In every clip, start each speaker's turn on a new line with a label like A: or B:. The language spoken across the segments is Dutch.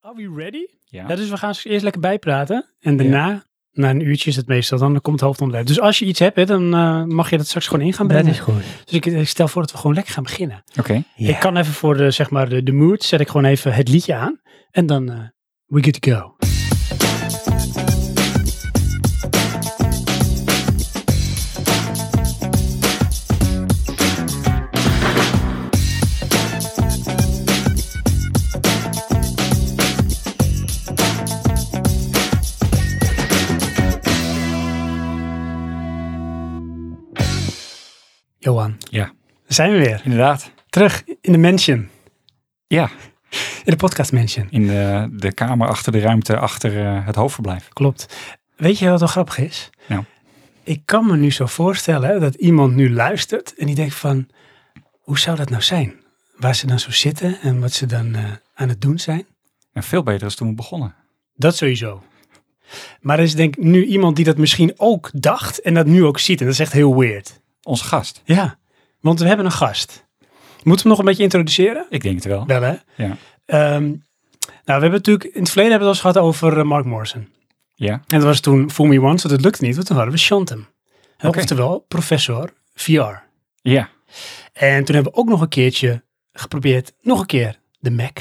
A: Are we ready?
B: Ja.
A: Ja, dus we gaan eerst lekker bijpraten. En daarna, na een uurtje is het meestal, dan komt het hoofdontwerp. Dus als je iets hebt, hè, dan eh, mag je dat straks gewoon in gaan
C: Dat
A: brengen.
C: is goed.
A: Dus ik, ik stel voor dat we gewoon lekker gaan beginnen.
B: Oké.
C: Ja.
A: Ik kan even voor de, zeg maar de, de mood, zet ik gewoon even het liedje aan. En dan, eh, we good to go. Johan.
B: Ja.
A: Daar zijn we weer.
B: Inderdaad.
A: Terug in de mansion.
B: Ja,
A: In de podcast mansion.
B: in de, de kamer achter de ruimte achter eh, het hoofdverblijf.
A: Klopt. Weet je wat wel grappig is?
B: Nou.
A: Ik kan me nu zo voorstellen hè, dat iemand nu luistert en die denkt van, hoe zou dat nou zijn? Waar ze dan zo zitten en wat ze dan eh, aan het doen zijn.
B: En veel beter is toen we begonnen.
A: Dat sowieso. Maar er is denk ik nu iemand die dat misschien ook dacht en dat nu ook ziet. En dat is echt heel weird.
B: Onze gast.
A: Ja, want we hebben een gast. Moeten we hem nog een beetje introduceren?
B: Ik denk het wel.
A: Wel hè?
B: Ja.
A: Ehm, nou, we hebben natuurlijk in het verleden hebben we het al eens gehad over eh, Mark Morrison.
B: Ja.
A: En dat was toen Fool Me Once, want dat lukte niet, want toen hadden we Shantem. En
B: Oké.
A: Oftewel, professor VR.
B: Ja.
A: En toen hebben we ook nog een keertje geprobeerd, nog een keer, de Mac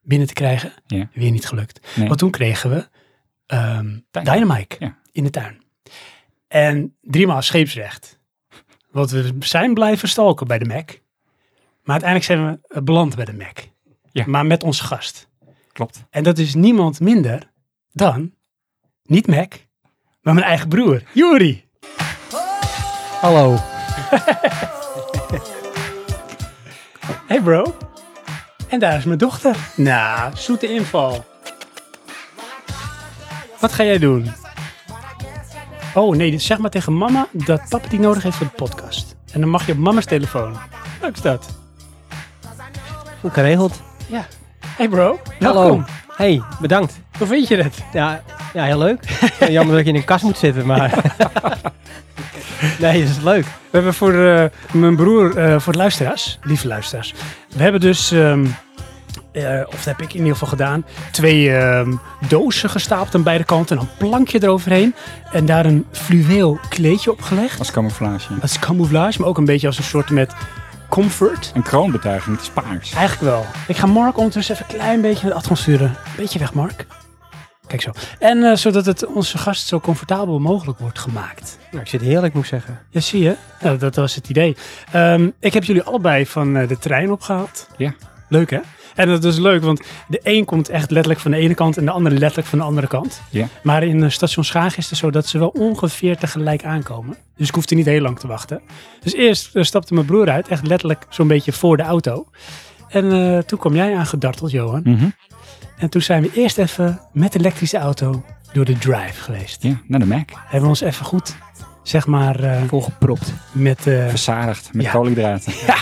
A: binnen te krijgen.
B: Ja.
A: Weer niet gelukt.
B: Nee.
A: Want toen kregen we ehm
B: Dynamite.
A: Dynamite,
B: Ja.
A: in de tuin. En driemaal scheepsrecht. Want we zijn blijven stalken bij de Mac. Maar uiteindelijk zijn we eh, beland bij de Mac.
B: Ja.
A: Maar met onze gast.
B: Klopt.
A: En dat is niemand minder dan, niet Mac, maar mijn eigen broer, Juri.
C: Hallo.
A: Hey bro. En daar is mijn dochter. Nou, zoete inval. Wat ga jij doen? Oh nee, dus zeg maar tegen mama dat papa die nodig heeft voor de podcast. En dan mag je op mama's telefoon. Leuk is dat.
C: Goed geregeld.
A: Ja. Hey bro.
C: Hallo.
A: Welkom.
C: Hey, bedankt.
A: Hoe vind je het?
C: Ja, ja, heel leuk. Jammer dat je in een kast moet zitten, maar... nee, dat is leuk.
A: We hebben voor eh, mijn broer, eh, voor de luisteraars, lieve luisteraars. We hebben dus, ehm, eh, of dat heb ik in ieder geval gedaan, twee ehm, dozen gestapeld aan beide kanten. en Een plankje eroverheen en daar een fluweel kleedje op gelegd.
B: Als camouflage.
A: Dat is camouflage, maar ook een beetje als een soort met comfort.
B: Een kroonbetuiging. Het is paars.
A: Eigenlijk wel. Ik ga Mark ondertussen even een klein beetje het atmos sturen. Beetje weg, Mark. Kijk zo. En eh, zodat het onze gast zo comfortabel mogelijk wordt gemaakt.
C: Nou, ik zit heerlijk, moet ik zeggen.
A: Ja, zie je. Nou, dat was het idee. Ehm, ik heb jullie allebei van eh, de trein opgehaald.
B: Ja.
A: Leuk, hè? En dat is leuk, want de een komt echt letterlijk van de ene kant en de andere letterlijk van de andere kant.
B: Ja.
A: Maar in eh, station Schaag is het zo dat ze wel ongeveer tegelijk aankomen. Dus ik hoefde niet heel lang te wachten. Dus eerst eh, stapte mijn broer uit, echt letterlijk zo'n beetje voor de auto. En eh, toen kwam jij aangedarteld, Johan.
B: Mhm.
A: En toen zijn we eerst even met de elektrische auto door de drive geweest.
B: Ja. Naar de Mac.
A: Hebben we ons even goed, zeg maar, eh,
C: Volgepropt.
A: met... eh,
B: Verzadigd met
A: Ja.
B: koolhydraten.
A: Ja,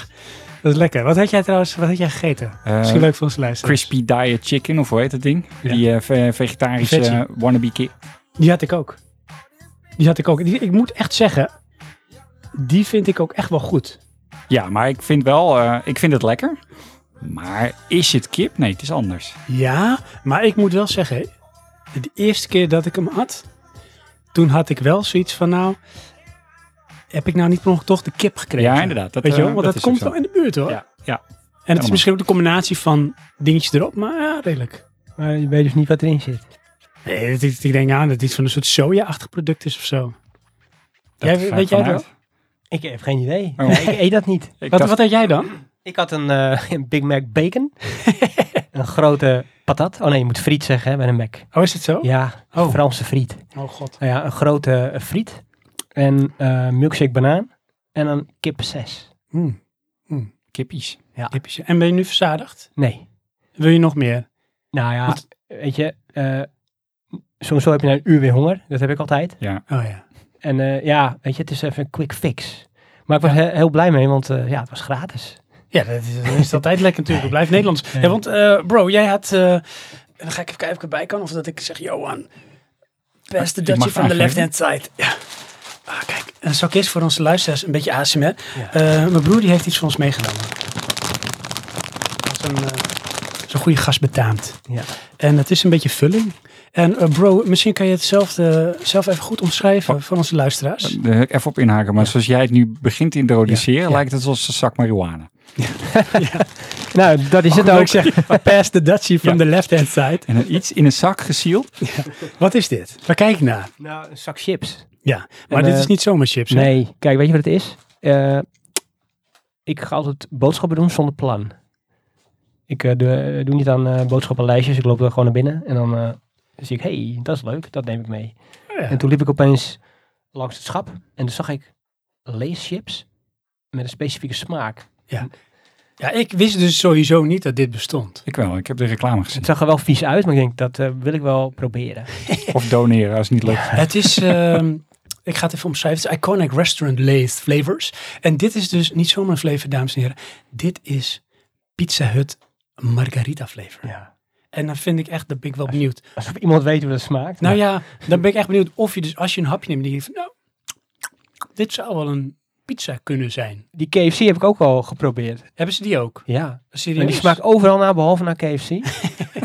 A: dat is lekker. Wat had jij trouwens, wat had jij gegeten?
B: Eh,
A: Misschien leuk voor onze luisteraars.
B: crispy diet chicken of hoe heet dat ding?
A: Ja.
B: Die eh, ve- vegetarische
A: Veggie.
B: eh, wannabe kip.
A: Die had ik ook. Die had ik ook. Die- ik moet echt zeggen, die vind ik ook echt wel goed.
B: Ja, maar ik vind wel, eh, ik vind het lekker. Maar is het kip? Nee, het is anders.
A: Ja, maar ik moet wel zeggen, de eerste keer dat ik hem had, toen had ik wel zoiets van nou, heb ik nou niet per ongeluk toch de kip gekregen?
B: Ja, inderdaad. Dat,
A: Weet je wel,
B: eh,
A: want
B: dat
A: dat,
B: is ook
A: komt
B: zo.
A: wel in de buurt hoor.
B: Ja, ja.
A: en het is
B: helemaal.
A: misschien ook de combinatie van dingetjes erop, maar ja, redelijk.
C: Maar je weet dus niet wat erin zit.
A: Nee, dat, ik denk aan dat het iets van een soort soja-achtig product is of zo.
B: Dat
A: Jij-
B: ga ik
A: weet jij
B: vanuit.
A: dat?
C: Ik heb geen idee.
B: Oh.
C: Nee, ik eet dat niet.
B: Ik
A: Wat,
B: dacht-
A: wat had jij dan?
C: Ik had een, eh, een Big Mac bacon. een grote patat. Oh nee, je moet friet zeggen hè, bij een Mac.
A: Oh, is het zo?
C: Ja,
A: Oh.
C: Franse friet.
A: Oh god.
C: Nou ja, een grote eh, friet. En eh, milkshake banaan. En een kip 6.
B: Kippies.
A: Typische. Hmm. En ben je nu verzadigd?
C: Nee.
A: Wil je nog meer?
C: Nou ja,
A: Wat?
C: weet je, eh, soms zo heb je na een uur weer honger. Dat heb ik altijd.
A: Oh ja.
C: En eh, ja, weet je, het is even een quick fix. Maar ik was he- heel blij mee, want eh, ja, het was gratis.
A: Ja, dat is, dat is altijd lekker natuurlijk. Ik blijf Nederlands.
C: Nee.
A: Ja, want eh, bro, jij had... eh, en dan ga ik even kijken of ik erbij kan. Of dat ik zeg, Johan, beste
B: Ik
A: Dutchie
B: mag
A: van de
B: aangeven.
A: left-hand side. Ja. Ah, kijk, en dan zal ik eerst voor onze luisteraars een beetje ASMR.
C: Ja.
A: Eh, mijn broer die heeft iets voor ons meegenomen. Dat is een eh, is een goede gast betaamt.
C: Ja.
A: En het is een beetje vulling. En eh, bro, misschien kan je het zelf, eh, zelf even goed omschrijven
C: Oh.
A: voor onze luisteraars.
B: Daar wil ik even op inhaken, maar zoals jij het nu begint te introduceren,
A: Ja, ja.
B: lijkt het alsof een zak marihuana.
C: Nou, dat is het ook.
A: zeg, pass the Dutchie from
B: Ja.
A: the left hand side.
B: En een- iets in een zak gesield.
A: Wat is dit? Waar kijk ik naar?
C: Nou, een zak chips.
A: Ja, maar
C: En,
A: dit
C: eh,
A: is niet zomaar chips. hè?
C: Nee, kijk, weet je wat het is? Eh, ik ga altijd boodschappen doen zonder plan. Ik eh, doe, eh, doe niet aan eh, boodschappenlijstjes. Ik loop er gewoon naar binnen en dan eh, zie ik, hey, dat is leuk, dat neem ik mee.
A: Oh, Ja.
C: En toen liep ik opeens langs het schap en toen zag ik leeschips met een specifieke smaak.
A: Ja, ik wist dus sowieso niet dat dit bestond.
B: Ik wel, ik heb de reclame
C: Het
B: gezien.
C: zag er wel vies uit, maar ik denk, dat eh, wil ik wel proberen.
B: Of doneren als het niet lukt.
A: Het is, ehm, ik ga het even omschrijven. Het is Iconic Restaurant Lathe Flavors. En dit is dus niet zomaar een flavor, dames en heren. Dit is Pizza Hut Margarita flavor.
C: Ja.
A: En dan vind ik echt, dan ben ik wel benieuwd.
C: Alsof iemand weet hoe dat smaakt.
A: Nou ja, dan ben ik echt benieuwd of je dus, als je een hapje neemt, denk je van, nou, dit zou wel een pizza kunnen zijn.
C: Die KFC heb ik ook wel geprobeerd.
A: Hebben ze die ook?
C: Ja.
A: Serieus?
C: En die smaakt overal naar, behalve naar KFC. en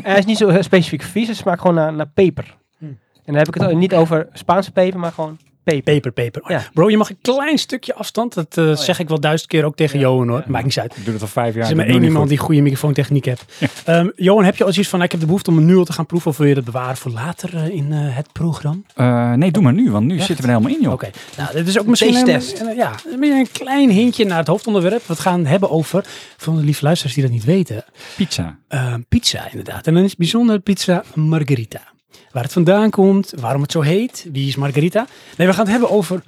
C: hij is niet zo heel specifiek vies, het smaakt gewoon naar, naar peper.
A: Hmm.
C: En dan heb ik het ook niet over Spaanse peper, maar gewoon peper.
A: Peper, peper. Oh,
C: Ja.
A: Bro, je mag een klein stukje afstand. Dat eh, zeg ik wel duizend keer ook tegen
C: Ja.
A: Johan hoor.
C: Ja.
A: Maakt niet uit.
B: Ik doe dat al vijf jaar.
A: Er is maar
B: dat doe
A: één
B: ik niet
A: iemand
B: goed.
A: die goede microfoontechniek heeft. Ehm, Johan, heb je al zoiets van, ik heb de behoefte om hem nu al te gaan proeven of wil je dat bewaren voor later eh, in eh, het programma?
B: Eh, nee, doe maar nu, want nu
A: Echt?
B: zitten we er helemaal in, joh.
A: Oké, nou dit is ook misschien
C: taste-test.
A: Een, een- ja, een, beetje een klein hintje naar het hoofdonderwerp. We het gaan hebben over, voor de lieve luisteraars die dat niet weten,
B: Pizza.
A: eh, pizza inderdaad. En dan is het bijzonder pizza margarita. Waar het vandaan komt, waarom het zo heet, wie is margarita. Nee, we gaan het hebben over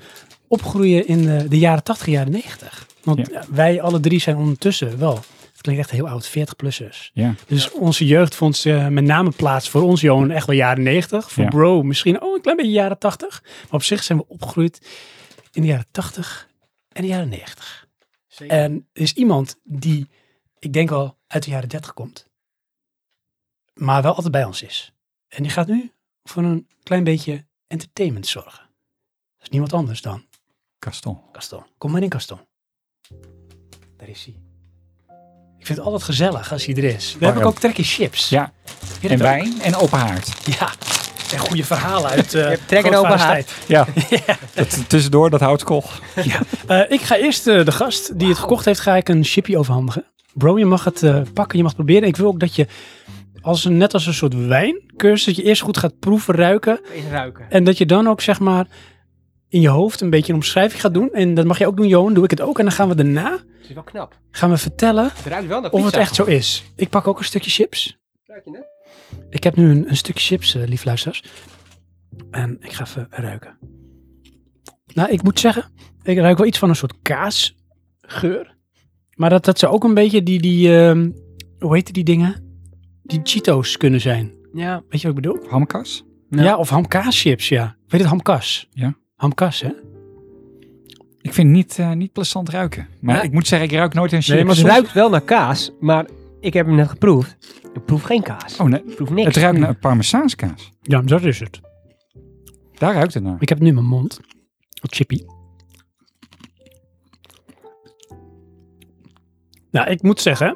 A: opgroeien in eh, de jaren 80, jaren 90. Want
B: Ja.
A: ja, wij alle drie zijn ondertussen wel, het klinkt echt heel oud, 40-plussers.
B: Ja.
A: Dus onze jeugd vond eh, met name plaats voor ons, Johan, echt wel jaren 90. Voor
B: Ja.
A: Bro misschien oh, een klein beetje jaren 80. Maar op zich zijn we opgegroeid in de jaren 80 en de jaren 90. En er is iemand die, ik denk al, uit de jaren 30 komt. Maar wel altijd bij ons is. En die gaat nu voor een klein beetje entertainment zorgen. Dat is niemand anders dan
B: Kastel.
A: Gaston. Kom maar in, Gaston. Daar is hij. Ik vind het altijd gezellig als hij er is. We hebben
B: Warm.
A: ook trek in chips.
B: Oh, Ja,
A: Heb je
B: en
A: dat ook?
B: wijn en open haard.
A: Ja. Het zijn goede verhalen uit eh
C: hebt trek in open
A: grootvaders
C: haard.
A: tijd.
B: Ja, Dat, tussendoor dat houdt kool.
A: Eh, ik ga eerst eh, de gast die het gekocht heeft, ga ik een chipje overhandigen. Bro, je mag het eh, pakken, je mag het proberen. Ik wil ook dat je, als een, net als een soort wijncursus, dat je eerst goed gaat proeven, ruiken.
C: Even ruiken.
A: En dat je dan ook, zeg maar, in je hoofd een beetje een omschrijving gaat doen. En dat mag je ook doen, Johan, doe ik het ook. En dan gaan we daarna,
C: Het is wel knap.
A: gaan we vertellen
C: Het ruikt wel naar
A: Of het echt zo is. Ik pak ook een stukje chips. Ik heb nu een, een stukje chips, eh lief luisteraars. En ik ga even ruiken. Nou, ik moet zeggen, ik ruik wel iets van een soort kaasgeur. Maar dat, dat ze ook een beetje die, die ehm, hoe heet die dingen? Die Cheetos kunnen zijn.
C: Ja.
A: Weet je wat ik bedoel?
B: Hamkas?
A: Ja,
C: Ja.
A: of hamkaaschips, ja. Weet het, hamkas?
B: Ja.
A: Hamkas, hè?
B: Ik vind het niet, eh, niet plezant ruiken. Maar
C: Ja.
B: ik moet zeggen, ik ruik nooit een chips.
C: Nee, maar het ruikt wel naar kaas, maar ik heb hem net geproefd. Ik proef geen kaas.
B: Oh, nee.
C: Ik proef niks.
B: Het ruikt naar parmezaaskaas.
A: Ja, dat is het.
B: Daar ruikt het naar.
A: Ik heb het nu in mijn mond. Wat chippy. Nou, ik moet zeggen.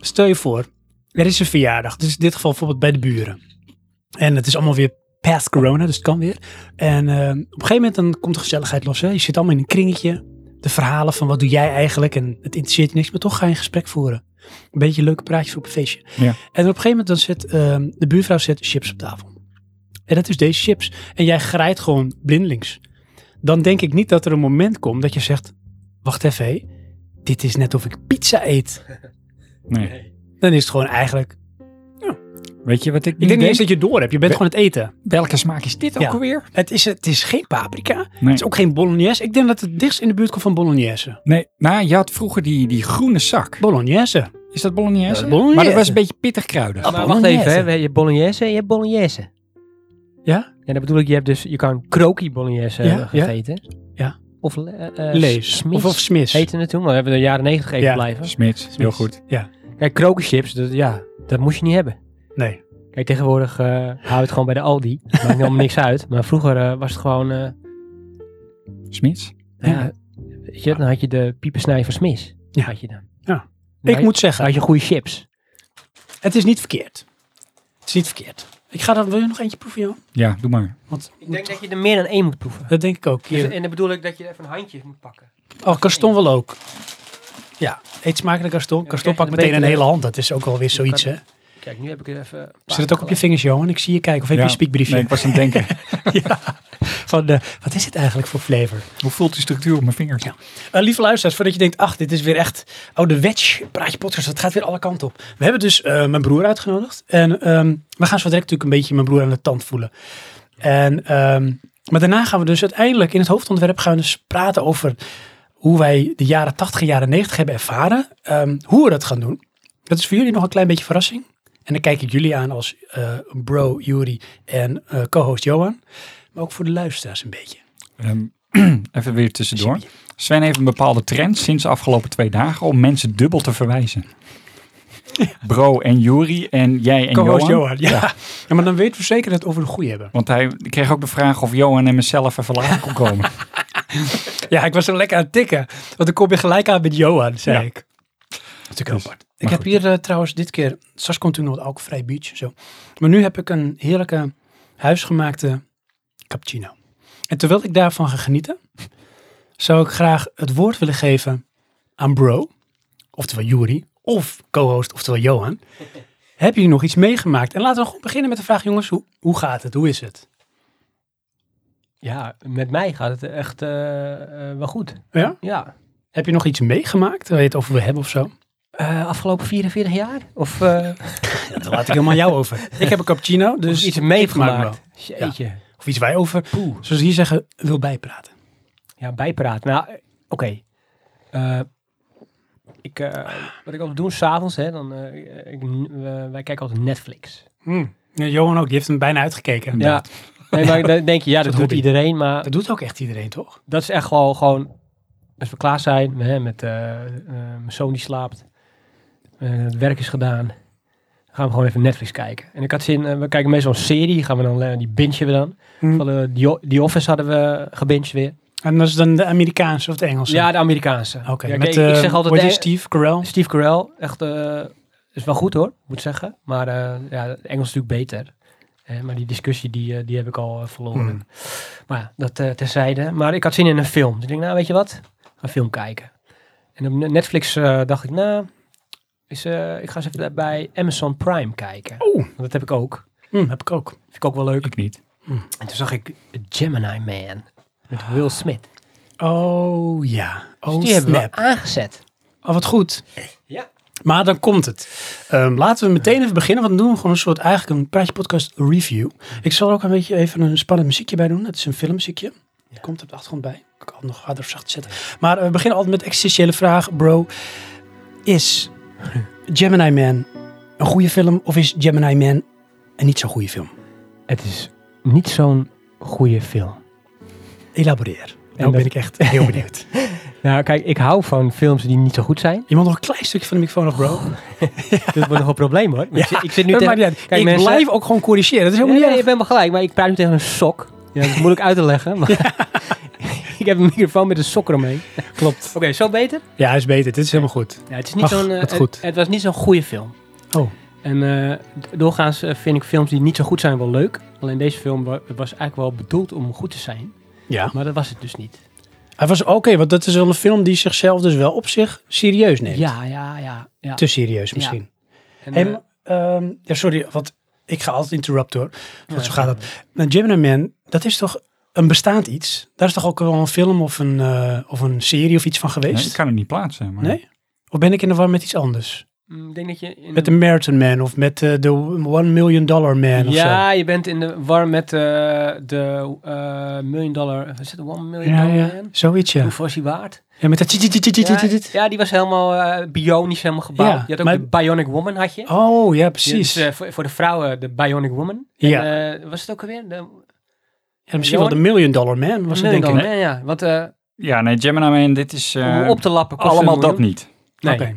A: Stel je voor, er is een verjaardag. Dus in dit geval bijvoorbeeld bij de buren. En het is allemaal weer past corona, dus het kan weer. En eh, op een gegeven moment dan komt de gezelligheid los. Hè? Je zit allemaal in een kringetje. De verhalen van wat doe jij eigenlijk? En het interesseert je niks, maar toch ga je een gesprek voeren. Een beetje leuke praatjes voor op een feestje.
B: Ja.
A: En op een gegeven moment dan zit ehm, de buurvrouw zet chips op tafel. En dat is deze chips. En jij grijpt gewoon blindelings. Dan denk ik niet dat er een moment komt dat je zegt... Wacht even, hé, dit is net of ik pizza eet.
B: Nee.
A: Dan is het gewoon eigenlijk...
B: Weet je wat ik,
A: Ik
B: nu
A: denk niet eens dat je door hebt. Je bent gewoon het eten.
B: Welke smaak is dit ook
A: Ja.
B: alweer?
A: Het is, het is geen paprika.
B: Nee.
A: Het is ook geen bolognese. Ik denk dat het dichtst in de buurt komt van bolognese.
B: nee. Nou, je had vroeger die, die groene zak.
A: Bolognese.
B: Is dat bolognese?
A: Ja, bolognese.
B: Maar dat was een beetje pittig kruidig.
A: Ja.
C: Maar wacht
A: Bolognese.
C: even, hè. je hebt bolognese en je hebt bolognese.
A: Ja?
C: En dat bedoel ik, je hebt dus, je kan kroki bolognese
A: Ja,
C: hebben
A: ja.
C: gegeten.
A: Ja.
C: Of le- eh, eh,
A: Lees.
C: Smits
A: Of, of smis.
C: heette het toen, maar we hebben de jaren negentig even
A: Ja.
C: blijven.
B: Smits, heel goed.
C: Kijk, krokenchips, dat, ja, dat moest je niet hebben.
A: Nee.
C: Kijk, tegenwoordig eh hou je het gewoon bij de Aldi. Maakt helemaal niks uit. Maar vroeger eh, was het gewoon, eh,
B: Smits?
A: Ja.
C: ja, weet je, dan had je de piepensnij van Smis.
A: Ja.
C: Had je dan.
A: Ja.
C: Dan had
A: Ik
C: je-
A: moet
C: dan
A: zeggen,
C: had je goede chips.
A: Het is niet verkeerd. Het is niet verkeerd. Ik ga dan, wil je nog eentje proeven, Jan?
B: Ja, doe maar.
A: Want,
C: Ik denk dat je er meer dan één moet proeven.
A: dat denk ik ook. Hier.
C: Dus, en dan bedoel ik dat je even een handje moet pakken.
A: Oh, Gaston wil ook. Ja, eet smakelijk Gaston.
C: Ja,
A: Gaston
C: krijg je
A: pakt
C: een
A: meteen een
C: beetje-
A: hele hand. Dat is ook wel weer zoiets, hè?
C: kan- Kijk, nu heb ik er even... een paar
A: Zit het ook op je
C: gelegd.
A: vingers, Johan? Ik zie je kijken. Of heb
B: Ja.
A: je een spiekbriefje?
B: Nee, ik was aan het denken.
A: Van, eh, wat is het eigenlijk voor flavor?
B: Hoe voelt die structuur op mijn vingers?
A: Ja. Eh, lieve luisteraars, voordat je denkt, ach, dit is weer echt ouderwets praatje podcast. Het gaat weer alle kanten op. We hebben dus eh, mijn broer uitgenodigd. En ehm, we gaan zo direct natuurlijk een beetje mijn broer aan de tand voelen. En, ehm, maar daarna gaan we dus uiteindelijk in het hoofdontwerp gaan we dus praten over hoe wij de jaren 80, jaren 90 hebben ervaren. Ehm, hoe we dat gaan doen. Dat is voor jullie nog een klein beetje verrassing. En dan kijk ik jullie aan als eh, bro Juri en eh, co-host Johan. Maar ook voor de luisteraars een beetje.
B: Ehm, even weer tussendoor. Sven heeft een bepaalde trend sinds de afgelopen twee dagen om mensen dubbel te verwijzen. Bro en Juri en jij en
A: Co-host
B: Johan.
A: Johan, ja. ja. Maar dan weten we zeker dat we het over de goede hebben.
B: Want hij kreeg ook de vraag of Johan en mezelf even later kon komen.
A: Ja, ik was zo lekker aan het tikken. Want ik kom weer gelijk aan met Johan, zei
B: Ja.
A: ik. Dat is ook heel
B: Dus,
A: apart. Ik
B: maar
A: heb
B: goed.
A: hier eh, trouwens dit keer... Straks komt toen nog wat alcoholvrij biertje zo. Maar nu heb ik een heerlijke huisgemaakte cappuccino. En terwijl ik daarvan ga genieten... zou ik graag het woord willen geven aan bro. Oftewel Juri. Of co-host, oftewel Johan. Heb je nog iets meegemaakt? En laten we gewoon beginnen met de vraag, jongens. Hoe, hoe gaat het? Hoe is het?
C: Ja, met mij gaat het echt eh, eh, wel goed.
A: Ja?
C: Ja.
A: Heb je nog iets meegemaakt waar je het over wil hebben of zo?
C: Eh, afgelopen 44 jaar? Of, eh,
A: Dat laat ik helemaal jou over. Ik heb een cappuccino, dus
C: of iets
A: ik maak
C: meegemaakt?
A: wel.
C: Jeetje.
A: wel. Of iets wij over,
C: Poeh.
A: zoals ze hier zeggen, wil bijpraten.
C: Ja, bijpraat. Nou, eh, oké. Eh, ik, eh, wat ik altijd doe, s'avonds, hè, dan, eh, ik, eh, wij kijken altijd Netflix.
A: Hmm. Ja, Johan ook, die heeft hem bijna uitgekeken.
C: Ja. Nee, maar dan denk je, ja, dat,
A: Dat
C: doet
A: hobby.
C: iedereen, maar
A: Dat doet ook echt iedereen, toch?
C: dat is echt gewoon, gewoon als we klaar zijn, hè, met eh, eh, mijn zoon die slaapt, eh, het werk is gedaan, dan gaan we gewoon even Netflix kijken. En ik had zin, eh, we kijken meestal een serie, die gaan we dan, eh, die bingen we dan. Van, eh, die, O- die Office hadden we gebinged weer.
A: Hmm. En dat is dan de Amerikaanse of de Engelse?
C: Ja, de Amerikaanse.
A: Oké,
C: Ja,
A: met
C: ik,
A: eh,
C: ik zeg altijd,
A: hoe heet
C: de-
A: die, Steve Carell.
C: Steve Carell, echt, eh, is wel goed hoor, moet zeggen. Maar eh, ja, het Engels is natuurlijk beter. Eh, maar die discussie, die, eh, die heb ik al eh, verloren.
A: Hmm.
C: Maar ja, dat eh, terzijde. Maar ik had zin in een film. Dus ik denk, nou weet je wat, ga een film kijken. En op Ne- Netflix eh, dacht ik, nou, is, eh, ik ga eens even bij Amazon Prime kijken.
A: Oh,
C: Want dat heb ik ook.
A: hm, heb ik ook.
C: Vind ik ook wel leuk.
B: Ik niet.
C: En toen zag ik Gemini Man met Will Smith.
A: Oh ja,
C: Dus
A: oh
C: die hebben we
A: snap.
C: aangezet.
A: Oh, wat goed.
C: Ja.
A: Maar dan komt het. Ehm, laten we meteen even beginnen, want dan doen we gewoon een soort, eigenlijk een praatje podcast review. Ik zal er ook een beetje even een spannend muziekje bij doen. Het is een filmmuziekje. Die komt op de achtergrond bij. Ik kan het nog harder of zacht zetten. Maar eh, we beginnen altijd met de existentiële vraag, bro. Is Gemini Man een goede film of is Gemini Man een niet zo goede film?
C: Het is niet zo'n goede film.
A: Elaboreer. En
C: dat-
A: ben ik echt heel benieuwd.
C: Nou, kijk, ik hou van films die niet zo goed zijn.
A: Iemand nog een klein stukje van de microfoon nog, bro?
C: Dat wordt nog een probleem hoor. Ik, zit, ik zit nu
A: Dat maakt
C: tegen...
A: niet uit.
C: Kijk,
A: ik
C: mensen-
A: blijf ook gewoon corrigeren. Dat is
C: Nee,
A: helemaal
C: nee,
A: niet
C: je
A: erg.
C: bent wel gelijk, maar ik praat nu tegen een sok. Ja, dat is moeilijk uit te leggen. Maar ik heb een microfoon met een sok eromheen.
A: Klopt.
C: Oké, zo beter?
A: Ja, hij is beter. Dit is helemaal goed.
C: Ja, het, is niet
A: Ach,
C: zo'n, eh,
A: wat
C: het,
A: goed.
C: het was niet zo'n goede film.
A: Oh.
C: En eh, d- doorgaans eh, vind ik films die niet zo goed zijn wel leuk. Alleen deze film wa- was eigenlijk wel bedoeld om goed te zijn.
A: Ja.
C: Maar dat was het dus niet.
A: Hij was oké, want dat is wel een film die zichzelf dus wel op zich serieus neemt.
C: Ja, ja, ja. ja.
A: Te serieus misschien.
C: En,
A: Hey,
C: eh,
A: maar, ehm, ja, sorry, want ik ga altijd interrupt hoor. Want
C: ja.
A: zo gaat dat. Nou, Gemini Man, dat is toch een bestaand iets? Daar is toch ook wel een film of een, eh, of een serie of iets van
B: Nee,
A: geweest?
B: ik kan hem niet plaatsen. Maar
A: Nee? Of ben ik in de war met iets anders?
C: Mm, Ik denk dat je in
A: Met de Marathon Man of met eh, de One Million Dollar Man of zo?
C: ja, je bent in de war met eh, de eh, million dollar. Is het one million
A: Ja,
C: dollar
A: ja.
C: man?
A: Zoiets ja.
C: Hoeveel is die waard?
A: Ja, met dat... tjit, tjit, tjit, tjit,
C: Ja,
A: tjit, tjit.
C: ja, die was helemaal eh, bionisch helemaal gebouwd.
A: Ja,
C: je had ook
A: maar-
C: de Bionic Woman had je.
A: Oh, ja,
C: Die is,
A: precies.
C: eh, voor, voor de vrouwen de Bionic Woman.
A: Ja.
C: En, eh, was het ook alweer? De,
A: Ja, misschien wel de Million Dollar Man was het
C: million
A: denk ik.
C: dollar man, ja. Want eh,
B: Ja, nee, Gemini Man, dit is eh,
C: om op te lappen kost
B: allemaal
C: een
B: dat
C: miljoen.
B: niet.
C: Nee.
A: Oké.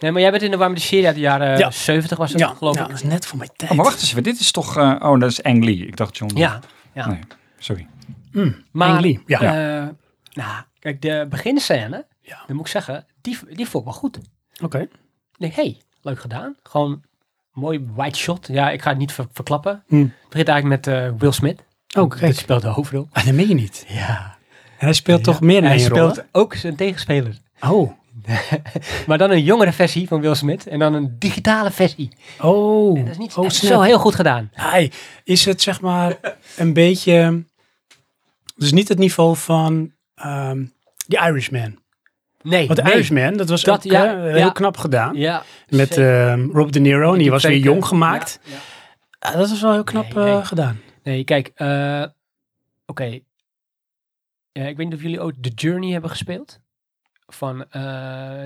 C: nee, maar jij bent in de war met de serie uit de jaren
A: Ja.
C: 70 was het
A: Ja,
C: geloof
A: nou,
C: ik.
A: dat is net voor mijn tijd.
B: Oh, maar wacht eens even, dit is toch... eh, oh, dat is Ang Lee. Ik dacht John Lee.
C: Ja, ja.
B: Nee, sorry.
C: maar...
A: Ang Lee, ja.
C: eh, nou, kijk, de beginscène,
A: Ja.
C: dan moet ik zeggen, die, die vond ik wel goed.
A: Oké.
C: Ik denk, hé, hey, leuk gedaan. Gewoon mooi wide shot. Ja, ik ga het niet ver- verklappen.
A: Hm.
C: Het begint eigenlijk met eh, Will Smith.
A: Oh,
C: Die
A: kijk.
C: speelt de hoofdrol.
A: Ah, dat meen je niet.
C: Ja.
A: En hij speelt toch meer dan
C: Hij
A: één rol,
C: speelt ook zijn tegenspeler.
A: hè? Oh.
C: Maar dan een jongere versie van Will Smith en dan een digitale versie.
A: Oh.
C: Dat is niet
A: oh,
C: dat is zo heel goed gedaan.
A: Hij is het zeg maar een beetje... Dus niet het niveau van ehm The Irishman.
C: Nee,
A: Want The
C: nee.
A: Irishman, dat was
C: Dat,
A: ook
C: ja,
A: hè, heel
C: ja.
A: knap gedaan.
C: Ja.
A: Met
C: eh,
A: ehm, Rob De Niro, en die was weer jong gemaakt.
C: Ja, ja.
A: Ah, dat is wel heel knap
C: Nee, nee.
A: eh, gedaan.
C: Nee, kijk. eh, Oké. Eh, ik weet niet of jullie ooit The Journey hebben gespeeld. Van eh,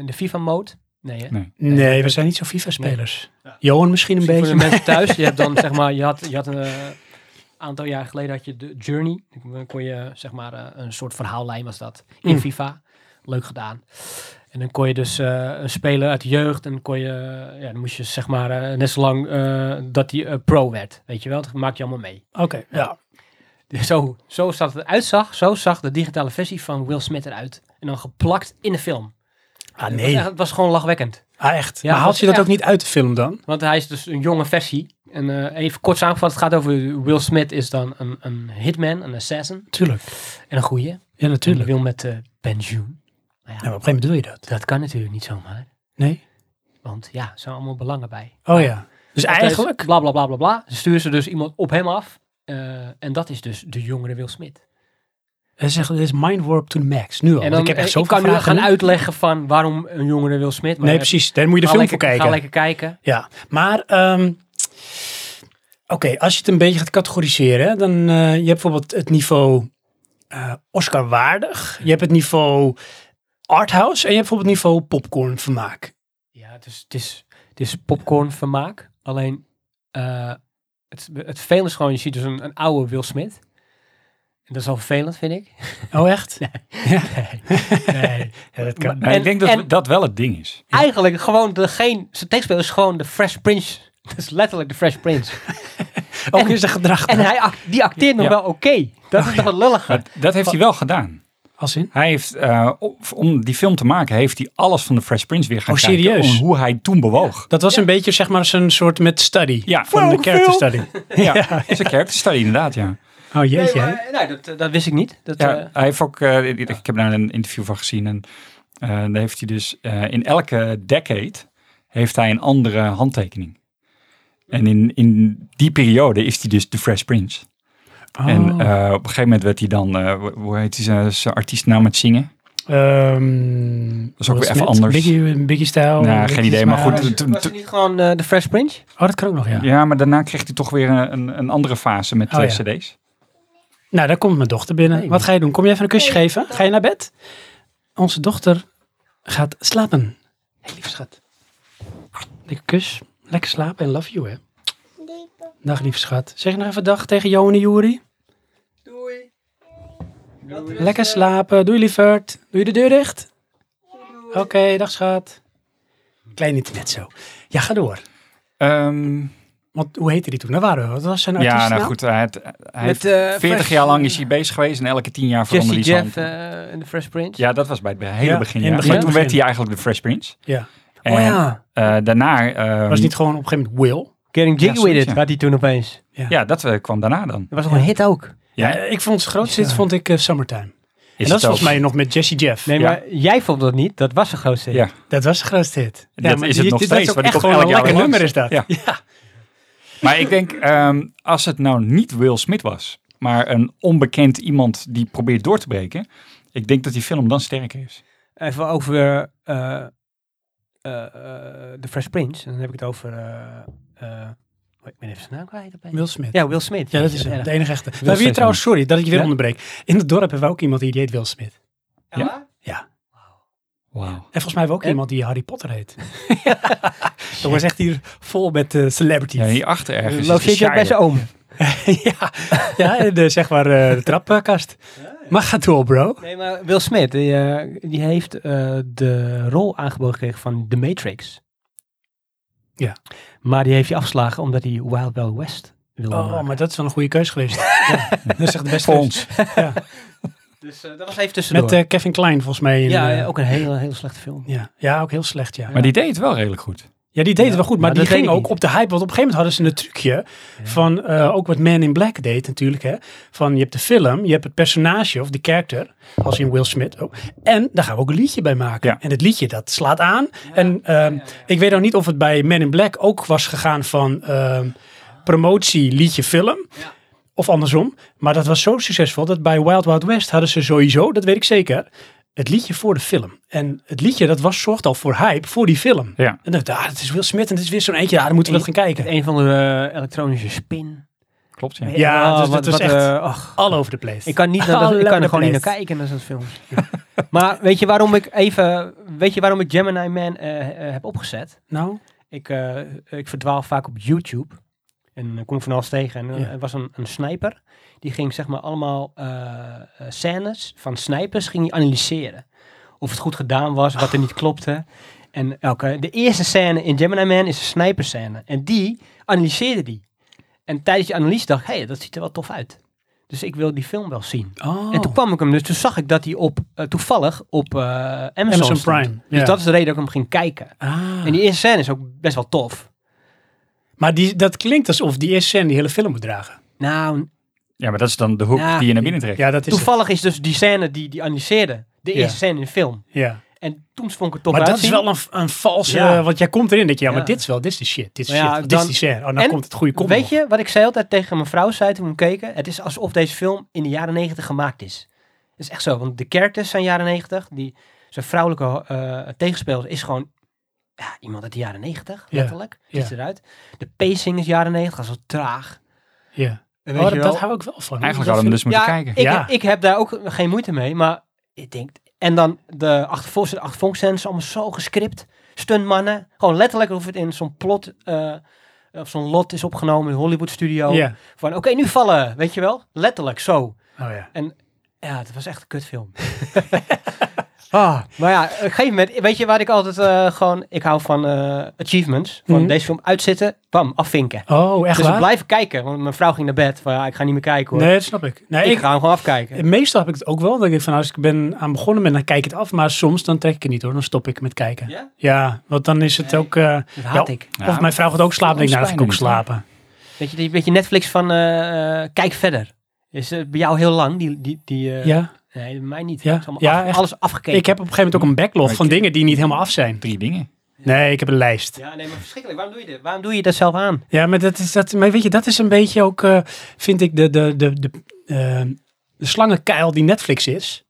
C: de FIFA-mode. Nee, hè?
B: Nee.
A: Nee, we zijn niet zo FIFA-spelers. Johan misschien een beetje.
C: Misschien Voor de mensen thuis, je hebt dan zeg maar, je had, je had een eh, aantal jaar geleden had je de Journey. Dan kon je zeg maar eh, een soort verhaallijn was dat in
A: Mm.
C: FIFA. Leuk gedaan. En dan kon je dus eh, een speler uit de jeugd en kon je, eh, ja, dan moest je zeg maar eh, net zo lang eh, dat hij eh, pro werd. Weet je wel, dat maak je allemaal mee.
A: Oké, ja.
C: Zo, zo zag het uitzag, zo zag de digitale versie van Will Smith eruit. En dan geplakt in de film.
A: Ah,
C: Het was,
A: nee.
C: echt- het was gewoon lachwekkend.
A: Ah, echt.
C: Ja,
A: maar haalt
C: dat-
A: je dat
C: ja.
A: ook niet uit de film dan?
C: Want hij is dus een jonge versie. En eh, even kort samengevat, het gaat over Will Smith is dan een, een hitman, een assassin
A: Tuurlijk.
C: en een goeie.
A: Ja,
C: Tuurlijk.
A: natuurlijk.
C: Wil met eh pensioen. Maar ja,
A: Ja, maar op een gegeven moment doe je dat.
C: dat kan natuurlijk niet zomaar.
A: Nee?
C: Want ja, er zijn allemaal belangen bij.
A: Oh ja. Dus
C: Dat is
A: eigenlijk...
C: Bla bla bla bla bla. Ze sturen ze dus iemand op hem af. eh, en dat is dus de jongere Will Smith.
A: Hij zegt, dit is mind warp to the max. Nu al.
C: en
A: want
C: dan
A: ik heb echt
C: eh, ik
A: zoveel
C: kan nu
A: vragen.
C: gaan uitleggen van waarom een jongere Will Smith. maar,
A: nee,
C: eh,
A: precies. Daar moet je de
C: ga
A: film
C: lekker-
A: voor kijken.
C: Ga lekker kijken.
A: Ja. Maar, ehm, oké, als je het een beetje gaat categoriseren, hè, dan eh, je hebt bijvoorbeeld het niveau eh, Oscar-waardig. Je hebt het niveau arthouse en je hebt bijvoorbeeld het niveau popcorn-vermaak.
C: Ja, het is, het is, het is popcornvermaak. Alleen eh, het, het vervelende is gewoon, je ziet dus een, een oude Will Smith. En dat is al vervelend, vind ik.
A: Oh, echt?
C: Nee.
A: Ja, dat
B: Maar
A: kan.
C: En-
B: ik denk dat
C: en-
B: dat wel het ding is.
C: Eigenlijk gewoon de geen, zijn tekstspeler is gewoon de Fresh Prince. Dat is letterlijk de Fresh Prince.
A: Ook is zijn gedrag.
C: En hij, ac- die acteert nog
B: Ja.
C: wel oké. Dat is nog wat lulliger.
B: Maar dat heeft hij wel gedaan.
A: Als in?
B: Hij heeft, eh, op- om die film te maken, heeft hij alles van de Fresh Prince weer gaan
A: Oh,
B: kijken.
A: serieus?
B: om Hoe hij toen bewoog.
A: Dat was een beetje, zeg maar, zo'n soort met study.
B: Ja.
A: Van de
B: Wow,
A: character study.
B: Ja, dat is een characterstudy inderdaad, ja.
A: Oh, jeetje.
C: Nee,
A: hè?
C: maar, nou, dat, dat wist ik niet. Dat,
B: ja
C: eh,
B: hij heeft ook, eh, ik ik heb daar een interview van gezien en eh, daar heeft hij dus, eh, in elke decade heeft hij een andere handtekening. En in, in die periode is hij dus de Fresh Prince.
A: Oh.
B: En eh, op een gegeven moment werd hij dan, eh, hoe- hoe heet hij zijn- zijn artiestnaam met zingen?
A: Ehm,
B: is ook
A: Will
B: weer even
A: Smith,
B: anders.
A: Biggie, Biggie Style.
B: Nou, geen idee, maar goed,
C: was,
B: toen- toen-
C: was het niet gewoon eh, de Fresh Prince?
A: Oh, dat kan ook nog, ja.
B: Ja. maar daarna kreeg hij toch weer een, een andere fase met
A: Oh,
B: eh,
A: ja.
B: cd's.
A: Nou, daar komt mijn dochter binnen.
C: Nee,
A: Wat
C: maar-
A: ga je doen? Kom je even een kusje geven? Ga je naar bed? Onze dochter gaat slapen. Hé, hey, lieve schat. Lekker kus. Lekker slapen en love you, hè? Dag, lieve schat. Zeg nog even dag tegen Johan en Juri.
C: Doei.
A: Lekker slapen. Doei, lieverd. Doe je de deur dicht? Oké, dag, schat. Klein internet zo. Ja, ga door.
B: Ehm,
A: Want hoe heette die toen? Daar waren we. Wat was zijn
B: ja,
A: artiestnaam?
B: nou goed, hij, heeft- hij heeft
C: Met, eh,
B: 40
C: Fresh-
B: jaar lang is hij bezig geweest en elke 10 jaar veranderde
C: Jesse
B: hij zijn
C: Jeff
B: hand.
C: eh, en de Fresh Prince.
B: Ja, dat was bij het be- hele
A: Ja,
B: begin.
A: in
B: Ja.
A: het
B: Maar
A: begin.
B: toen werd hij eigenlijk de Fresh Prince.
A: Ja.
B: En,
A: oh ja.
B: eh, daarna... ehm,
A: Was het niet gewoon op een gegeven moment Will?
C: Getting Jiggy
B: Ja,
C: With
B: zoiets,
C: It
B: ja.
C: had hij toen opeens. Dat
B: Ja, dat eh, kwam daarna dan.
C: was nog een hit ook.
A: Ja,
B: Ja.
A: Eh, ik vond het grootste hit vond ik eh, Summertime.
B: Is
A: en dat is
B: het
A: volgens
B: ook-
A: mij nog met Jesse Jeff.
C: Nee,
B: Ja.
C: maar jij vond dat niet. Dat was een grootste hit.
B: Ja.
A: Dat was de grootste hit.
B: Dat
A: maar
B: is het nog
A: dit-
B: steeds,
A: Dat is ook
B: want die
A: echt
B: komt
A: gewoon een
B: elk jaar
A: lekker
B: weer
A: nummer is
B: langs.
A: dat.
B: Ja. Maar ik denk, ehm, als het nou niet Will Smith was, maar een onbekend iemand die probeert door te breken, ik denk dat die film dan sterker is.
C: Even over eh, eh, eh, The Fresh Prince. En dan heb ik het over... eh, eh, oh, ik ben even zijn naam kwijt. opeens.
A: Will Smith. Ja,
C: Ja, Will Smith.
A: dat is hem.
C: Erg.
A: De enige echte. We hebben hier
B: Smith,
A: trouwens, sorry dat ik je weer
C: Ja?
A: onderbreek. In het dorp hebben we ook iemand die die heet Will Smith.
B: Wauw.
A: En volgens mij hebben we ook
C: En?
A: iemand die Harry Potter heet. Dat was echt hier vol met eh, celebrities.
B: Ja, hierachter ergens
C: Loopt
B: is de
C: zit je ook bij
B: Shire.
C: zijn oom?
A: ja, ja en de, zeg maar eh, de trapkast. Maar ga door, bro.
C: Nee, maar Will Smith, die, eh, die heeft eh, de rol aangeboden gekregen van The Matrix.
A: Ja.
C: Maar die heeft hij afgeslagen omdat hij Wild Wild West wilde
A: Oh,
C: maken.
A: maar dat is wel een goede keus geweest. ja, dat is echt de beste
B: Voor
A: keus.
B: ons.
C: Dus eh, dat was even tussendoor.
A: Met eh, Kevin Klein volgens mij. in,
C: ja,
A: eh,
C: ja, ook een hele, hele slechte film.
A: ja. ja, ook heel slecht, ja.
B: Maar die deed het wel redelijk goed.
A: Ja, die deed het
C: Ja,
A: wel goed, maar
C: maar
A: die
C: dat
A: ging
C: weet ik
A: ook op de hype. Want op een gegeven moment hadden ze een trucje van, eh, ook wat Man in Black deed natuurlijk. Hè? Van, je hebt de film, je hebt het personage of de character, als in Will Smith. ook. En daar gaan we ook een liedje bij maken.
B: Ja.
A: En het liedje, dat slaat aan. en ehm, ik weet nog niet of het bij Man in Black ook was gegaan van ehm, promotie, liedje, film. Of andersom. Maar dat was zo succesvol dat bij Wild Wild West hadden ze sowieso, dat weet ik zeker, het liedje voor de film. En het liedje, dat was, zorgt al voor hype voor die film.
B: Ja.
A: En dacht, ik, ah, het is Will Smith en het is weer zo'n eentje. Ja, dan moeten we dat gaan kijken.
C: Een van de eh, elektronische spin.
B: Klopt, ja.
A: Ja, dus dat was echt-
C: eh, ach,
A: All over the place.
C: ik kan, niet naar dat- ik kan er gewoon niet naar
A: Allerlei
C: kijken naar zo'n films. maar weet je waarom ik even... Weet je waarom ik Gemini Man eh, eh, heb opgezet?
A: Nou,
C: Ik, eh, ik verdwaal vaak op YouTube. En dan kom ik van alles tegen. En eh,
A: Ja.
C: er was een, een sniper. Die ging zeg maar allemaal eh, eh, scènes van snipers ging hij analyseren. Of het goed gedaan was, wat er niet
A: Oh.
C: klopte. En elke, de eerste scène in Gemini Man is een sniper scène. En die analyseerde die. En tijdens die analyse dacht ik, hé, hey, dat ziet er wel tof uit. Dus ik wil die film wel zien.
A: oh.
C: En toen kwam ik hem dus. Toen zag ik dat hij op, eh, toevallig op eh, Amazon,
A: Amazon
C: stond.
A: Prime.
C: Dus
A: ja.
C: dat is de reden dat ik hem ging kijken.
A: Ah.
C: En die eerste scène is ook best wel tof.
A: Maar die, dat klinkt alsof die eerste scène die hele film moet dragen.
C: Nou,
B: Ja, maar dat is dan de hoek
C: Ja.
B: die je naar binnen trekt.
A: Ja, dat is het.
C: toevallig is dus die scène die die analyseerde. De
A: Ja.
C: eerste scène in de film.
A: Ja.
C: En toen vond ik het tof
A: Maar dat is
C: uitzien.
A: wel een, een valse...
C: Ja.
A: Want jij komt erin en denk je, ja, maar
C: Ja.
A: dit is wel, dit is de shit. Dit is,
C: Maar ja,
A: shit, dit is
C: dan-
A: die scène. Oh, nou
C: en-
A: komt het goede combo.
C: Weet je wat ik zei altijd tegen mijn vrouw zei toen we hem keken? Het is alsof deze film in de jaren negentig gemaakt is. Dat is echt zo, want de characters zijn jaren negentig. Die, zijn vrouwelijke eh tegenspeler is gewoon ja, iemand uit de jaren negentig,
A: Ja,
C: letterlijk. Ziet
A: ja.
C: eruit. De pacing is jaren negentig, zo traag.
A: Ja.
C: En
A: Oh,
C: weet
A: dat,
C: je wel-
A: dat hou ik wel van. Dat
B: Eigenlijk hadden we hem
A: vind
B: dus moeten
C: ja,
B: kijken.
C: Ik,
A: Ja.
C: ik heb daar ook geen moeite mee, maar ik denk... En dan de achtervolgens, de achtervolgenscènes, allemaal zo gescript. Stuntmannen. Gewoon letterlijk of het in zo'n plot... eh, of zo'n lot is opgenomen in een Hollywood studio.
A: Ja.
C: Van, oké, nu vallen. Weet je wel? Letterlijk, zo.
A: Oh ja.
C: Ja, het was echt een kutfilm. ah, maar ja, op een gegeven moment... Weet je waar ik altijd eh, gewoon... Ik hou van eh, achievements. Van
A: Mhm.
C: deze film uitzitten, bam, afvinken.
A: Oh, echt
C: dus
A: waar?
C: blijven kijken. Want mijn vrouw ging naar bed. Van, ja, ik ga niet meer kijken hoor.
A: Nee, dat snap ik. Nee,
C: ik,
A: ik,
C: ga hem gewoon afkijken.
A: meestal heb ik het ook wel. Dat ik denk van, als ik ben aan begonnen ben, dan kijk ik het af. Maar soms, dan trek ik het niet hoor. Dan stop ik met kijken. Ja,
C: Ja,
A: want dan is het
C: Nee.
A: ook... eh,
C: dat haat
A: Ja.
C: ik.
B: Ja,
A: of mijn vrouw gaat ook slapen. Dan denk ik, nou, dan ga ik ook
B: Spijnen niet,
A: slapen.
C: Weet je, die beetje Netflix van eh, eh, kijk verder. Is eh, bij jou heel lang, die... die, die eh,
A: Ja.
C: Nee, bij mij niet.
A: Ja.
C: Het is allemaal
A: Ja,
C: af-
A: echt.
C: alles afgekeken.
A: Ik heb op een gegeven moment ook een backlog
B: Maar
A: van
B: ik-
A: dingen die niet helemaal af zijn.
B: Drie dingen.
A: Nee, ik heb een lijst.
C: Ja, nee, maar verschrikkelijk. Waarom doe je dit? Waarom doe je dat zelf aan?
A: Ja, maar dat is, dat, maar weet je, dat is een beetje ook, eh, vind ik, de, de, de, de, ehm, de slangenkuil die Netflix is.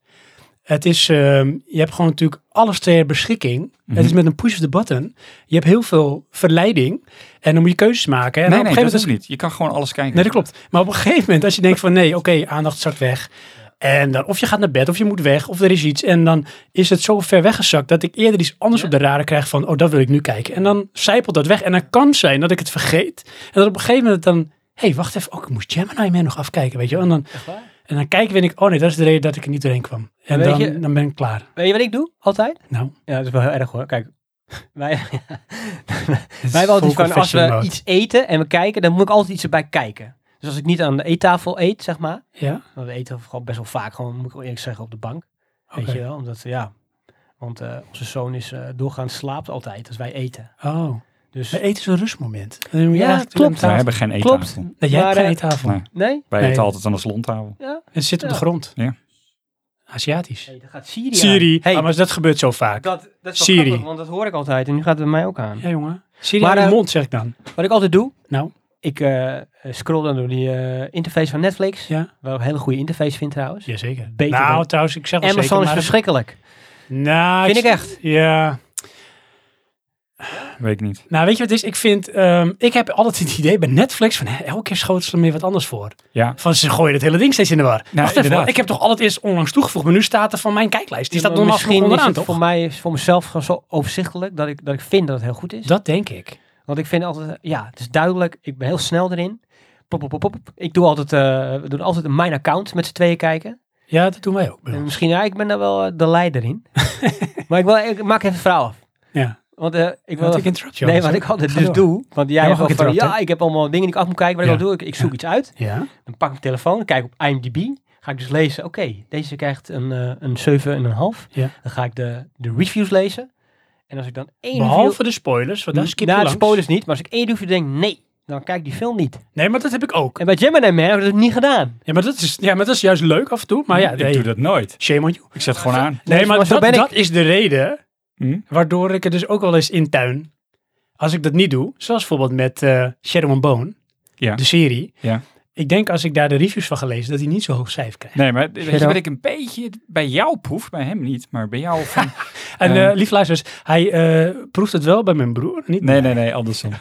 A: Het is, ehm, je hebt gewoon natuurlijk alles ter beschikking.
B: Mhm.
A: Het is met een push of the button. Je hebt heel veel verleiding en dan moet je keuzes maken. En
B: nee,
A: op
B: nee,
A: een
B: dat
A: gegeven
B: is
A: moment,
B: niet. Je kan gewoon alles kijken.
A: nee, dat klopt. Maar op een gegeven moment, als je denkt van nee, oké, aandacht zakt weg. En dan, of je gaat naar bed, of je moet weg, of er is iets. En dan is het zo ver weggezakt dat ik eerder iets anders
C: Ja.
A: op de radar krijg van, oh, dat wil ik nu kijken. En dan zijpelt dat weg. En dan kan zijn dat ik het vergeet. En dat op een gegeven moment dan, hé, hey, wacht even, oh, ik moest Gemini Man nog afkijken, weet je wel. En dan,
C: Echt waar?
A: en dan kijk ik en denk ik, oh nee, dat is de reden dat ik er niet doorheen kwam. En
C: Weet
A: dan,
C: je-
A: dan ben ik klaar.
C: Weet je wat ik doe? Altijd?
A: Nou,
C: Ja, dat is wel heel erg hoor. Kijk, wij,
A: het
C: wij
A: is
C: hebben altijd
A: full
C: van, als
A: confession
C: we
A: mode.
C: iets eten en we kijken, dan moet ik altijd iets erbij kijken. Dus als ik niet aan de eettafel eet, zeg maar.
A: Ja,
C: Want we eten gewoon best wel vaak, gewoon, moet ik wel eerlijk zeggen, op de bank.
A: oké.
C: Weet je wel? Omdat, ja... Want eh, onze zoon is eh, doorgaans slaapt altijd als wij eten.
A: Oh.
C: Dus
A: Maar eten is een rustmoment. Dan moet je
C: Ja,
A: eigenlijk
C: klopt.
A: aan
B: Wij
A: tafel.
B: hebben geen eten.
C: Klopt.
A: Nee, jij hebt
C: Maar,
A: geen
C: eh,
A: eettafel.
B: Nee.
C: Nee?
B: Wij
A: Nee.
B: eten altijd aan de slontafel.
C: Ja.
A: Het zit op de
C: Ja.
A: grond.
B: Ja.
A: Aziatisch.
C: Hey, dat gaat Siri.
A: Siri.
C: aan. Hey,
A: Ah, maar dat gebeurt zo vaak.
C: dat, dat is wel
A: Siri.
C: grappig, want dat hoor ik altijd en nu gaat het bij mij ook aan.
A: Ja, jongen. Siri
C: Maar,
A: maar, de
C: eh,
A: mond, zeg ik dan.
C: Wat ik altijd doe,
A: Nou,
C: ik eh, scroll dan door die eh, interface van Netflix.
A: ja.
C: Wel een hele goede interface vind trouwens.
A: Jazeker.
C: Beter
A: nou,
C: dan-
A: trouwens, ik zeg wel
C: Amazon is
A: zeker, maar...
C: verschrikkelijk.
A: Nou,
C: Vind ik echt.
A: Ja.
B: Weet ik niet.
A: Nou, weet je wat het is? Ik vind... ehm, ik heb altijd het idee bij Netflix van... hè, elke keer schoten ze er meer wat anders voor.
B: Ja.
A: Van ze gooien het hele ding steeds in de war. Wacht even,
B: inderdaad.
A: hoor. ik heb toch al het eerst onlangs toegevoegd. Maar nu staat er van mijn kijklijst. Die
C: Ja,
A: staat
C: maar
A: normaal
C: Misschien
A: gesproken
C: is
A: onderaan,
C: het voor
A: toch?
C: mij, is voor mezelf gewoon zo overzichtelijk dat ik, dat ik vind dat het heel goed is.
A: Dat denk ik.
C: Want ik vind altijd, eh, ja, het is duidelijk. Ik ben heel snel erin. Pop, pop, pop, pop. Ik doe altijd, eh, we doen altijd een mijn account met z'n tweeën kijken.
A: Ja, dat doen wij ook. bij
C: En
A: ons.
C: misschien, ja, ik ben daar wel eh, de leider in. maar ik, wil, ik maak even het verhaal af.
A: Ja.
C: Want eh, ik wil
A: Want ik interrupt jou.
C: Nee, wat ik altijd
A: Ga
C: dus
A: door.
C: doe. Want jij
A: mag
C: hebt al
A: ik
C: van,
A: interrupten?
C: ja, ik heb allemaal dingen die ik af moet kijken. Wat
A: Ja.
C: ik al doe, ik, ik zoek iets uit.
A: Ja.
C: Dan pak ik mijn telefoon, dan kijk ik op IMDb. Ga ik dus lezen, oké, deze krijgt een, eh een 7,5.
A: Ja.
C: Dan ga ik de, de reviews lezen. En als ik dan één
A: Behalve de spoilers, want daar skip je
C: nou, de
A: langs.
C: spoilers niet, maar als ik één hoefje denk, nee, dan kijk ik die film niet.
A: Nee, maar dat heb ik ook.
C: En bij Gemini Man hebben we dat niet gedaan.
A: Ja maar, dat is, ja, maar dat is juist leuk af en toe. Maar ja,
B: ik
A: nee.
B: doe dat nooit.
A: shame on you.
B: Ik zet gewoon aan.
A: Nee,
C: maar
A: maar
C: zo
A: dat,
C: ben ik.
A: dat is de reden
B: Hm?
A: waardoor ik er dus ook wel eens in tuin. Als ik dat niet doe, zoals bijvoorbeeld met eh, Shadow and Bone,
B: Ja.
A: de serie.
B: Ja.
A: Ik denk als ik daar de reviews van gelezen, dat hij niet zo hoog cijfer krijgt.
B: Nee, maar weet je
C: Shadow.
B: wat ik een beetje bij jou proef? Bij hem niet, maar bij jou van...
A: En
B: Eh.
A: eh lief luisteraars, hij eh, proeft het wel bij mijn broer, niet?
B: Nee, nee, nee, andersom.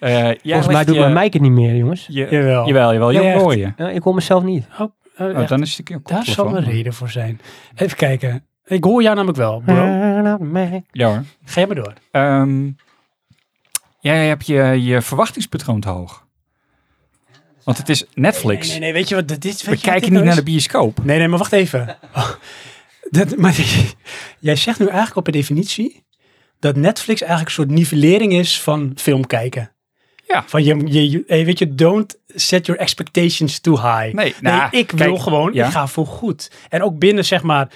B: Eh, jij
C: Volgens mij
B: legt
C: doet
B: je-
C: mijn
A: eh,
C: mic het niet meer, jongens.
B: je-
A: Jawel.
B: Jawel, jawel.
A: Ja,
B: Je
A: echt.
B: hoor je.
C: Ja, ik hoor mezelf niet.
A: Oh,
B: Oh,
A: echt,
B: dan is het een keer
A: daar zal een
B: koptelefoon.
A: reden voor zijn. Even kijken. Ik hoor jou namelijk wel,
B: Hm.
A: bro.
B: Ja hoor.
A: Ga jij maar door.
B: Ehm, jij hebt je, je verwachtingspatroon te hoog. Want het is Netflix.
A: Nee, nee, nee, weet je wat dit nou is?
B: We kijken niet naar de bioscoop.
A: Nee, nee, maar wacht even. Oh, dat, maar, jij zegt nu eigenlijk op een definitie dat Netflix eigenlijk een soort nivellering is van film kijken.
B: Ja.
A: Van je, je, je- hey, weet je, don't set your expectations too high.
B: Nee,
A: Nee,
B: nou,
A: ik
B: kijk,
A: wil gewoon,
B: ja.
A: ik ga voor goed. En ook binnen, zeg maar,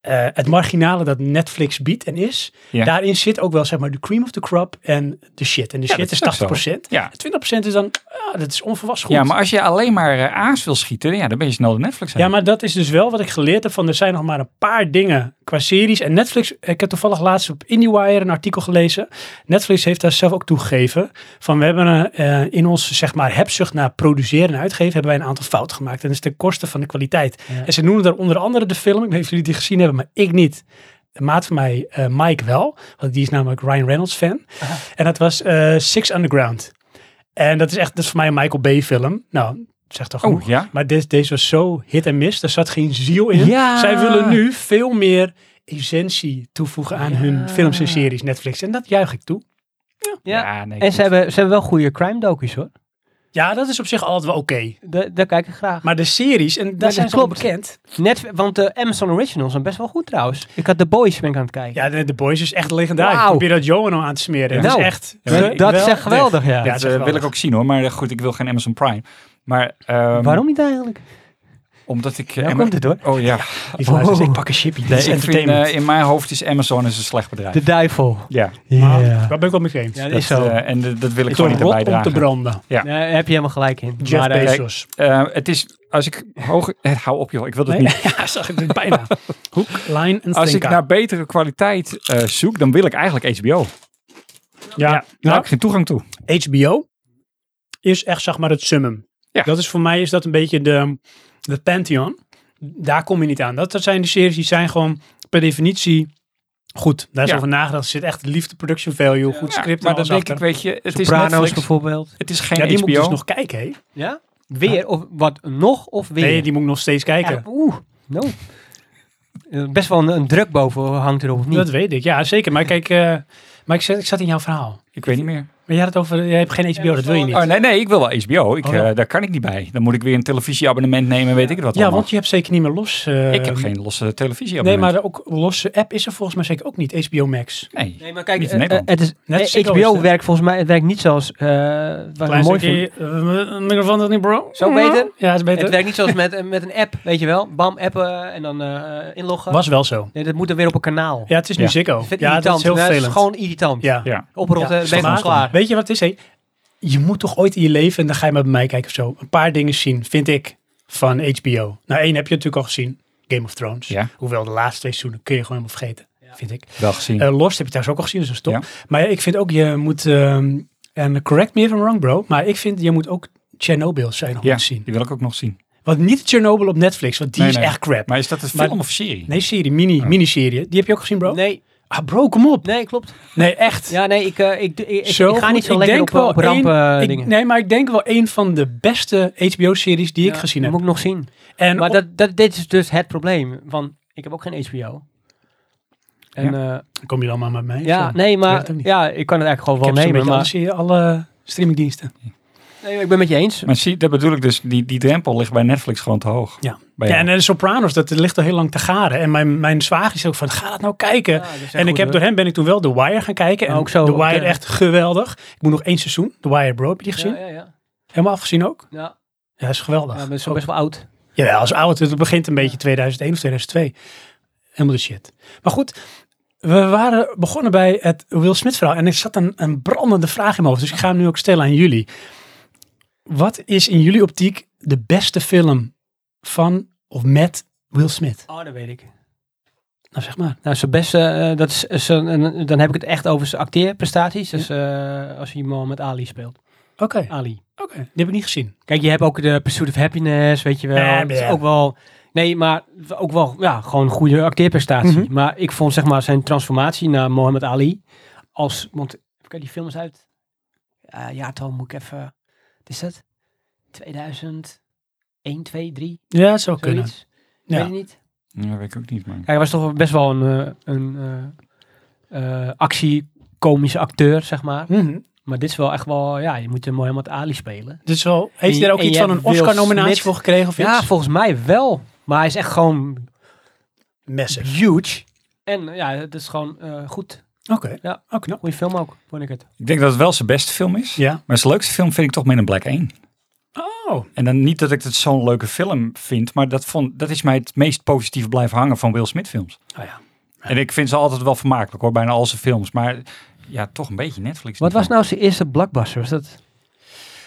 A: eh, het marginale dat Netflix biedt en is,
B: Ja.
A: daarin zit ook wel, zeg maar, de cream of the crop en de shit. En de
B: Ja,
A: shit
B: dat
A: is
B: is ook zo.
A: 80%.
B: Ja.
A: 20% is dan, ah, dat is onverwacht goed.
B: Ja, maar als je alleen maar eh, aas wil schieten, ja, dan ben je snel de Netflix aan.
A: Ja, maar dat is dus wel wat ik geleerd heb van er zijn nog maar een paar dingen qua series. En Netflix, ik heb toevallig laatst op IndieWire een artikel gelezen. Netflix heeft daar zelf ook toegegeven van we hebben eh, eh, in ons zeg maar hebzucht naar produceren en uitgeven hebben wij een aantal fouten gemaakt. En dat is ten koste van de kwaliteit.
C: Ja.
A: En ze noemen daar onder andere de film, ik weet niet of jullie die gezien hebben, maar ik niet. Een maat van mij, eh, Mike wel, want die is namelijk Ryan Reynolds fan. En dat was eh, Six Underground. En dat is echt, dat is voor mij een Michael Bay film. Nou, zegt toch genoeg.
B: Oh, ja?
A: Maar deze, deze was zo hit en miss. Er zat geen ziel in.
B: Ja.
A: Zij willen nu veel meer essentie toevoegen aan hun films en series Netflix. En dat juich ik toe.
C: Ja.
B: nee,
C: En
B: goed.
C: ze hebben, ze hebben wel goede crime docu's hoor.
A: Ja, dat is op zich altijd wel oké.
C: Da- daar kijk ik graag.
A: Maar de series, en daar
C: dat
A: zijn ze wel
C: klopt.
A: bekend.
C: Net, want de Amazon Originals zijn best wel goed trouwens. Ik had The Boys ben ik aan het kijken.
A: Ja, de, de Boys is echt legendarisch.
C: Wauw.
A: Ik probeer dat Johan nou aan te smeren.
B: Ja.
A: Dat
C: Nou,
A: is echt
B: dat- dat is
C: dat
A: geweldig.
C: is echt geweldig, ja.
A: Ja,
B: dat
A: zeg
B: eh,
A: wel.
B: wil ik ook zien hoor, maar eh, goed, ik wil geen Amazon Prime. Maar ehm,
C: Waarom niet eigenlijk?
B: Omdat ik... eh,
C: Nou
B: Ama-
C: komt het hoor.
B: Oh ja,
A: Die van luisteraars,
C: Oh.
A: ik pak een chippy. Dit
B: Nee,
A: is
B: ik vind,
A: entertainment.
B: eh, in mijn hoofd is Amazon is een slecht bedrijf.
C: De duivel.
B: ja,
A: Maar
C: Ja.
A: Daar ben ik wel mee eens.
C: Ja, dat
B: dat,
C: is zo.
B: eh, en dat dat wil
A: Het
B: ik
A: is
B: gewoon niet
A: een
B: erbij
A: rot om te
B: dragen.
A: branden.
C: Daar heb je helemaal gelijk in.
A: Jeff
C: Maar, eh,
A: Bezos.
B: Eh, het is, als ik hoog... eh, hou op joh, ik wil dat
A: Nee?
B: niet.
A: ja, zag ik dit bijna. Hoek, lijn en
B: Als ik
A: stinker.
B: naar betere kwaliteit eh, zoek, dan wil ik eigenlijk HBO.
A: ja,
B: Daar
A: nou,
B: heb ik geen toegang toe.
A: HBO is echt, zeg maar, het summum.
B: Ja.
A: Dat is voor mij is dat een beetje de, de pantheon. Daar kom je niet aan. Dat, dat zijn de series die zijn gewoon per definitie goed. Daar is
B: Ja.
A: over nagedacht. Er zit echt liefde, production value, goed
B: Ja,
A: script.
B: maar
A: en
B: dan
A: alles
B: denk ik,
A: achter.
B: weet je, het is
C: Sopranos
B: Netflix.
C: bijvoorbeeld.
B: Het is geen
A: Ja, die
B: HBO.
A: moet ik dus nog kijken, hè?
C: Ja? Weer of wat nog of weer?
A: Nee, die moet ik nog steeds
C: Ja,
A: kijken.
C: Oeh, no. Eh, Best wel een, een druk boven hangt erop of niet?
A: dat weet ik. Ja, zeker. Maar kijk, eh, maar ik, zat- ik zat in jouw verhaal.
B: Ik weet niet meer.
A: Maar jij had het over, jij hebt geen HBO, dat wil je niet.
B: Oh nee, nee, ik wil wel HBO. Ik,
A: Oh, ja.
B: eh, daar kan ik niet bij. Dan moet ik weer een televisieabonnement nemen, weet ik het wat
A: ja, want je hebt zeker niet meer los. eh,
B: Oh, ik heb geen losse
A: Nee,
B: televisieabonnement.
A: maar ook losse app is er volgens mij zeker ook niet. HBO Max.
B: maar... Nee.
C: Nee, maar kijk,
B: Niet in
C: eh, eh,
B: Nederland.
C: het is,
A: Net
C: eh,
A: Ziggo is
C: HBO
A: het.
C: werkt volgens mij het werkt niet zoals eh wat ik
A: Klein
C: mooi vind.
A: stukje, eh, een microfoon dat niet, bro?
C: Zo beter?
A: Ja, is beter.
C: Het werkt niet zoals met, eh, met een app, weet je wel. Bam, appen en dan eh, eh, inloggen.
A: Was wel zo.
C: Nee, dat moet dan weer op een kanaal.
A: Ja, het is nu
B: Ja.
A: Ziggo.
C: Dat vind ik
A: Ja, dat
C: irritant.
A: is heel
C: Nou,
A: vervelend.
C: is gewoon irritant.
A: Ja.
B: Ja.
C: Oprotten,
A: Ja,
C: ben je gewoon
A: maar-
C: klaar.
A: Weet je wat het is? hé? Je moet toch ooit in je leven, en dan ga je met mij kijken of zo, een paar dingen zien, vind ik, van HBO. Nou, één heb je natuurlijk al gezien. Game of Thrones.
B: Ja.
A: Hoewel de laatste twee seizoenen kun je gewoon helemaal vergeten, vind ik.
B: Wel gezien.
A: Eh, Lost heb je trouwens ook al gezien, dus dat is top.
B: Ja.
A: Maar ik vind ook, je moet, ehm, en correct me if I'm wrong bro, maar ik vind, je moet ook Chernobyl zijn nog
B: ja,
A: moeten zien.
B: die wil ik ook nog zien.
A: Want niet Chernobyl op Netflix, want die
B: Nee,
A: is
B: nee.
A: echt crap.
B: Maar is dat een
A: Maar-
B: film of serie?
A: Nee, serie, mini, miniserie. Die heb je ook gezien, bro?
C: Oh. Nee,
A: Ah, bro, kom op.
C: nee, klopt.
A: Nee, echt.
C: Ja, nee, ik, eh, ik, ik, ik,
A: Zo
C: ik ga
A: goed.
C: niet zo
A: Ik
C: lekker
A: denk
C: op, eh, op
A: wel één-
C: rampen eh,
A: Ik-
C: dingen.
A: nee, maar ik denk wel een van de beste HBO-series die ik
C: Ja,
A: gezien
C: dat
A: heb.
C: moet ik nog zien.
A: En
C: Maar
A: op-
C: dat, dat, dit is dus het probleem. Van, ik heb ook geen HBO. En, ja,
A: kom je dan maar met mij?
C: ja
A: Zo.
C: nee,
A: weet
C: maar
A: het ook niet.
C: ja, ik kan het eigenlijk
A: ik
C: gewoon
A: heb
C: wel
A: zo'n
C: nemen.
A: beetje
C: Maar,
A: alles hier, alle streamingdiensten.
C: nee, ik ben met je eens.
B: Maar zie, dat bedoel ik dus, die, die drempel ligt bij Netflix gewoon te hoog.
A: Ja.
B: Bij
A: ja,
B: jou.
A: en de Sopranos, dat ligt al heel lang te garen. En mijn, mijn zwager is ook van, ga dat nou kijken.
C: Ja, dat is echt
A: en ik
C: goed,
A: heb,
C: hoor.
A: door hem ben ik toen wel The Wire gaan kijken. En
C: Ook zo,
A: The
C: ook,
A: Wire
C: eh.
A: echt geweldig. Ik moet nog één seizoen. The Wire Bro, heb je die gezien?
C: Ja, ja, ja.
A: Helemaal afgezien ook?
C: Ja,
A: Ja, dat is geweldig.
C: ja, maar het is
A: Ook-
C: best wel oud.
A: Ja, als oud. Het begint een beetje 2001 of 2002. Helemaal de shit. Maar goed, We waren begonnen bij het Will Smith verhaal en er zat een, een brandende vraag in mijn hoofd. Dus ik ga hem nu ook stellen aan jullie. Wat is in jullie optiek de beste film van of met Will Smith?
C: Oh, dat weet ik.
A: Nou, zeg maar.
C: Nou, zijn beste, eh, dat is, is een- een- dan heb ik het echt over zijn acteerprestaties. Dus eh, als hij met Ali speelt.
A: Oké, Ah, oké.
C: Ali.
A: Die heb ik niet gezien.
C: Kijk, je hebt ook de Pursuit of Happiness, weet je wel.
A: Ja,
C: Dat is
A: ja.
C: ook wel... Nee, maar ook wel, ja, gewoon goede acteerprestatie.
A: Mhm.
C: Maar ik vond, zeg maar, zijn transformatie naar Mohammed Ali als... Want, kijk, die film is uit... Ja, jaartal moet ik even... Wat is dat? 2000... 1, 2, 3,
A: Ja, het zou kunnen.
C: zoiets. Ja. Weet
A: Ja.
C: je niet?
B: Ja, weet ik ook niet, man.
C: Kijk, hij was toch best wel een, eh, een eh, eh, actie-komische acteur, zeg maar.
A: Mhm.
C: Maar dit is wel echt wel, ja, je moet hem helemaal het Ali spelen.
A: Dus wel, heeft hij
C: En-
A: daar ook
C: en
A: iets
C: je
A: van een
C: hebt Will
A: Oscar-nominatie
C: Smith-
A: voor gekregen of
C: Ja,
A: iets?
C: volgens mij wel. Maar hij is echt gewoon
A: Massive.
C: huge. En eh, ja, het is gewoon eh, goed.
A: Oké.
C: Ja.
A: Oh, knap.
C: Goeie film ook, vond ik het.
B: Ik denk dat het wel zijn beste film is.
A: Ja.
B: Maar zijn leukste film vind ik toch Men in Black 1.
A: Oh,
B: En dan niet dat ik het zo'n leuke film vind, maar dat, vond, dat is mij het meest positief blijven hangen van Will Smith films.
A: oh ja.
B: En ik vind ze altijd wel vermakelijk hoor, bijna al zijn films. Maar ja, toch een beetje Netflix.
C: Wat was nou zijn eerste blockbuster? Was dat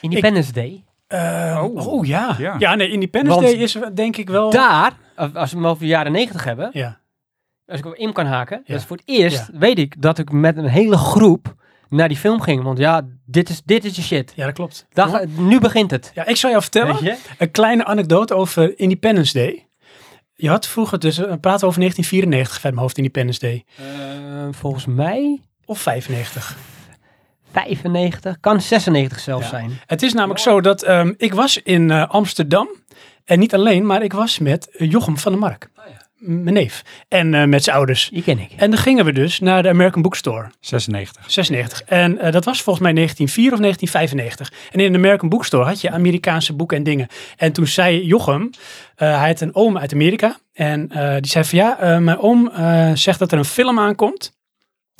C: Independence Day?
A: Eh, oh. ja. ja.
B: Ja.
A: nee, Independence
C: Want
A: Day is denk ik wel...
C: Daar, als als we hem over de jaren negentig hebben,
A: Ja.
C: als ik hem in kan haken.
A: Ja.
C: Dus voor het eerst weet ik dat ik met een hele groep naar die film ging. Want ja, dit is, dit is je shit.
A: ja, dat klopt.
C: Daar ga- nu begint het.
A: Ja, ik zal jou vertellen.
C: Weet je?
A: Een kleine anekdote over Independence Day. Je had vroeger dus, we praten over 1994 uit mijn hoofd, Independence Day.
C: Eh, volgens mij
A: Of 95.
C: 95, kan 96 zelfs
A: Ja.
C: zijn.
A: Het is namelijk zo dat ehm, ik was in eh, Amsterdam. En niet alleen, maar ik was met eh, Jochem van der Mark. Mijn neef. En eh, met zijn ouders.
C: Die ken ik.
A: En dan gingen we dus naar de American Bookstore.
B: 96.
A: 96. En eh, dat was volgens mij 1904 of 1995. En in de American Bookstore had je Amerikaanse boeken en dingen. En toen zei Jochem, eh, hij had een oom uit Amerika. En eh, die zei van ja, eh, mijn oom eh, zegt dat er een film aankomt.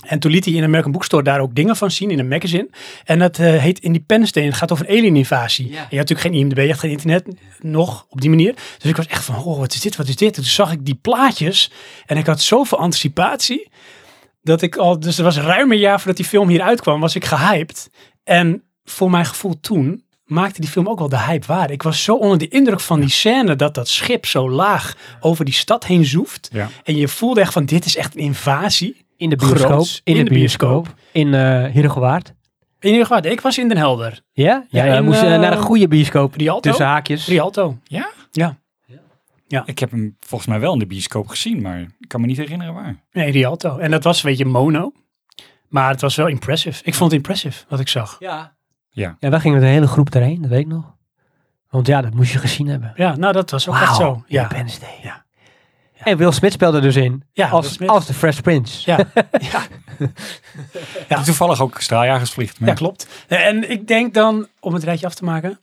A: En toen liet hij in de American Bookstore daar ook dingen van zien in een magazine. En dat eh, heet Independence Day. En het gaat over een alieninvasie.
C: Ja.
A: En Je had natuurlijk geen IMDb, je had geen internet nog op die manier. Dus ik was echt van, oh, wat is dit, wat is dit? En toen zag ik die plaatjes en ik had zoveel anticipatie dat ik al, dus het was ruim een jaar voordat die film hier uitkwam, was ik gehyped. En voor mijn gevoel toen maakte die film ook wel de hype waar. Ik was zo onder de indruk van die scène dat dat schip zo laag over die stad heen zoeft.
B: Ja.
A: En je voelde echt van, dit is echt een invasie.
C: In de
A: Groots.
C: bioscoop. in, de bioscoop. In eh Herengewaard.
A: In ieder geval, ik was in Den Helder.
C: Ja? Ja,
A: Ja,
C: we
A: in,
C: moesten
A: eh,
C: naar een goede bioscoop.
A: Rialto?
C: Tussen haakjes.
A: Rialto.
B: Ja?
A: Ja.
B: Ik heb hem volgens mij wel in de bioscoop gezien, maar ik kan me niet herinneren waar.
A: Nee, Rialto. En dat was een beetje mono. Maar het was wel impressive. Ik vond het impressive wat ik zag.
C: Ja.
B: Ja.
C: Ja, wij gingen met een hele groep erheen, dat weet ik nog. Want ja, dat moest je gezien hebben.
A: Ja, nou dat was ook echt zo. Ja.
C: Independence Day.
A: Ja.
C: En Will Smith speelde er dus in.
A: Ja, Will
C: als,
A: Smith.
C: als de Fresh Prince.
A: Ja. Ja.
B: Die toevallig ook straaljagers vliegt. maar
A: Ja, klopt. En ik denk dan, om het rijtje af te maken,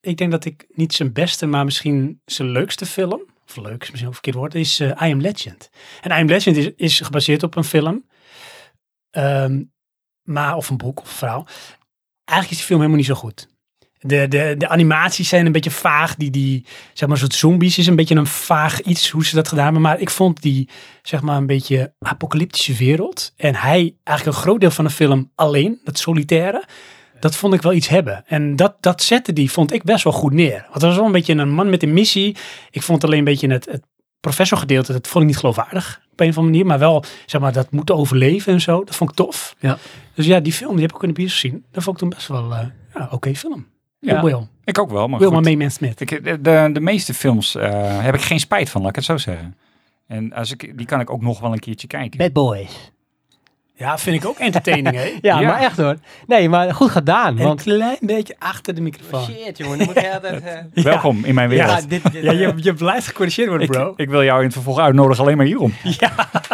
A: ik denk dat ik niet zijn beste, maar misschien zijn leukste film, of leuk is misschien een verkeerd woord, is eh, I Am Legend. En I Am Legend is, is gebaseerd op een film, ehm, maar, of een boek of een verhaal. Eigenlijk is die film helemaal niet zo goed. De, de, de animaties zijn een beetje vaag. Die, die, zeg maar, een soort zombies is een beetje een vaag iets hoe ze dat gedaan hebben. Maar ik vond die, zeg maar, een beetje apocalyptische wereld. En hij, eigenlijk een groot deel van de film alleen, dat solitaire. Dat vond ik wel iets hebben. En dat, dat zette die, vond ik best wel goed neer. Want het was wel een beetje een man met een missie. Ik vond alleen een beetje het, het professorgedeelte, dat vond ik niet geloofwaardig. Op een of andere manier. Maar wel, zeg maar, dat moeten overleven en zo. Dat vond ik tof.
C: Ja.
A: Dus ja, die film, die heb ik ook in de bios gezien. Dat vond ik toen best wel eh, ja, oké film.
B: Ja.
A: Will.
B: Ik ook wel, maar
A: Wil
B: goed.
A: maar mee mensen met.
B: Ik, de, de, de meeste films eh, heb ik geen spijt van, laat ik het zo zeggen. En als ik, die kan ik ook nog wel een keertje kijken.
C: Bad Boys.
A: Ja, vind ik ook entertaining, hè?
C: Ja,
B: Ja.
C: maar echt hoor. Nee, maar goed gedaan.
A: Een
C: Want Oh,
A: klein beetje achter de microfoon.
C: Shit, jongen. Dan moet ik altijd... eh,
A: Ja.
B: Welkom in mijn
A: Ja,
B: wereld.
C: dit, dit,
A: Ja, je, je blijft gecorrigeerd worden, bro.
B: ik, ik wil jou in het vervolg uitnodigen alleen maar hierom.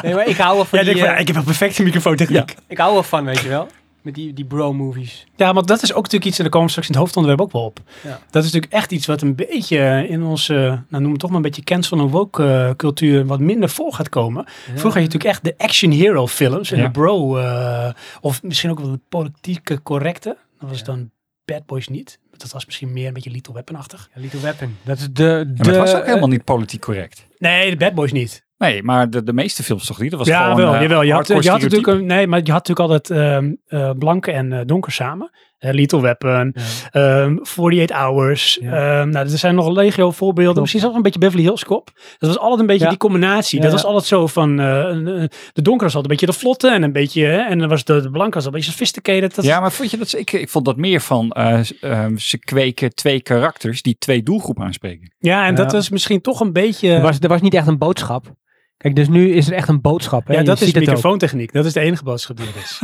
C: Nee, maar ik hou wel van
A: Jij
C: die...
A: denkt van,
C: eh,
A: ja, ik heb een perfecte microfoontechniek. Ja.
C: ik hou wel van, weet je wel. Met die, die bro-movies.
A: ja, want dat is ook natuurlijk iets, en daar komen we straks in het hoofdonderwerp ook wel op.
C: Ja.
A: Dat is natuurlijk echt iets wat een beetje in onze, nou noem het toch maar een beetje cancel- en woke eh, cultuur wat minder voor gaat komen. Vroeger had je natuurlijk echt de action hero films en
B: Ja.
A: de bro, eh, of misschien ook wel de politieke correcte. Dat was
C: Ja.
A: dan Bad Boys niet. Dat was misschien meer een beetje Little Weapon-achtig.
C: Little Weapon. Dat is de...
B: Ja, maar
C: de
B: het was ook helemaal niet politiek correct.
A: Nee, de Bad Boys niet.
B: Nee, maar de, de meeste films toch niet? Dat was
A: ja,
B: gewoon,
A: wel,
B: eh,
A: jawel. Je had,
B: hardcore
A: je had natuurlijk,
B: stereotype.
A: een- nee, maar je had natuurlijk altijd ehm eh, blank en eh, donker samen. Eh, Little Weapon, ehm 48 Hours.
C: Ja.
A: Ehm, nou, er zijn nog legio voorbeelden.
C: Klopt.
A: Misschien zelfs een beetje Beverly Hills Cop. Dat was altijd een beetje
C: Ja.
A: die combinatie.
C: Ja,
A: dat
C: ja.
A: was altijd zo van, eh, een- een- de donkere was altijd een beetje de vlotte en een beetje, hè, en dan was de, de blanke was al een beetje sophisticated. Dat,
B: Ja, maar vond je dat, ze- ik, ik vond dat meer van eh, s- ehm, ze kweken twee karakters die twee doelgroepen aanspreken.
A: ja, en dat
C: Ja.
A: is misschien toch een beetje...
C: Er, was, er was niet echt een boodschap. Kijk, dus nu is er echt een boodschap. Hè?
A: ja,
C: Je
A: dat is
C: ziet het ook.
A: microfoontechniek. Dat is de enige boodschap die er is.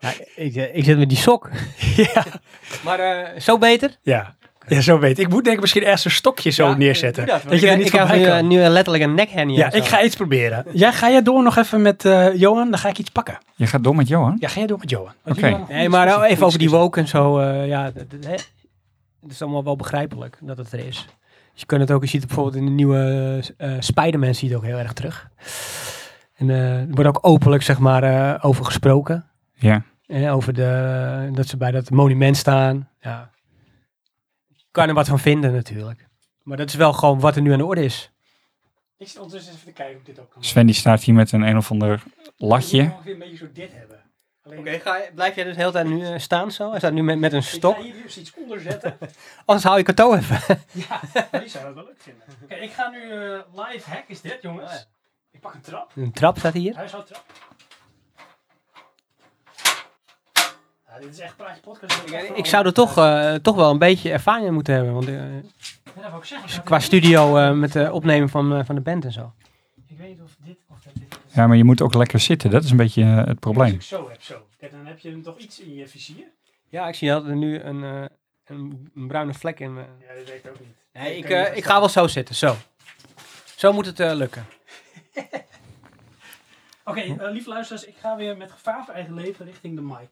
C: Ja, ik, eh, ik zit met die sok.
A: ja.
C: Maar eh, zo beter.
A: ja. Ja, zo weet ik. Ik moet denk ik misschien ergens een stokje zo
C: Ja,
A: neerzetten.
C: doe
A: Dat,
C: want ik,
A: je er
C: eh,
A: niet
C: ik heb
A: voorbij
C: nu, eh,
A: kan.
C: nu, eh, letterlijk een nekhenny.
A: Ja,
C: of zo.
A: ik ga iets proberen. Ja, ga jij door nog even met eh, Johan? Dan ga ik iets pakken.
B: Je gaat door met Johan?
A: Ja, ga jij door met Johan.
B: Oké.
C: Nee, maar nou, even over die woke en zo. eh, ja, dat, dat- hè. Het is allemaal wel begrijpelijk dat het er is. Dus je kunt het ook, je ziet het bijvoorbeeld in de nieuwe eh Spider-Man zie je het ook heel erg terug. En eh, er wordt ook openlijk, zeg maar, eh, over gesproken.
B: Ja.
C: Eh, over de, dat ze bij dat monument staan. Ja. Je kan er wat van vinden natuurlijk. Maar dat is wel gewoon wat er nu aan de orde is.
A: Ik zit ondertussen even te kijken of dit ook kan.
B: Sven die staat hier met een een of ander latje.
A: een beetje zo dit hebben. Alleen,
C: blijf jij dus de hele tijd nu staan zo? Hij staat nu met, met een
A: hier dus iets onder zetten.
C: Anders hou je cadeau even.
A: ja, die zou het wel leuk vinden. Kijk, ik ga nu eh, live hack is dit, jongens. Ik pak een trap.
C: Een trap staat hier.
A: Huishoudtrap. Ja, dit is echt praatje podcast.
C: Ik zou er toch, eh, toch wel een beetje ervaring in moeten hebben. Want, eh, qua studio eh, met het opnemen van, eh, van de band en zo.
A: Ik weet niet of dit of dat dit is.
B: Ja, maar je moet ook lekker zitten. Dat is een beetje eh, het
A: Als
B: probleem.
A: ik zo heb, zo. Kijk, dan heb je hem toch iets in je vizier.
C: Ja, ik zie dat er nu een, eh, een, een bruine vlek in. eh, mijn-
A: Ja, dat weet ik ook niet.
C: Nee, ik,
A: kan niet
C: eh, ik ga wel zo zitten, zo. Zo moet het eh, lukken.
A: Oké, eh, lieve luisteraars, ik ga weer met gevaar voor eigen leven richting de mic.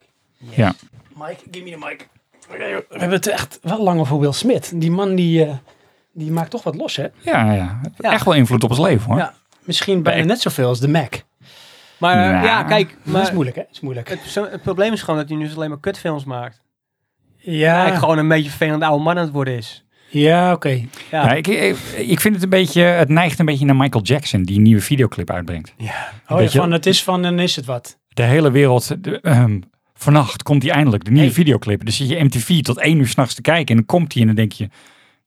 B: Ja.
A: Mike, give me de mic. Oké, joh. We hebben het echt wel lang over Will Smith. Die man die, eh, die maakt toch wat los, hè?
B: Ja, ja. Het heeft
C: Ja.
B: Echt wel invloed op ons leven hoor.
A: Ja. Misschien bijna
B: Nee.
A: net zoveel als de Mac.
C: Maar eh,
B: Nou.
C: ja, kijk.
A: dat is
C: Maar
A: moeilijk, hè? Dat is moeilijk.
C: het, zo- het probleem is gewoon dat hij nu dus alleen maar kutfilms maakt.
A: Ah. ja,
C: Hij gewoon een beetje vervelend oude man aan het worden is.
A: ja oké.
C: Ja,
B: Ja, ik, ik, ik vind het een beetje, het neigt een beetje naar Michael Jackson die een nieuwe videoclip uitbrengt.
A: Oh,
B: Weet
A: ja,
B: je-
A: van het is van en is het wat.
B: De hele wereld, de, ehm, vannacht komt die eindelijk, de nieuwe
A: Hey.
B: videoclip. Dus zit je MTV tot één uur s'nachts te kijken en dan komt die en dan denk je,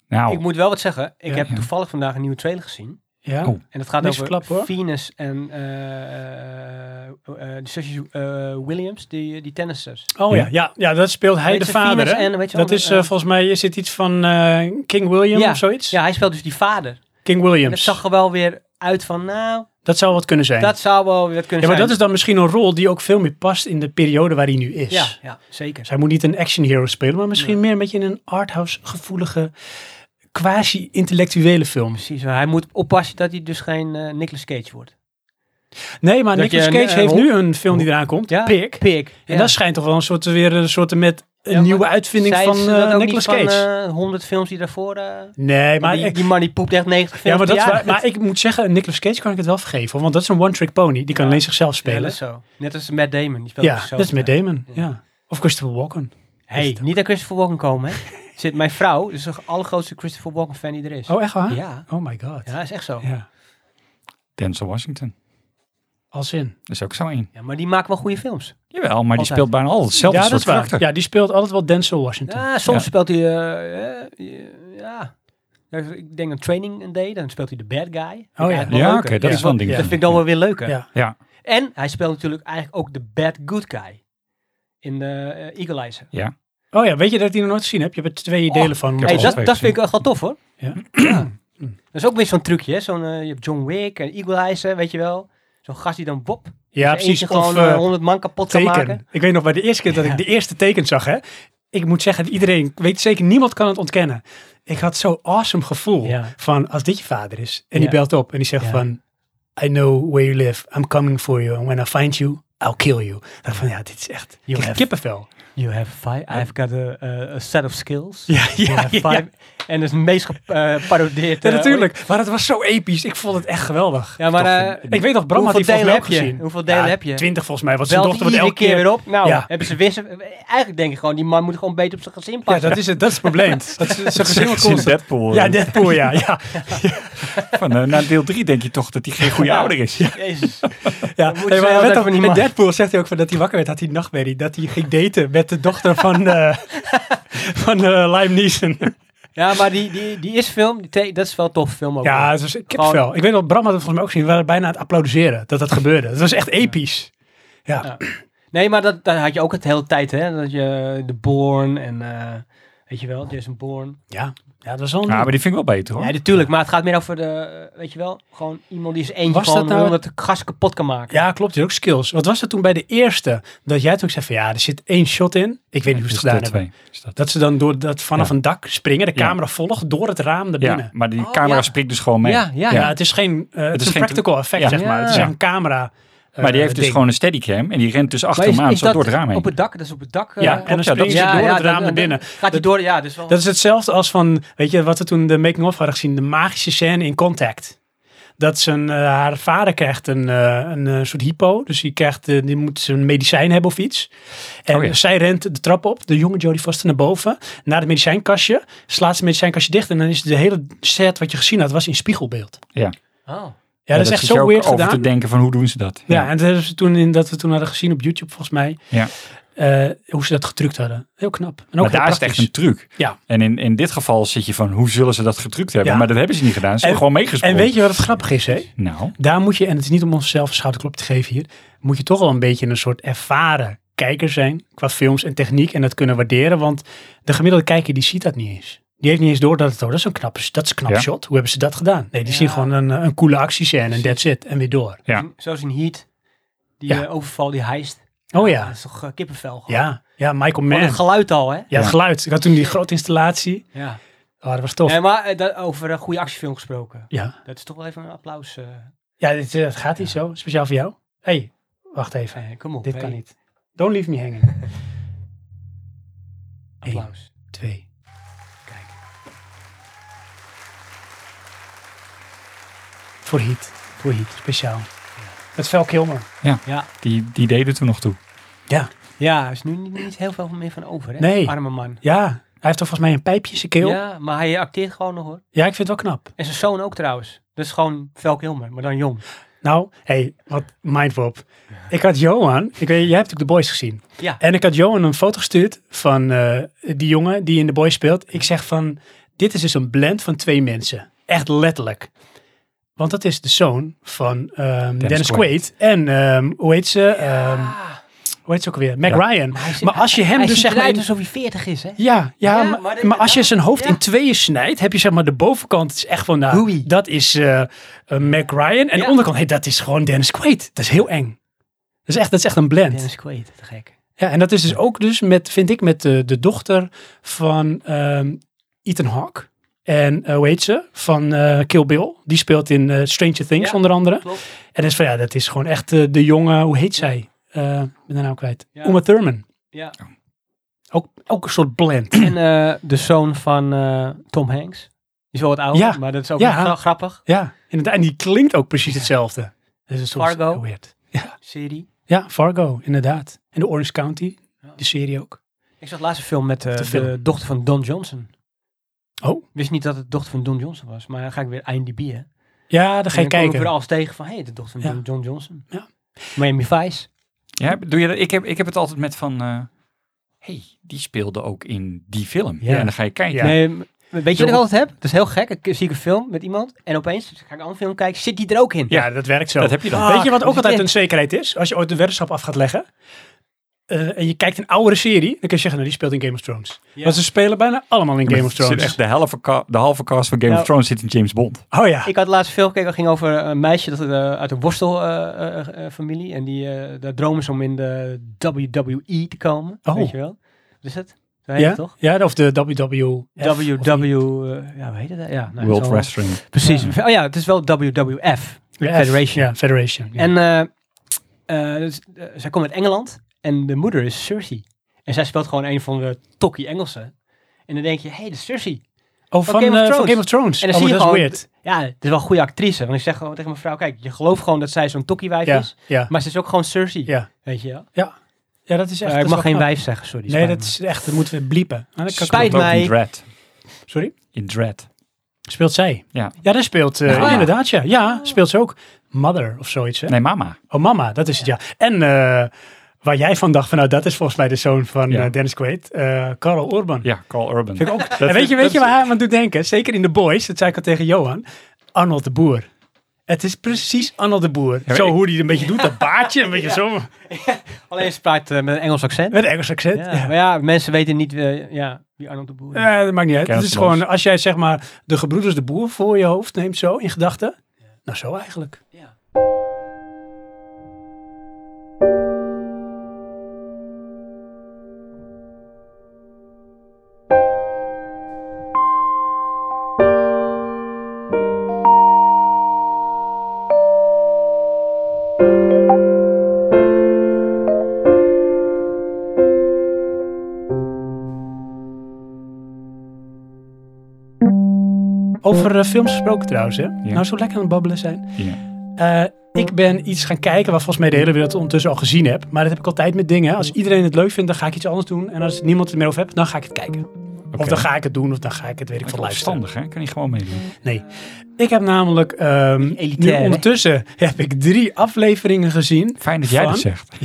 B: nou,
C: ik moet wel wat zeggen. Ik
A: Oh. Ja.
C: heb
B: Ja.
C: toevallig vandaag een nieuwe trailer gezien.
A: Ja.
B: Oh.
C: En dat gaat
A: Niks
C: over
A: verklappen, hoor.
C: Venus en eh, eh, eh, de zusjes eh, Williams, die, die tennissers.
A: Oh ja, ja, ja, dat speelt hij
C: Weet
A: de
C: je,
A: vader.
C: Venus
A: hè?
C: en, weet je wel,
A: dat is
C: eh,
A: eh, volgens mij, is dit iets van eh, King William
C: Ja,
A: of zoiets?
C: Ja, hij speelt dus die vader.
A: King
C: En het
A: Williams.
C: zag er wel weer uit van, nou,
A: Dat zou wat kunnen zijn.
C: dat zou wel weer wat
A: ja,
C: kunnen
A: maar
C: zijn.
A: dat is dan misschien een rol die ook veel meer past in de periode waar hij nu is.
C: Ja, ja zeker.
A: Dus hij moet niet een action hero spelen, maar misschien meer een beetje in een arthouse gevoelige, quasi-intellectuele film.
C: Precies, hoor. hij moet oppassen dat hij dus geen eh, Nicolas Cage wordt.
A: Nee, maar
C: Dat
A: Nicolas
C: je een,
A: Cage
C: eh,
A: heeft
C: rol-
A: nu een film die eraan komt,
C: Ja,
A: Pik.
C: Pik.
A: En dat schijnt toch wel een soort, weer een soort met een
C: Ja, maar
A: nieuwe uitvinding van eh, Nicolas Cage.
C: Van, 100 films die daarvoor... eh,
A: nee, maar...
C: die,
A: ik-
C: die man die poept echt 90
A: ja,
C: films
A: maar, dat
C: per
A: is
C: jaar
A: waar- maar ik moet zeggen, Nicolas Cage kan ik het wel vergeven. hoor, Want dat is een one-trick pony. Die kan alleen zichzelf
C: Ja,
A: spelen.
C: dat is zo. Net als Matt Damon. Die speelt
A: Ja,
C: ook zo.
A: dat is met Damon.
C: Ja.
A: Ja. Of Christopher Walken. Is
C: Hey,
A: het ook.
C: niet aan Christopher Walken komen, hè. Zit mijn vrouw, dus de allergrootste Christopher Walken fan die er is.
A: Oh, echt waar?
C: Ja,
A: Oh my god.
C: ja, dat is echt zo.
A: Ja.
B: Denzel Washington.
A: Als in.
B: Dat is ook zo één.
C: Ja, maar die maakt wel goede films.
B: Jawel, maar die
C: Altijd.
B: speelt bijna altijd hetzelfde
A: ja, dat
B: soort
A: is waar.
B: karakter.
A: Ja, die speelt altijd wel Denzel Washington.
C: Ja, soms
B: Ja.
C: speelt hij. eh, eh, ja. Ja, Ik denk een training een day, dan speelt hij de bad guy. Vind ik
A: Oh, ja.
C: eigenlijk wel
B: Ja, oké,
C: leuker.
B: dat
A: Ja.
B: is wel een ding.
A: Ja.
C: Dat vind ik dan wel weer leuker.
A: Ja.
B: Ja.
C: En hij speelt natuurlijk eigenlijk ook de bad good guy in de eh, Equalizer.
A: Oh ja, weet je dat ik die nog nooit gezien heb? Je hebt er twee
C: Oh,
A: delen van.
B: heb
C: Hey,
B: al
C: dat,
B: twee
C: dat vind ik echt wel tof hoor.
A: Ja.
C: Dat is ook weer zo'n trucje. Hè? Zo'n, eh, je hebt John Wick en Equalizer, weet je wel. Zo'n gast die dan wop.
A: ja,
C: in zijn
A: precies.
C: eentje
A: Of
C: Gewoon
A: eh,
C: eh, 100 man kapot kan maken.
A: teken. Ik weet nog, bij de eerste keer dat ik de eerste teken zag, hè. Ik moet zeggen, iedereen weet zeker, niemand kan het ontkennen. Ik had zo'n awesome gevoel
C: Ja.
A: van, als dit je vader is. En die
C: Ja.
A: belt op en die zegt
C: Ja.
A: van, I know where you live. I'm coming for you. And when I find you, I'll kill you. Ik dacht van, ja, dit is echt
C: You
A: ik heb
C: have-
A: kippenvel.
C: You have five. I've got eh, a, a- a set of skills.
A: Ja,
C: You
A: ja,
C: have
A: ja.
C: five. En dus het meest geparodeerd.
A: Ja, natuurlijk. Maar het was zo episch. Ik vond het echt geweldig.
C: eh, Ja, maar eh,
A: Ik weet dat Bram had die
C: hoeveel
A: volgens
C: delen
A: mij
C: heb
A: ook gezien.
C: je? Hoeveel delen heb je?
A: Twintig volgens mij. Want zijn
C: Belt
A: dochter wordt
C: iedere
A: elke
C: keer weer op. Nou,
A: Ja.
C: hebben ze wisselen. Eigenlijk denk ik gewoon, die man moet gewoon beter op zijn gezin
A: Ja,
C: passen.
A: dat is het. Dat is het probleem. Dat is zijn gezin wordt
B: Sinds
A: constant-
B: Deadpool.
A: Ja,
B: eh,
A: Deadpool, ja. ja.
B: van, eh, na deel 3 denk je toch dat hij geen goede
C: Ja.
B: ouder is. Ja.
C: Jezus.
A: ja.
C: moeten
A: Nee,
C: ze
A: maar
C: wel
A: let
C: dat
A: op,
C: we niet
A: in
C: mag.
A: Deadpool zegt hij ook van dat hij wakker werd, had hij nachtmerrie. Dat hij ging daten met de dochter van, eh, van eh Lime Neeson.
C: Ja, maar die, die, die is film, die te- dat is wel een tof film ook.
A: Ja, het was ik heb wel. Ik weet dat Bram had het volgens mij ook gezien. We waren bijna aan het applaudisseren dat dat gebeurde. Dat was echt episch. Ja,
C: Ja. Nee, maar dat, dat had je ook het hele tijd, hè. Dat je de Born en, eh, weet je wel, Jason Born.
A: ja. ja dat was wel een-
B: maar die vind ik wel beter hoor.
C: Ja, natuurlijk. Maar het gaat meer over de, eh, weet je wel, gewoon iemand die is eentje
A: Was
C: gewoon
A: dat nou-
C: dat de gas kapot kan maken.
A: Ja, klopt. Je hebt ook skills. Wat was dat toen bij de eerste? Dat jij toen zei van ja, er zit één shot in. Ik weet niet hoe ze
B: Dus
A: het gedaan
B: deel
A: hebben.
B: 2 is dat.
A: Dat ze dan door dat vanaf
B: Ja.
A: een dak springen, de
B: Ja.
A: camera volgt door het raam naar binnen.
B: Ja,
A: Ja.
B: maar die
C: Oh,
B: camera
C: ja.
B: spreekt dus gewoon mee.
C: ja, ja. ja.
A: het is geen eh, het is
B: is
A: een
B: geen-
A: practical effect,
B: Ja.
A: zeg maar. Het is
C: Ja.
A: echt een camera. eh,
B: maar die heeft dus
A: ding.
B: gewoon een steadycam en die rent dus achter
C: Maar is,
B: hem aan
C: is
B: zo
C: dat
B: door het raam heen.
C: op het dak? Dat is op het dak. eh,
A: Ja,
B: klopt,
A: en dan
B: ja, dat
A: springen
B: is-
A: ze door het
C: dan-
A: raam naar
C: dan
A: binnen.
C: Gaat hij door, ja, dus wel...
A: Dat is hetzelfde als van, weet je, wat we toen de making-of hadden gezien, de magische scène in Contact. Dat zijn, eh, haar vader krijgt een, eh, een eh, soort hypo, dus die, krijgt, eh, die moet zijn medicijn hebben of iets. En
B: Oh ja.
A: zij rent de trap op, de jonge Jodie Foster naar boven, naar het medicijnkastje, slaat het medicijnkastje dicht en dan is de hele set wat je gezien had, was in spiegelbeeld. Ja,
C: Oh.
B: Ja,
A: dat, is echt
B: zit je
A: zo
B: ook
A: weird
B: over
A: gedaan.
B: te denken van hoe doen ze dat.
A: Ja, en dat, hebben ze toen in, dat we toen hadden gezien op YouTube volgens mij,
B: Ja.
A: eh, hoe ze dat gedrukt hadden. Heel knap. En ook
B: Maar
A: heel
B: daar is het echt
A: praktisch.
B: een truc.
A: Ja.
B: En in, in dit geval zit je van, hoe zullen ze dat getrukt hebben?
A: Ja.
B: Maar dat hebben ze niet gedaan. Ze hebben gewoon
A: En
B: meegesprongen.
A: weet je wat het grappig is, hè?
B: Nou,
A: daar moet je, en het is niet om onszelf een schouderklop te geven hier, moet je toch wel een beetje een soort ervaren kijker zijn qua films en techniek en dat kunnen waarderen, want de gemiddelde kijker die ziet dat niet eens. Die heeft niet eens door dat het, oh, dat is een knap, dat is een knap
B: Ja.
A: shot. Hoe hebben ze dat gedaan? Nee, die
C: Ja.
A: zien gewoon een, eh, een coole actiescène en that's it. En weer door.
B: Ja.
C: Zo- Zoals in Heat. Die
A: Ja.
C: eh, overval, die heist.
A: Oh
C: Dat
A: ja,
C: is toch eh, kippenvel gewoon.
A: ja, ja, Michael
C: Gewoon
A: Mann.
C: het geluid al, hè?
A: Ja, het
B: Ja.
A: geluid. Ik had toen die grote installatie.
C: Ja.
A: Oh, dat was tof.
C: Nee, maar eh, dat- over een goede actiefilm gesproken.
A: Ja,
C: Dat is toch wel even een applaus. eh
A: ja dit, eh, dat gaat niet zo. Speciaal voor jou. hey, wacht even.
C: eh, kom op.
A: Dit
C: hey.
A: kan niet. Don't leave me hanging. Eén,
C: Applaus.
A: twee,
C: Kijk.
A: Voor Heat. Voor Heat, speciaal. Met Val Kilmer.
B: die, die deden toen nog toe.
C: Ja, er is nu niet, niet heel veel meer van over, hè?
A: Nee.
C: Arme man.
A: Ja, hij heeft toch volgens mij een pijpje in zijn keel? Ja,
C: Ja, maar hij acteert gewoon nog, hoor.
A: ik vind het wel knap.
C: En zijn zoon ook trouwens. Dat is gewoon Velk Hilmer, maar dan jong.
A: Nou, hé, hey, wat mindpop. Ik had Johan, ik weet, jij hebt ook de Boys gezien.
C: Ja.
A: En ik had Johan een foto gestuurd van eh, die jongen die in de Boys speelt. Ik zeg van, dit is dus een blend van twee mensen. Echt letterlijk. Want dat is de zoon van ehm, Dennis, Quaid. En ehm, hoe heet ze? Ehm,
C: Ah,
A: hoe heet ze ook weer? Mac
B: Ja.
A: Ryan.
C: maar, hij ziet-
A: Maar als je hem
C: hij
A: dus
C: ziet
A: zeg maar
C: eruit
A: in-
C: alsof hij 40 is, hè?
A: Ja, ja,
C: Ja,
A: maar,
C: maar dat-
A: maar als je zijn hoofd
C: ja.
A: in tweeën snijdt, heb je zeg maar de bovenkant is echt van, nou,
C: Hoei.
A: dat is eh, eh, Mac Ryan. En de
C: Ja.
A: onderkant, hey, dat is gewoon Dennis Quaid. Dat is heel eng. Dat is echt, dat is echt een blend.
C: Dennis Quaid, te gek.
A: Ja, en dat is dus ook dus met, vind ik, met de, de dochter van ehm, Ethan Hawke. En eh, hoe heet ze? Van eh, Kill Bill. Die speelt in eh, Stranger Things
C: Ja.
A: onder andere.
C: Klopt.
A: En dus van, ja, dat is gewoon echt eh, de jonge, hoe heet zij? Eh, Ik ben haar naam kwijt.
C: Ja.
A: Uma Thurman.
C: Ja.
A: Ook, ook een soort blend.
C: En eh, de zoon van eh, Tom Hanks. Die is wel wat ouder,
A: Ja.
C: maar dat is ook
A: Ja.
C: wel grappig.
A: Ja, inderdaad. En die klinkt ook precies hetzelfde. Dus het
C: Fargo.
A: Is weird.
C: Serie.
A: Ja, Fargo, inderdaad. En de Orange County,
C: Ja.
A: de serie ook.
C: Ik zag laatst een film met eh,
A: De
C: de,
A: film.
C: dochter van Don Johnson.
A: Oh.
C: Wist niet dat het de dochter van Don Johnson was, maar dan ga ik weer IMDb, hè.
A: Ja, daar ga je
C: En dan kom ik
A: kijken.
C: weer alles tegen van, hé, hey, de dochter van
A: Ja.
C: Don John Johnson.
A: Ja.
C: Miami Vice.
B: Ja, doe je dat? Ik, heb, ik heb het altijd met van, eh, hey, die speelde ook in die film.
A: Ja.
B: Ja. En dan ga je kijken.
A: Ja.
C: Nee, m- weet je wat
A: Zo.
C: ik altijd heb? Dat is heel gek. Ik zie een film met iemand en opeens dus ga ik een andere film kijken, zit die er ook in?
A: Ja, dat werkt zo.
B: Dat heb je dan.
A: Ah, Weet je wat
C: dat
A: ook
C: is
A: altijd
C: dit.
A: een zekerheid is? Als je ooit de weddenschap af gaat leggen eh, en je kijkt een oudere serie, dan kun je zeggen, nou, die speelt in Game of Thrones.
C: Ja.
A: Want ze spelen bijna allemaal in Game of
B: Er zit
A: Thrones.
B: echt de, halve ca- de halve cast van Game
C: Nou.
B: of Thrones zit in James Bond.
A: Oh ja.
C: Ik had laatst veel gekeken, dat ging over een meisje dat, eh, uit een worstelfamilie. en die, eh de droom is om in de WWE te komen.
A: Oh.
C: Weet je wel? Wat is het? Zo heet
A: ja?
C: het toch?
A: ja, of de WWF.
C: WW, eh, ja, hoe heet het? Ja, nou,
B: World
C: zo-
B: Wrestling.
C: Precies. Oh ja, het is wel WWF.
A: Federation. Ja, Federation. ja.
C: En eh, eh, dus, eh, zij komt uit Engeland en de moeder is Cersei. En zij speelt gewoon een van de tokkie Engelsen. En dan denk je, hé, hey, de Cersei.
A: Oh, van,
C: Game of
A: eh, van
C: Thrones.
A: Game of Thrones.
C: En
A: oh,
C: dan zie je
A: maar dat is
C: gewoon-
A: weird.
C: Ja, het is wel een goede actrice. Want ik zeg gewoon tegen mijn vrouw, kijk, je gelooft gewoon dat zij zo'n tokkiewijf
A: Ja,
C: is.
A: ja,
C: Maar ze is ook gewoon Cersei,
A: ja.
C: weet je wel.
A: Ja, dat is echt...
C: Eh, ik
A: dat is
C: mag
A: wel
C: geen
A: knap.
C: wijf zeggen, sorry.
A: Nee,
C: spijt
A: dat
C: me.
A: is echt... Dat moeten we bliepen. Ah, dat kan ik
C: Spijt
A: ook.
B: Speelt ook
C: mij.
B: In Dread.
A: Sorry?
B: In Dread.
A: Speelt zij?
B: Ja.
A: Ja, daar speelt... eh,
B: Ja.
C: Ah.
A: ja, inderdaad, ja. Ja, speelt ze ook. Mother of zoiets, hè?
B: Nee, mama.
A: Oh, mama, dat is het, ja. En eh, waar jij van dacht van... Nou, dat is volgens mij de zoon van
B: Ja.
A: eh, Dennis Quaid. eh Carl Orban.
B: Ja, Carl Urban.
A: Vind ik ook. en
B: vind-
A: weet je, weet
B: dat
A: je
B: is-
A: waar hij aan me doet denken? Zeker in The Boys, dat zei ik al tegen Johan. Arnold de Boer. Het is precies Arnold de Boer.
B: maar
A: zo
B: ik-
A: hoe hij het een beetje doet, dat baardje, een beetje zo.
C: Alleen ze praat eh, met een Engels accent.
A: Met een Engels accent.
C: Ja,
A: Ja.
C: Maar ja, mensen weten niet eh, ja, wie Arnold de Boer is.
A: Eh, dat maakt niet uit. Het is
B: Kennisloos.
A: gewoon, als jij zeg maar de gebroeders de Boer voor je hoofd neemt zo, in gedachten. Nou, zo eigenlijk.
C: Ja.
A: Over eh, films gesproken trouwens, hè.
B: Ja.
A: Nou, zo lekker aan het babbelen zijn.
B: Ja.
A: Eh, ik ben iets gaan kijken waar volgens mij de hele wereld ondertussen al gezien heb. Maar dat heb ik altijd met dingen. Als iedereen het leuk vindt, dan ga ik iets anders doen. En als niemand het meer over heeft, dan ga ik het kijken. Of
B: Oké.
A: dan ga ik het doen, of dan ga ik het, weet ik
B: Dat
A: veel,
B: is
A: luisteren.
B: opstandig, hè? Kan hij gewoon meedoen.
A: Ik heb namelijk, ehm
C: Elitair,
A: nu
C: hè?
A: ondertussen heb ik drie afleveringen gezien
B: Fijn dat jij
A: Van?
B: dat zegt.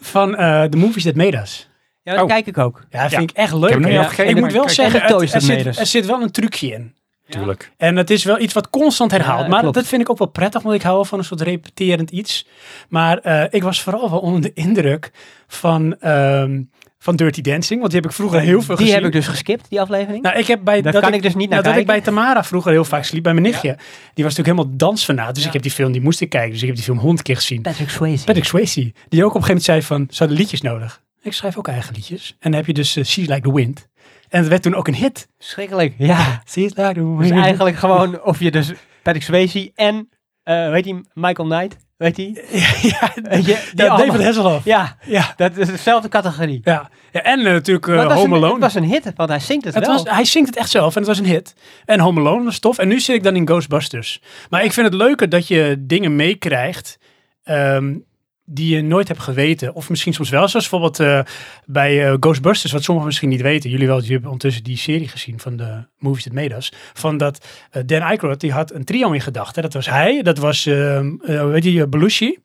A: van eh The Movies That Made Us.
C: Ja, dat
B: Oh.
C: kijk ik ook.
A: Ja, dat
B: Ja.
A: vind ik echt leuk.
B: Ik heb hem
A: hè?
B: niet
A: Ja.
B: afgekeken,
A: ik moet
B: maar
A: wel
B: kijk,
A: zeggen,
C: de
A: het-
C: Toys
A: er,
C: That
A: zit,
C: Made Us.
A: er zit wel een trucje in.
B: Tuurlijk.
A: En het is wel iets wat constant herhaalt.
C: Ja,
A: maar
C: klopt.
A: dat vind ik ook wel prettig, want ik hou wel van een soort repeterend iets. Maar eh, ik was vooral wel onder de indruk van, ehm, van Dirty Dancing, want die heb ik vroeger heel veel
C: Die
A: gezien.
C: heb ik dus geskipt, die aflevering.
A: Nou, ik heb bij
C: Daar kan ik dus niet naar
A: nou, dat ik bij
C: kijken.
A: Tamara vroeger heel vaak sliep bij mijn nichtje. Die was natuurlijk helemaal dansfanaat. Dus
C: Ja.
A: ik heb die film, die moest ik kijken. Dus ik heb die film honderd keer gezien.
C: Patrick Swayze.
A: Patrick Swayze, die ook op een gegeven moment zei van, ze hadden liedjes nodig. Ik schrijf ook eigen liedjes. En dan heb je dus eh, She's Like the Wind. En het werd toen ook een hit.
C: Schrikkelijk, ja.
A: She's Like the Wind.
C: Dus eigenlijk gewoon of je dus Patrick Swayze en, eh, weet je, Michael Knight, weet je?
A: ja,
C: Weet Eh, je, die
A: ja, Eh, David
C: allemaal-
A: Hasselhoff.
C: ja,
A: Ja,
C: dat is dezelfde categorie.
A: ja. ja en eh, natuurlijk eh,
C: Maar het was
A: Home
C: een-
A: Alone.
C: Het was een hit, want hij zingt het,
A: Het
C: wel.
A: was, hij zingt het echt zelf en het was een hit. En Home Alone was tof. En nu zit ik dan in Ghostbusters. Maar ik vind het leuker dat je dingen meekrijgt ehm, die je nooit hebt geweten. Of misschien soms wel. Zoals bijvoorbeeld eh, bij eh, Ghostbusters, wat sommigen misschien niet weten. Jullie wel, jullie hebben ondertussen die serie gezien van de Movies That Made Us. Van dat eh, Dan Aykroyd, die had een trio in gedachten. Dat was hij, dat was, ehm eh, hoe heet die, eh, Belushi.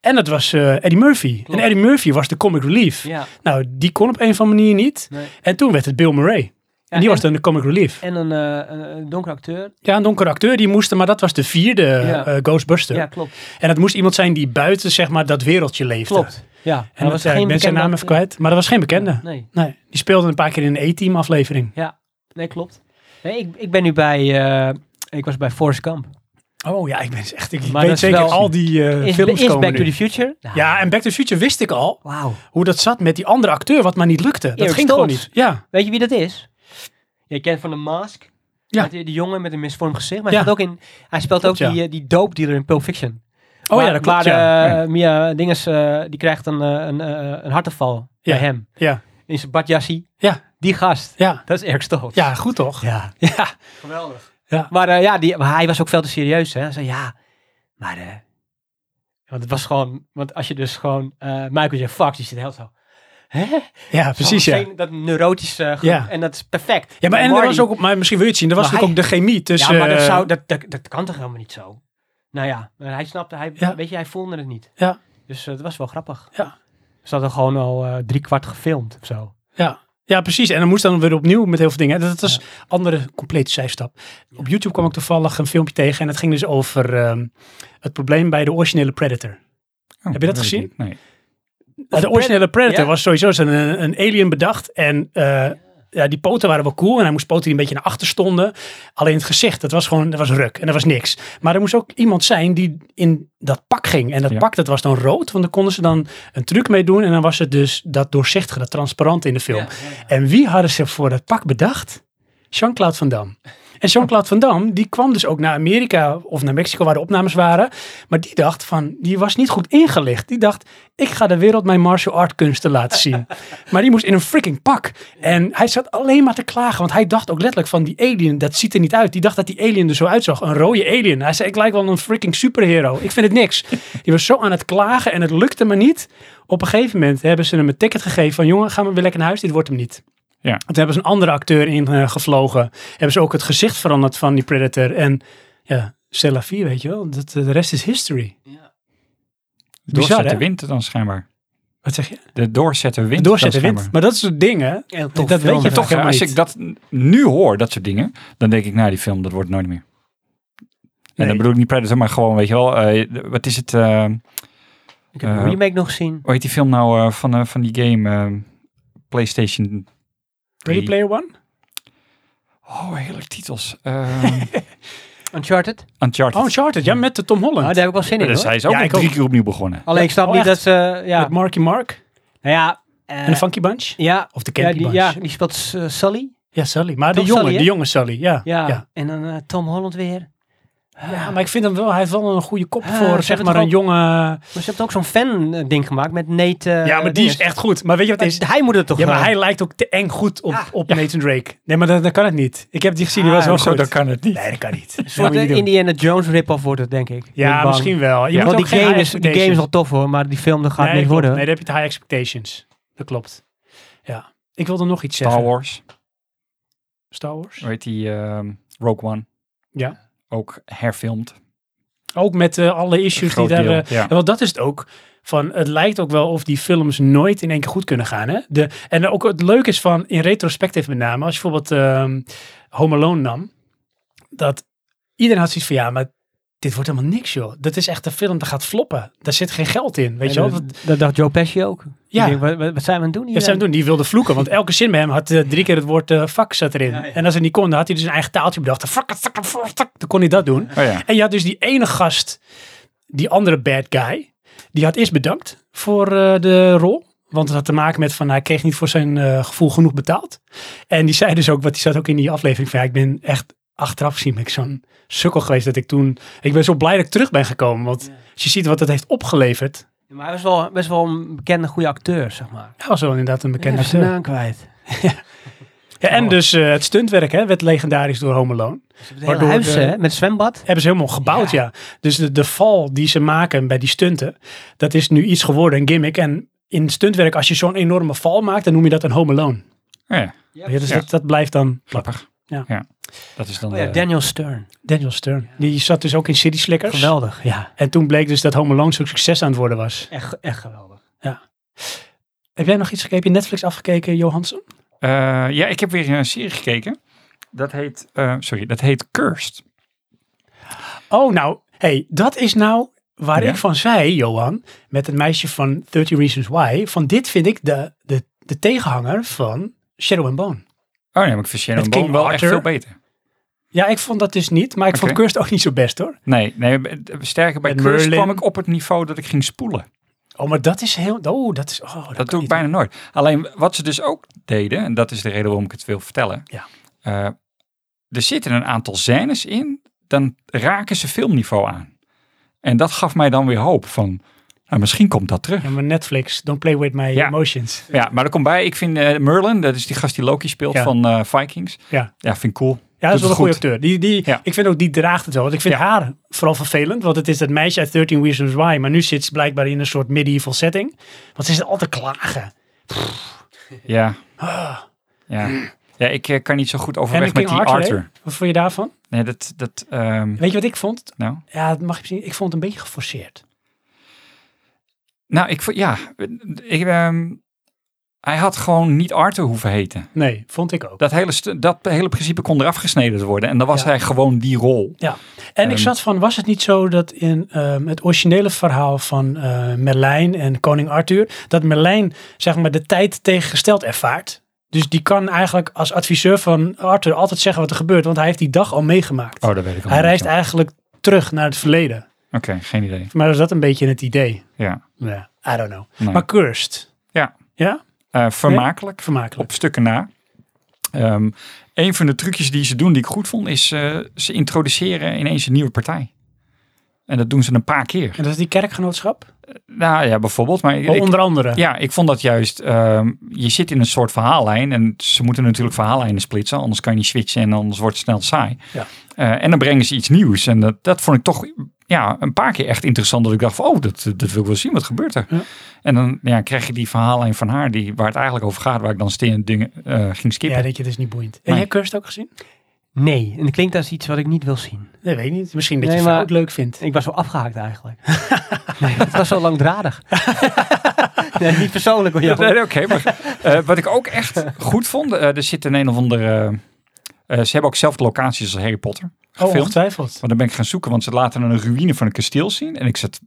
A: En dat was eh, Eddie Murphy.
C: Klopt.
A: En Eddie Murphy was de comic relief.
C: Ja.
A: Nou, die kon op een of andere manier niet.
C: Nee.
A: En toen werd het Bill Murray. en die was dan de comic relief.
C: En een, eh, een- een donkere acteur.
A: Ja, een donkere acteur die moest, maar dat was de vierde
C: Ja.
A: eh, Ghostbuster.
C: Ja, klopt.
A: En dat moest iemand zijn die buiten zeg maar, dat wereldje leefde.
C: Klopt. Ja.
A: En dat, was geen ik ben zijn naam even kwijt, maar dat was geen bekende.
C: Nee.
A: Nee, die speelde een paar keer in een E-team aflevering.
C: Nee, klopt. Nee, ik, ik ben nu bij... eh, ik was bij Forrest Gump.
A: Oh ja, ik ben echt, ik
C: Maar dat
A: weet
C: is
A: zeker
C: wel-
A: al die eh,
C: Is,
A: films
C: is
A: komen
C: Back
A: nu.
C: to the Future?
A: Ja, en Back to the Future wist ik al
C: Wauw.
A: hoe dat zat met die andere acteur, wat maar niet lukte. Dat
C: Eric
A: ging gewoon
C: Stoltz.
A: niet. Ja, Oh
C: Weet je wie dat is? Je kent van de Mask.
A: Ja.
C: Met die, die jongen met een misvormd gezicht. Maar hij,
A: Ja.
C: speelt ook in, hij speelt
A: Klopt,
C: ook
A: ja.
C: die, eh, die dope dealer in Pulp Fiction.
A: oh ja,
C: Waar-
A: dat klopt.
C: Waar
A: ja.
C: eh, Mia Dinges, eh, die krijgt een, eh, een, eh, een hartaanval
A: Ja.
C: bij hem.
A: Ja.
C: In zijn badjassie.
A: Ja.
C: Die gast.
A: ja.
C: Dat is Eric Stoltz.
A: ja, goed toch?
C: Ja.
A: Ja.
C: Geweldig.
A: Ja.
C: Maar, eh, ja, die, maar hij was ook veel te serieus. Hè. Hij zei ja, maar... eh, want het was gewoon... Want als je dus gewoon... eh, Michael J. Fox, die zit heel zo... Hè?
A: ja, precies ja.
C: Meteen Dat neurotische... groep.
A: Ja.
C: En dat is perfect.
A: Ja, maar en er
C: Marty-
A: was ook, maar misschien wil je het zien, er was
C: Maar
A: natuurlijk ook de chemie tussen...
C: ja, maar dat,
A: eh,
C: zou, dat, dat, dat kan toch helemaal niet zo? Nou ja, maar hij snapte, hij,
A: Ja.
C: weet je, hij voelde het niet.
A: Ja.
C: Dus eh, het was wel grappig.
A: Ja.
C: Ze hadden gewoon al eh, drie kwart gefilmd of zo.
A: Ja. ja, precies. En dan moest dan weer opnieuw met heel veel dingen. Dat was andere complete zijstap. Op YouTube kwam ik toevallig een filmpje tegen en het ging dus over ehm, het probleem bij de originele Predator.
B: Oh,
A: Heb je dat
B: weet ik
A: gezien?
B: niet. Nee.
A: de originele Predator
C: ja.
A: was sowieso zo'n eh, een, een alien bedacht en... eh, ja, die poten waren wel cool en hij moest poten die een beetje naar achter stonden. Alleen het gezicht, dat was gewoon, dat was ruk en dat was niks. Maar er moest ook iemand zijn die in dat pak ging. En dat
B: Ja.
A: pak, dat was dan rood, want daar konden ze dan een truc mee doen. En dan was het dus dat doorzichtige, dat transparante in de film. En wie hadden ze voor dat pak bedacht? Jean-Claude Van Damme. En Jean-Claude Van Damme, die kwam dus ook naar Amerika of naar Mexico waar de opnames waren. Maar die dacht van, die was niet goed ingelicht. Die dacht, ik ga de wereld mijn martial art kunsten laten zien. maar die moest in een freaking pak. En hij zat alleen maar te klagen, want hij dacht ook letterlijk van die alien, dat ziet er niet uit. Die dacht dat die alien er zo uitzag, een rode alien. Hij zei, ik lijk wel een freaking superhero. Ik vind het niks. Die was zo aan het klagen en het lukte me niet. Op een gegeven moment hebben ze hem een ticket gegeven van, jongen, ga maar weer lekker naar huis, dit wordt hem niet.
B: Ja.
A: Toen hebben ze een andere acteur ingevlogen. gevlogen. hebben ze ook het gezicht veranderd van die Predator. En ja, Selafie, weet je wel. Dat, eh, de rest is history. Bizar,
B: Doorzetten
A: hè?
B: wind dan schijnbaar.
A: Wat zeg je?
B: De doorzetten wind.
A: Doorzetten
B: dan
A: wind.
B: schijnbaar.
A: Maar dat soort dingen.
C: Heel
A: tof Dat film, weet je hè?
B: Toch,
A: Helemaal
B: als
A: niet.
B: ik dat n- nu hoor, dat soort dingen, dan denk ik, nou die film, dat wordt nooit meer. En
A: Nee.
B: dan bedoel ik niet Predator, maar gewoon, weet je wel, eh, wat is het, eh,
C: Ik heb een
B: Eh,
C: remake nog gezien.
B: hoe heet die film nou eh, van, eh, van die game, eh, Playstation
A: Ready Player One?
B: Oh, heerlijk titels. Ehm,
C: Uncharted.
B: Uncharted. Eh,
A: Oh, Uncharted. Ja, met de Tom
C: Ah,
A: Holland.
C: daar heb ik wel zin in
B: Daar
C: hoor.
B: zijn ze ook
A: Ja,
B: al
A: ik
B: drie
A: ook.
B: keer opnieuw begonnen.
C: Alleen ik snap
A: Oh,
C: niet
A: echt?
C: dat ze... Ja,
A: Met Marky Mark.
C: nou ja... eh,
A: En de Funky Bunch.
C: ja,
A: Of de
C: ja,
A: Candy
C: die,
A: Bunch.
C: ja,
A: Ja.
C: die speelt S- eh, Sully.
A: Sully. Maar de
C: Toch
A: jonge,
C: Sully, hè?
A: de jonge Sully. Ja.
C: Ja.
A: Ja.
C: En dan eh, Tom Holland weer.
A: Ja, maar ik vind hem wel, hij heeft wel een goede kop
C: Ah, ze
A: voor, zeg
C: hebben
A: maar,
C: toch
A: een
C: ook-
A: jonge...
C: Maar ze hebben ook zo'n fan-ding gemaakt met Nate... eh,
A: ja, maar die is
C: dinges.
A: echt goed. Maar weet je wat het is?
C: Maar Hij moet het toch
A: Ja, maar
C: eh,
A: hij lijkt ook te eng goed op,
C: Ah.
A: op Nathan Drake. Nee, maar dat, dat kan het niet. Ik heb die gezien, die
C: Ah,
A: was wel
B: Zo,
A: goed.
B: dan kan het niet.
A: Nee, dat kan niet.
C: Een soort eh, Indiana Jones rip-off wordt het, denk ik. Ben ik
A: Ja,
C: bang.
A: misschien wel. Je
B: Ja.
A: moet
C: Want
A: ook
C: die
A: geen
C: game,
A: high
C: is, die game is
A: expectations.
C: al tof hoor, maar die film dat gaat
A: nee,
C: niet
A: klopt.
C: worden.
A: Nee, dan heb je te high expectations. Dat klopt. Ja. Ik wilde nog iets
B: Star
A: zeggen.
B: Wars.
A: Star Wars.
B: Hoe heet die? ehm, Rogue One.
A: Ja.
B: Ook herfilmd.
A: Ook met eh, alle issues die
B: Groot
A: daar...
B: deel,
A: eh,
B: ja.
A: En want dat is het ook. Van, het lijkt ook wel of die films nooit in één keer goed kunnen gaan. Hè? De, en ook het leuke is van, in retrospectief met name, als je bijvoorbeeld ehm Home Alone nam, dat iedereen had zoiets van, ja, maar dit wordt helemaal niks, joh. Dat is echt een film, dat gaat floppen. Daar zit geen geld in, weet je wel.
C: dat,
A: Dat-
C: eh, dat dacht Joe Pesci ook.
A: Ja.
C: Ik denk, wat- wat, wat zijn we aan het doen hier?
A: Ja, zijn we doen. Die wilde vloeken, want elke zin bij hem had eh, drie keer het woord eh fuck zat erin.
C: Ja, ja.
A: En als hij niet kon, dan had hij dus een eigen taaltje bedacht. Fuck, fuck, fuck, fuck, dan kon hij dat doen.
B: Oh ja.
A: En je had dus die ene gast, die andere bad guy, die had eerst bedankt voor eh, de rol. Want het had te maken met van hij kreeg niet voor zijn eh, gevoel genoeg betaald. En die zei dus ook, wat die zat ook in die aflevering van ja, ik ben echt achteraf gezien ben ik zo'n sukkel geweest dat ik toen, ik ben zo blij dat ik terug ben gekomen. Want als je ziet wat dat heeft opgeleverd,
C: Ja, Maar hij was wel, best wel een bekende goede acteur, zeg maar.
A: hij was wel inderdaad een bekende
C: Ja, nou,
A: acteur.
C: zijn naam kwijt.
A: Ja, en dus eh, het stuntwerk hè, werd legendarisch door Home Alone.
C: Dus het hele
A: Waardoor
C: huis
A: de-
C: hè, met zwembad.
A: Hebben ze helemaal gebouwd, ja. Dus de, de val die ze maken bij die stunten, dat is nu iets geworden, een gimmick. En in stuntwerk, als je zo'n enorme val maakt, dan noem je dat een Home Alone.
B: Oh ja.
A: Ja, dus
B: Ja.
A: dat, dat blijft dan
B: Grappig.
A: Ja.
B: Dat is dan...
C: Oh ja,
B: eh,
C: Daniel Stern.
A: Daniel Stern. Die zat dus ook in City Slickers.
C: Geweldig, ja.
A: En toen bleek dus dat Home Alone zo'n succes aan het worden was.
C: Echt, echt geweldig.
A: Heb jij nog iets gekeken? Heb je Netflix afgekeken, Johansson?
B: eh, ja, ik heb weer een serie gekeken. Dat heet... eh, sorry, dat heet Cursed.
A: Oh, nou, hey, dat is nou waar
B: Ja.
A: ik van zei, Johan, met het meisje van 30 Reasons Why. Van dit vind ik de, de, de tegenhanger van Shadow and Bone.
B: Oh nee, maar ik vind Shadow
A: Met
B: Bone
A: King
B: wel
A: Arthur.
B: echt veel beter.
A: Ja, ik vond dat dus niet, maar ik vond
B: Oké.
A: Cursed ook niet zo best hoor.
B: Nee, nee b- sterker bij
A: Met
B: Cursed
A: Merlin.
B: kwam ik op het niveau dat ik ging spoelen.
A: Oh, maar dat is heel. Oh, dat is. Oh, dat kan
B: Dat doe ik
A: niet.
B: bijna nooit. Alleen wat ze dus ook deden, en dat is de reden waarom ik het wil vertellen.
A: Ja.
B: eh, er zitten een aantal scènes in, dan raken ze filmniveau aan. En dat gaf mij dan weer hoop van, nou, misschien komt dat terug.
A: Ja, maar Netflix, don't play with my
B: Ja.
A: emotions.
B: Ja, maar er komt bij, ik vind eh, Merlin, dat is die gast die Loki speelt
A: Ja.
B: van eh, Vikings.
A: Ja.
B: Ja, vind ik cool.
A: Ja, dat is wel een
B: het
A: goede
B: goed.
A: acteur. Die, die,
B: Ja.
A: Ik vind ook, die draagt het wel. Want ik vind haar vooral vervelend, want het is dat meisje uit 13 Reasons Why. Maar nu zit ze blijkbaar in een soort medieval setting. Want ze is altijd klagen.
B: Ja,
A: Ah.
B: ja. ja ik eh, kan niet zo goed overweg
A: En
B: met
A: King
B: die
A: Arthur,
B: Arthur.
A: hè? Wat vond je daarvan?
B: Nee, dat, dat ehm,
A: Weet je wat ik vond?
B: nou...
A: Ja, dat mag je misschien. Ik vond het een beetje geforceerd.
B: Nou, ik vond, ja, ik, ehm, hij had gewoon niet Arthur hoeven heten.
A: Nee, vond ik ook.
B: Dat hele, stu- dat hele principe kon eraf gesneden worden. En dan was
A: Ja.
B: hij gewoon die rol.
A: En ik
B: Ehm.
A: zat van, was het niet zo dat in ehm, het originele verhaal van eh Merlijn en koning Arthur, dat Merlijn zeg maar de tijd tegengesteld ervaart? Dus die kan eigenlijk als adviseur van Arthur altijd zeggen wat er gebeurt, want hij heeft die dag al meegemaakt.
B: Oh, dat weet ik al.
A: hij
B: niet,
A: reist
B: ja.
A: eigenlijk terug naar het verleden.
B: Oké, geen idee.
A: Maar is dat een beetje het idee?
B: Ja.
A: Ja, I don't know.
B: nee.
A: Maar cursed.
B: Ja.
A: Ja,
B: Eh, vermakelijk.
A: vermakelijk.
B: Op stukken na. Ehm, een van de trucjes die ze doen, die ik goed vond, is eh, ze introduceren ineens een nieuwe partij. En dat doen ze een paar keer.
A: En dat is die kerkgenootschap?
B: Nou ja, bijvoorbeeld. Maar ik-
A: Oh, onder andere.
B: ja, ik vond dat juist. ehm, je zit in een soort verhaallijn. En ze moeten natuurlijk verhaallijnen splitsen. Anders kan je niet switchen en anders wordt het snel saai.
A: Ja.
B: Eh, en dan brengen ze iets nieuws. En dat, dat vond ik toch ja, een paar keer echt interessant. Dat ik dacht van, oh, dat, dat wil ik wel zien. Wat gebeurt er?
A: Ja.
B: En dan ja, krijg je die verhaallijn van haar die, waar het eigenlijk over gaat. Waar ik dan steen dingen eh, ging
A: Ja,
B: skippen.
A: dat je, dit is niet boeiend. En
B: Nee.
A: jij Kirst ook gezien?
C: Nee, en het klinkt als iets wat ik niet wil zien.
A: Nee, weet ik niet. Misschien dat
C: Nee,
A: je het
C: maar-
A: ook leuk vindt.
C: Ik was zo afgehaakt eigenlijk. nee, het was zo langdradig. nee, niet persoonlijk hoor.
B: Ja,
C: Johan.
B: nee, Oké, maar eh, wat ik ook echt goed vond. eh, er zit een een of andere... eh, ze hebben ook zelf de locaties als Harry Potter
A: Oh,
B: gefilmd.
A: ongetwijfeld.
B: Want dan ben ik gaan zoeken, want ze laten een ruïne van een kasteel zien. En ik zat,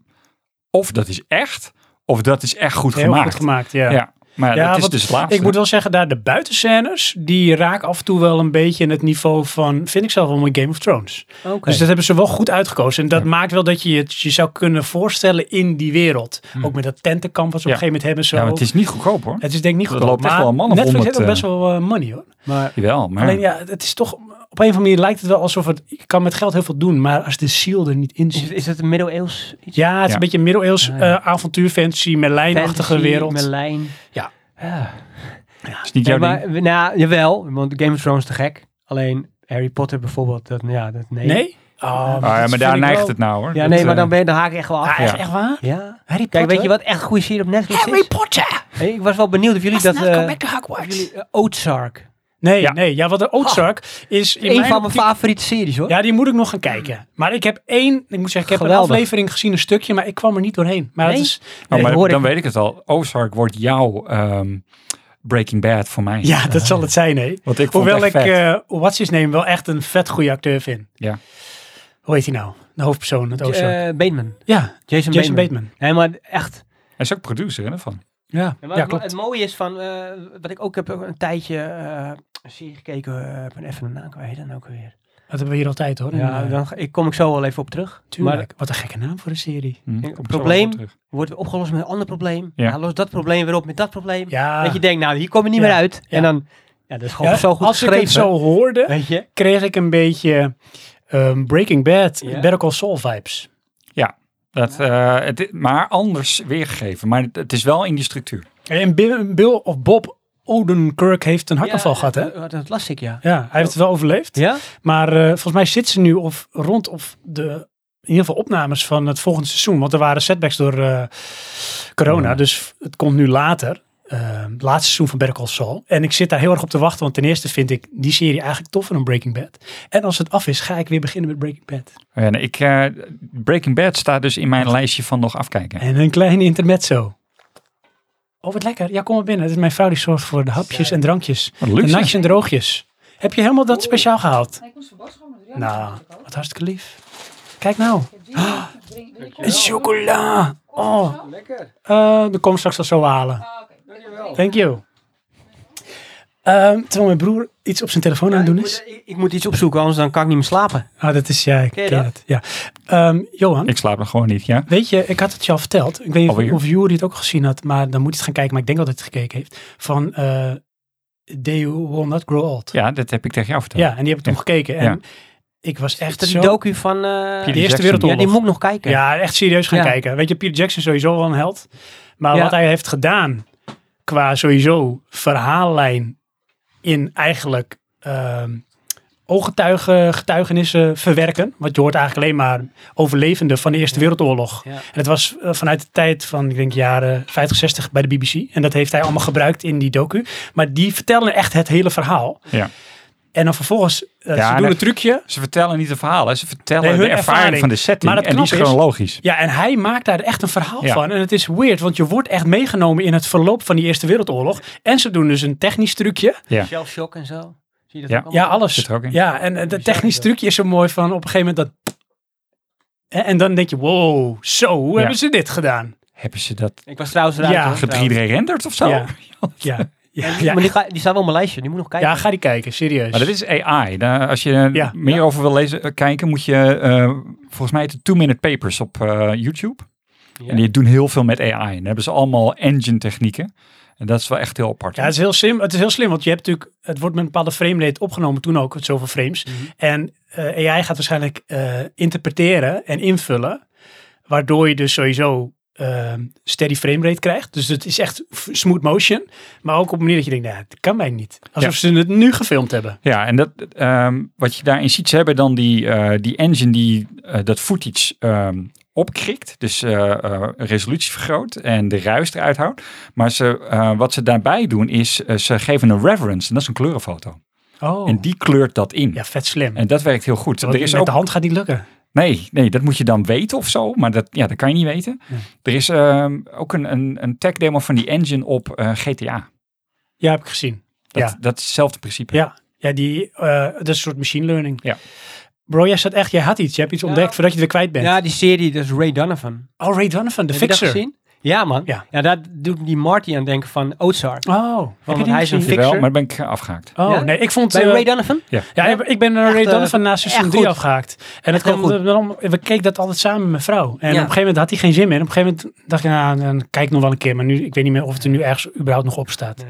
B: of dat is echt, of dat is echt goed
A: Heel
B: gemaakt.
A: goed gemaakt, ja.
B: Ja. maar
A: Ja,
B: dat is
A: want
B: dus het laatste.
A: Ik moet wel zeggen, daar de buitenscènes, die raken af en toe wel een beetje in het niveau van, vind ik zelf wel mooi Game of Thrones.
C: Oké.
A: Dus dat hebben ze wel goed uitgekozen. En dat
B: Ja.
A: maakt wel dat je het je zou kunnen voorstellen in die wereld.
B: Hmm.
A: Ook met dat tentenkamp wat ze
B: Ja.
A: op een gegeven moment hebben. Zo.
B: ja, maar het is niet goedkoop hoor.
A: het is denk ik niet
B: Dat
A: goedkoop.
B: loopt echt
A: maar
B: wel een man of
A: Netflix
B: 100,
A: heeft ook best
B: eh,
A: wel eh, money hoor.
C: Maar
B: Jawel, maar
A: Alleen ja, het is toch, op een of andere manier lijkt het wel alsof het, je kan met geld heel veel doen. Maar als de ziel er niet in
C: is,
A: zit.
C: is het een middeleeuws iets?
A: Ja, het is
B: Ja.
A: een beetje een middeleeuws
C: Ah,
A: eh
C: ja.
A: avontuur, fantasy, Merlijnachtige
C: Fantasy,
A: wereld.
C: Merlijn.
A: Ja.
C: ja.
B: het is niet
C: Ja,
B: jouw
C: maar,
B: ding.
C: we- nou, jawel, want Game of Thrones is te gek. Alleen Harry Potter bijvoorbeeld, dat, ja, dat nee.
A: nee? Oh,
B: Ah, ja,
A: dat
B: maar
A: vind
B: daar
A: ik
B: neigt
A: wel-
B: het nou hoor.
C: Ja,
B: Dat,
C: nee, maar
B: eh,
C: dan, ben je, dan haak ik echt wel af.
A: Ah, is
B: Ja.
A: echt waar?
C: Ja.
A: Harry
C: Kijk, weet
A: Potter?
C: je wat echt een goede serie op Netflix is?
A: Potter!
C: Hey, ik was wel benieuwd of jullie dat... eh,
A: to
C: of jullie, eh, Ozark.
A: Nee,
B: Ja.
A: nee. Ja, wat de Ozark is... in
C: Een van mijn
A: optiek-
C: favoriete series, hoor.
A: Ja, die moet ik nog gaan kijken. Maar ik heb één... Ik moet zeggen, ik heb
C: Geweldig.
A: een aflevering gezien, een stukje, maar ik kwam er niet doorheen. Maar
C: Nee?
A: het is...
B: oh,
C: Nee,
B: maar
C: hoor ik.
B: dan weet ik het al. Ozark wordt jouw ehm, Breaking Bad voor mij.
A: Ja, dat zal het zijn, hè.
B: Want ik vond
A: Hoewel
B: het
A: ik
B: echt vet.
A: eh What's His Name wel echt een vet goede acteur vind.
B: Ja.
A: Hoe heet hij nou? De hoofdpersoon, het
C: Eh,
A: Ozark.
C: Bateman.
A: ja,
C: Jason,
A: Jason
C: Bateman.
A: Bateman.
C: Nee, maar echt.
B: Hij is ook producer hè, daarvan.
A: Ja, ja
C: Maar het, mo-
A: klopt.
C: het mooie is van, eh, wat ik ook heb ook een tijdje eh, een serie gekeken, eh, ik ben even een naam kwijt dan nou ook weer.
A: Dat hebben we hier altijd, hoor.
C: Ja,
A: En, eh,
C: dan ga- ik kom ik zo wel even op terug.
A: tuurlijk.
C: Maar
A: Wat een gekke naam voor een serie.
B: Hm,
C: Het
B: komt zo
C: probleem-
B: wel terug.
C: wordt weer opgelost met een ander probleem.
B: Ja.
C: Ja. los dat probleem weer op met dat probleem.
A: Ja,
C: Dat je denkt, nou, hier kom je niet
A: Ja.
C: meer uit.
A: Ja.
C: En dan, ja, dat is gewoon
A: Ja,
C: zo goed
A: als ik
C: geschreven.
A: het zo hoorde...
C: Weet je?
A: kreeg ik een beetje ehm, Breaking Bad,
C: Ja.
A: Better Call Saul vibes.
B: Dat, eh, het, i- maar anders weergegeven. Maar het, het is wel in die structuur.
A: En Bi- Bill of Bob Odenkirk heeft een hartaanval
C: Ja,
A: gehad, hè?
C: eh, Dat, las ik, ja.
A: Ja, hij heeft het wel overleefd.
C: Ja?
A: Maar eh, volgens mij zit ze nu of rond of de in ieder geval opnames van het volgende seizoen. Want er waren setbacks door eh, corona.
B: Ja.
A: Dus f- het komt nu later. Eh, het laatste seizoen van Better Call Saul. En ik zit daar heel erg op te wachten. Want ten eerste vind ik die serie eigenlijk toffer dan Breaking Bad. En als het af is, ga ik weer beginnen met Breaking Bad.
B: Oh ja, nee, ik, eh, Breaking Bad staat dus in mijn lijstje van nog afkijken.
A: En een klein intermezzo. Oh, wat lekker. Ja, kom maar binnen. Het is mijn vrouw die zorgt voor de hapjes en drankjes.
B: Wat
A: De
B: luxe.
A: natjes en droogjes. Heb je helemaal dat speciaal gehaald?
D: Nee, ik moest de boodschappen doen. Ja,
A: Nou,
D: dat is
A: wat hartstikke lief. Kijk nou.
D: ook. Ik heb drie minuten. Drink- drink-
A: Een chocola. Oh,
C: Lekker.
A: eh dat kom ik straks al zo halen.
D: Ah, oké.
A: Thank you. Ehm, terwijl mijn broer iets op zijn telefoon aan het doen
C: ik,
A: is.
C: moet, ik, ik moet iets opzoeken, anders dan kan ik niet meer slapen.
A: Ah, dat is jij.
C: Ken je
A: ken
C: dat?
A: het. Ja. Ehm, Johan,
B: Ik slaap er gewoon niet, ja.
A: Weet je, ik had het je al verteld. Ik weet niet
B: Alweer?
A: of Jury het ook gezien had, maar dan moet je het gaan kijken. Maar ik denk dat hij het gekeken heeft. Van eh They Will Not Grow Old.
B: Ja, dat heb ik tegen jou verteld.
A: Ja, en die heb ik toen gekeken. En
B: Ja.
A: ik was
C: Is
A: echt
C: dat die
A: zo...
C: docu van... eh,
A: De
B: Peter
A: Eerste
B: Jackson.
C: ja,
A: Wereldoorlog.
C: die moet ik nog kijken.
A: Ja, echt serieus gaan
C: Ja.
A: kijken. Weet je, Peter Jackson is sowieso wel een held. Maar
C: Ja.
A: wat hij heeft gedaan qua sowieso verhaallijn in eigenlijk ehm ooggetuigen, getuigenissen verwerken. Want je hoort eigenlijk alleen maar overlevenden van de Eerste Wereldoorlog.
C: Ja.
A: En het was eh, vanuit de tijd van, ik denk, jaren 50, 60 bij de BBC. En dat heeft hij allemaal gebruikt in die docu. Maar die vertellen echt het hele verhaal.
B: Ja.
A: En dan vervolgens, eh,
B: Ja,
A: ze
B: en
A: doen
B: dat-
A: een trucje.
B: Ze vertellen niet de verhalen, ze vertellen
A: Nee, hun
B: de ervaring,
A: ervaring.
B: van de setting.
A: Maar dat
B: en die is
A: knap is-
B: chronologisch.
A: Ja, en hij maakt daar echt een verhaal
B: Ja.
A: van. En het is weird, want je wordt echt meegenomen in het verloop van die Eerste Wereldoorlog. En ze doen dus een technisch trucje.
B: Ja.
C: Shellshock en zo. Zie je dat
B: Ja.
C: ook allemaal?
A: Ja, alles.
B: Zit er ook in.
A: Ja, en eh, dat technisch trucje is zo mooi van op een gegeven moment dat... En en dan denk je, wow, zo, hoe
B: Ja.
A: hebben ze dit gedaan?
B: Hebben ze dat
C: Ik was trouwens eruit.
A: Ja.
C: hoor, trouwens.
B: gedrenderd of zo?
A: Ja. Ja, ja,
C: Ja,
A: ja.
C: Maar die, ga- die staat wel op mijn lijstje, die moet ik nog kijken.
A: ja ga die kijken, serieus.
B: Maar dat is AI. Daar- als je eh,
A: Ja.
B: meer over wil lezen, eh, kijken, moet je eh, volgens mij de Two Minute Papers op eh, YouTube.
C: Ja.
B: En die doen heel veel met AI. En dan hebben ze allemaal engine technieken. En En dat is wel echt heel apart.
A: Ja, het is heel slim. Het is heel slim, want je hebt natuurlijk, het wordt met een bepaalde frame rate opgenomen toen ook, het zoveel frames. En eh, AI gaat waarschijnlijk eh, interpreteren en invullen, waardoor je dus sowieso eh, steady frame rate krijgt. Dus het is echt f- smooth motion, maar ook op een manier dat je denkt, nou, dat kan mij niet. Alsof ze het nu gefilmd hebben.
B: Ja, en dat, ehm, wat je daarin ziet, ze hebben dan die, eh, die engine die eh, dat footage ehm, opkrikt. Dus eh, eh, resolutie vergroot en de ruis eruit houdt. Maar ze, eh, wat ze daarbij doen is, eh, ze geven een reference. En dat is een kleurenfoto.
A: Oh.
B: En die kleurt dat in.
A: Ja, vet slim.
B: En dat werkt heel goed.
A: Want
B: Er is
A: met
B: ook,
A: de hand gaat niet lukken.
B: nee, nee, dat moet je dan weten of zo. Maar dat, ja, dat kan je niet weten.
A: Nee.
B: Er is ehm, ook een, een, een tech demo van die engine op eh, GTA.
A: Ja, heb ik gezien.
B: Dat,
A: Ja.
B: dat is hetzelfde principe.
A: Ja, ja die, eh, dat is een soort machine learning.
B: Ja.
A: Bro, jij zat echt, jij had iets. Je hebt iets
C: Ja.
A: ontdekt voordat je er kwijt bent.
C: Ja, die serie, dat is Ray Donovan.
A: Oh, Ray Donovan, de
C: Heb je dat
A: fixer.
C: gezien? Ja, man.
A: Ja.
C: Ja. daar doet die Marty aan denken van Ozark.
A: Oh, heb je
C: want
A: die
C: hij is
A: gezien?
C: een
B: Jawel,
C: Fixer?
B: maar dan ben ik eh, afgehaakt.
A: Oh,
C: Ja?
A: nee, ik vond...
C: Bij
A: eh,
C: Ray Donovan?
A: ja, ik- ik ben naar Ray
C: Echt, eh,
A: Donovan na seizoen
C: echt
A: 3
C: goed.
A: afgehaakt. En dat
C: Echt heel
A: kwam, erom- we keken dat altijd samen met mijn vrouw. En op een gegeven moment had hij geen zin meer. En op een gegeven moment dacht ik, nou, dan kijk ik nog wel een keer. Maar nu, ik weet niet meer of het er nu ergens überhaupt nog op staat.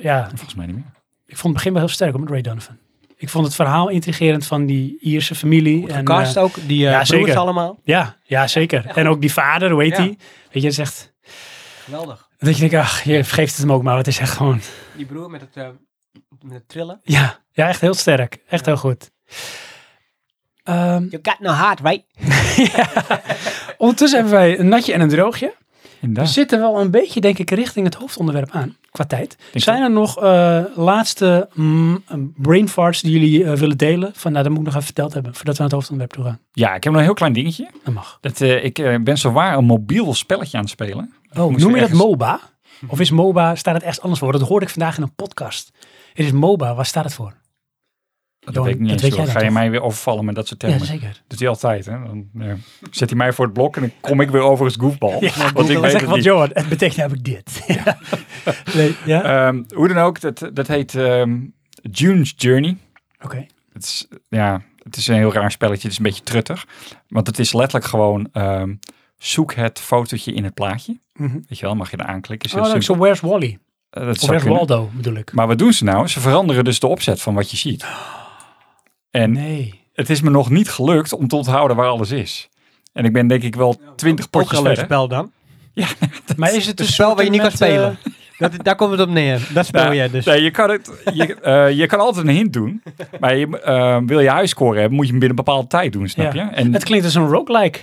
A: Ja,
B: Volgens mij niet meer.
A: ik vond het begin wel heel sterk hoor, met Ray Donovan. Ik vond het verhaal intrigerend van die Ierse familie. en,
C: Cast
A: eh,
C: ook, die eh
A: ja,
C: broers
A: zeker.
C: allemaal.
A: ja, ja, zeker. en ook die vader, hoe heet
C: Ja.
A: die? Weet je, het is echt...
C: Geweldig.
A: Dat je denkt, ach, je vergeeft het hem ook maar. Het is echt gewoon...
C: Die broer met het, eh, met het trillen.
A: Ja, ja echt heel sterk. Echt
C: Ja.
A: heel goed. Ehm,
C: You got no heart, right?
A: ondertussen hebben wij een natje en een droogje. We
B: Inderdaad.
A: zitten wel een beetje, denk ik, richting het hoofdonderwerp aan, qua tijd.
B: Denk
A: Zijn er nog eh, laatste mm, brain farts die jullie eh, willen delen? Van, nou, dat moet ik nog even verteld hebben, voordat we aan het hoofdonderwerp toe gaan.
B: Ja, ik heb nog een heel klein dingetje.
A: Dat mag.
B: Dat, eh, ik eh, ben zowaar een mobiel spelletje aan het spelen.
A: Oh,
B: moest
A: noem je
B: ergens-
A: dat MOBA? Of is MOBA, staat het echt anders voor? Dat hoorde ik vandaag in een podcast. Het is MOBA, waar staat het voor?
B: Dat
A: Johan,
B: weet ik niet
A: dat
B: eens.
A: weet
B: joh.
A: jij dan
B: Ga je
A: toch?
B: mij weer overvallen met dat soort termen?
A: Ja, zeker.
B: Dat doet hij altijd. Hè? Dan eh, zet hij mij voor het blok en dan kom ik weer over als goofbal. want ik
A: Dan
B: weet
A: zeg
B: het
A: wat
B: niet.
A: Johan, het betekent heb ik dit. Ja. Nee, ja?
B: Ehm, hoe dan ook, dat, dat heet ehm, June's Journey.
A: Oké.
B: Het is, ja, het is een heel raar spelletje. Het is een beetje truttig. Want het is letterlijk gewoon... ehm, zoek het fotootje in het plaatje.
A: Mhm.
B: Weet je wel, mag je daar aanklikken. Is
A: Oh,
B: heel
A: dat is
B: simpel.
A: zo Where's Wally?
B: Eh, dat
A: Of
B: zou
A: Where's
B: kunnen.
A: Waldo, bedoel ik.
B: Maar wat doen ze nou? Ze veranderen dus de opzet van wat je ziet. En
A: Nee.
B: het is me nog niet gelukt om te onthouden waar alles is. En ik ben denk ik wel twintig
C: Ook
B: potjes
C: een leuk
B: verder.
C: spel dan.
A: Maar is het
C: Het
A: een
C: spel
A: soort
C: waar je niet kan
A: met,
C: spelen.
A: eh,
C: Dat, daar komt het op neer. Dat speel
B: Nou,
C: je dus.
B: nee, je, kan het, je, eh, je kan altijd een hint doen. Maar je, eh, wil je huiscore hebben, moet je hem binnen een bepaalde tijd doen, snap
A: Ja.
B: je? En,
A: het klinkt als een roguelike.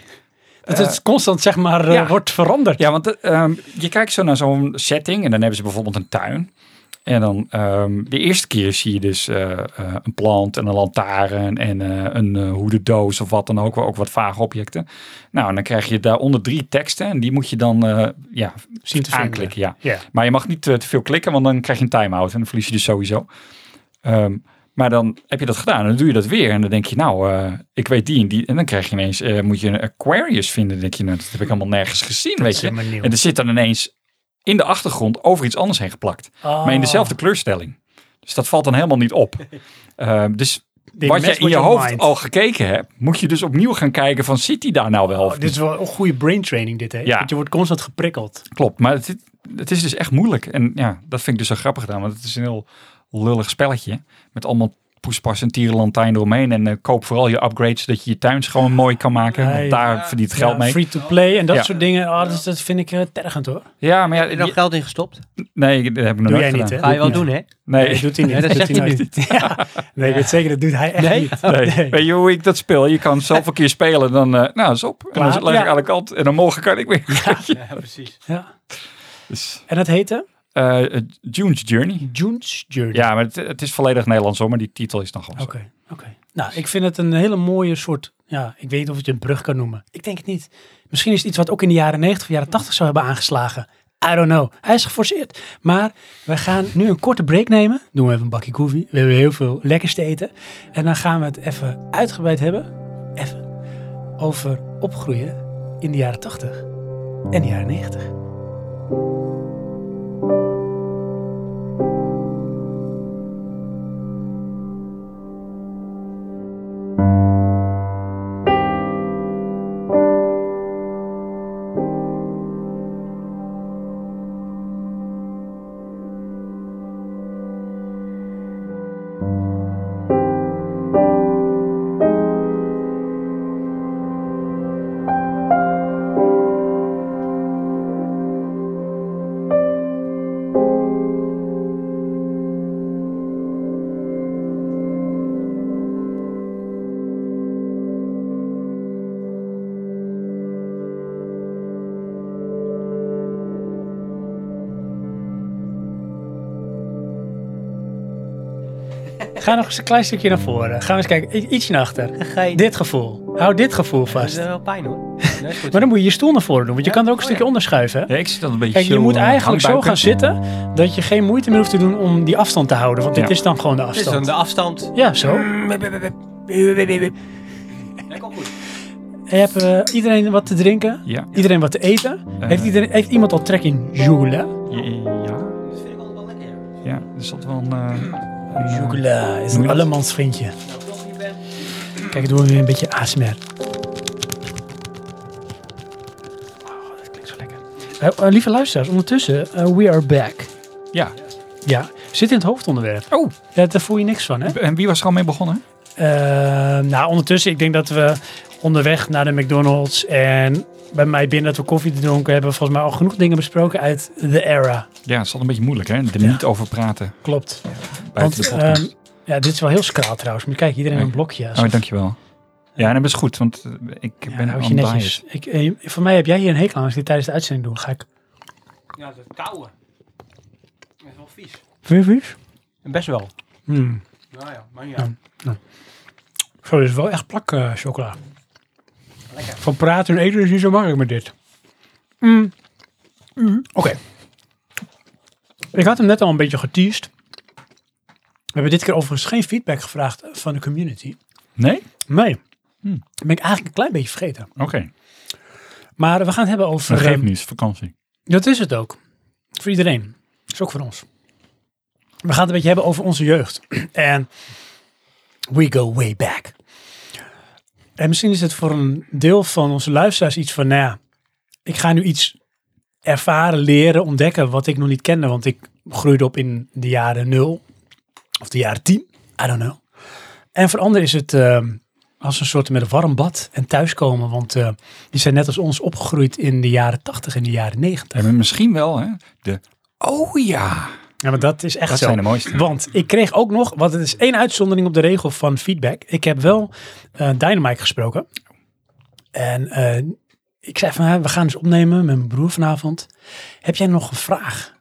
A: Dat het constant, zeg maar, eh,
B: ja.
A: wordt veranderd.
B: ja, want eh, ehm, je kijkt zo naar zo'n setting en dan hebben ze bijvoorbeeld een tuin. En dan ehm, de eerste keer zie je dus eh, eh, een plant en een lantaarn en eh, een eh, hoedendoos of wat dan ook. Ook wat vage objecten. Nou, en dan krijg je daaronder drie teksten en die moet je dan eh, ja,
A: Zien te vinden.
B: aanklikken. Ja.
A: Ja.
B: Maar je mag niet eh, te veel klikken, want dan krijg je een time-out en dan verlies je dus sowieso. Ehm, maar dan heb je dat gedaan en dan doe je dat weer. En dan denk je, nou, eh, ik weet die en die. En dan krijg je ineens, eh, moet je een Aquarius vinden. Dan denk je, nou, dat heb ik allemaal nergens gezien, weet
A: is
B: je.
A: helemaal nieuw.
B: En er zit dan ineens in de achtergrond over iets anders heen geplakt.
A: Oh.
B: Maar in dezelfde kleurstelling. Dus dat valt dan helemaal niet op. Ehm, dus
A: Die
B: wat
A: mess
B: je in
A: with
B: je
A: your
B: hoofd
A: Ah. mind.
B: al gekeken hebt, moet je dus opnieuw gaan kijken van, zit die daar nou wel? of
A: Oh, dit is wel een goede brain training dit, hè?
B: Ja.
A: Want je wordt constant geprikkeld.
B: Klopt, maar het, het is dus echt moeilijk. En ja, dat vind ik dus zo grappig gedaan. Want het is een heel lullig spelletje. Met allemaal poespas en tierenlantijn eromheen. En eh, koop vooral je upgrades, zodat je je tuin gewoon mooi kan maken.
A: Ja, ja.
B: Want daar verdient geld
A: Ja,
B: mee.
A: Free to play en dat
B: Ja.
A: soort dingen. Oh, dat, is- dat vind ik eh, tergend, hoor.
B: Ja, maar ja,
C: Heb je er nog
B: die-
C: geld in gestopt?
B: nee, dat heb ik
A: Doe
B: nog
A: jij
B: nooit
A: niet,
B: gedaan.
A: hè?
C: Ga je wel
A: niet.
C: doen, hè?
A: Nee,
B: Nee,
A: doet hij niet.
C: Ja, dat
A: doet
C: zegt hij
A: nooit. Ja. Nee, ik weet zeker, dat doet hij echt
C: Nee?
A: niet.
B: nee.
A: Nee.
B: Weet je hoe ik dat speel? Je kan zoveel keer spelen, dan eh, nou, is op. En
A: Klaar,
B: dan leg
A: ja.
B: ik aan de kant en dan morgen kan ik weer.
C: Ja, precies.
A: Ja.
B: Dus,
A: En dat heette?
B: eh, June's Journey.
A: June's Journey.
B: Ja, maar het, het is volledig Nederlands hoor, maar die titel is nog gewoon
A: Oké,
B: zo.
A: oké. Nou, ik vind het een hele mooie soort, ja, ik weet niet of het je een brug kan noemen. Ik denk het niet. Misschien is het iets wat ook in de jaren 90 of jaren 80 zou hebben aangeslagen. I don't know. Hij is geforceerd. Maar we gaan nu een korte break nemen. Doen we even een bakje koffie. We hebben heel veel lekkers te eten. En dan gaan we het even uitgebreid hebben. Even. Over opgroeien in de jaren 80 en de jaren 90. Ga nog eens een klein stukje naar voren. Gaan we eens kijken. I- Ietsje naar achter. Dit gevoel. Hou dit gevoel
C: Dat is
A: vast.
C: eh, wel pijn hoor. Nee, is goed.
A: Maar dan moet je je stoel naar voren doen, want je
C: Ja?
A: kan er ook een
C: Oh,
A: stukje
C: ja.
A: onder schuiven. hè?
B: Ja, ik zit dan een beetje
A: Kijk, je
B: zo,
A: moet
B: eh,
A: eigenlijk zo gaan
B: hangbuiken.
A: zitten dat je geen moeite meer hoeft te doen om die afstand te houden. Want dit
B: Ja.
A: is dan gewoon de
C: Dit is dan
A: afstand.
C: de afstand.
A: Ja, zo.
C: Dat komt goed.
A: Heb eh, iedereen wat te drinken?
B: Ja.
A: Iedereen wat te eten?
B: Eh,
A: Heeft, iedereen, heeft iemand al trek in joule?
B: ja, ja,
C: Dat vind ik altijd wel lekker.
B: ja. Er zat wel een... eh, een, eh,
A: Joule is
B: Hoe je
A: een
B: dat-
A: allemans vriendje.
C: Nou,
A: Kijk, doen we weer een beetje ASMR. Oh, dat klinkt zo lekker. Eh, eh, lieve luisteraars, ondertussen, eh, we are back.
B: ja.
A: Ja, zit in het hoofdonderwerp.
B: Oh,
A: Ja, daar voel je niks van, hè?
B: en wie was er al mee begonnen?
A: Eh, nou, ondertussen, ik denk dat we onderweg naar de McDonald's en bij mij binnen dat we koffie gedronken hebben, volgens mij al genoeg dingen besproken uit The Era.
B: Ja, het is altijd een beetje moeilijk, hè? Er
A: Ja.
B: niet over praten
A: Klopt. Want,
B: buiten de podcast.
A: ehm, ja, dit is wel heel skraal trouwens. Maar kijk, iedereen
B: Nee.
A: een blokje. Ja,
B: oh, dankjewel. Ja, nee, dat is goed, want eh, ik
A: Ja,
B: ben
A: houd
B: on
A: je netjes.
B: diet.
A: Ik, eh, voor mij heb jij hier een hekel aan. Als ik dit tijdens de uitzending doe, ga ik...
C: Ja, dat kouwen. Dat is wel vies.
A: Wuf, wuf.
C: Best wel.
A: Hmm.
C: Nou ja, maar
A: Ja. Zo, dit is wel echt plak eh, chocola.
C: Lekker.
A: Van praten en eten is niet zo makkelijk met dit. Mm. Mm. Oké. Ik had hem net al een beetje geteased. We hebben dit keer overigens geen feedback gevraagd van de community.
B: Nee?
A: Nee.
B: Hmm.
A: Dat ben ik eigenlijk een klein beetje vergeten.
B: Oké.
A: Maar we gaan het hebben over...
B: Dat geeft
A: ehm,
B: niets, vakantie.
A: Dat is het ook. Voor iedereen. Is ook voor ons. We gaan het een beetje hebben over onze jeugd. En we go way back. En misschien is het voor een deel van onze luisteraars iets van, nou ja, ik ga nu iets ervaren, leren, ontdekken wat ik nog niet kende. Want ik groeide op in de jaren nul of de jaren tien. I don't know. En voor anderen is het ehm, als een soort met een warm bad en thuiskomen. Want eh, die zijn net als ons opgegroeid in de jaren tachtig en de jaren negentig.
B: En misschien wel, hè? De... Oh ja!
A: Ja, maar dat is echt
B: Dat
A: zo.
B: zijn de mooiste.
A: Want ik kreeg ook nog, want het is één uitzondering op de regel van feedback. Ik heb wel eh Dynamite gesproken. En eh, ik zei van, "Hè, we gaan eens opnemen met mijn broer vanavond. Heb jij nog een vraag?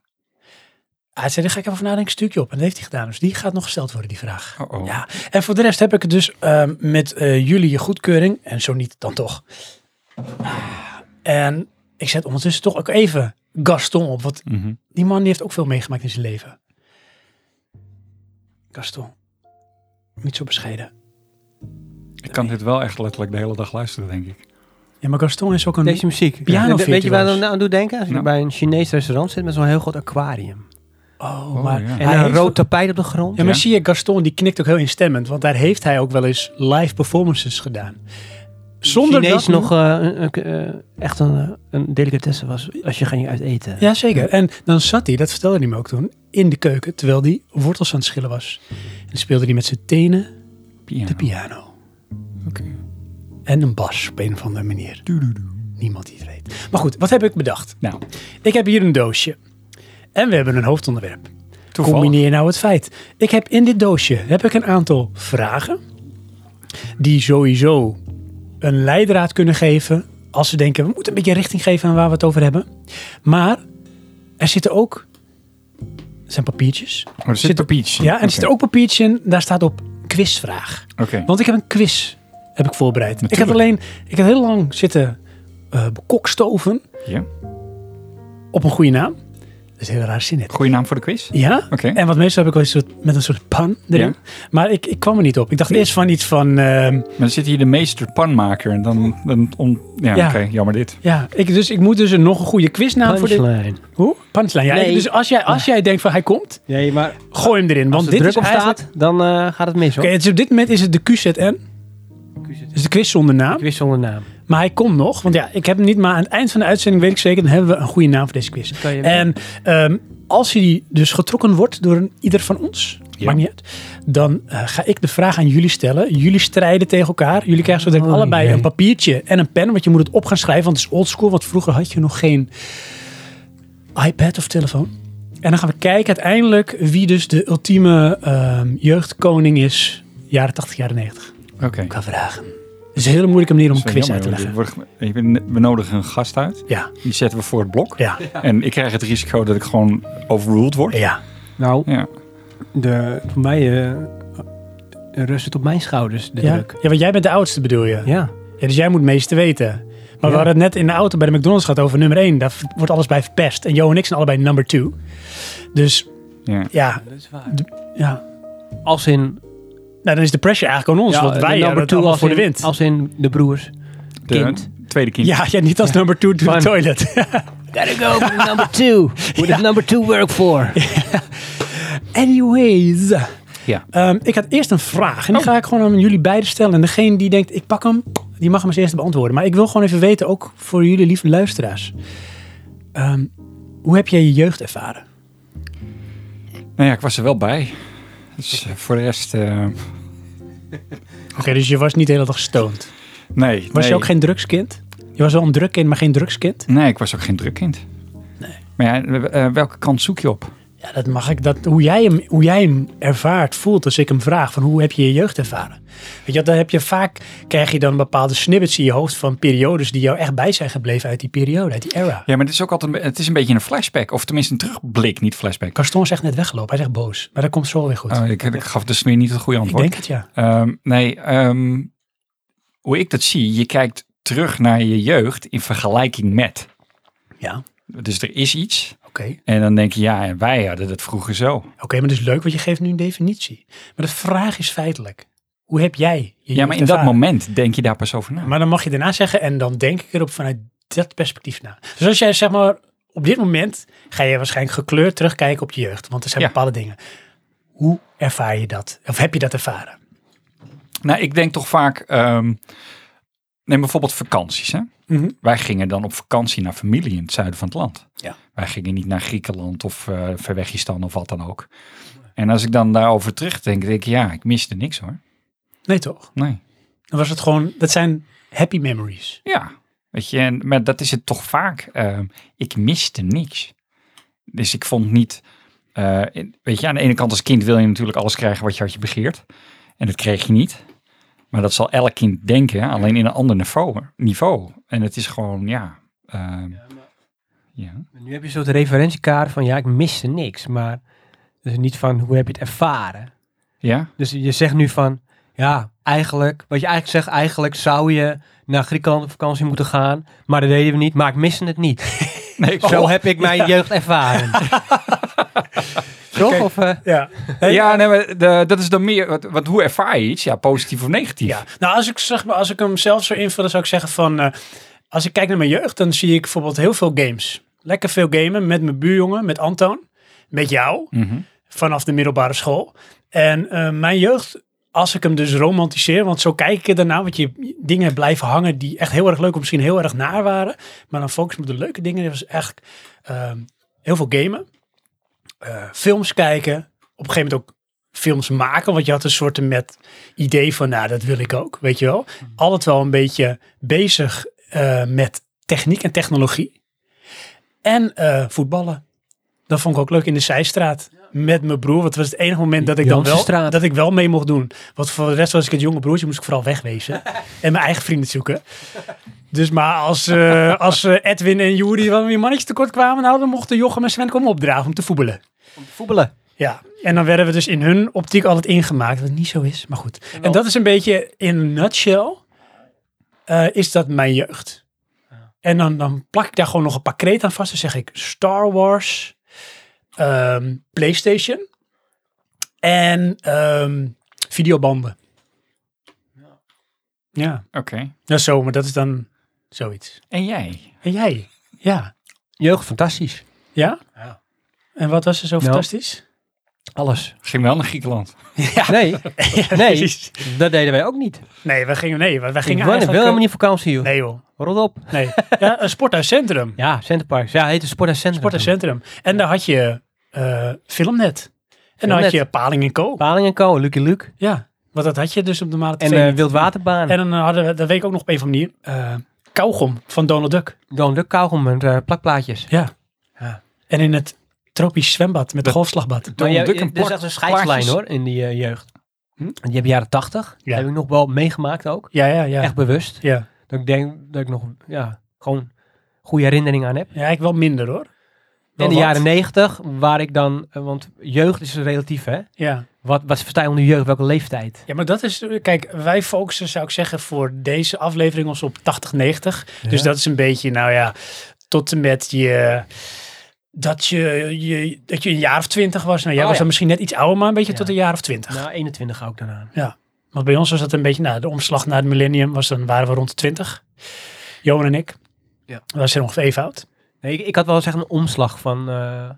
A: Hij zei, daar ga ik even over nadenken, stuur ik je op. En dat heeft hij gedaan. Dus die gaat nog gesteld worden, die vraag.
B: Oh, oh.
A: Ja, en voor de rest heb ik het dus ehm, met eh, jullie je goedkeuring. En zo niet, dan toch. Ah. En ik zet ondertussen toch ook even Gaston op. Want
B: Mhm.
A: die man die heeft ook veel meegemaakt in zijn leven. Gaston. Niet zo bescheiden.
B: Ik kan dit wel echt letterlijk de hele dag luisteren, denk ik.
A: Ja, maar Nou. Gaston is ook een...
C: Deze muziek.
A: Piano
C: Weet- Weet je waar
A: virtuo's.
C: dat aan doet denken? Als je
B: Ja.
C: bij een Chinees restaurant zit met zo'n heel groot aquarium.
A: Oh,
B: Oh,
A: maar...
B: ja.
A: hij
C: En een
A: heeft-
C: rood tapijt op de grond.
A: Ja, maar
B: Ja.
A: zie je, Gaston die knikt ook heel instemmend. Want daar heeft hij ook wel eens live performances gedaan. Zonder
C: Chinees
A: dat...
C: nog eh, een- een- eh, echt een, eh, een delicatesse was als je ging uit eten.
A: Ja, zeker. En dan zat hij, dat vertelde hij me ook toen, in de keuken. Terwijl hij wortels aan het schillen was. En dan speelde hij met zijn tenen
B: Piano.
A: de piano.
B: Oké.
A: En een bas op een of andere manier.
B: Doedoedoe.
A: Niemand die het weet. Maar goed, wat heb ik bedacht?
B: Nou,
A: Ik heb hier een doosje. En we hebben een hoofdonderwerp.
B: toevallig.
A: Combineer nou het feit. Ik heb in dit doosje heb ik een aantal vragen. Die sowieso een leidraad kunnen geven. Als ze denken, we moeten een beetje richting geven aan waar we het over hebben. Maar er zitten ook... Het zijn papiertjes.
B: Oh, er zit
A: Zit-
B: een peach.
A: Ja, en er zit ook papiertje in. Daar staat op quizvraag.
B: Oké.
A: Want ik heb een quiz heb ik voorbereid. Ik heb
B: Natuurlijk.
A: alleen... Ik heb heel lang zitten eh bekokstoven
B: Ja.
A: op een goede naam. Dat is een hele raar zin. dit.
B: Goeie naam voor de quiz?
A: Ja,
B: Oké.
A: en wat meestal heb ik wel een soort, met een soort pan erin.
B: Ja.
A: Maar ik, ik kwam er niet op. Ik dacht eerst van iets van... ehm,
B: Maar dan zit hier de meester panmaker en dan... dan on... Ja,
A: Ja.
B: oké. Jammer dit.
A: ja, ik, dus ik moet dus een, nog een goede quiznaam nou, voor dit...
C: Punchline.
A: Hoe? Punchline. Ja,
C: Nee.
A: Dus als jij, als jij denkt van hij komt,
C: Nee, maar als
A: gooi hem erin. Want
C: er
A: dit
C: druk
A: is
C: op staat,
A: eigenlijk-
C: dan eh, gaat het mis hoor.
A: Oké, het is op dit moment is het de QZN. Dus de quiz zonder naam.
C: Ik wist zonder naam.
A: Maar hij komt nog. Want ja, ik heb hem niet. Maar aan het eind van de uitzending weet ik zeker, dan hebben we een goede naam voor deze quiz.
C: Kan je-
A: En ehm, als hij dus getrokken wordt door een, ieder van ons,
B: Ja.
A: maakt niet uit, dan eh, ga ik de vraag aan jullie stellen. Jullie strijden tegen elkaar. Jullie krijgen zo direct
C: Oh,
A: allebei
C: jee.
A: een papiertje en een pen, want je moet het op gaan schrijven, want het is oldschool, want vroeger had je nog geen iPad of telefoon. En dan gaan we kijken uiteindelijk wie dus de ultieme ehm, jeugdkoning is, jaren 80, jaren 90,
B: Oké.
A: qua vragen. Het is een hele moeilijke manier om een
B: Zo
A: quiz
B: jammer,
A: uit te
B: joh.
A: leggen.
B: Dit wordt- ik ben- We nodigen een gast uit.
A: Ja,
B: Die zetten we voor het blok.
A: ja,
B: En ik krijg het risico dat ik gewoon overruled word.
A: ja.
C: Nou,
B: Ja.
C: de, voor mij eh, rust het op mijn schouders, de
A: Ja?
C: druk.
A: ja, want jij bent de oudste bedoel je.
C: Ja.
A: Ja, dus jij moet het meeste weten. Maar
C: Ja.
A: we hadden het net in de auto bij de McDonald's gehad over nummer 1. Daar v- wordt alles bij verpest. En Jo en ik zijn allebei number 2. Dus
B: Ja.
A: ja,
C: Dat is waar.
A: ja.
C: Als in...
A: Nou, dan is de pressure eigenlijk aan ons. want wij hebben het allemaal
C: als
A: voor de
C: in-
A: wind.
C: Als in de broers.
B: De
C: Kind.
B: tweede kind.
A: Ja, ja, niet als number 2 to the
C: Fun.
A: toilet.
C: Gotta go with number two. What does number two work for?
A: Anyways.
B: Ja. Oh.
A: Ehm, ik had eerst een vraag. En die ga ik gewoon aan jullie beiden stellen. En degene die denkt, ik pak hem, die mag hem als eerste beantwoorden. Maar ik wil gewoon even weten, ook voor jullie lieve luisteraars. Ehm, hoe heb jij je jeugd ervaren?
B: Nou ja, ik was er wel bij. Dus eh, voor de rest... eh,
A: Oké, dus je was niet de hele dag stoned.
B: nee.
A: Was
B: nee.
A: je ook geen drugskind? Je was wel een drugkind, maar geen drugskind?
B: Nee, ik was ook geen drukkind. Nee. Maar ja, eh, eh, welke kant zoek je op?
A: Ja, dat mag ik. Dat, hoe, jij hem, hoe jij hem ervaart, voelt als ik hem vraag van hoe heb je je jeugd ervaren? Weet je, dan heb je vaak, krijg je dan bepaalde snippets in je hoofd van periodes die jou echt bij zijn gebleven uit die periode, uit die era.
B: Ja, maar het is ook altijd... een be- Het is een beetje een flashback. Of tenminste een terugblik, niet flashback.
A: Gaston is echt net weggelopen, hij is echt boos. Maar dat komt zo weer goed.
B: Oh, ik, ik gaf dus weer niet het goede
A: ik
B: antwoord.
A: denk het ja.
B: Ehm, nee, ehm, hoe ik dat zie, je kijkt terug naar je jeugd in vergelijking met.
A: Ja, oké.
B: Dus er is iets en dan denk je, ja, en wij hadden dat vroeger zo.
A: Oké, maar dat is leuk, want je geeft nu een definitie. Maar de vraag is feitelijk, hoe heb jij je jeugd
B: Ja, maar in dat
A: ervaren?
B: moment denk je daar pas over na.
A: Maar dan mag je daarna zeggen en dan denk ik erop vanuit dat perspectief na. Dus als jij zeg maar op dit moment ga je waarschijnlijk gekleurd terugkijken op je jeugd, want er zijn
B: Ja.
A: bepaalde dingen. Hoe ervaar je dat? Of heb je dat ervaren?
B: Nou, ik denk toch vaak, ehm, neem bijvoorbeeld vakanties. Hè?
A: Mhm.
B: Wij gingen dan op vakantie naar familie in het zuiden van het land.
A: Ja.
B: Wij gingen niet naar Griekenland of eh Verwegistan of wat dan ook. En als ik dan daarover terugdenk, denk ik, ja, ik miste niks hoor.
A: Nee toch?
B: Nee.
A: Dan was het gewoon. Dat zijn happy memories.
B: Ja, weet je, en, maar dat is het toch vaak. ehm, ik miste niks. Dus ik vond niet, eh, in- weet je, aan de ene kant als kind wil je natuurlijk alles krijgen wat je had je begeert. En dat kreeg je niet. Maar dat zal elk kind denken, alleen in een ander niveau. niveau. En het is gewoon, ja, ehm, ja.
C: Nu heb je een soort referentiekader van ja, ik miste niks. Maar dus niet van hoe heb je het ervaren.
B: Ja,
C: Dus je zegt nu van ja, eigenlijk, wat je eigenlijk zegt, eigenlijk zou je naar Griekenland op vakantie moeten gaan. Maar dat deden we niet, maar ik miste het niet.
B: nee, ik
C: Zo
A: Oh.
B: zal-
C: heb ik mijn jeugd ervaren. Toch? Of, eh,
A: Ja.
B: ja nee, maar de- dat is dan meer, wat, wat, hoe ervaar je iets? Ja, positief of negatief?
A: Ja, nou als ik, zeg maar, als ik hem zelf zou invullen, zou ik zeggen van, eh, als ik kijk naar mijn jeugd, dan zie ik bijvoorbeeld heel veel games. Lekker veel gamen met mijn buurjongen, met Anton, met jou,
B: Mhm.
A: vanaf de middelbare school. En eh, mijn jeugd, als ik hem dus romantiseer, want zo kijk ik er daarna, want je dingen blijven hangen die echt heel erg leuk of misschien heel erg naar waren. Maar dan focus ik me op de leuke dingen. Dat was echt ehm, heel veel gamen, eh, films kijken, op een gegeven moment ook films maken, want je had een soort met idee van, nou, dat wil ik ook, weet je wel. Altijd wel een beetje bezig eh, met techniek en technologie. En eh, voetballen. Dat vond ik ook leuk in de zijstraat met mijn broer. Want dat was het enige moment dat ik dan wel,
C: Jansenstraat.
A: dat ik wel mee mocht doen. Want voor de rest was ik het jonge broertje, moest ik vooral wegwezen. en mijn eigen vrienden zoeken. Dus maar als, eh, als eh, Edwin en Juri wel weer mannetjes tekort kwamen, nou, dan mochten Jochem en Sven komen opdragen om te voetballen.
C: voetballen.
A: Ja, en dan werden we dus in hun optiek altijd ingemaakt, wat niet zo is, maar goed. En dat is een beetje in een nutshell, eh, is dat mijn jeugd. En dan, dan plak ik daar gewoon nog een paar kreet aan vast. Dan zeg ik Star Wars, ehm, PlayStation en ehm, videobanden. Ja,
B: Oké.
A: dat is zo, maar dat is dan zoiets.
B: En jij?
A: En jij? Ja.
C: Jeugd, fantastisch.
A: Ja?
C: Ja.
A: En wat was er zo
C: Nou.
A: fantastisch?
C: Alles.
B: Ging wel naar Griekenland.
C: Nee, nee,
A: Ah. Precies.
C: dat deden wij ook niet.
A: Nee, we gingen, nee, we- wij
C: Ik
A: gingen
C: wil
A: eigenlijk... eh,
C: helemaal niet op vakantie, joh.
A: Nee joh.
C: Rot op.
A: Nee. Ja, een sporthuiscentrum.
C: Ja, Centerparks. Ja, het heette Sport en Centrum.
A: Sporthuiscentrum. En daar had je eh, Filmnet. En dan had
C: Filmnet.
A: je Paling en Co.
C: Paling en Co, Lucky Luke.
A: Ja, want dat had je dus op de normale
C: En
A: tv.
C: eh, Wildwaterbaan.
A: en dan hadden we, dat weet ik ook nog op een of andere manier, eh kauwgom van Donald Duck.
C: Donald Duck kauwgom met eh, plakplaatjes.
A: Ja.
C: Ja.
A: En in het tropisch zwembad met
B: Dat-
A: golfslagbad.
B: Donald
C: Maar je-
B: Duck en
C: Er
B: plak-
C: is echt een scheidslijn
B: plaatjes.
C: hoor, in die eh, jeugd.
A: Hm?
C: Want Je hebt jaren tachtig.
A: Ja.
C: Heb ik nog wel meegemaakt ook.
A: Ja, ja, ja.
C: Echt bewust.
A: Ja.
C: Dat ik denk dat ik nog ja, gewoon goede herinneringen aan heb.
A: ja, ik wel minder hoor.
C: En de
A: wat.
C: jaren negentig, waar ik dan... eh, Want jeugd is relatief, hè?
A: Ja.
C: Wat, wat versta je onder jeugd? Welke leeftijd?
A: ja, maar dat is... Kijk, wij focussen, zou ik zeggen, voor deze aflevering ons op 80, 90. Dus dat is een beetje, nou ja, tot en met je... Dat je, je, dat je een jaar of twintig was. Nou, jij
C: Oh,
A: was
C: ja.
A: dan misschien net iets ouder, maar een beetje
C: Ja.
A: tot een jaar of twintig.
C: Nou, 21 ga ik dan aan.
A: Want bij ons was dat een beetje, nou, de omslag naar het millennium was dan, waren we rond de twintig. Johan en ik.
C: Ja.
A: We waren ongeveer even oud.
C: Nee, ik, ik had wel zeg een omslag van... eh,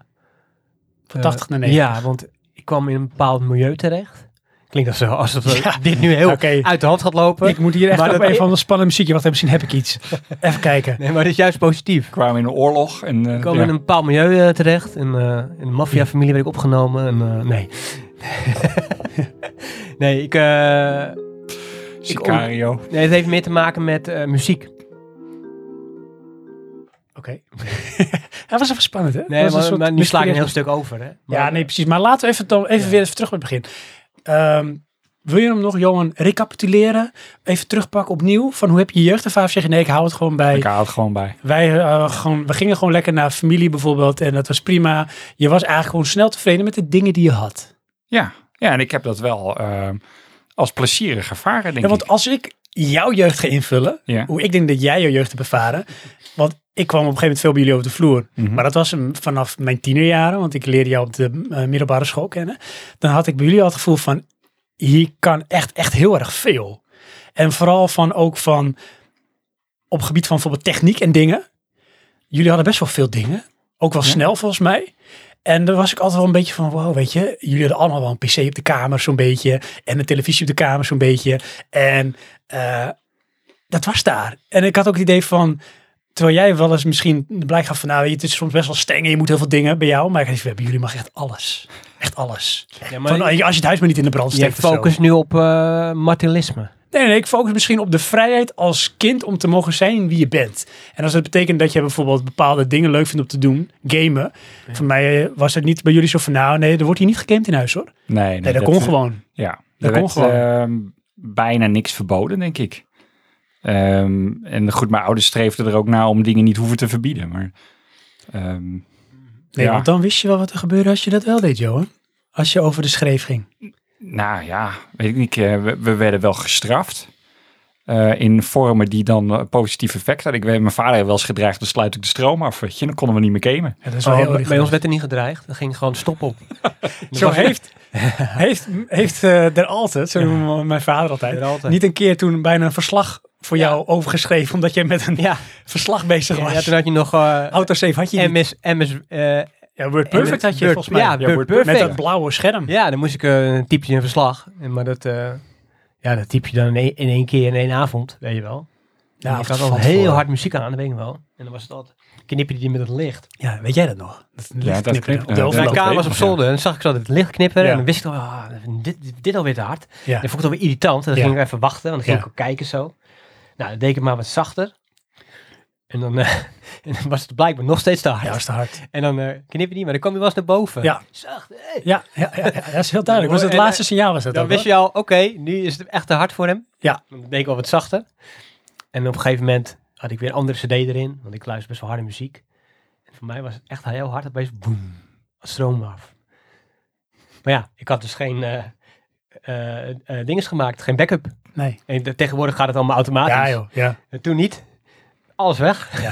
A: Van
C: eh,
A: 80 naar 90.
C: Ja, want ik kwam in een bepaald milieu terecht. Klinkt dat zo, alsof we
A: Ja.
C: dit nu heel
A: Oké.
C: uit de hand gaat lopen.
A: Ik moet hier echt
C: Maar
A: op
C: dat-
A: een van de spannende muziekje wachten. Misschien heb ik iets. Even kijken.
C: Nee, maar dat is juist positief.
B: kwamen in een oorlog. En, eh,
C: Ik kwam
B: ja.
C: in een bepaald milieu eh, terecht. In, eh, in een maffiafamilie werd ik opgenomen. En, eh, nee. nee, ik, eh,
B: Sicario.
C: nee, het heeft meer te maken met eh, muziek.
A: Oké. dat was even spannend, hè?
C: Nee,
A: Dat was een
C: maar,
A: soort
C: maar nu sla ik een heel
A: mysterieus-
C: stuk over. Hè? Maar,
A: Ja, nee, precies. Maar laten we even, dan, even
C: Ja.
A: weer even terug bij het begin. Ehm, wil je hem nog, Johan, recapituleren? Even terugpakken opnieuw? Van hoe heb je je jeugdervaaf? Zeg je, nee, ik hou het gewoon bij.
B: Ik hou het gewoon bij.
A: Wij eh, gewoon, we gingen gewoon lekker naar familie bijvoorbeeld. En dat was prima. Je was eigenlijk gewoon snel tevreden met de dingen die je had.
B: Ja, ja en ik heb dat wel eh, als plezierig ervaren, denk
A: Ja, want
B: ik.
A: als ik jouw jeugd ga invullen,
B: Ja.
A: hoe ik denk dat jij jouw jeugd hebt ervaren. Want ik kwam op een gegeven moment veel bij jullie over de vloer.
B: Mhm.
A: Maar dat was hem vanaf mijn tienerjaren, want ik leerde jou op de eh, middelbare school kennen. Dan had ik bij jullie al het gevoel van, hier kan echt, echt heel erg veel. En vooral van ook van, op gebied van bijvoorbeeld techniek en dingen. Jullie hadden best wel veel dingen. Ook wel
B: Ja.
A: snel volgens mij. En daar was ik altijd wel een beetje van, wow, weet je, jullie hadden allemaal wel een pc op de kamer zo'n beetje. En een televisie op de kamer zo'n beetje. En eh, dat was daar. En ik had ook het idee van, Terwijl jij wel eens misschien blijk gaf van, nou, weet je, het is soms best wel streng en je moet heel veel dingen bij jou. Maar ik dacht, we hebben jullie mag echt alles. Echt alles.
C: Ja, maar
A: Van, nou, als je het huis maar niet in de brand
C: je
A: steekt of zo. Oh,
C: focust nu op eh martelisme.
A: Nee, nee, ik focus misschien op de vrijheid als kind om te mogen zijn wie je bent. En als dat betekent dat je bijvoorbeeld bepaalde dingen leuk vindt om te doen, gamen. Voor mij eh, was het niet bij jullie zo van, nou, nee, er wordt hier niet gegamed in huis hoor. Nee,
B: Nee, nee,
A: dat,
C: eh,
A: kon gewoon.
B: Ja,
A: Dat
B: er
A: kon
B: werd
A: gewoon.
B: ehm, bijna niks verboden, denk ik. Ehm, en goed, mijn ouders streefden er ook naar om dingen niet hoeven te verbieden. Maar ehm,
A: Nee,
B: ja.
A: want dan wist je wel wat er gebeurde als je dat wel deed, Johan. Als je over de schreef ging.
B: nou ja, weet ik niet. eh, we, we werden wel gestraft. eh, in vormen die dan eh, positief effect hadden. Ik weet, mijn vader heeft wel eens gedreigd, dan sluit ik de stroom af. Weet je, dan konden we niet meer gamen.
A: Ja, dat is
C: Oh,
A: wel heel
C: bij-
A: erg
C: bij ons werd er niet gedreigd. Er ging gewoon stop op. Dat
A: Zo
C: was-
A: heeft, heeft, heeft eh, er altijd, zo noemen we mijn vader altijd,
C: Er altijd.
A: niet een keer toen bijna een verslag voor
C: Ja.
A: jou overgeschreven, omdat jij met een
C: Ja,
A: verslag bezig was.
C: ja, toen had je nog eh,
A: Autosave had je niet.
C: MS, MS, eh,
A: ja, Word
C: MS
A: Perfect had je
C: Word-
A: volgens mij.
C: Ja, Word
A: Word
C: Perfect.
A: Met dat blauwe scherm.
C: Ja, dan moest ik eh, een typje een verslag. En, maar dat, eh, ja, dat typ je dan in één, in één keer in één avond, weet je wel. Ja, ik
A: of
C: had
A: van
C: al heel
A: tevoren.
C: hard muziek aan, dat weet ik wel. En dan was het altijd, knipper die met het licht.
A: Ja, weet jij dat nog? Dat licht
B: dat
A: knipperde
B: knipt-
A: op
B: eh,
A: de
B: dat
A: helft
C: Mijn
A: van de-
B: klopt.
C: kamer was op
B: Ja.
C: zonder en dan zag ik zo altijd het licht knipperen.
A: Ja.
C: En dan wist ik al, ah, dit, dit alweer te hard.
A: Ja.
C: En dan vond ik het alweer irritant. En dan
A: Ja.
C: ging ik even wachten, want dan ging
A: Ja.
C: ik ook kijken zo. Nou, dan deed ik het maar wat zachter. En dan, eh, en dan was het blijkbaar nog steeds te hard.
A: Ja, dat is te hard.
C: En dan eh knipper die, maar dan kwam hij wel eens naar boven.
A: Ja.
C: Zacht,
A: Ja, ja, ja, ja, dat is heel duidelijk. Was het
C: En, eh,
A: laatste signaal was dat
C: Dan
A: ook,
C: wist
A: hoor.
C: je al, oké, nu is het echt te hard voor hem.
A: Ja.
C: Dan deed ik al wat zachter. En op een gegeven moment had ik weer een andere cd erin, want ik luister best wel harde muziek. En voor mij was het echt heel hard, opeens boem, als stroom af. Maar ja, ik had dus geen eh eh, eh, dinges gemaakt, geen backup.
A: Nee.
C: En de- tegenwoordig gaat het allemaal automatisch.
A: Ja joh, ja.
C: En toen niet. Alles weg.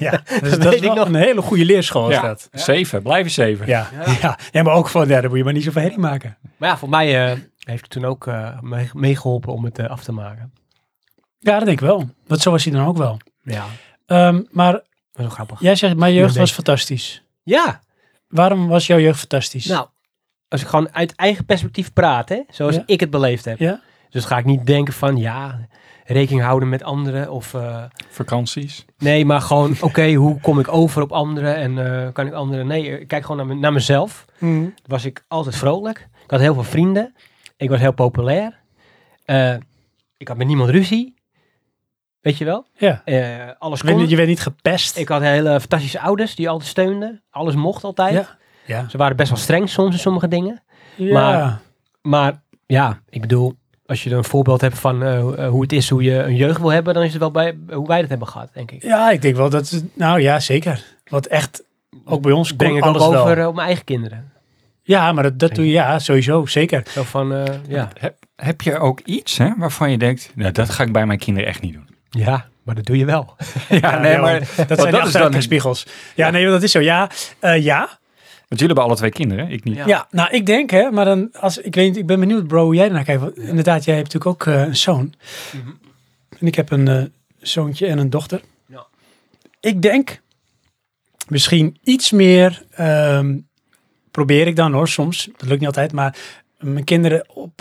A: ja. Dus
C: weet
A: dat is
C: ik
A: wel
C: nog.
A: een hele goede leerschool is
B: Ja.
A: dat.
B: Zeven, blijven zeven.
A: Ja. Ja. ja, maar ook van, ja, daar moet je maar niet zoveel herrie maken.
C: Maar ja, voor mij eh, heeft het toen ook eh, mee- meegeholpen om het eh, af te maken.
A: Ja, dat denk ik wel. Want zo was hij dan ook wel.
C: Ja,
A: Ehm, maar
C: dat is wel grappig.
A: Jij zegt, mijn jeugd
C: Ja,
A: was
C: nee.
A: fantastisch.
C: ja.
A: Waarom was jouw jeugd fantastisch?
C: Nou, als ik gewoon uit eigen perspectief praat, hè, zoals
A: Ja.
C: ik het beleefd heb.
A: Ja.
C: Dus ga ik niet denken van, ja, rekening houden met anderen. Of, eh,
B: Vakanties.
C: nee, maar gewoon, oké, hoe kom ik over op anderen en eh, kan ik anderen... Nee, ik kijk gewoon naar, me- naar mezelf.
A: Mhm.
C: Was ik altijd vrolijk. Ik had heel veel vrienden. Ik was heel populair. Eh, ik had met niemand ruzie. Weet je wel?
A: Ja.
C: Eh, alles
A: Je, werd
C: kon.
A: niet, je werd niet gepest.
C: Ik had hele fantastische ouders die altijd steunden. Alles mocht altijd.
A: Ja. ja.
C: Ze waren best wel streng soms in sommige dingen.
A: ja.
C: Maar- Maar ja, ik bedoel, als je dan een voorbeeld hebt van eh, hoe- eh, hoe het is, hoe je een jeugd wil hebben, dan is het wel bij hoe wij dat hebben gehad, denk ik.
A: ja, ik denk wel dat... het- Nou ja, zeker. Want echt, Ook bij ons kon
C: breng ik
A: alles
C: ook
A: wel.
C: over eh, op mijn eigen kinderen.
A: Ja, maar dat, dat doe je, ja, sowieso, zeker.
C: Zo van, eh, ja.
B: Heb, heb je ook iets hè, waarvan je denkt, nou, dat ga ik bij mijn kinderen echt niet doen?
C: Ja, maar dat doe je wel.
B: Ja, nee,
A: Ja,
B: maar
A: dat
B: want
A: zijn de
B: dat is dan het-
A: achteruitkijkspiegels. Ja, nee, dat is zo. Ja, eh, ja,
B: Want jullie hebben alle twee kinderen, ik niet.
C: Ja.
A: Ja. nou ik denk hè, maar dan als ik weet, niet, ik ben benieuwd, bro, hoe jij ernaar kijkt. Want inderdaad, jij hebt natuurlijk ook eh, een zoon. En ik heb een eh, zoontje en een dochter.
C: Ja.
A: Ik denk misschien iets meer ehm, probeer ik dan hoor, soms. Dat lukt niet altijd, maar mijn kinderen op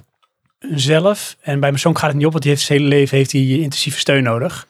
A: hunzelf. En bij mijn zoon gaat het niet op, want die heeft zijn hele leven heeft hij intensieve steun nodig.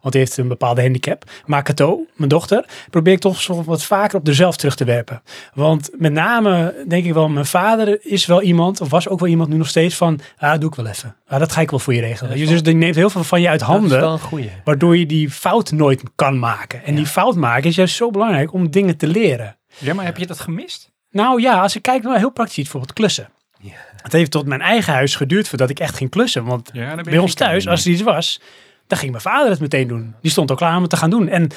A: Want die heeft een bepaalde handicap. Maar Cato, mijn dochter, probeer ik toch zo wat vaker op zichzelf terug te werpen. Want met name, denk ik wel, mijn vader is wel iemand, of was ook wel iemand nu nog steeds van, ah, doe ik wel even. Ah, dat ga ik wel voor je regelen.
C: Ja, dat is
A: dus die neemt heel veel van je uit
C: Dat is
A: handen.
C: wel een goeie.
A: Waardoor je die fout nooit kan maken. En die fout maken is juist zo belangrijk om dingen te leren.
B: Ja, maar heb je dat gemist?
A: Nou ja, als ik kijk naar heel praktisch, iets, bijvoorbeeld klussen.
C: Ja.
A: Het heeft tot mijn eigen huis geduurd voordat ik echt ging klussen. Want
B: Ja, dan ben je
A: bij ons
B: geen
A: thuis,
B: kinderen
A: als er iets was, dan ging mijn vader het meteen doen. Die stond al klaar om het te gaan doen. En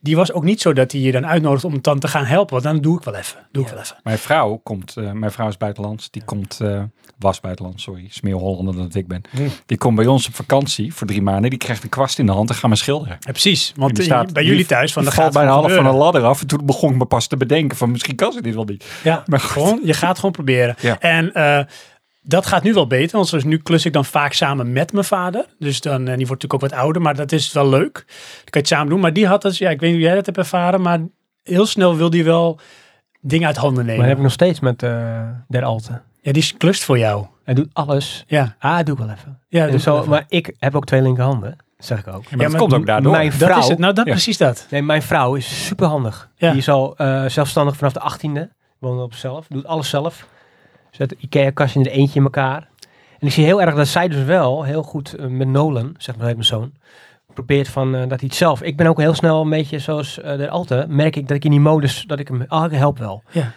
A: die was ook niet zo dat hij je dan uitnodigt om het dan te gaan helpen. Want dan doe ik wel even. Doe ik wel even.
B: Mijn vrouw komt, eh, mijn vrouw is buitenlands, die komt, eh, was buitenlands, sorry, is meer Hollander dan dat ik ben.
A: Hmm.
B: Die komt bij ons op vakantie voor drie maanden, die krijgt een kwast in de hand en gaan we schilderen.
A: Ja, precies. Want
B: Die
A: in-
B: staat-
A: bij
B: die
A: jullie thuis, van
B: Ik
A: de
B: val
A: gaat
B: bijna
A: gewoon
B: half van een
A: gebeuren.
B: ladder af en toen begon ik me pas te bedenken van misschien kan ze dit wel niet.
A: Ja,
B: Maar
A: maar
B: goed.
A: gewoon, je gaat gewoon proberen.
B: Ja.
A: En eh, dat gaat nu wel beter, want zoals nu klus ik dan vaak samen met mijn vader. Dus dan, en die wordt natuurlijk ook wat ouder, maar dat is wel leuk. Dan kan je het samen doen. Maar die had dus, ja, ik weet niet hoe jij dat hebt ervaren, maar heel snel wil die wel dingen uit handen nemen.
C: Maar dat heb ik nog steeds met eh Der Alte.
A: Ja, die is- klust voor jou.
C: Hij doet alles.
A: Ja,
C: Ah, doe ik wel even.
A: ja,
C: En
A: dat,
C: zo, maar ik heb ook twee linkerhanden, zeg ik ook.
B: Ja, maar
A: Ja,
B: dat
A: maar
B: komt ook daardoor.
C: Mijn
A: dat
C: vrouw,
A: is het. Nou, dat,
B: Ja.
A: precies dat.
C: nee, mijn vrouw is superhandig.
A: Ja.
C: Die is al eh, zelfstandig vanaf de 18e. Woont op zelf, doet alles zelf. Zet de Ikea-kastje in het eentje in elkaar. En ik zie heel erg dat zij dus wel heel goed eh, met Nolan, zeg maar, heet mijn zoon, probeert van eh, dat hij het zelf. Ik ben ook heel snel een beetje zoals eh de Alte, merk ik dat ik in die modus, dat ik hem, ah, ik help wel.
A: Ja.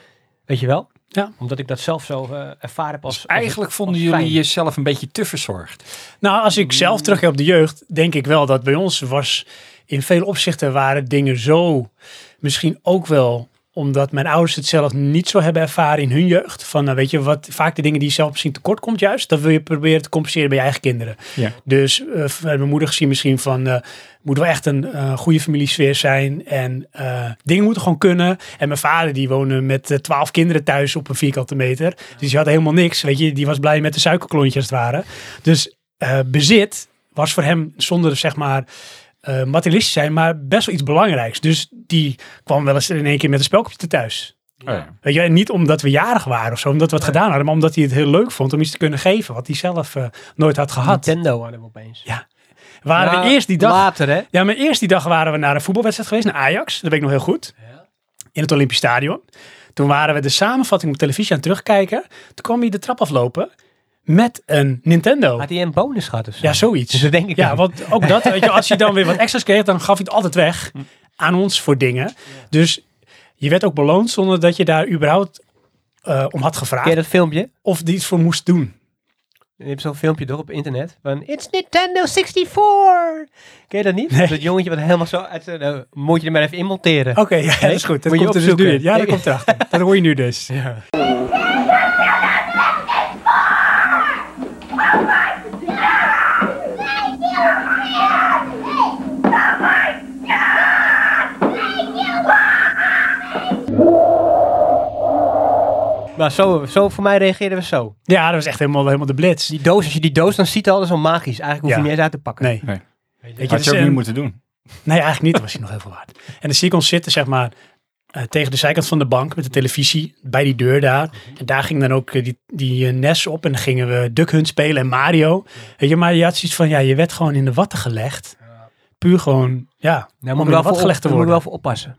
C: Weet je wel?
A: Ja.
C: Omdat ik dat zelf zo eh, ervaren heb als...
B: Dus
C: als-
B: eigenlijk vonden
C: als
B: jullie
C: fijn.
B: jezelf een beetje te verzorgd.
A: Nou, als ik zelf terugkijk op de jeugd, denk ik wel dat bij ons was in veel opzichten waren dingen zo. Misschien ook wel omdat mijn ouders het zelf niet zo hebben ervaren in hun jeugd. Van, nou weet je, wat vaak de dingen die je zelf misschien tekort komt juist, dat wil je proberen te compenseren bij je eigen kinderen.
B: Ja. Oh
A: Dus eh, we hebben mijn moeder gezien misschien van, eh moet wel echt een eh, goede familiesfeer zijn. En eh, dingen moeten gewoon kunnen. En mijn vader die woonde met eh, twaalf kinderen thuis op een vierkante meter. Dus die had helemaal niks, weet je. Die was blij met de suikerklontjes als het ware. Dus eh, bezit was voor hem zonder zeg maar eh materialistisch zijn, maar best wel iets belangrijks. Dus die kwam wel eens in één keer met een spelkopje thuis.
B: Oh ja.
A: Weet je, en niet omdat we jarig waren of zo, omdat we het gedaan hadden, maar omdat hij het heel leuk vond om iets te kunnen geven wat hij zelf eh, nooit had gehad.
C: Nintendo hadden we opeens.
A: Waren
C: Ja,
A: we eerst die dag
C: Later, hè?
A: ja, maar eerst die dag waren we naar een voetbalwedstrijd geweest, naar Ajax. Dat weet ik nog heel goed. In het Olympisch Stadion. Toen waren we de samenvatting op televisie aan het terugkijken. Toen kwam hij de trap aflopen met een Nintendo.
C: Had hij een bonus gehad of zo?
A: Oh. Ja, zoiets.
C: Zo denk ik.
A: Ja,
C: dan.
A: want ook dat, weet je, als je dan weer wat extra's kreeg, dan gaf hij het altijd weg
C: Hm.
A: aan ons voor dingen. Dus je werd ook beloond zonder dat je daar überhaupt eh, om had
C: Ken je
A: gevraagd
C: dat filmpje?
A: of die iets voor moest doen.
C: Je hebt zo'n filmpje toch op internet van It's Nintendo 64! Ken je dat niet?
A: Nee. Oh,
C: Dat jongetje wat helemaal zo uit zijn... nou, moet je er maar even in monteren.
A: Oké, ja, dat is goed. Dat
C: Moet je
A: komt er dus nu
C: opzoeken.
A: in. Ja, dat komt erachter. Dat hoor je nu dus.
C: Maar zo, zo voor mij reageerden we zo.
A: Ja, dat was echt helemaal, helemaal de blitz.
C: Die doos, als je die doos dan ziet, al, dat is al magisch. Eigenlijk hoef je
A: Ja.
C: niet eens uit te pakken.
A: Nee.
B: Nee.
A: Weet
B: Had je
A: dus,
B: ook
A: en-
B: niet moeten doen.
A: Nee, eigenlijk niet. Dat was hij nog heel veel waard. En dan zie ik ons zitten, zeg maar, eh, tegen de zijkant van de bank met de televisie bij die deur daar. En daar ging dan ook eh, die, die eh, NES op en dan gingen we Duck Hunt spelen en Mario. Weet je, maar je had zoiets van, ja, je werd gewoon in de watten gelegd. Puur gewoon, ja,
C: Nou,
A: Om
C: moet
A: er
C: ik wel
A: wat
C: voor op-
A: gelegd te
C: daar moet ik
A: worden.
C: wel voor oppassen.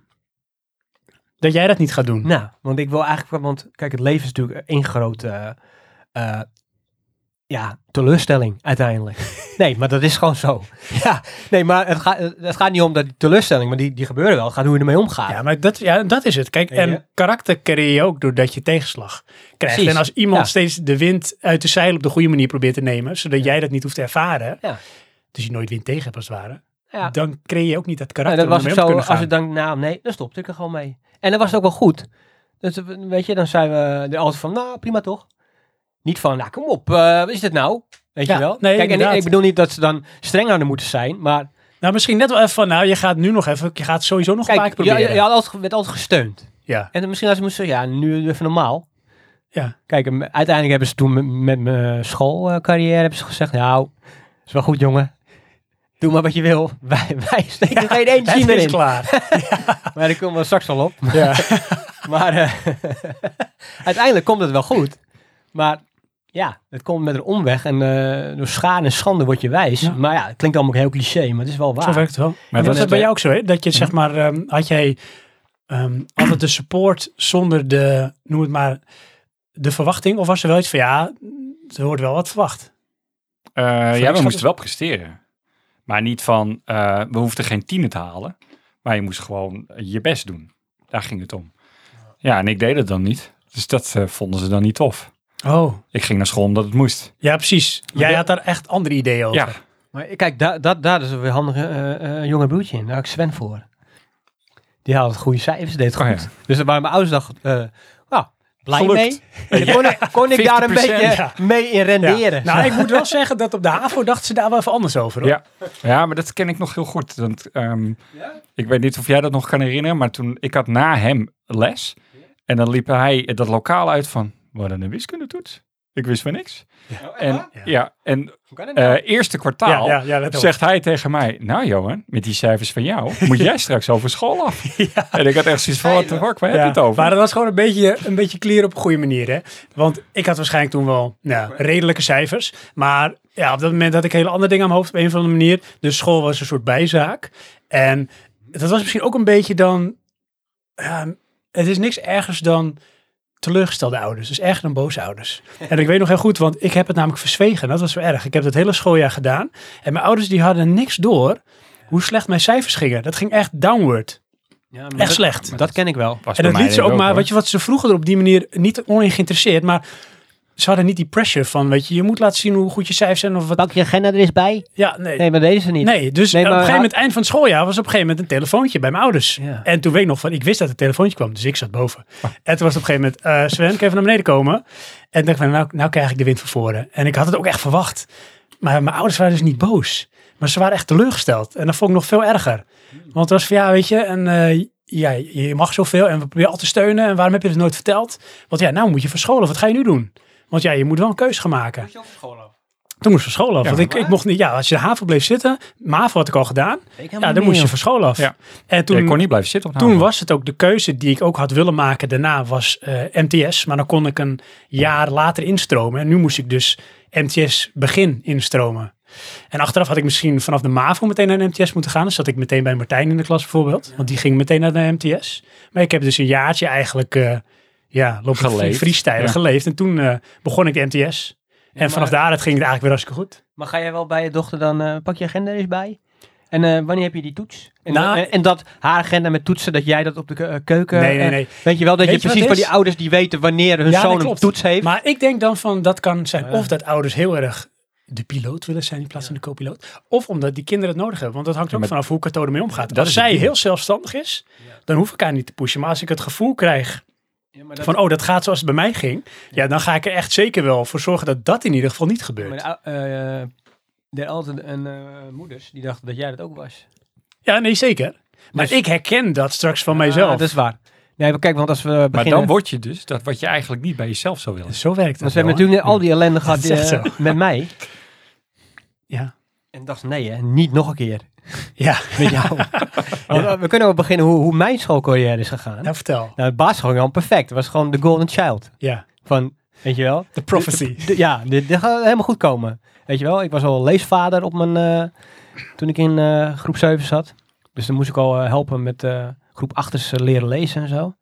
A: dat jij dat niet gaat doen.
C: Nou, want ik wil eigenlijk... Want kijk, het leven is natuurlijk één grote... eh, eh, ja, teleurstelling uiteindelijk. Nee, maar dat is gewoon zo. Ja, nee, maar het, gaat het gaat niet om dat die teleurstelling, maar die, die gebeuren wel. Het gaat hoe je ermee omgaat.
A: Ja, maar dat, ja, dat is het. Kijk,
C: Weet je?
A: en karakter creëer je ook doordat je tegenslag krijgt.
C: Precies.
A: En als iemand
C: Ja.
A: steeds de wind uit de zeil op de goede manier probeert te nemen, zodat jij dat niet hoeft te ervaren,
C: Ja.
A: dus je nooit wind tegen hebt als het ware,
C: Ja.
A: Dan creëer je ook niet dat
C: Nou,
A: karakter
C: dat
A: om
C: was
A: mee om
C: ik
A: te
C: zo,
A: kunnen
C: als
A: gaan.
C: ik dan, nou nee, dan stopte ik er gewoon mee. En dat was ook wel goed. Dus eh, weet je, dan zijn we er altijd van, nou prima toch. Niet van, nou kom op, eh, wat is dit nou? Weet
A: Ja,
C: je wel?
A: nee,
C: Kijk, en ik,
A: inderdaad.
C: ik bedoel niet dat ze dan streng aan moeten zijn, maar
A: Nou, misschien net wel even van, nou, je gaat nu nog even, je gaat het sowieso nog een paar
C: kijk,
A: keer
C: je, je,
A: proberen.
C: je had altijd, werd altijd gesteund.
A: ja.
C: En dan misschien als ze moesten zeggen, ja, nu even normaal.
A: Ja.
C: Kijk, en uiteindelijk hebben ze toen met, met mijn schoolcarrière hebben ze gezegd, nou, is wel goed jongen. Doe maar wat je wil. Wij, wij steken geen eentje
A: Het
C: meer
A: is
C: in.
A: klaar.
C: Maar daar komen we straks al op.
A: Ja.
C: Maar eh, uiteindelijk komt het wel goed. Maar ja, het komt met een omweg. En eh, door schade en schande word je wijs.
A: Ja.
C: Maar ja, het klinkt allemaal heel cliché, maar het is wel waar.
A: Zo werkt het wel. was
B: Maar dat
A: dat bij
B: is de-
A: jou ook zo, hè? Dat je, zeg maar, ehm, had jij ehm, altijd de support zonder de, noem het maar, de verwachting? Of was er wel iets van, ja, er wordt wel wat verwacht?
B: Eh, ja, we
A: schat
B: moesten
A: is-
B: wel presteren. Maar niet van, eh, we hoefden geen tienen te halen. Maar je moest gewoon je best doen. Daar ging het om. Ja, en ik deed het dan niet. Dus dat eh, vonden ze dan niet tof.
A: Oh.
B: Ik ging naar school omdat het moest.
A: Ja, precies. Jij
C: de-
A: had daar echt andere ideeën over.
B: Ja,
C: Maar kijk, daar dat, daar is weer handig eh, eh, jonge broertje in. Daar had ik Sven voor. Die haalde goede cijfers, deed het
B: Oh,
C: goed. Dus daar waren mijn ouders dacht, eh, nou, blij
B: Gelukt.
C: mee. En dan Kon, ik, kon ik daar een
B: 50%,
C: beetje
A: ja.
C: mee in
A: Ja.
C: renderen.
A: Nou, ik moet wel zeggen dat op de HAVO dachten ze daar wel even anders over. Hoor.
B: Ja. ja, maar dat ken ik nog heel goed. Want, ehm, Ik weet niet of jij dat nog kan herinneren, maar toen ik had na hem les. En dan liep hij dat lokaal uit van, wat een wiskundetoets. Ik wist van niks.
C: Ah,
B: en,
A: Ja.
B: ja. en
A: nou?
B: eh, eerste kwartaal
A: ja, ja, ja dat ook.
B: zegt hij tegen mij, nou Johan, met die cijfers van jou, moet jij straks over school af. En ik had echt zoiets van, wat de fuck, waar heb je het over?
A: Maar dat was gewoon een beetje, een beetje clear op een goede manier. Hè? Want ik had waarschijnlijk toen wel nou, redelijke cijfers. Maar ja, op dat moment had ik hele andere dingen aan mijn hoofd op een of andere manier. Dus school was een soort bijzaak. En dat was misschien ook een beetje dan... ehm, het is niks ergers dan teleurgestelde ouders. Dus erger dan boze ouders. En ik weet nog heel goed, want ik heb het namelijk verzwegen. Dat was zo erg. Ik heb dat hele schooljaar gedaan. En mijn ouders die hadden niks door hoe slecht mijn cijfers gingen. Dat ging echt downward.
C: Ja, maar
A: Echt
C: dat-
A: slecht.
C: Dat ken ik wel.
A: En
B: Was bij
A: dat
B: mij
A: liet ze
B: denk ik
A: ook maar,
B: hoor.
A: weet je wat, ze vroegen er op die manier niet onin geïnteresseerd, maar ze hadden niet die pressure van, weet je, je moet laten zien hoe goed je cijfers zijn of wat.
C: Pak je agenda er eens bij?
A: Ja, nee.
C: Nee, maar deze niet.
A: Nee, dus
C: Nee,
A: op een
C: maar
A: gegeven
C: ha-
A: moment, eind van het schooljaar, was op een gegeven moment een telefoontje bij mijn ouders.
C: Ja.
A: En toen weet ik nog van, ik wist dat het telefoontje kwam, dus ik zat boven. En toen was het op een gegeven moment, eh, Sven, kan je even naar beneden komen? En toen dacht ik van, nou, nou krijg ik de wind van voren. En ik had het ook echt verwacht. Maar mijn ouders waren dus niet boos. Maar ze waren echt teleurgesteld. En dat vond ik nog veel erger. Want het was van, ja, weet je, en, eh, ja, je mag zoveel en we proberen altijd te steunen. En waarom heb je het nooit verteld? Want ja, nou moet je verscholen. Wat ga je nu doen? Want ja, je moet wel een keuze gaan maken. Toen moest ik van school af.
B: Ja,
A: want ik, ik mocht niet, ja, als je de haven bleef zitten, MAVO had ik al gedaan. Ja, dan moest je van school af.
B: Ja.
A: En
B: Ja,
A: toen,
B: ik kon niet blijven zitten op de
A: toen
B: haven.
A: was het ook de keuze die ik ook had willen maken daarna was eh, MTS. Maar dan kon ik een jaar later instromen. En nu moest ik dus MTS begin instromen. En achteraf had ik misschien vanaf de MAVO meteen naar de MTS moeten gaan. Dus zat ik meteen bij Martijn in de klas bijvoorbeeld. Want die ging meteen naar de MTS. Maar ik heb dus een jaartje eigenlijk eh ja, lopen
B: Geleefd,
A: freestylen
B: ja.
A: geleefd. En toen eh, begon ik de MTS. En
C: maar-
A: vanaf daaruit ging het eigenlijk weer hartstikke goed.
C: Maar ga jij wel bij je dochter dan, eh, pak je agenda er eens bij? En eh, wanneer heb je die toets? En, eh,
A: Nou-
C: en, en dat haar agenda met toetsen, dat jij dat op de ke- eh, keuken...
A: Nee, nee,
C: eh,
A: nee.
C: Weet je wel, dat
A: Weet
C: je
A: je wat
C: precies
A: het
C: van
A: is?
C: die ouders die weten wanneer hun
A: Ja, dat
C: zoon een
A: klopt.
C: toets heeft.
A: Maar ik denk dan van dat kan zijn
C: Ja.
A: of dat ouders heel erg de piloot willen zijn in plaats van de co-piloot. Of omdat die kinderen het nodig hebben. Want dat hangt ook
B: maar-
A: vanaf hoe Kato ermee omgaat.
B: Dat
A: als
B: is het
A: zij
B: ding.
A: heel zelfstandig is, dan hoef ik haar niet te pushen. Maar als ik het gevoel krijg
C: Ja, maar dat-
A: van oh, dat gaat zoals het bij mij ging. Ja, dan ga ik er echt zeker wel voor zorgen dat dat in ieder geval niet
C: maar
A: gebeurt.
C: de ou- eh, eh, er altijd een eh, moeders die dachten dat jij dat ook was.
A: Ja, nee, zeker. Maar
C: Dus-
A: ik herken dat straks van
C: Ah,
A: mijzelf.
C: dat is waar. Nee, maar kijk, want als we beginnen...
B: maar dan word je dus dat wat je eigenlijk niet bij jezelf zou willen.
A: Zo werkt
C: want
A: het.
C: we hebben
A: wel,
C: natuurlijk net al die ellende gehad
A: is echt
C: eh, met mij.
A: hè? Ja.
C: En dacht, nee hè, niet nog een keer
A: Ja,
C: met jou. Want, eh, We kunnen wel beginnen hoe, hoe mijn schoolcarrière is gegaan.
A: nou vertel.
C: Nou, het basisschool ging gewoon perfect. Het was gewoon de golden child.
A: Ja,
C: Van, weet je wel?
A: de prophecy.
C: D- ja, dit, dit gaat helemaal goed komen. Weet je wel, ik was al leesvader op mijn, eh, toen ik in eh, groep 7 zat. Dus dan moest ik al eh, helpen met eh, groep 8 leren lezen en zo.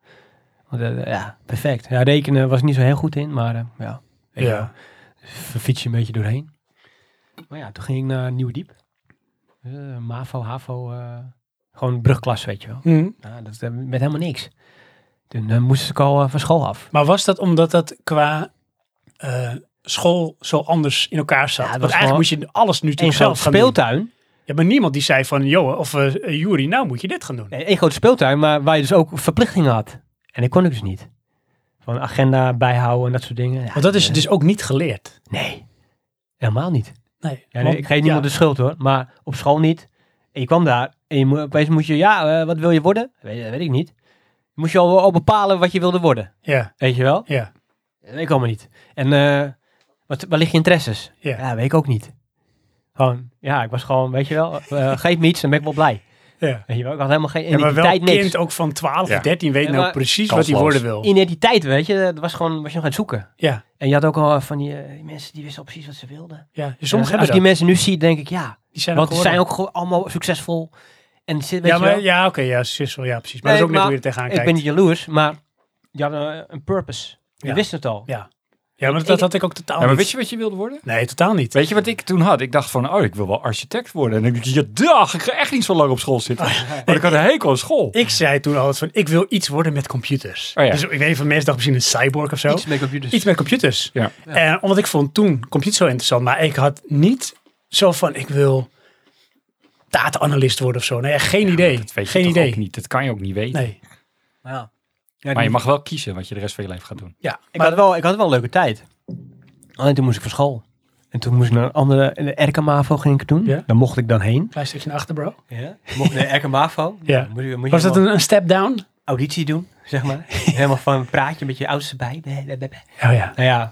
C: Want, eh, ja, perfect. Ja, rekenen was ik niet zo heel goed in, maar eh, ja. weet je wel.
A: Ja.
C: Dan fiets je een beetje doorheen. Maar ja, toen ging ik naar Nieuwdiep. Eh, MAVO, HAVO, eh, gewoon brugklas, weet je wel.
A: Hm.
C: Nou, dat eh, met helemaal niks. Toen eh, moest ik al eh, van school af.
A: Maar was dat omdat dat qua eh, school zo anders in elkaar zat?
C: Ja,
A: Want
C: dat was
A: eigenlijk moest je alles nu
C: En
A: tegen
C: zo'n
A: zelf gaan doen.
C: speeltuin.
A: Ja, maar niemand die zei van, joh, of eh Juri, nou moet je dit gaan doen.
C: Nee, één grote speeltuin, maar waar je dus ook verplichtingen had. En ik kon ik dus niet. Van agenda bijhouden en dat soort dingen. Ja,
A: Want dat is
C: eh,
A: dus ook niet geleerd.
C: Nee, helemaal niet.
A: Nee.
C: Ja,
A: Want-
C: nee, ik geef
A: ja.
C: niemand de schuld hoor, maar op school niet. En je kwam daar en je, mo- opeens moest je, ja, eh, wat wil je worden? Weet, weet ik niet. Moest je al, al bepalen wat je wilde worden,
A: Ja,
C: weet je wel?
A: ja.
C: Dat weet ik allemaal niet. En eh wat, waar liggen je interesses?
A: Ja.
C: weet ik ook niet. Gewoon, ja, ik was gewoon, weet je wel, eh, geef me iets en ben ik wel blij.
A: ja.
C: Weet je wel, ik had helemaal geen
A: Ja, maar
C: identiteit,
A: welk
C: niks.
A: kind ook van 12
B: Ja.
A: of 13 weet
C: Ja,
A: nou
C: maar-
A: precies wat hij
B: Kansloos.
A: worden
C: Oh.
A: wil.
C: Identiteit, weet je, dat was gewoon, was je nog aan het zoeken.
A: Ja,
C: En je had ook al eh, van die eh, mensen die wisten al precies wat ze wilden.
A: ja.
C: En als
A: Sommigen
C: als ik
A: hebben
C: die
A: dat.
C: mensen nu zie, denk ik, ja,
A: Die zijn
C: Want ze zijn
A: geworden.
C: ook gewoon allemaal succesvol. En zit, weet
A: Ja,
C: je
A: maar,
C: wel?
A: ja oké, ja, Sissel, ja, precies. Maar dat is
C: Nee,
A: ook net
C: maar
A: hoe je er tegenaan
C: ik
A: kijkt.
C: ben niet jaloers, maar je had eh, een purpose. Je
A: Ja.
C: wist het al.
A: Ja. Ja, maar dat,
C: ik-
A: had ik ook totaal
B: Ja, maar
A: niet.
B: weet je wat je wilde worden?
A: Nee, totaal niet.
B: Weet je wat ik toen had? Ik dacht van, oh, ik wil wel architect worden. En dan denk ik, ja, dag, ik ga echt niet zo lang op school zitten. Want ik had een hekel aan school.
A: Oh, Ik zei toen altijd van, ik wil iets worden met computers.
B: Oh ja.
A: Dus ik weet van mensen dachten misschien een cyborg of zo.
C: Iets met computers.
A: Iets met computers.
B: Ja.
A: En omdat ik vond toen computers zo interessant, maar ik had niet zo van ik wil data-analyst worden of zo. Nee, geen idee.
B: Dat weet je
A: Geen
B: toch
A: idee.
B: ook niet. Dat kan je ook niet weten.
A: Nee.
C: Ja.
B: Maar je mag wel kiezen wat je de rest van je leven gaat doen.
A: Ja,
C: ik,
A: maar
C: had wel, ik had wel een leuke tijd. Alleen toen moest ik van school. En toen moest ik naar een andere, in de Erkenmavo ging ik doen.
A: Ja.
C: Daar mocht ik dan heen.
A: klein stukje naar achter, bro.
C: Ja. Mocht naar Erkenmavo.
A: Ja.
C: Moet je, moet je
A: Was dat
C: helemaal
A: een, een step down?
C: auditie doen, zeg maar. helemaal van praatje met je ouders erbij. Bleh, bleh, bleh, bleh.
A: Oh ja.
C: Nou ja,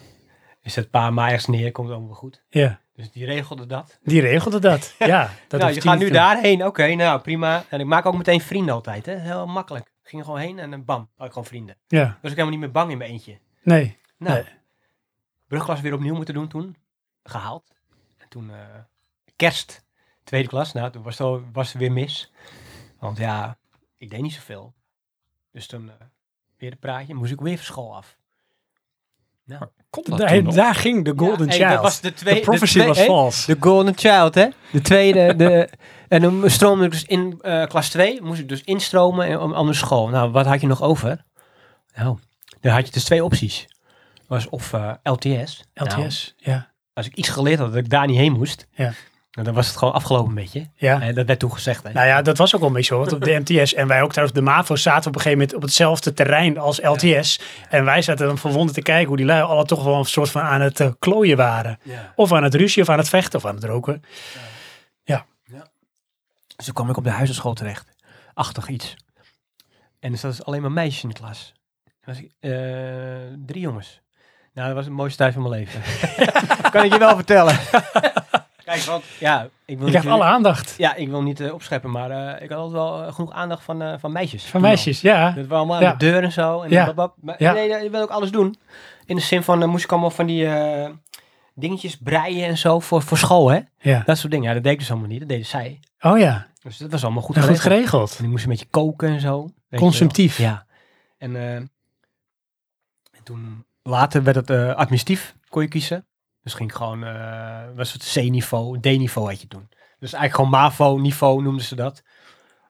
C: is het paar maaiers neer, komt allemaal wel goed.
A: ja.
C: Dus die regelde dat.
A: Die regelde dat. Ja, dat
C: nou,
A: hoeft hij
C: je gaat nu
A: niet te doen.
C: daarheen. Oké, nou prima. En ik maak ook meteen vrienden altijd. Hè? Heel makkelijk. Ging er gewoon heen en dan bam, had ik gewoon vrienden.
A: Ja,
C: Was ik helemaal niet meer bang in mijn eentje.
A: nee.
C: Nou,
A: Nee.
C: brugklas weer opnieuw moeten doen toen. Gehaald. En toen eh, kerst, tweede klas. Nou, toen was, het al- was er weer mis. Want ja, ik deed niet zoveel. Dus toen eh, weer een praatje. Moest ik weer van school af.
B: Kon dat
A: Daar,
B: toen nog?
A: daar ging de golden
C: hey,
A: child.
C: dat was de tweede-
A: de prophecy
C: de twee-
A: was
C: hey,
A: vals.
C: De Golden Child, hè? De tweede. De, en dan stroomde ik dus in eh, klas 2. Moest ik dus instromen en om andere school. Nou, wat had je nog over? Nou, dan had je dus twee opties. Was of eh, LTS. Nou,
A: LTS, ja.
C: als ik iets geleerd had dat ik daar niet heen moest.
A: Ja.
C: nou, dan was het gewoon afgelopen met je.
A: ja.
C: En dat werd toen gezegd, hè?
A: Nou ja, dat was ook wel een beetje zo. Want op de MTS en wij ook trouwens, de MAVO zaten op een gegeven moment op hetzelfde terrein als LTS. En wij zaten dan verwonderd te kijken hoe die lui alle toch wel een soort van aan het eh, klooien waren.
C: Ja.
A: Of aan het ruzie, of aan het vechten, of aan het roken.
C: Dus toen kwam ik op de huisartschool terecht. Achtig iets. En er zat dus alleen maar meisjes in de klas. Er was, eh, drie jongens. Nou, dat was het mooiste tijd van mijn leven. kan ik je wel vertellen. Kijk, want... Ja, ik wil
A: Je
C: niet,
A: krijgt alle aandacht
C: ja, ik wil niet eh, opscheppen, maar eh, ik had altijd wel eh, genoeg aandacht van, eh, van meisjes.
A: van
C: Toen al.
A: meisjes, ja.
C: Dat we allemaal
A: Ja.
C: aan de deur en zo. En
A: Ja.
C: babab. Maar
A: Ja.
C: nee, je wil ook alles doen. In de zin van, dan moest ik allemaal van die eh, dingetjes breien en zo voor, voor school, hè.
A: ja.
C: Dat soort dingen. Ja, dat deed ik dus allemaal niet. Dat deden zij.
A: Oh ja,
C: Dus dat was allemaal goed
A: goed, goed
C: geregeld.
A: geregeld.
C: En die moest een beetje koken en zo. weet je wel.
A: Consumptief.
C: Ja. En, eh, en toen later werd het eh, administratief, kon je kiezen. Dus ging ik gewoon, eh, was het C-niveau, D-niveau had je toen. Dus eigenlijk gewoon MAVO-niveau noemden ze dat.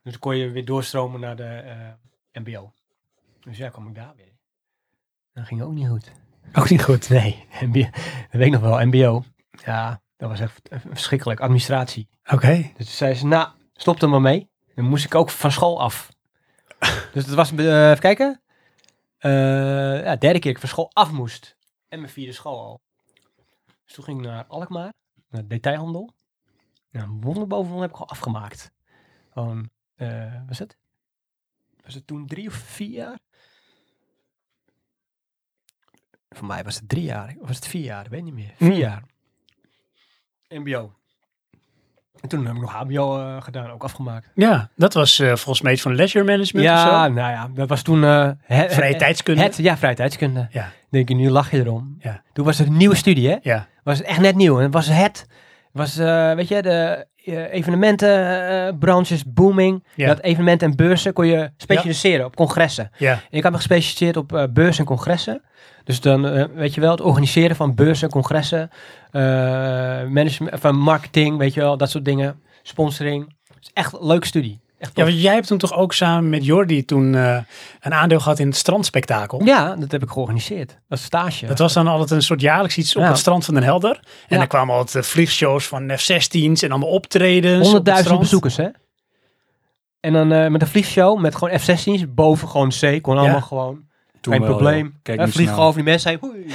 C: Dus dan kon je weer doorstromen naar de eh, MBO. Dus ja, kwam ik daar weer. Dat ging ook niet goed.
A: Ook niet goed.
C: Nee, MBO, dat weet ik nog wel, MBO. Ja, dat was echt eh, verschrikkelijk, administratie.
A: Oké.
C: Dus toen zei ze, nou, stop er maar mee. Dan moest ik ook van school af. dus dat was, eh, even kijken. Eh, ja, derde keer dat ik van school af moest. En mijn vierde school al. Dus toen ging ik naar Alkmaar, naar detailhandel. Nou, een wonder bovenal heb ik gewoon afgemaakt. Gewoon, eh, was het? Was het toen drie of vier jaar? Voor mij was het drie jaar. Of was het vier jaar? Ik weet niet meer. Vier
A: Mm.
C: jaar. MBO. En toen heb ik nog HBO eh, gedaan, ook afgemaakt.
A: Ja, dat was eh, volgens mij iets van leisure management of
C: Ja,
A: zo.
C: nou ja, dat was toen... eh, het,
A: Vrije
C: het-
A: tijdskunde.
C: Het, ja, vrije tijdskunde.
A: Ja.
C: Denk je, nu lach je erom.
A: Ja.
C: Toen was het een nieuwe studie, hè?
A: Ja,
C: Was het echt net nieuw. En het was het... Was, eh, weet je, de evenementenbranche is booming.
A: Ja.
C: Dat evenementen en beurzen kon je specialiseren op congressen.
A: ja,
C: En ik had me gespecialiseerd op eh, beurzen en congressen. Dus dan, eh, weet je wel, het organiseren van beurzen en congressen. eh, management, van marketing, weet je wel, dat soort dingen. Sponsoring. Het is echt een leuke studie. Echt
A: Ja,
C: tof.
A: want jij hebt toen toch ook samen met Jordi toen eh, een aandeel gehad in het strandspektakel.
C: ja, dat heb ik georganiseerd. Als stage.
A: Dat was dus dan altijd een soort jaarlijks iets op
C: Ja.
A: het strand van Den Helder. En
C: Ja.
A: dan kwamen altijd eh, vliegshows van F-16's en allemaal optredens. op het
C: 100.000
A: strand.
C: bezoekers, hè? En dan eh, met een vliegshow met gewoon F-16's boven gewoon C. Kon allemaal gewoon.
B: Toen
C: geen
B: wel,
C: probleem.
B: joh. Kijk
C: Eh,
B: niet
C: vlieg
B: snel.
C: gewoon over die mensen heen. Oei.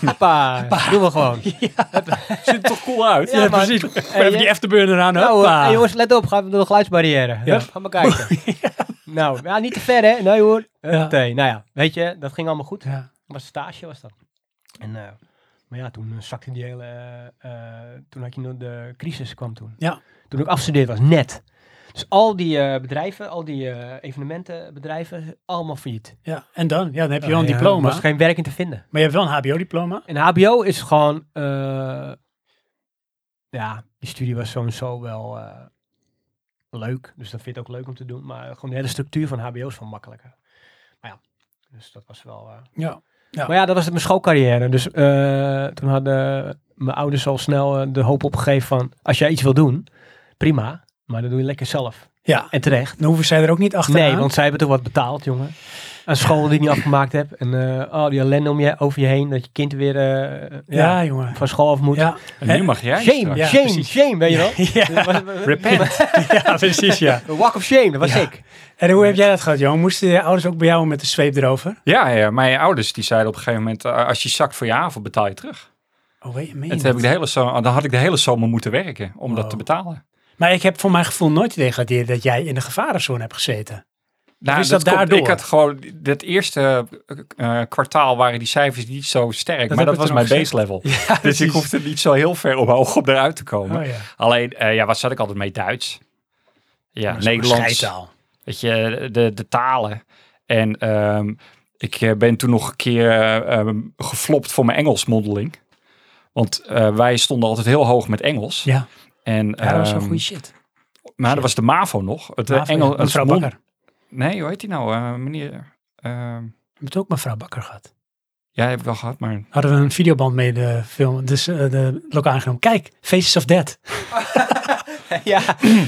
C: Hoppa. Doen we gewoon.
B: Ziet er toch cool uit?
A: Ja,
C: Ja, maar-
A: precies. We
C: Hey,
A: hebben
C: je-
A: die afterburner aan.
C: Nou,
A: Hoppa.
C: eh, hey, jongens, let op. Gaan we door de geluidsbarrière.
A: Ja.
C: Hup, gaan we kijken. nou, ja, niet te ver, hè? Nee, hoor.
A: Ja.
C: Huppatee. Nou ja, weet je, dat ging allemaal goed.
A: Ja.
C: was stage, was dat. En, eh, maar ja, toen eh, zakte die hele... eh, eh, toen had je nog de crisis kwam toen.
A: Ja.
C: Toen ik afgestudeerd was, net. Dus al die eh, bedrijven, al die eh, evenementenbedrijven, allemaal failliet.
A: Ja, en dan? Ja, dan heb je wel een
C: Ja,
A: diploma.
C: Er was geen werk in te vinden.
A: Maar je hebt wel een HBO-diploma.
C: En HBO is gewoon... eh, ja, die studie was zo en zo wel eh, leuk. Dus dat vind ik ook leuk om te doen. Maar gewoon de hele structuur van HBO is veel makkelijker. Maar ja, dus dat was wel... eh,
A: Ja. Ja.
C: maar ja, dat was mijn schoolcarrière. Dus eh, toen hadden mijn ouders al snel eh, de hoop opgegeven van... als jij iets wil doen, prima. Maar dat doe je lekker zelf.
A: Ja.
C: En terecht.
A: Dan hoeven zij er ook niet achteraan.
C: Nee, want zij hebben toch wat betaald, jongen. Aan school die ik niet afgemaakt heb. En eh oh, die ellende om je, over je heen. Dat je kind weer eh, ja,
A: Ja, jongen.
C: van school af moet.
A: Ja.
B: En nu mag jij
C: Shame,
B: straks.
A: Ja,
C: shame,
A: precies.
C: shame, weet je wel.
A: Ja.
C: Dat was-
B: Repent.
A: ja, precies, ja.
C: Een walk of shame, dat was
A: Ja.
C: ik.
A: En hoe heb jij dat gehad, Johan? Moesten je ouders ook bij jou met de zweep erover?
B: Ja, ja, mijn ouders die zeiden op een gegeven moment, eh, als je zakt voor je avond, betaal je terug.
A: Oh, weet je, meen
B: En
A: je
B: toen heb
A: dat?
B: ik de hele zomer, dan had ik de hele zomer moeten werken om
A: Wow.
B: dat te betalen.
A: Maar ik heb voor mijn gevoel nooit gedegradeerd dat jij in de gevarenzone hebt gezeten.
B: Nou,
A: Dus Is dat daardoor?
B: Ik had gewoon, dat eerste eh, eh, kwartaal waren die cijfers niet zo sterk,
A: Dat heb
B: maar dat
A: ik
B: was
A: toen
B: mijn
A: ook
B: base level. dus ik hoefde niet zo heel ver omhoog om eruit te komen.
A: Oh ja.
B: Alleen, eh, ja, wat zat ik altijd mee? Duits. Ja,
A: Dat is een
B: Nederlands.
A: scheidtaal.
B: Weet je, de, de talen. En ehm, ik eh, ben toen nog een keer eh, ehm, geflopt voor mijn Engels mondeling. Want eh, wij stonden altijd heel hoog met Engels.
A: Ja,
B: En,
A: ja dat was wel
B: ehm,
A: goede shit.
B: maar dat was de MAVO nog. Het eh,
A: Mavo,
B: Engel,
A: ja.
B: het
A: mevrouw
B: mond-
A: Bakker.
B: Nee, hoe heet die nou? Eh, meneer... ehm
A: Je hebt ook mevrouw Bakker gehad.
B: ja, heb ik wel gehad, maar... oh
A: Hadden we een videoband mee de film, dus eh, de lokaal aangenomen. Kijk, Faces of Dead.
C: ja,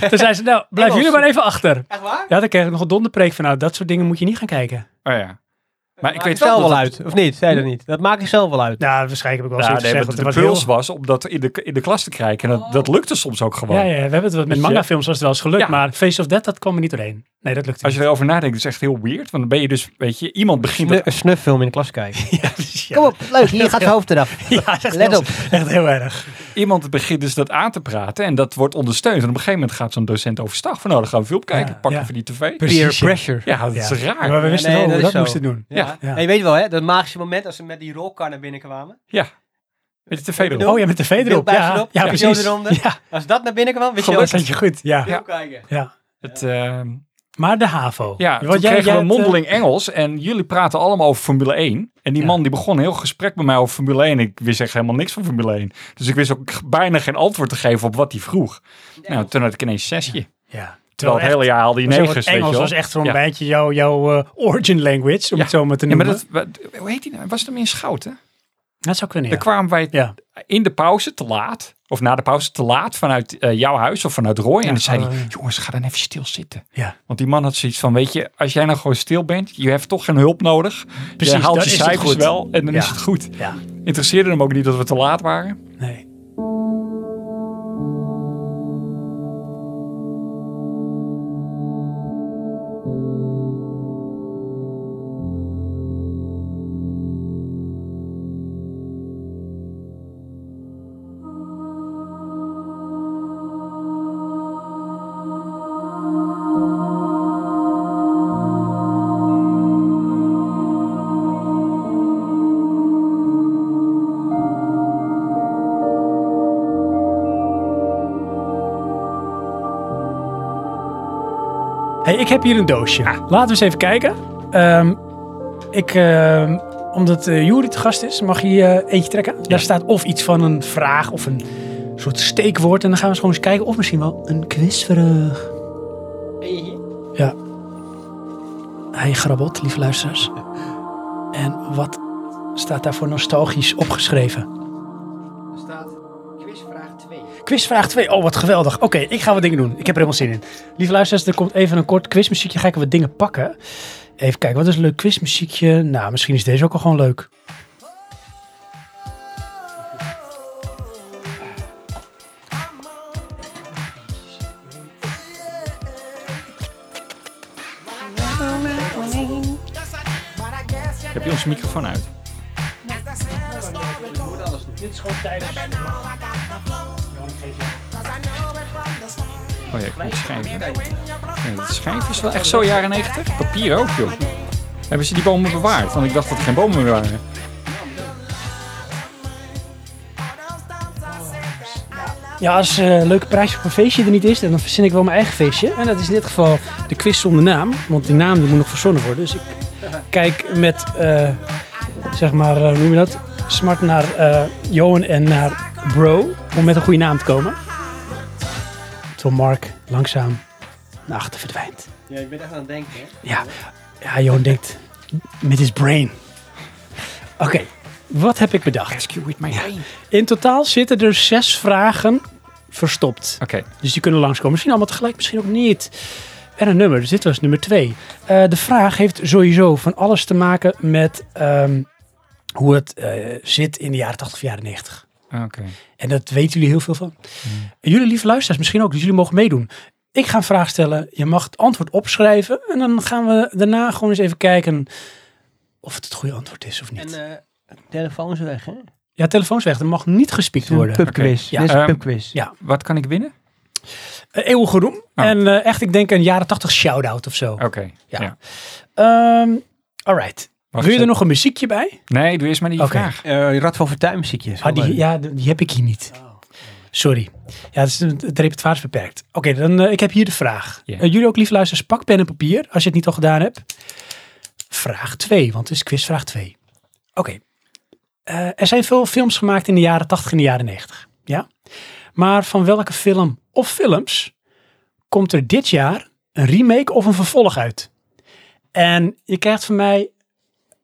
A: Toen zei ze, nou, blijf
C: Engels.
A: jullie maar even achter.
C: echt waar?
A: Ja, dan kreeg ik nog een donderpreek van, nou, dat soort dingen moet je niet gaan kijken.
B: Oh ja. Maar ik weet
C: zelf
B: dat
C: wel
B: het-
C: uit, of niet? Zei dat niet. Dat maak ik zelf wel uit.
A: Nou, waarschijnlijk heb ik wel
B: Ja,
A: zoiets
B: nee,
A: gezegd.
B: want
A: want
B: de
A: er was
B: puls
A: heel- Oh.
B: was om dat in de, in de klas te krijgen. En dat, dat lukte soms ook gewoon.
A: Ja, ja, we hebben het wat met
B: je-
A: mangafilms was het wel eens gelukt,
B: Ja.
A: maar Face of Dead, dat kwam er niet doorheen. Nee, dat lukte
B: Als je erover nadenkt, is het echt heel weird. Want dan ben je dus, weet je, iemand begint
C: Snu- Een snuffilm in de klas kijken.
A: niet. Ja, precies, ja.
C: Kom op, leuk, hier gaat het hoofd eraf.
A: Ja, dat is echt
C: Let
A: heel-
C: op.
A: Echt heel erg.
B: iemand begint dus dat aan te praten en dat wordt ondersteund. En op een gegeven moment gaat zo'n docent overstag van nou, dan gaan we film kijken,
A: Ja,
B: pak
A: ja.
B: even die tv.
A: Precies,
C: Peer
A: ja.
C: pressure.
B: Ja, dat is
A: Ja.
B: raar.
A: Maar we
C: Ja,
A: wisten
C: nee,
A: wel hoe
C: dat is
A: dat
C: zo.
A: moesten doen.
C: Ja.
A: Ja.
C: En je weet wel, hè, dat magische moment als ze met die rolkar naar binnen kwamen.
B: Met de tv erop.
A: Oh ja, met de tv erop.
C: Beeldbuis
A: Ja,
C: erop,
A: ja,
C: video
A: precies.
C: eronder.
A: Ja,
C: Als dat naar binnen kwam, wist je
A: gelukkig
C: ook
A: dat je goed. Ja.
C: film kijken.
A: ja.
B: Het, ehm,
A: Maar de HAVO.
B: ja,
A: Want
B: toen kregen we
A: hebt, eh,
B: een mondeling Engels en jullie praten allemaal over Formule 1. En die
A: Ja.
B: man die begon een heel gesprek met mij over Formule 1. Ik wist echt helemaal niks van Formule 1. Dus ik wist ook bijna geen antwoord te geven op wat hij vroeg. Nou, toen had ik ineens zesje.
A: eh, ja.
B: Terwijl het hele jaar al die
A: was echt-
B: negers, weet je
A: Engels
B: wel.
A: was echt zo'n
B: Ja.
A: beetje jouw jouw eh, origin language, om
B: Ja.
A: het zo maar te
B: Ja, maar
A: noemen.
B: dat,
A: dat,
B: wat- hoe heet die nou? Was het hem in Schouten?
A: zou kunnen, ja.
B: Dan kwamen wij
A: Ja.
B: in de pauze te laat. Of na de pauze te laat vanuit eh, jouw huis of vanuit Roy. en dan zei
A: oh,
B: hij,
A: ja.
B: jongens, ga dan even stilzitten.
A: Ja.
B: Want die man had zoiets van, weet je, als jij nou gewoon stil bent, je hebt toch geen hulp nodig.
A: Precies,
B: je haalt
A: dan
B: je
A: is het
B: cijfers
A: goed.
B: wel en dan
A: Ja.
B: is het goed.
A: ja.
B: Interesseerde hem ook niet dat we te laat waren.
A: Nee. Hey, ik heb hier een doosje. Laten we eens even kijken. Ehm, ik, ehm, omdat eh Juri te gast is, mag je eh, eentje trekken. Daar staat of iets van een vraag of een soort steekwoord. En dan gaan we eens gewoon eens kijken. Of misschien wel een quizvraag. Ja. Hij grabbelt, lieve luisteraars. En wat staat daarvoor nostalgisch opgeschreven?
E: Er staat quizvraag 2.
A: Quizvraag 2. Oh, wat geweldig. Oké, ik ga wat dingen doen. Ik heb er helemaal zin in. Lieve luisteraars, er komt even een kort quizmuziekje. Ga ik wat dingen pakken. Even kijken, wat is een leuk quizmuziekje? Nou, misschien is deze ook al gewoon leuk.
B: Heb je onze microfoon uit?
A: Dit is gewoon tijdens...
B: Oh ja, ik moet schrijven. Ja, dat schrijven is wel echt zo jaren 90. Papier ook, joh. Hebben ze die bomen bewaard? Want ik dacht dat het geen bomen meer waren.
A: Ja, als eh, een leuke prijs op een feestje er niet is, dan verzin ik wel mijn eigen feestje. En dat is in dit geval de quiz zonder naam. Want die naam die moet nog verzonnen worden. Dus ik kijk met, eh, zeg maar, eh, hoe noem je dat? Smart naar eh, Johan en naar Bro. Om met een goede naam te komen. Terwijl Mark langzaam naar achter verdwijnt.
C: Ja, ik ben echt aan het denken. Hè?
A: Ja, ja Johan denkt met his brain. Oké, wat heb ik bedacht?
B: Rescue with my brain. Oké,
A: In totaal zitten er zes vragen verstopt. Dus die kunnen langskomen. Misschien allemaal tegelijk, misschien ook niet. En een nummer, dus dit was nummer twee. Eh, de vraag heeft sowieso van alles te maken met ehm, hoe het eh, zit in de jaren 80 of jaren 90.
B: oké.
A: En dat weten jullie heel veel van. En jullie lieve luisteraars misschien ook, dus jullie mogen meedoen. Ik ga een vraag stellen, je mag het antwoord opschrijven. En dan gaan we daarna gewoon eens even kijken of het het goede antwoord is of niet.
C: En eh, telefoons weg, hè? Het
A: ja, telefoons weg, er mag niet gespiekt
C: is een
A: worden.
C: pubquiz.
A: Ja,
C: Dit is een
B: ehm,
C: pubquiz.
A: ja.
B: Wat kan ik winnen?
A: Eh, eeuwige roem.
B: Oh.
A: En eh, echt, ik denk een jaren 80 shout-out of zo.
B: Oké.
A: Ja.
B: Ja.
A: Ehm, alright. Wil je
B: Wacht eens
A: er
B: even.
A: nog een muziekje bij?
B: Nee, doe eerst maar die
A: Oké.
B: vraag.
C: Eh, Rad van Fortuyn muziekje. is wel
A: Ah, die,
C: leuk.
A: ja, die die heb ik hier niet. Sorry. Ja, het, is, het repertoire is beperkt. Oké, dan eh, ik heb hier de vraag.
B: Ja.
A: Eh, jullie ook, lief luisteraars, pak pen en papier als je het niet al gedaan hebt. Vraag 2, want het is quizvraag 2. Oké. Eh, er zijn veel films gemaakt in de jaren 80 en de jaren 90. Ja? Maar van welke film of films komt er dit jaar een remake of een vervolg uit? En je krijgt van mij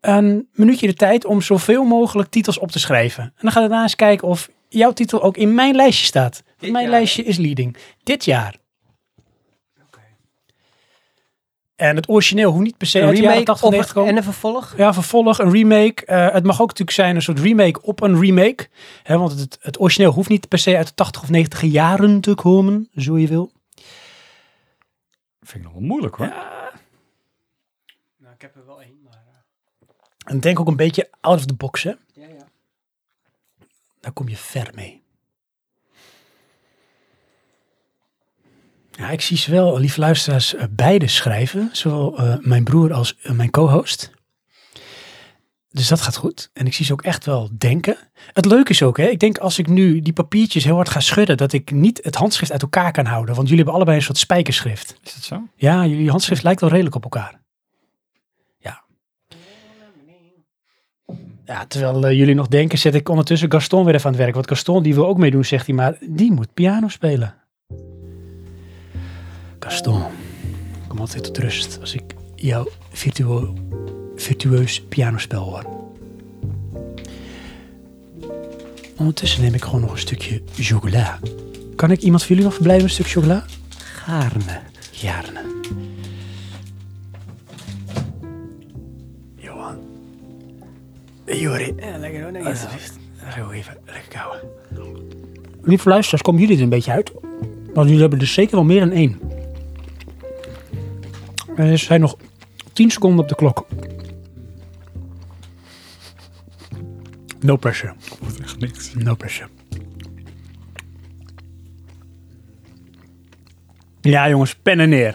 A: een minuutje de tijd om zoveel mogelijk titels op te schrijven. En dan ga ik daarna eens kijken of jouw titel ook in mijn lijstje staat. Want mijn
C: jaar,
A: lijstje is leading. Dit jaar. En het origineel hoe niet per se
C: Een
A: uit de jaren
C: remake
A: 80 en 90
C: of
A: komen.
C: en een vervolg?
A: Ja, vervolg, een remake. Eh, het mag ook natuurlijk zijn een soort remake op een remake. Hè, want het, het origineel hoeft niet per se uit de 80 of 90 jaren te komen, zo je wil.
B: Vind ik nog wel moeilijk hoor.
C: Nou, ik heb er wel één, maar...
A: En denk ook een beetje out of the box, hè.
C: Ja, ja.
A: Daar kom je ver mee. Ja, ik zie zowel, lieve luisteraars, eh, beide schrijven. Zowel eh, mijn broer als eh, mijn co-host. Dus dat gaat goed. En ik zie ze ook echt wel denken. Het leuke is ook, hè, ik denk als ik nu die papiertjes heel hard ga schudden, dat ik niet het handschrift uit elkaar kan houden. Want jullie hebben allebei een soort spijkerschrift.
B: Is dat zo?
A: Ja, jullie handschrift lijkt wel redelijk op elkaar. Ja. Ja, terwijl eh, jullie nog denken, zet ik ondertussen Gaston weer even aan het werk. Want Gaston die wil ook meedoen, zegt hij, maar die moet piano spelen. Gaston, ik kom altijd tot rust als ik jouw virtuo- virtueus pianospel hoor. Ondertussen neem ik gewoon nog een stukje chocola. Kan ik iemand van jullie nog verblijven met een stuk chocola?
C: Gaarne.
A: Gaarne. Johan. Jori.
C: Ja, lekker hoor.
A: Alsjeblieft. Heel even lekker kauwen. Lieve luisteraars, komen jullie er een beetje uit? Want jullie hebben er zeker wel meer dan één. Er zijn nog 10 seconden op de klok. No pressure.
B: Moet echt niks.
A: No pressure. Ja, jongens, pennen neer.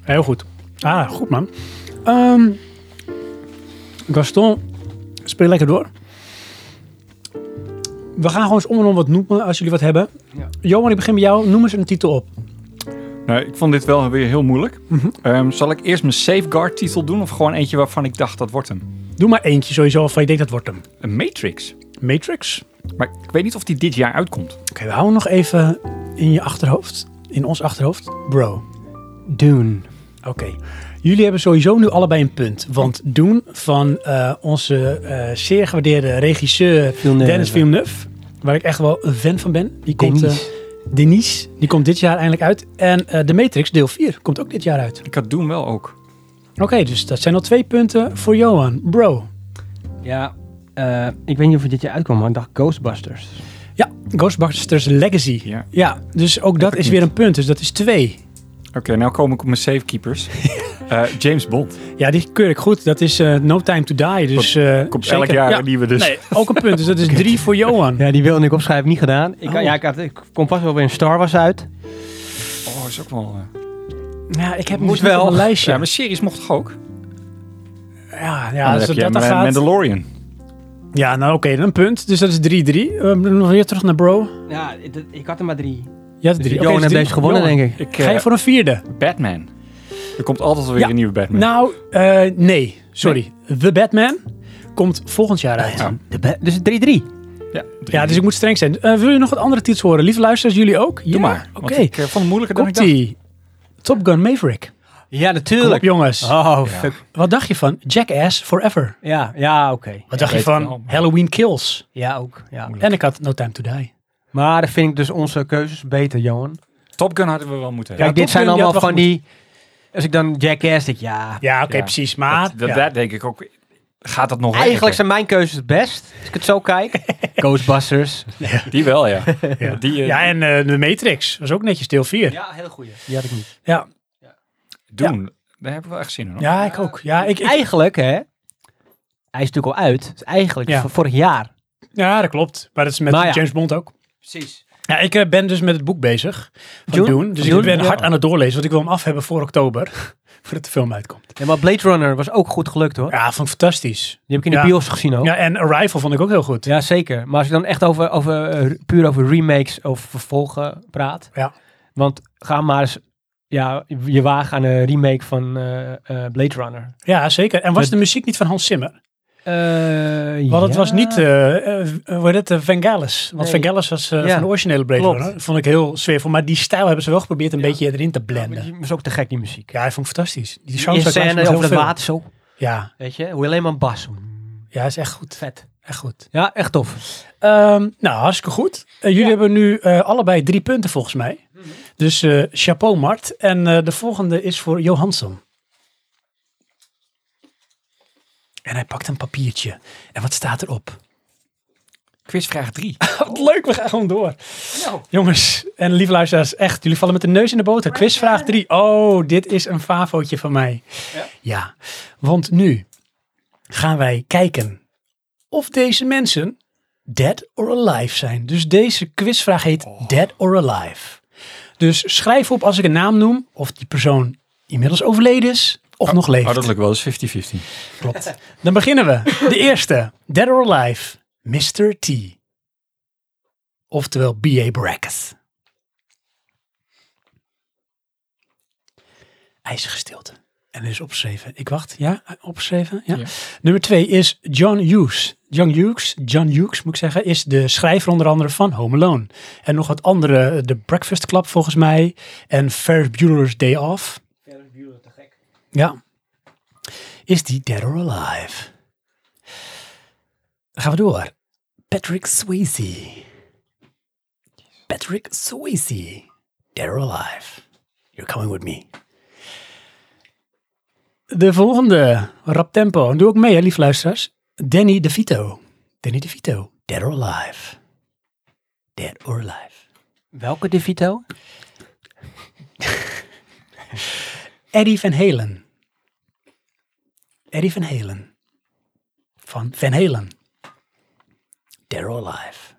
A: Heel goed. Ah, goed man. Ehm, Gaston, speel lekker door. We gaan gewoon eens om en om wat noemen als jullie wat hebben.
C: Ja.
A: Johan, ik begin bij jou. Noem eens een titel op.
B: Nou, ik vond dit wel weer heel moeilijk.
A: Mhm.
B: Ehm, zal ik eerst mijn safeguard titel doen of gewoon eentje waarvan ik dacht dat wordt hem?
A: Doe maar eentje sowieso, of je denkt dat wordt hem.
B: Een Matrix.
A: Matrix.
B: Maar ik weet niet of die dit jaar uitkomt.
A: Oké, we houden nog even in je achterhoofd, in ons achterhoofd, bro.
C: Dune.
A: Oké. Jullie hebben sowieso nu allebei een punt. Want Doen van eh, onze eh, zeer gewaardeerde regisseur
C: Villeneuve.
A: Dennis Villeneuve. waar ik echt wel een fan van ben. Die komt, eh,
C: Denise.
A: Denise, die komt dit jaar eindelijk uit. En eh The Matrix deel 4 komt ook dit jaar uit.
B: Ik had Doen wel ook.
A: Oké, dus dat zijn al twee punten voor Johan. Bro.
C: Ja, eh, ik weet niet of het dit jaar uitkomt, maar ik dacht Ghostbusters.
A: Ja, Ghostbusters Legacy.
B: Ja.
A: Ja, dus ook dat
B: ik
A: is
B: niet.
A: weer een punt. Dus dat is twee.
B: Oké, nou kom ik op mijn safekeepers. Eh James Bond.
A: Ja, die keur ik goed. Dat is eh, No Time to Die. Dus, eh,
B: Komt
A: zeker.
B: elk jaar
A: Ja.
B: een nieuwe dus.
A: Nee, ook een punt. Dus dat is drie voor Johan.
C: Ja, die wilde ik opschrijven, niet gedaan. Ik,
A: Oh.
C: ja, ik, had, ik kom vast wel weer een Star Wars uit.
B: Oh, is ook wel... eh.
A: Ja, ik heb
C: Moet
A: moet wel
C: wel.
A: op mijn lijstje.
B: Ja, maar series mocht toch ook?
A: Ja,
B: Dan
A: ja, als
B: heb
A: het
B: je
A: dus dat dan
B: Ma-
A: gaat.
B: Mandalorian.
A: Ja, nou oké, dan een punt. Dus dat is 3-3. We nog weer terug naar Bro.
C: Ja, ik- ik had er maar drie.
A: Ja,
C: Dus
A: drie. Oké,
C: Johan
A: dus
C: heeft
A: drie.
C: deze gewonnen,
A: Johan,
C: denk ik.
B: Ik,
A: Ga
B: eh,
A: je voor een vierde?
B: Batman. Er komt altijd wel weer
A: Ja.
B: een nieuwe Batman.
A: Nou, eh, nee. Sorry. The Batman komt volgend jaar uit.
B: Ja.
C: De be- dus 3-3.
B: ja,
A: Ja, dus ik moet streng zijn. Eh, wil je nog wat andere titels horen? Lieve luisteraars, jullie ook?
B: Doe
A: ja?
B: maar.
A: Oké.
B: Want ik eh, vond het moeilijker dan ik dacht.
A: Komt-ie. Top Gun Maverick.
C: Ja,
A: Kom op,
C: natuurlijk.
A: jongens.
C: Oh,
B: Ja.
C: fuck.
A: Wat dacht je van Jackass Forever?
C: Ja, ja oké.
A: Wat dacht je
B: weet het
A: van
B: wel.
A: Halloween Kills?
C: Ja, ook. Ja.
A: En ik had No Time to Die.
C: Maar dan vind ik dus onze keuzes beter, Johan.
B: Top Gun hadden we wel moeten
C: Kijk,
B: hebben.
A: Top Gun,
C: dit zijn
A: die
C: allemaal
A: had wel
C: van die... Als ik dan Jackass, denk ik, ja...
A: Ja, oké,
B: Ja.
A: precies. Maar
B: dat,
A: ja.
B: dat denk ik ook. Gaat dat nog
C: Eigenlijk
B: werken?
C: zijn mijn keuzes het best, als ik het zo kijk. Ghostbusters.
B: Die wel, ja.
A: Ja.
B: Die, eh,
A: Ja, en eh, de Matrix was ook netjes deel 4. Ja,
C: Ja, heel goeie. Die had ik niet.
A: ja.
B: doen. Daar hebben we wel echt zin in. Hoor.
A: ik ook. Ja, ik, ik-
C: Eigenlijk, hè... Hij is natuurlijk al uit. Dus eigenlijk
A: Ja.
C: v- vorig jaar.
A: ja, dat klopt. Maar dat is met
C: Maar ja.
A: James Bond ook.
C: Precies.
A: Ja, ik eh, ben dus met het boek bezig van
C: Dune?
A: Dune. Dus
C: Dune,
A: ik ben
C: ja.
A: hard aan het doorlezen, want ik wil hem af hebben voor oktober. voordat de film uitkomt.
C: Ja, maar Blade Runner was ook goed gelukt, hoor.
A: Ja, vond ik fantastisch.
C: Die heb ik in de
A: Ja.
C: bios gezien
B: Oh.
C: ook.
A: Ja, en Arrival vond ik ook heel goed.
C: Ja, zeker. Maar als ik dan echt over, over, eh, puur over remakes of vervolgen praat.
A: Ja.
C: Want ga maar eens ja, je wagen aan een remake van eh, eh, Blade Runner.
A: Ja, zeker. En was
C: Het-
A: de muziek niet van Hans Zimmer?
C: Eh,
A: Want het
C: ja.
A: was niet, eh eh, hoe heet het, eh, Vangelis. Want
C: Nee.
A: Vangelis was eh,
C: Ja.
A: van de originele Blade
C: Klopt.
A: Runner. Vond ik heel sfeervol. Maar die stijl hebben ze wel geprobeerd een beetje erin te
C: Ja, maar
A: blenden.
C: die was ook te gek, die muziek.
A: Ja, hij vond ik fantastisch. Die
C: Die
A: soundtrack lijkt me
C: scène
A: heel
C: over het
A: veel.
C: water zo.
A: Ja,
C: Weet je, hoe alleen maar een bas.
A: ja, is echt goed.
C: Vet.
A: Echt goed.
C: Ja, echt tof.
A: Ehm, nou, hartstikke goed. Eh, jullie
C: Ja. Mhm.
A: hebben nu eh, allebei drie punten volgens mij. Dus eh, chapeau, Mart. En eh, de volgende is voor Johansson. En hij pakt een papiertje. En wat staat erop?
B: Quizvraag 3.
A: Wat leuk, we gaan gewoon door. Jongens en lieve luisteraars, echt, jullie vallen met de neus in de boter. Quizvraag 3. Oh, dit is een favootje van mij. Ja. want nu gaan wij kijken of deze mensen dead or alive zijn. Dus deze quizvraag heet dead or alive. Dus schrijf op als ik een naam noem of die persoon inmiddels overleden is of nog leeft.
B: Oh, dat lukt wel eens 50-50.
A: Klopt. Dan beginnen we. De eerste. Dead or Alive. Mr. T. Oftewel B.A. Brackett. IJzige stilte. En er is opgeschreven. Ik wacht. Ja, opgeschreven. Ja.
B: Ja.
A: Nummer twee is John Hughes. John Hughes, John Hughes moet ik zeggen, is de schrijver onder andere van Home Alone. En nog wat andere. The Breakfast Club volgens mij. En Ferris Bueller's Day Off. Ja. Is die dead or alive? Dan gaan we door. Patrick Swayze. Patrick Swayze. Dead or alive. You're coming with me. De volgende. Rap tempo. En doe ook mee, hè, lief luisteraars. Danny DeVito. Danny DeVito. Dead or alive. Dead or alive.
C: Welke De Vito?
A: Eddie Van Halen. Eddie Van Halen. Van Van Halen. They're alive.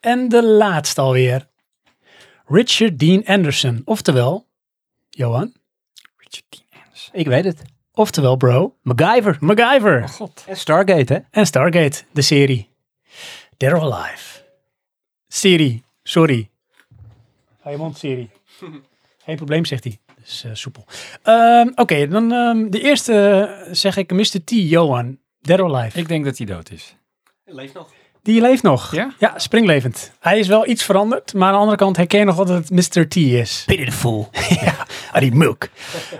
A: En de laatste alweer. Richard Dean Anderson. Oftewel, Johan.
B: Richard Dean Anderson.
C: Ik weet het.
A: Oftewel, bro.
C: MacGyver.
A: MacGyver.
B: God.
C: En Stargate, hè?
A: En Stargate, de serie. They're alive. Serie, sorry. Ga je mond, serie. Geen probleem, zegt hij. Dus eh, soepel. Ehm, Oké, dan ehm, de eerste eh, zeg ik Mr. T, Johan. Dead or alive.
B: Ik denk dat hij dood is.
C: Leeft nog.
A: Die leeft nog.
B: Ja?
A: springlevend. Hij is wel iets veranderd, maar aan de andere kant herken je nog wel dat het Mr. T is.
C: Pitiful.
A: ja, ah, die mook.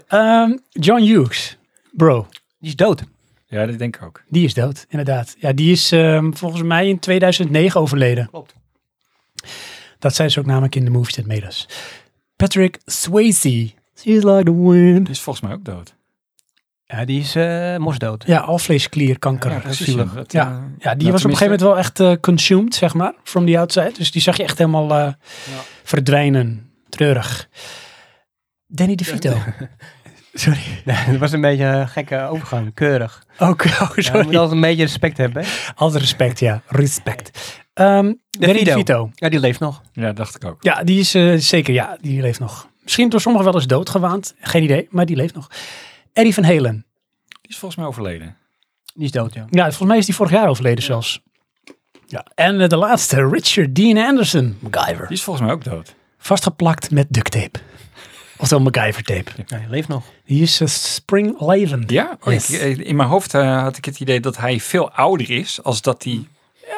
A: Ehm, John Hughes, bro.
C: Die is dood.
B: Ja, dat denk ik ook.
A: Die is dood, inderdaad. Ja, die is ehm, volgens mij in 2009 overleden.
C: Klopt.
A: Dat zei ze ook namelijk in de Movies That Made Us. dus. Patrick Swayze. She's like the wind.
B: Die is volgens mij ook dood.
C: Ja, die is eh, mosdood.
A: Ja, alvleesklierkanker.
B: Ja, precies,
A: zielig.
B: ja. Dat,
A: ja.
B: eh,
A: ja, die
B: nou,
A: was op een
B: tenminste-
A: gegeven moment wel echt eh, consumed, zeg maar, from the outside. Dus die zag je echt helemaal eh, verdwijnen. Treurig. Danny DeVito. sorry.
C: dat was een beetje een gekke overgang. Keurig.
A: Ook, oh,
C: Ja, je moet
A: sorry.
C: altijd een beetje respect hebben. hè.
A: Altijd respect, ja. Respect. Ehm Danny
C: DeVito.
A: DeVito.
C: Ja, die leeft nog.
B: Ja, dacht ik ook.
A: Ja, die is eh, zeker, ja, die leeft nog. Misschien door sommigen wel eens doodgewaand. Geen idee, maar die leeft nog. Eddie van Halen.
B: Die is volgens mij overleden.
C: Die is dood, ja.
A: Ja, volgens mij is die vorig jaar overleden zelfs. Ja. En eh, de laatste, Richard Dean Anderson. MacGyver.
B: Die is volgens mij ook dood.
A: Vastgeplakt met duct tape. Oftewel MacGyver tape.
C: Ja, die leeft nog.
A: Die is eh, springlevend.
B: Ja, oh,
A: Yes.
B: ik- in mijn hoofd eh, had ik het idee dat hij veel ouder is als dat hij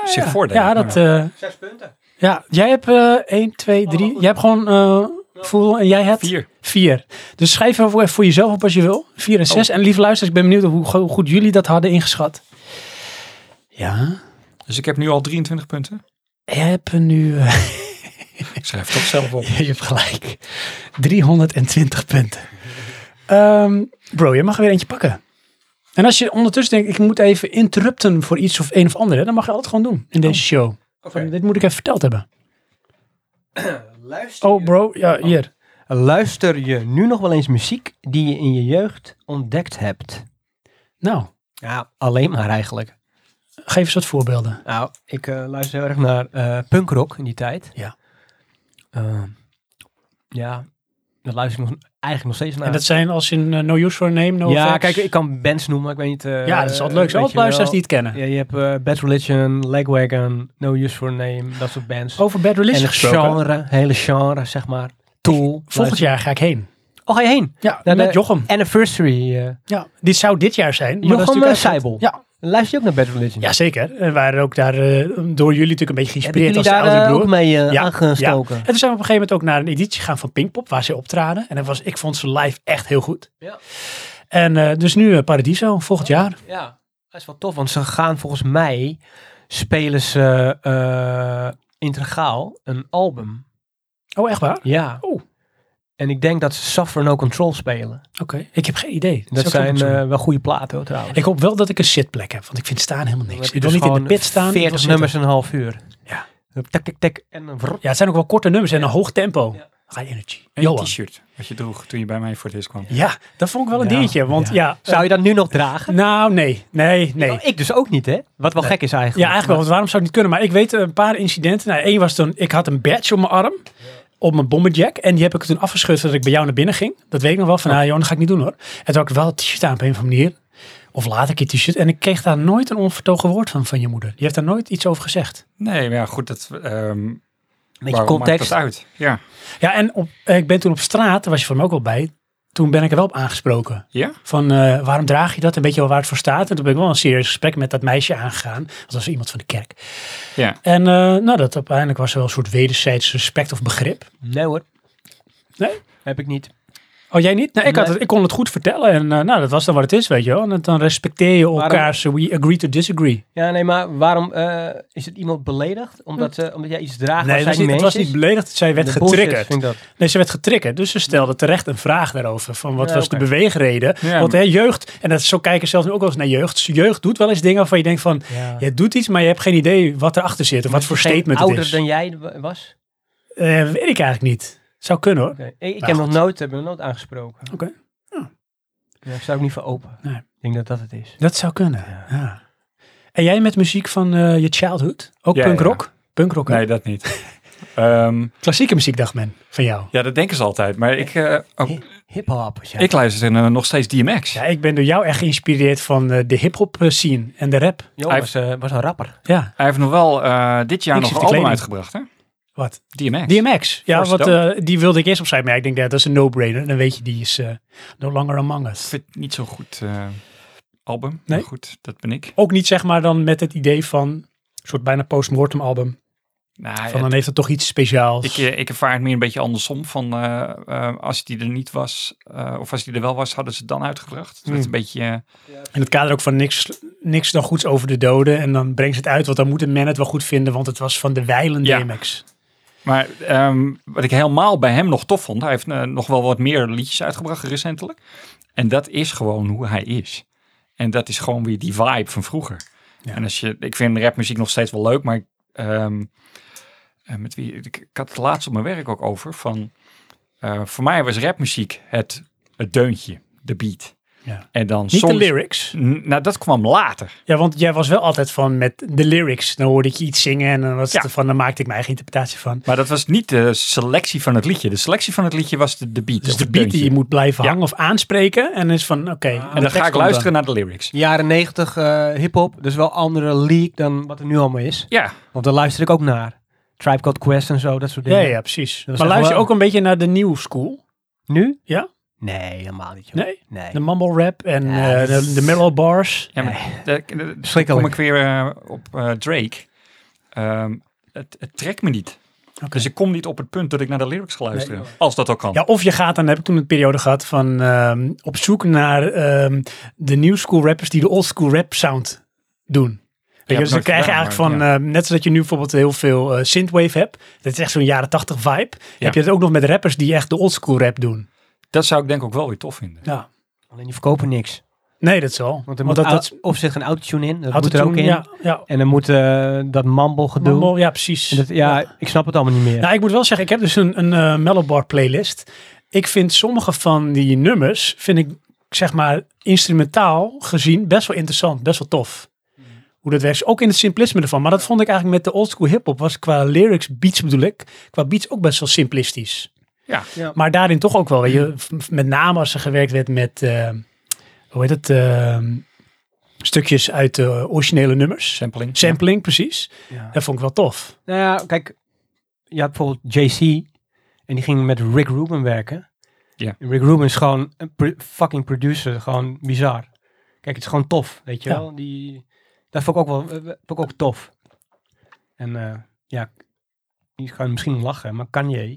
B: zich voordeed.
A: Ja, dat, eh,
C: Zes punten.
A: ja, jij hebt eh 1, 2, 3. Jij hebt gewoon eh voel en jij hebt
B: Vier.
A: vier. Dus schrijf er voor, voor jezelf op als je wil. Vier
C: Oh.
A: en zes. En lieve luisteraars, ik ben benieuwd hoe, go- hoe goed jullie dat hadden ingeschat. Ja,
B: Dus ik heb nu al 23 punten.
A: jij hebt er nu... eh,
B: Ik schrijf het toch zelf op.
A: je hebt gelijk. 320 punten. Ehm, bro, je mag er weer eentje pakken. En als je ondertussen denkt, ik moet even interrupten voor iets of een of ander, hè, dan mag je altijd gewoon doen in deze
C: Oh.
A: show. Van, dit moet ik even verteld hebben.
C: eh, Luister,
A: Oh, bro, ja, hier.
C: Luister je nu nog wel eens muziek die je in je jeugd ontdekt hebt?
A: Nou,
C: Ja, alleen maar eigenlijk.
A: geef eens wat voorbeelden.
C: Nou, ik eh, luister heel erg naar eh, punkrock in die tijd.
A: Ja.
C: Eh, ja, daar luister ik nog, eigenlijk nog steeds naar.
A: En dat zijn als in eh, No Use for a Name, No
C: ja,
A: Effects.
C: kijk, ik kan bands noemen, maar ik weet niet... eh,
A: ja, dat is altijd leuk.
C: weet
A: Zo altijd
C: je wel.
A: luisteraars die het kennen.
C: Ja, je hebt eh, Bad Religion, Legwagon, No Use For a Name, dat soort bands.
A: Over Bad
C: en
A: Religion
C: het
A: Oh, gesproken.
C: genre, hele genre, zeg maar. Tool.
A: Volgend jaar ga ik heen.
C: jaar. Oh, ga je heen?
A: Ja,
C: Naar
A: met
C: de-
A: Jochem.
C: Anniversary. eh
A: Ja, dit zou dit jaar zijn. Maar dat is
C: Jochem eh,
A: natuurlijk uit-
C: Seibel.
A: Ja,
C: Luister je ook naar Bad Religion?
A: ja, zeker. We waren ook daar eh, door jullie natuurlijk een beetje
C: Hebben
A: geïnspireerd
C: jullie
A: als de
C: daar
A: oudere
C: eh,
A: broer.
C: ook mee eh,
A: Ja,
C: aangestoken?
A: En toen zijn we op een gegeven moment ook naar een editie gegaan van Pinkpop, waar ze optraden. En dat was, ik vond ze live echt heel goed.
C: Ja.
A: En eh, dus nu eh, Paradiso, volgend jaar.
C: Ja, dat is wel tof, want ze gaan volgens mij spelen ze eh, integraal een album.
A: Oh, echt waar?
C: Ja.
A: Oh.
C: En ik denk dat ze Suffer No Control spelen.
A: Oké. Ik heb geen idee.
C: Dat,
A: Zou ik ook
C: zijn
A: moeten
C: eh,
A: doen.
C: wel goede platen hoor, trouwens.
A: ik hoop wel dat ik een zitplek heb, want ik vind staan helemaal
C: Dan
A: niks.
C: heb
A: Ik wil
C: je dus
A: niet in de
C: gewoon
A: pit staan. ik wil
C: 40
A: zitten.
C: nummers en een half uur.
A: Ja.
C: Tak, tak, tak. En een vrrr.
A: Ja, het zijn ook wel korte nummers en een hoog tempo.
C: Ja.
A: High energy.
B: En je
A: Johan.
B: t-shirt wat je droeg toen je bij mij voor het eerst kwam.
A: Ja, dat vond ik wel een
C: Ja,
A: dingetje. Want ja,
C: ja.
A: eh,
C: Zou je dat nu nog dragen?
A: nou nee, nee, nee.
C: Nou, ik dus ook niet, hè? Wat wel
A: Nee.
C: gek is eigenlijk.
A: Ja, eigenlijk wel, want waarom zou ik niet kunnen? Maar ik weet eh, een paar incidenten. Nou, één was toen, ik had een badge op mijn arm, op mijn bomberjack. En die heb ik toen afgeschud zodat ik bij jou naar binnen ging. Dat weet ik nog wel. Van, nou joh, dat ga ik niet doen hoor. En toen had ik wel het t-shirt aan op een of andere manier. Of later een keer t-shirt. En ik kreeg daar nooit een onvertogen woord van, van je moeder. Die heeft daar nooit iets over gezegd.
B: Nee, maar ja, goed, dat... ehm
C: Met je
B: waarom maakt
C: context.
B: dat uit? Ja.
A: Ja, en op, eh, ik ben toen op straat, daar was je van me ook wel bij. Toen ben ik er wel op aangesproken.
B: Ja?
A: Van eh, waarom draag je dat? En weet je wel waar het voor staat? En toen ben ik wel een serieus gesprek met dat meisje aangegaan. Dat was iemand van de kerk.
B: Ja.
A: En eh, nou, dat uiteindelijk was er wel een soort wederzijds respect of begrip.
C: Nee hoor.
A: Nee?
C: Heb ik niet.
A: Oh, jij niet? Nee, ik, had
C: Nee.
A: het, ik kon het goed vertellen. En eh, nou, dat was dan wat het is, weet je wel. En het- dan respecteer je
C: Waarom-
A: elkaars eh, we agree to disagree.
C: Ja, nee, maar waarom eh, is het iemand beledigd? Omdat, ze, omdat jij iets draagt
A: Hm. nee,
C: waar
A: het was,
C: zij
A: niet, het
C: mee
A: was
C: eens
A: niet
C: is?
A: beledigd. Zij werd
C: De bullshit,
A: getriggerd.
C: vind ik dat.
A: Nee, ze werd getriggerd. Dus ze stelde terecht een vraag daarover. Van wat
C: Ja,
A: was
C: oké.
A: de beweegreden?
B: Ja,
A: Want
B: maar-
A: hè, jeugd, en dat, zo kijken zelfs nu ook wel eens naar jeugd. Dus Jeugd doet wel eens dingen waarvan je denkt van...
C: Ja.
A: Je doet iets, maar je hebt geen idee wat erachter zit. Of wat voor statement het
C: ouder
A: is.
C: dan jij wa- was?
A: Eh, weet ik eigenlijk niet. Zou kunnen hoor.
C: Oké. Ik, ik
A: Maar
C: heb
A: Nou, goed.
C: nog nooit, heb me nog nooit aangesproken.
A: Oké. Ja.
C: Ja, ik sta ook niet voor open.
A: Nee.
C: Ik denk dat dat het is.
A: Dat zou kunnen.
C: Ja.
A: Ja. En jij met muziek van eh, je childhood? Ook
B: Ja,
A: punkrock? Punkrock, hè?
B: Nee, dat niet. Ehm,
A: klassieke muziek dacht men van jou.
B: ja, dat denken ze altijd. Maar ik, eh, ook-
C: Hi- Hip-hop. was jij.
B: ik luister eh, nog steeds DMX.
A: Ja, ik ben door jou echt geïnspireerd van eh, de hip-hop eh, scene en de rap.
C: Jo,
B: Hij-
C: was, eh, was een rapper.
A: Ja,
B: Hij heeft nog wel eh, dit jaar
A: Ik
B: nog
A: zit
B: een
A: de
B: album
A: kleding.
B: uitgebracht, hè?
A: wat?
B: DMX.
A: DMX. Ja,
B: Force
A: wat,
B: Dope.
A: eh, die wilde ik eerst opzij. Maar ja, ik denk, ja, dat is een no-brainer. Dan weet je, die is eh, no longer among
B: Ik
A: us.
B: vind het niet zo'n goed eh, album.
A: Nee?
B: Maar goed, dat ben ik.
A: Ook niet zeg maar dan met het idee van een soort bijna post-mortem album.
B: Nou,
A: Van
B: ja,
A: dan heeft het toch iets speciaals.
B: ik, eh, ik ervaar het meer een beetje andersom. Van, eh, eh, als die er niet was, eh, of als die er wel was, hadden ze het dan uitgebracht.
A: Hmm.
B: Dus dat is een beetje... eh,
A: In het kader ook van niks, niks dan goeds over de doden. En dan brengt ze het uit, want dan moet een man het wel goed vinden, want het was van de wijlen
B: Ja.
A: DMX.
B: Maar ehm, wat ik helemaal bij hem nog tof vond, hij heeft eh, nog wel wat meer liedjes uitgebracht recentelijk. En dat is gewoon hoe hij is. En dat is gewoon weer die vibe van vroeger.
A: Ja.
B: En als je, ik vind rapmuziek nog steeds wel leuk, maar ik, ehm, eh, met wie, ik, ik had het laatst op mijn werk ook over. Van, eh, voor mij was rapmuziek het, het deuntje, de beat.
A: Ja.
B: En dan
A: Niet
B: soms,
A: de lyrics.
B: N- Nou, dat kwam later.
A: Ja, want jij was wel altijd van met de lyrics. Dan hoorde ik je iets zingen en dan, was
B: Ja.
A: het van, dan maakte ik mijn eigen interpretatie van.
B: Maar dat was niet de selectie van het liedje. De selectie van het liedje was de, de beat.
A: Dus
B: of
A: de
B: het
A: beat die
B: deuntje.
A: je moet blijven
B: Ja.
A: hangen of aanspreken. En is van, oké. de
B: En dan
A: tekst
B: ga ik
A: komt
B: luisteren naar de lyrics.
C: Jaren 90 eh hip-hop, dus wel andere league dan wat er nu allemaal is.
B: Ja,
C: Want daar luister ik ook naar. Tribe Called Quest en zo, dat soort
A: dan.
C: dingen.
A: Ja, ja, precies.
C: was
A: Maar
C: echt
A: luister je
C: wel-
A: ook een beetje naar de new school?
C: Nu?
A: Ja?
C: Nee, helemaal niet. Joh.
A: Nee?
C: Nee.
A: De mumble rap en
C: Ja,
A: eh,
C: dat
A: de,
C: is-
A: de mellow bars.
B: ja maar de-
A: Eh,
B: de- de-
C: Schrikkelijk.
B: kom ik weer eh, op eh, Drake. Ehm, het, het trekt me niet.
A: Oké.
B: Dus ik kom niet op het punt dat ik naar de lyrics ga luisteren.
C: Nee.
B: Als dat ook kan.
A: Ja, of je gaat, en dan heb ik toen een periode gehad van ehm, op zoek naar ehm, de new school rappers die de old school rap sound doen. Weet
B: heb
A: je, dus
B: ik
A: dan
B: nooit
A: krijg je
B: gedaan,
A: eigenlijk
B: maar
A: van, ehm, net zoals je nu bijvoorbeeld heel veel eh, synthwave hebt, dat is echt zo'n jaren tachtig vibe, heb je het ook nog met rappers die echt de old school rap doen.
B: Dat zou ik denk ik ook wel weer tof vinden.
A: Ja.
C: Alleen die verkopen niks.
A: Nee, dat zal.
C: Want er moet
A: dat,
C: au- of zit een autotune in, dat
A: houdt
C: moet er ook in.
A: Ja, ja.
C: En dan moet eh, dat mumble gedoe.
A: Mumble, ja, precies.
C: En dat, ja, ik snap het allemaal niet meer.
A: Nou, ik moet wel zeggen, ik heb dus een, een eh, Mellow Bar playlist. Ik vind sommige van die nummers, vind ik zeg maar instrumentaal gezien, best wel interessant, best wel tof. Hoe dat werkt, ook in het simplisme ervan. Maar dat vond ik eigenlijk met de oldschool hip-hop, was qua lyrics, beats bedoel ik, qua beats ook best wel simplistisch.
B: Ja.
C: Ja.
A: Maar daarin toch ook wel, weet je, v- v- met name als er gewerkt werd met, eh, hoe heet het, eh, stukjes uit de originele nummers.
B: Sampling.
A: Sampling, precies.
C: Ja.
A: Dat vond ik wel tof.
C: Nou ja, kijk, je had bijvoorbeeld JC en die ging met Rick Rubin werken.
B: Ja.
C: En Rick Rubin is gewoon een pro- fucking producer, gewoon bizar. Kijk, het is gewoon tof, weet je
A: Ja.
C: wel. Die, dat vond ik ook wel eh, eh, vond ik ook tof. En eh, ja, je kan misschien lachen, maar Kanye.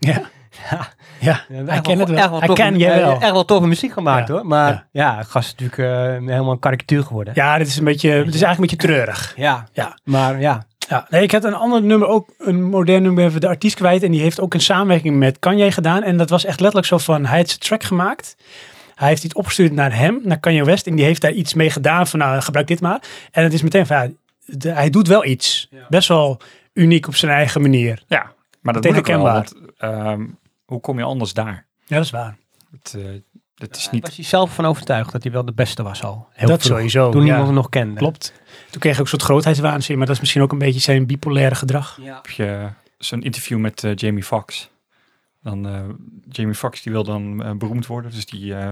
A: Ja.
C: ja,
A: Ja,
C: hij
A: hij kent het wel.
C: Echt wel
A: Hij
C: toffe-
A: kent je
C: hij heeft
A: wel.
C: Echt wel toffe muziek gemaakt
A: Ja.
C: hoor. Maar
A: Ja.
C: ja, gast is natuurlijk eh, helemaal een karikatuur geworden.
A: Ja, dit is een beetje, het is eigenlijk een beetje treurig.
C: ja.
A: Ja.
C: Maar ja,
A: Ja, nee, ik had een ander nummer, ook een modern nummer, even de artiest kwijt. En die heeft ook een samenwerking met Kanye gedaan. En dat was echt letterlijk zo van, hij heeft zijn track gemaakt. Hij heeft iets opgestuurd naar hem, naar Kanye West. En die heeft daar iets mee gedaan van, nou, gebruik dit maar. En het is meteen van, ja, de- hij doet wel iets. Best wel uniek op zijn eigen manier.
B: Ja, maar dat
A: Meteen
B: moet ik wel.
A: herkenbaar.
B: Want, ehm, hoe kom je anders daar?
A: Ja, dat is waar.
B: Het, eh, dat is
C: was
B: niet...
C: hij zelf van overtuigd dat hij wel de beste was al. Heel
A: dat
C: vroeg.
A: sowieso,
C: Toen
A: ja.
C: niemand hem nog kende.
A: Klopt. Toen kreeg ik ook een soort grootheidswaanzin. Maar dat is misschien ook een beetje zijn bipolaire gedrag.
C: Ja.
B: Heb je zo'n interview met eh, Jamie Foxx. Dan, eh, Jamie Foxx die wil dan eh, beroemd worden. Dus die eh,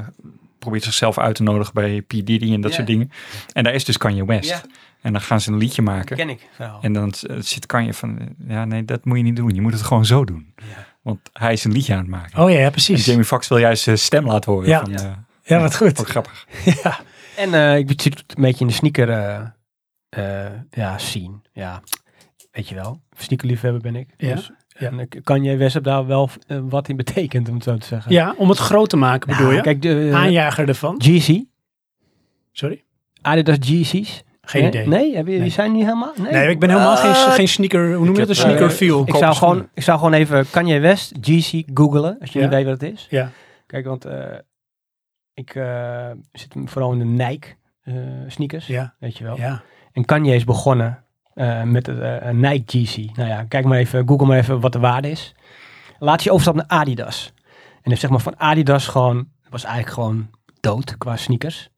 B: probeert zichzelf uit te nodigen bij P. Diddy en dat
C: Ja.
B: soort dingen. En daar is dus Kanye West.
C: Ja.
B: En dan gaan ze een liedje maken.
C: Ken ik. verhaal.
B: En dan eh, zit Kanye van, eh, ja nee, dat moet je niet doen. Je moet het gewoon zo doen. Want hij is een liedje aan het maken.
A: Oh ja, ja,
B: en
A: precies.
B: Jamie Foxx wil juist zijn stem laten horen.
A: Ja.
B: Van,
C: Ja.
B: eh,
A: Ja, wat goed.
B: ook grappig.
A: Ja.
C: En eh, ik zit een beetje in de sneaker eh eh, ja, scene. Ja, weet je wel. Sneakerliefhebber ben ik.
A: Ja,
C: Dus,
A: ja.
C: En ik- kan jij West heb daar wel eh, wat in betekent, om het zo te zeggen.
A: ja, om het groot te maken
C: Nou,
A: bedoel je? Ah,
C: Kijk, de, eh,
A: Aanjager ervan.
C: GC.
A: Sorry?
C: Adidas GC's.
A: Geen
C: nee,
A: idee.
C: Nee, heb je, die
A: Nee.
C: zijn niet helemaal? Nee,
A: Nee, ik ben helemaal geen,
C: Wat?
A: geen sneaker. Hoe noem je
B: Ik
A: dat? Een
B: heb, eh,
A: sneakerfiel.
C: Eh, Ik
B: Kopen
C: zou,
B: schoenen.
C: gewoon, ik zou gewoon even Kanye West, GC, googlen. Als je
A: Ja.
C: niet weet wat het is.
A: Ja.
C: Kijk, want eh, ik eh, zit hem vooral in de Nike eh, sneakers.
A: ja,
C: Weet je wel.
A: ja.
C: En Kanye is begonnen eh, met het, eh, een Nike GC. Nou ja, kijk maar even, google maar even wat de waarde is. Laat je overstap naar Adidas. En heeft zeg maar van Adidas gewoon, was eigenlijk gewoon dood qua sneakers.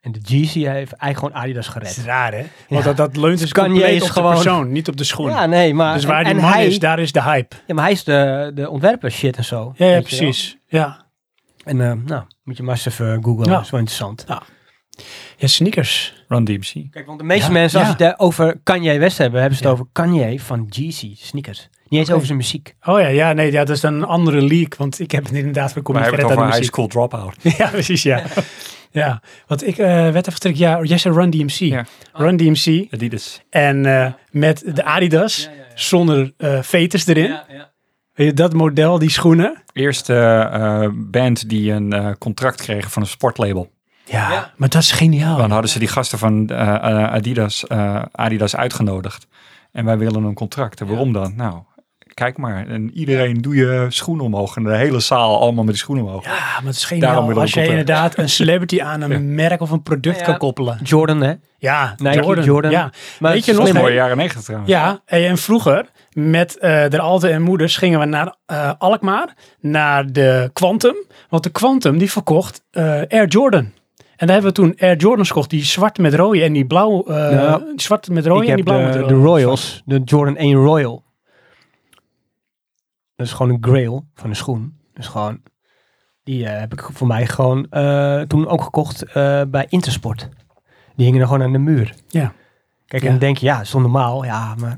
C: En de GC heeft eigenlijk gewoon Adidas
A: Dat is
C: gered.
A: raar, hè? Want
C: Ja.
A: dat, dat leunt dus
C: Kanye
A: compleet op
C: is gewoon-
A: de persoon, niet op de schoen.
C: Ja, nee, maar,
A: dus waar
C: en,
A: die
C: en
A: man
C: hij,
A: is, daar is de hype.
C: ja, maar hij is de, de ontwerper shit en zo.
A: Ja, ja
C: weet je wel.
A: precies. Ja.
C: En eh, nou, moet je maar eens even googlen,
A: Ja.
C: dat is wel interessant.
A: ja, sneakers.
B: Run DMC.
C: Kijk, want de meeste
A: Ja,
C: mensen, als
A: ja.
C: ze het eh, over Kanye West hebben, hebben ze het
A: Ja.
C: over Kanye van GC sneakers. Niet eens
A: Oké.
C: over zijn muziek.
A: Oh ja, ja, nee, ja, dat is dan een andere leak, want ik heb het inderdaad voor
B: Maar hij
A: community
B: heeft het over
A: aan de
B: high
A: muziek.
B: school dropout.
A: Ja, precies, ja. ja, want ik eh, werd even terug, ja, jij zei Run DMC.
B: Ja.
A: Run DMC
B: Adidas.
A: en eh, met de Adidas, zonder eh veters erin. Weet je, dat model, die schoenen.
B: Eerste eh, eh, band die een eh, contract kreeg van een sportlabel.
A: Ja, maar dat is geniaal.
B: Dan hadden ze die gasten van eh, eh, Adidas, eh, Adidas uitgenodigd. En wij willen een contract. En waarom dan? Nou, kijk maar. En iedereen doe je schoen omhoog. En de hele zaal allemaal met die schoen omhoog.
A: Ja, maar het is
B: Daarom
A: geniaal
B: wil ik
A: als je
B: ook op, hè.
A: inderdaad een celebrity aan een
B: Ja.
A: merk of een product
C: Ja.
A: kan koppelen.
C: Jordan, hè?
A: Ja,
C: Nike,
A: Jordan.
C: Jordan.
A: Ja,
C: Maar
A: Weet je
B: Dat
A: nog,
B: is
A: hè?
B: mooie jaren negentig trouwens.
A: ja. En, en vroeger met eh de Alte en moeders gingen we naar eh, Alkmaar, naar de Quantum. Want de Quantum die verkocht eh, Air Jordan. En daar hebben we toen Air Jordans gekocht, die zwart met rode en die blauw, eh
C: Nou,
A: die zwart met rode
C: ik
A: en
C: heb
A: die blauw met
C: de,
A: rode.
C: de Royals, de Jordan 1 Royal. Dat is gewoon een grail van een schoen. Dus gewoon, die eh, heb ik voor mij gewoon eh, toen ook gekocht eh, bij Intersport. Die hingen er gewoon aan de muur.
A: Ja.
C: Kijk,
A: Ja.
C: en dan denk je, ja, dat is toch normaal. Ja, maar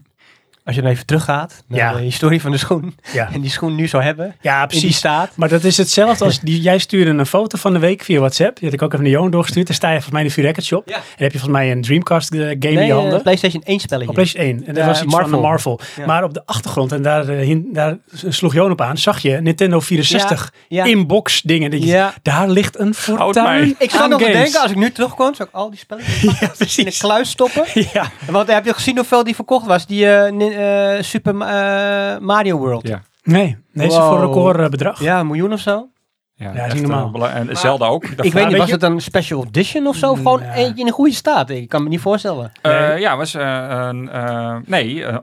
C: als je dan even teruggaat naar
A: Ja.
C: de historie van de schoen.
A: Ja.
C: En die schoen nu zou hebben.
A: Ja,
C: Precies. die
A: precies.
C: staat.
A: Maar dat is hetzelfde als die, jij stuurde een foto van de week via WhatsApp. Die had ik ook even naar Johan doorgestuurd. Daar sta je volgens mij in de V-Record Shop.
C: Ja.
A: En heb je volgens mij een Dreamcast eh, game in
C: Nee,
A: je
C: eh,
A: handen.
C: PlayStation 1 spelletje.
A: Op PlayStation 1. En dat
C: Ja,
A: was iets van
C: Marvel.
A: de Marvel.
C: Ja.
A: Maar op de achtergrond, en daar, eh, hin- daar sloeg Joon op aan, zag je Nintendo 64
C: Dus ja.
A: inbox dingen. Dat je,
C: Ja.
A: Daar ligt een
B: mij.
A: fortuin
C: Ik zou
A: aan
C: nog te
A: games.
C: denken, als ik nu terugkwam, zou ik al die spelletjes
A: Ja,
C: in een
A: precies.
C: kluis stoppen.
A: Ja,
C: Want heb je gezien hoeveel die verkocht was? Die eh, nin- eh, Super Ma- eh, Mario World.
B: Ja.
A: nee. Nee, ze
C: Wow.
A: voor een record eh, bedrag.
C: Ja, een miljoen of zo.
B: Ja,
A: is
B: echt,
A: niet normaal.
B: eh, bela- En Zelda ook.
C: ik weet
A: weet
C: niet, was
A: je-
C: het een special edition of zo? Of gewoon
A: Ja.
C: eentje in een goede staat? Ik kan me niet voorstellen.
B: Eh, ja, was eh, een, eh, nee, eh,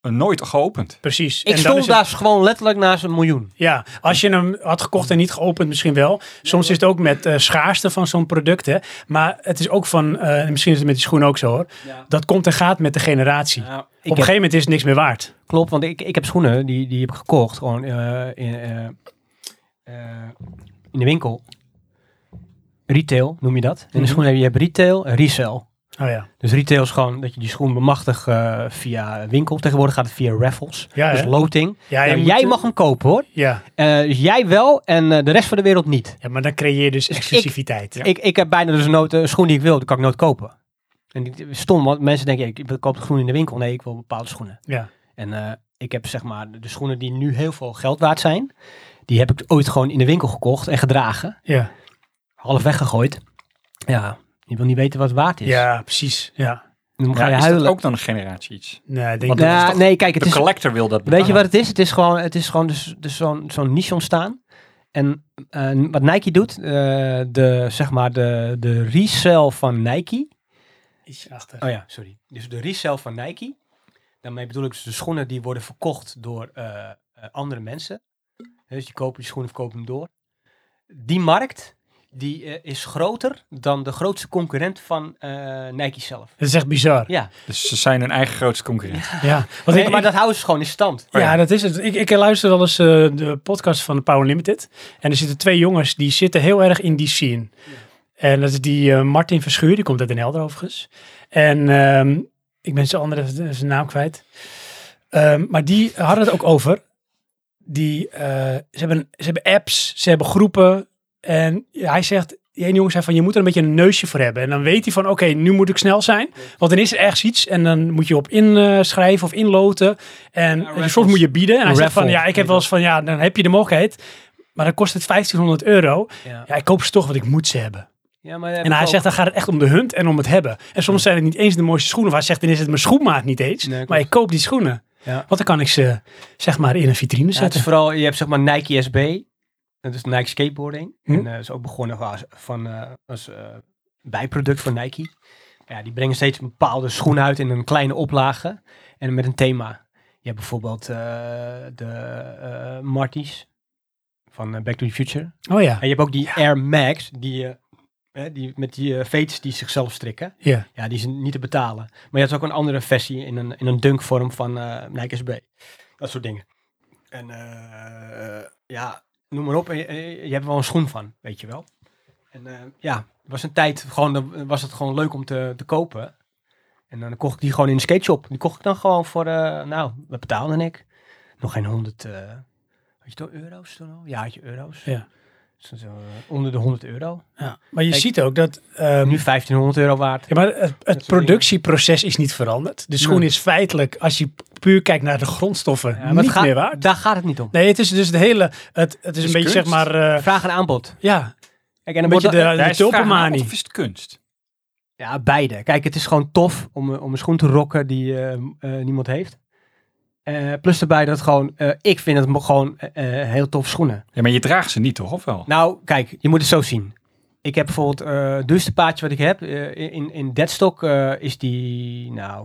B: nooit geopend.
A: Precies.
C: Ik
A: dan
C: stond
A: is het-
C: daar gewoon letterlijk naast een miljoen.
A: Ja, als je hem had gekocht en niet geopend, misschien wel. Soms is het ook met eh, schaarste van zo'n product. Hè. Maar het is ook van, eh, en misschien is het met die schoen ook zo hoor. Dat komt en gaat met de generatie. Op
C: ik
A: een gegeven moment is het niks meer waard.
C: Klopt, want ik, ik heb schoenen, die, die heb ik gekocht, gewoon eh, in, eh, eh, in de winkel. Retail noem je dat. En de
A: Mhm.
C: schoenen heb je hebt retail en resell.
A: Oh ja.
C: Dus retail is gewoon dat je die schoen bemachtigt eh, via winkel. Tegenwoordig gaat het via raffles,
A: Ja,
C: dus
A: hè?
C: loting.
A: Ja, je
C: en
A: moet,
C: jij
A: eh,
C: mag hem kopen hoor.
A: Ja.
C: Eh, dus jij wel en eh, de rest van de wereld niet.
A: ja, maar dan creëer je dus exclusiviteit.
C: Ik, ik heb bijna dus nooit eh, een schoen die ik wil, die kan ik nooit kopen. En die- stom, want mensen denken, ik, ik koop de schoen in de winkel. Nee, ik wil bepaalde schoenen.
A: Ja.
C: En eh, ik heb zeg maar de- de schoenen die nu heel veel geld waard zijn, die heb ik ooit gewoon in de winkel gekocht en gedragen.
A: Ja.
C: Half weggegooid. Ja, je wil niet weten wat het waard is.
A: Ja, precies. Ja.
C: Dan ga
B: Ja,
C: je
B: is
C: huilen.
B: dat ook dan een generatie iets?
A: Nee, ik denk
B: Want
A: dat-
B: dat is
C: Ja,
B: toch-
C: nee, kijk, het
B: de
C: is,
B: collector wil dat
C: weet je wat
B: betalen.
C: het is? Het is gewoon, het is gewoon dus, dus zo'n zo'n niche ontstaan. En eh, wat Nike doet, eh, de, zeg maar de, de resell van Nike,
A: Ietsje achter.
C: Oh ja, sorry. Dus de resell van Nike. Daarmee bedoel ik dus de schoenen die worden verkocht door eh, eh, andere mensen. Dus die kopen die schoenen of kopen hem door. Die markt die, eh, is groter dan de grootste concurrent van eh, Nike zelf.
A: Dat is echt bizar.
C: Ja,
B: Dus ze zijn hun eigen grootste concurrent.
A: Ja, want
C: Nee,
A: ik,
C: maar
A: ik-
C: dat houden ze gewoon in stand.
B: Oh ja.
A: ja, dat is het. Ik, ik luister wel eens eh, de podcast van Power Limited. En er zitten twee jongens die zitten heel erg in die scene. En dat is die eh, Martin Verschuur, die komt uit Den Helder overigens. En ehm, ik ben zijn andere zijn naam kwijt. Ehm, maar die hadden het ook over. Die, eh, ze, hebben, ze hebben apps, ze hebben groepen. En hij zegt, die ene jongen zei van, je moet er een beetje een neusje voor hebben. En dan weet hij van, oké, nu moet ik snel zijn. Want dan is er ergens iets en dan moet je op inschrijven of inloten. En, en
C: raffles.
A: soms moet je bieden. En hij zegt van,
C: Raffle,
A: ja, ik heb wel eens van, ja, dan heb je de mogelijkheid. Maar dan kost het 1500 euro.
C: Ja,
A: Ja, ik koop ze toch, want ik moet ze hebben.
C: maar dat heb
A: En
C: ik
A: hij
C: ook.
A: zegt, dan gaat het echt om de hunt en om het hebben. En soms zijn het niet eens de mooiste schoenen. Waar hij zegt, dan is het mijn schoenmaat niet eens.
C: Nee, klopt.
A: maar ik koop die schoenen.
C: Ja.
A: Want dan kan ik ze, zeg maar, in een vitrine
C: Ja, het
A: zetten.
C: is vooral, je hebt zeg maar Nike SB. Dat is Nike Skateboarding.
A: Hm.
C: En eh, is ook begonnen als, van, eh, als eh, bijproduct van Nike. Ja, die brengen steeds een bepaalde schoen uit in een kleine oplage. En met een thema. Je hebt bijvoorbeeld eh, de eh Marty's van eh, Back to the Future.
A: Oh ja.
C: En je hebt ook die Air Max, die, eh, hè, die met die eh veets die zichzelf strikken.
A: Ja.
C: Ja, die zijn niet te betalen. Maar je had ook een andere versie in een, in een dunkvorm van eh Nike SB. Dat soort dingen. En eh, ja, noem maar op. eh, eh, Je hebt er wel een schoen van, weet je wel. En eh, ja, er was een tijd, gewoon, dan was het gewoon leuk om te, te kopen. En dan kocht ik die gewoon in de skateshop. Die kocht ik dan gewoon voor, eh, nou, wat betaalde ik? Nog geen 100, eh had je toch euro's toen al? Ja, had je euro's.
A: Ja.
C: Dus, eh, onder de 100 euro.
A: ja. Maar je
C: Kijk.
A: ziet ook dat... ehm,
C: Nu 1500 euro waard.
A: ja, maar het, het
C: soort dingen.
A: productieproces is niet veranderd. De schoen
C: Nee.
A: is feitelijk, als je puur kijkt naar de grondstoffen,
C: Ja, maar het
A: niet
C: gaat-
A: meer waard.
C: Daar gaat het niet om.
A: Nee, het is dus het hele... Het, het is een
B: is
A: beetje, zeg
B: kunst.
A: maar... eh,
C: Vraag en aanbod.
A: ja,
C: Kijk, en
A: een beetje
C: dan wordt
A: de,
C: er-
A: de
B: Daar is de vraag aan,
A: tulpenmanie.
B: Of is het kunst?
C: Ja, beide. Kijk, het is gewoon tof om, eh, om een schoen te rocken die eh, eh, niemand heeft. Eh, plus erbij dat het gewoon, eh, ik vind het mo- gewoon eh, eh, heel tof schoenen.
B: Ja, maar je draagt ze niet toch, of wel?
C: Nou, kijk, je moet het zo zien. Ik heb bijvoorbeeld eh, het duurste paardje wat ik heb. eh, in, in Deadstock eh, is die, nou,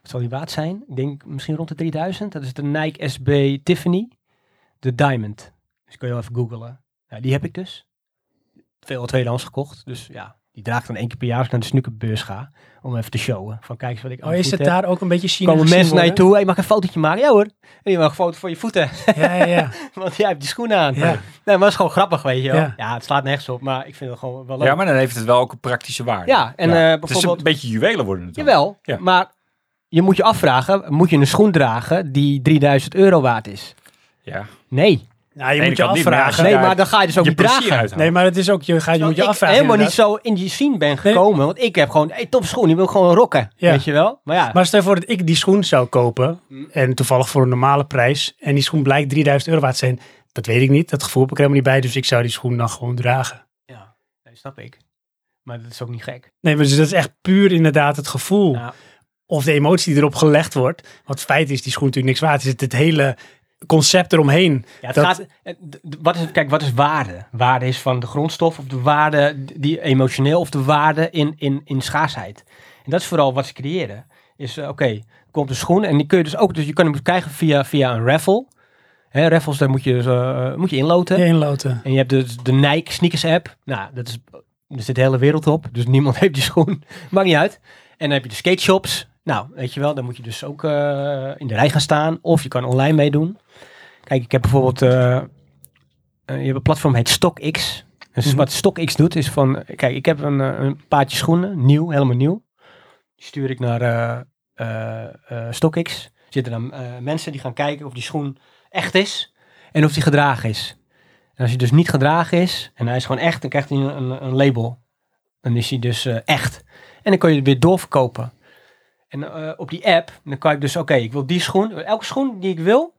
C: wat zal die waard zijn? Ik denk misschien rond de 3000. Dat is de Nike SB Tiffany, de Diamond. Dus kun je wel even googlen. Nou, die heb ik dus. Veel tweedehands gekocht. Dus ja, die draag ik dan één keer per jaar als ik naar de snookerbeurs ga. Om even te showen. Van kijk eens wat ik aan
A: Oh, is
C: voet
A: het
C: heb.
A: daar ook een beetje China
C: komen
A: gezien
C: mensen naar je
A: worden?
C: toe. Hey, mag ik een fotootje maken? Ja hoor. En je mag een foto voor je voeten.
A: Ja, ja, ja.
C: Want jij hebt die schoenen aan.
A: ja.
C: Nee, maar het is gewoon grappig, weet je wel.
A: Ja.
C: Ja. het slaat nergens op, maar ik vind het gewoon wel leuk.
B: Ja, maar dan heeft het wel ook een praktische waarde.
C: Ja, en eh,
B: Het is
C: bijvoorbeeld...
B: een beetje juwelen worden het dan.
C: Jawel,
B: Ja.
C: maar je moet je afvragen, moet je een schoen dragen die 3000 euro waard is?
B: Ja.
C: Nee.
A: Nou, je
B: Ene
A: moet je
B: kant niet,
A: afvragen.
B: Ja,
C: nee,
B: ja,
C: maar dan ga je dus ook
B: je
C: niet
B: plezier
C: dragen.
B: uithalen.
A: nee, maar het is ook, je, gaat, je moet je
C: ik
A: afvragen.
C: helemaal
A: inderdaad.
C: niet zo in die scene ben
A: Nee.
C: gekomen, want ik heb gewoon, hey, top schoen, die wil ik gewoon rocken,
A: Ja.
C: weet je wel? Maar ja,
A: Maar stel je voor dat ik die schoen zou kopen. En toevallig voor een normale prijs. En die schoen blijkt 3000 euro waard te zijn. Dat weet ik niet. Dat gevoel heb ik er helemaal niet bij. Dus ik zou die schoen dan gewoon dragen.
C: ja, nee, snap ik. Maar dat is ook niet gek.
A: Nee, maar dus dat is echt puur inderdaad het gevoel.
C: Ja.
A: Of de emotie die erop gelegd wordt. Want het feit is die schoen natuurlijk niks waard. Het is het hele concept eromheen.
C: Ja, het
A: Dat-
C: gaat, eh, d- d- wat is, kijk, wat is waarde? Waarde is van de grondstof of de waarde d- die emotioneel of de waarde in, in, in schaarsheid. En dat is vooral wat ze creëren. Is, eh, oké, er komt een schoen en die kun je dus ook, dus je kan hem krijgen via, via een raffle. Hè, raffles, daar moet je, dus, eh, moet je inloten.
A: Inloten.
C: En je hebt dus de Nike sneakers app. Nou, dat is, er zit de hele wereld op. Dus niemand heeft die schoen. Maakt niet uit. En dan heb je de skate shops. Nou, weet je wel, dan moet je dus ook eh, in de rij gaan staan. Of je kan online meedoen. Kijk, ik heb bijvoorbeeld... eh, eh, je hebt een platform, heet StockX. Dus
A: Mhm.
C: wat StockX doet is van... Kijk, ik heb een, eh, een paardje schoenen. Nieuw, helemaal nieuw. Die stuur ik naar eh eh, eh, StockX. Zitten dan eh, mensen die gaan kijken of die schoen echt is. En of die gedragen is. En als hij dus niet gedragen is en hij is gewoon echt, dan krijgt hij een, een, een label. Dan is hij dus eh, echt. En dan kun je het weer doorverkopen. En eh, op die app, dan kan ik dus, oké, ik wil die schoen. Elke schoen die ik wil,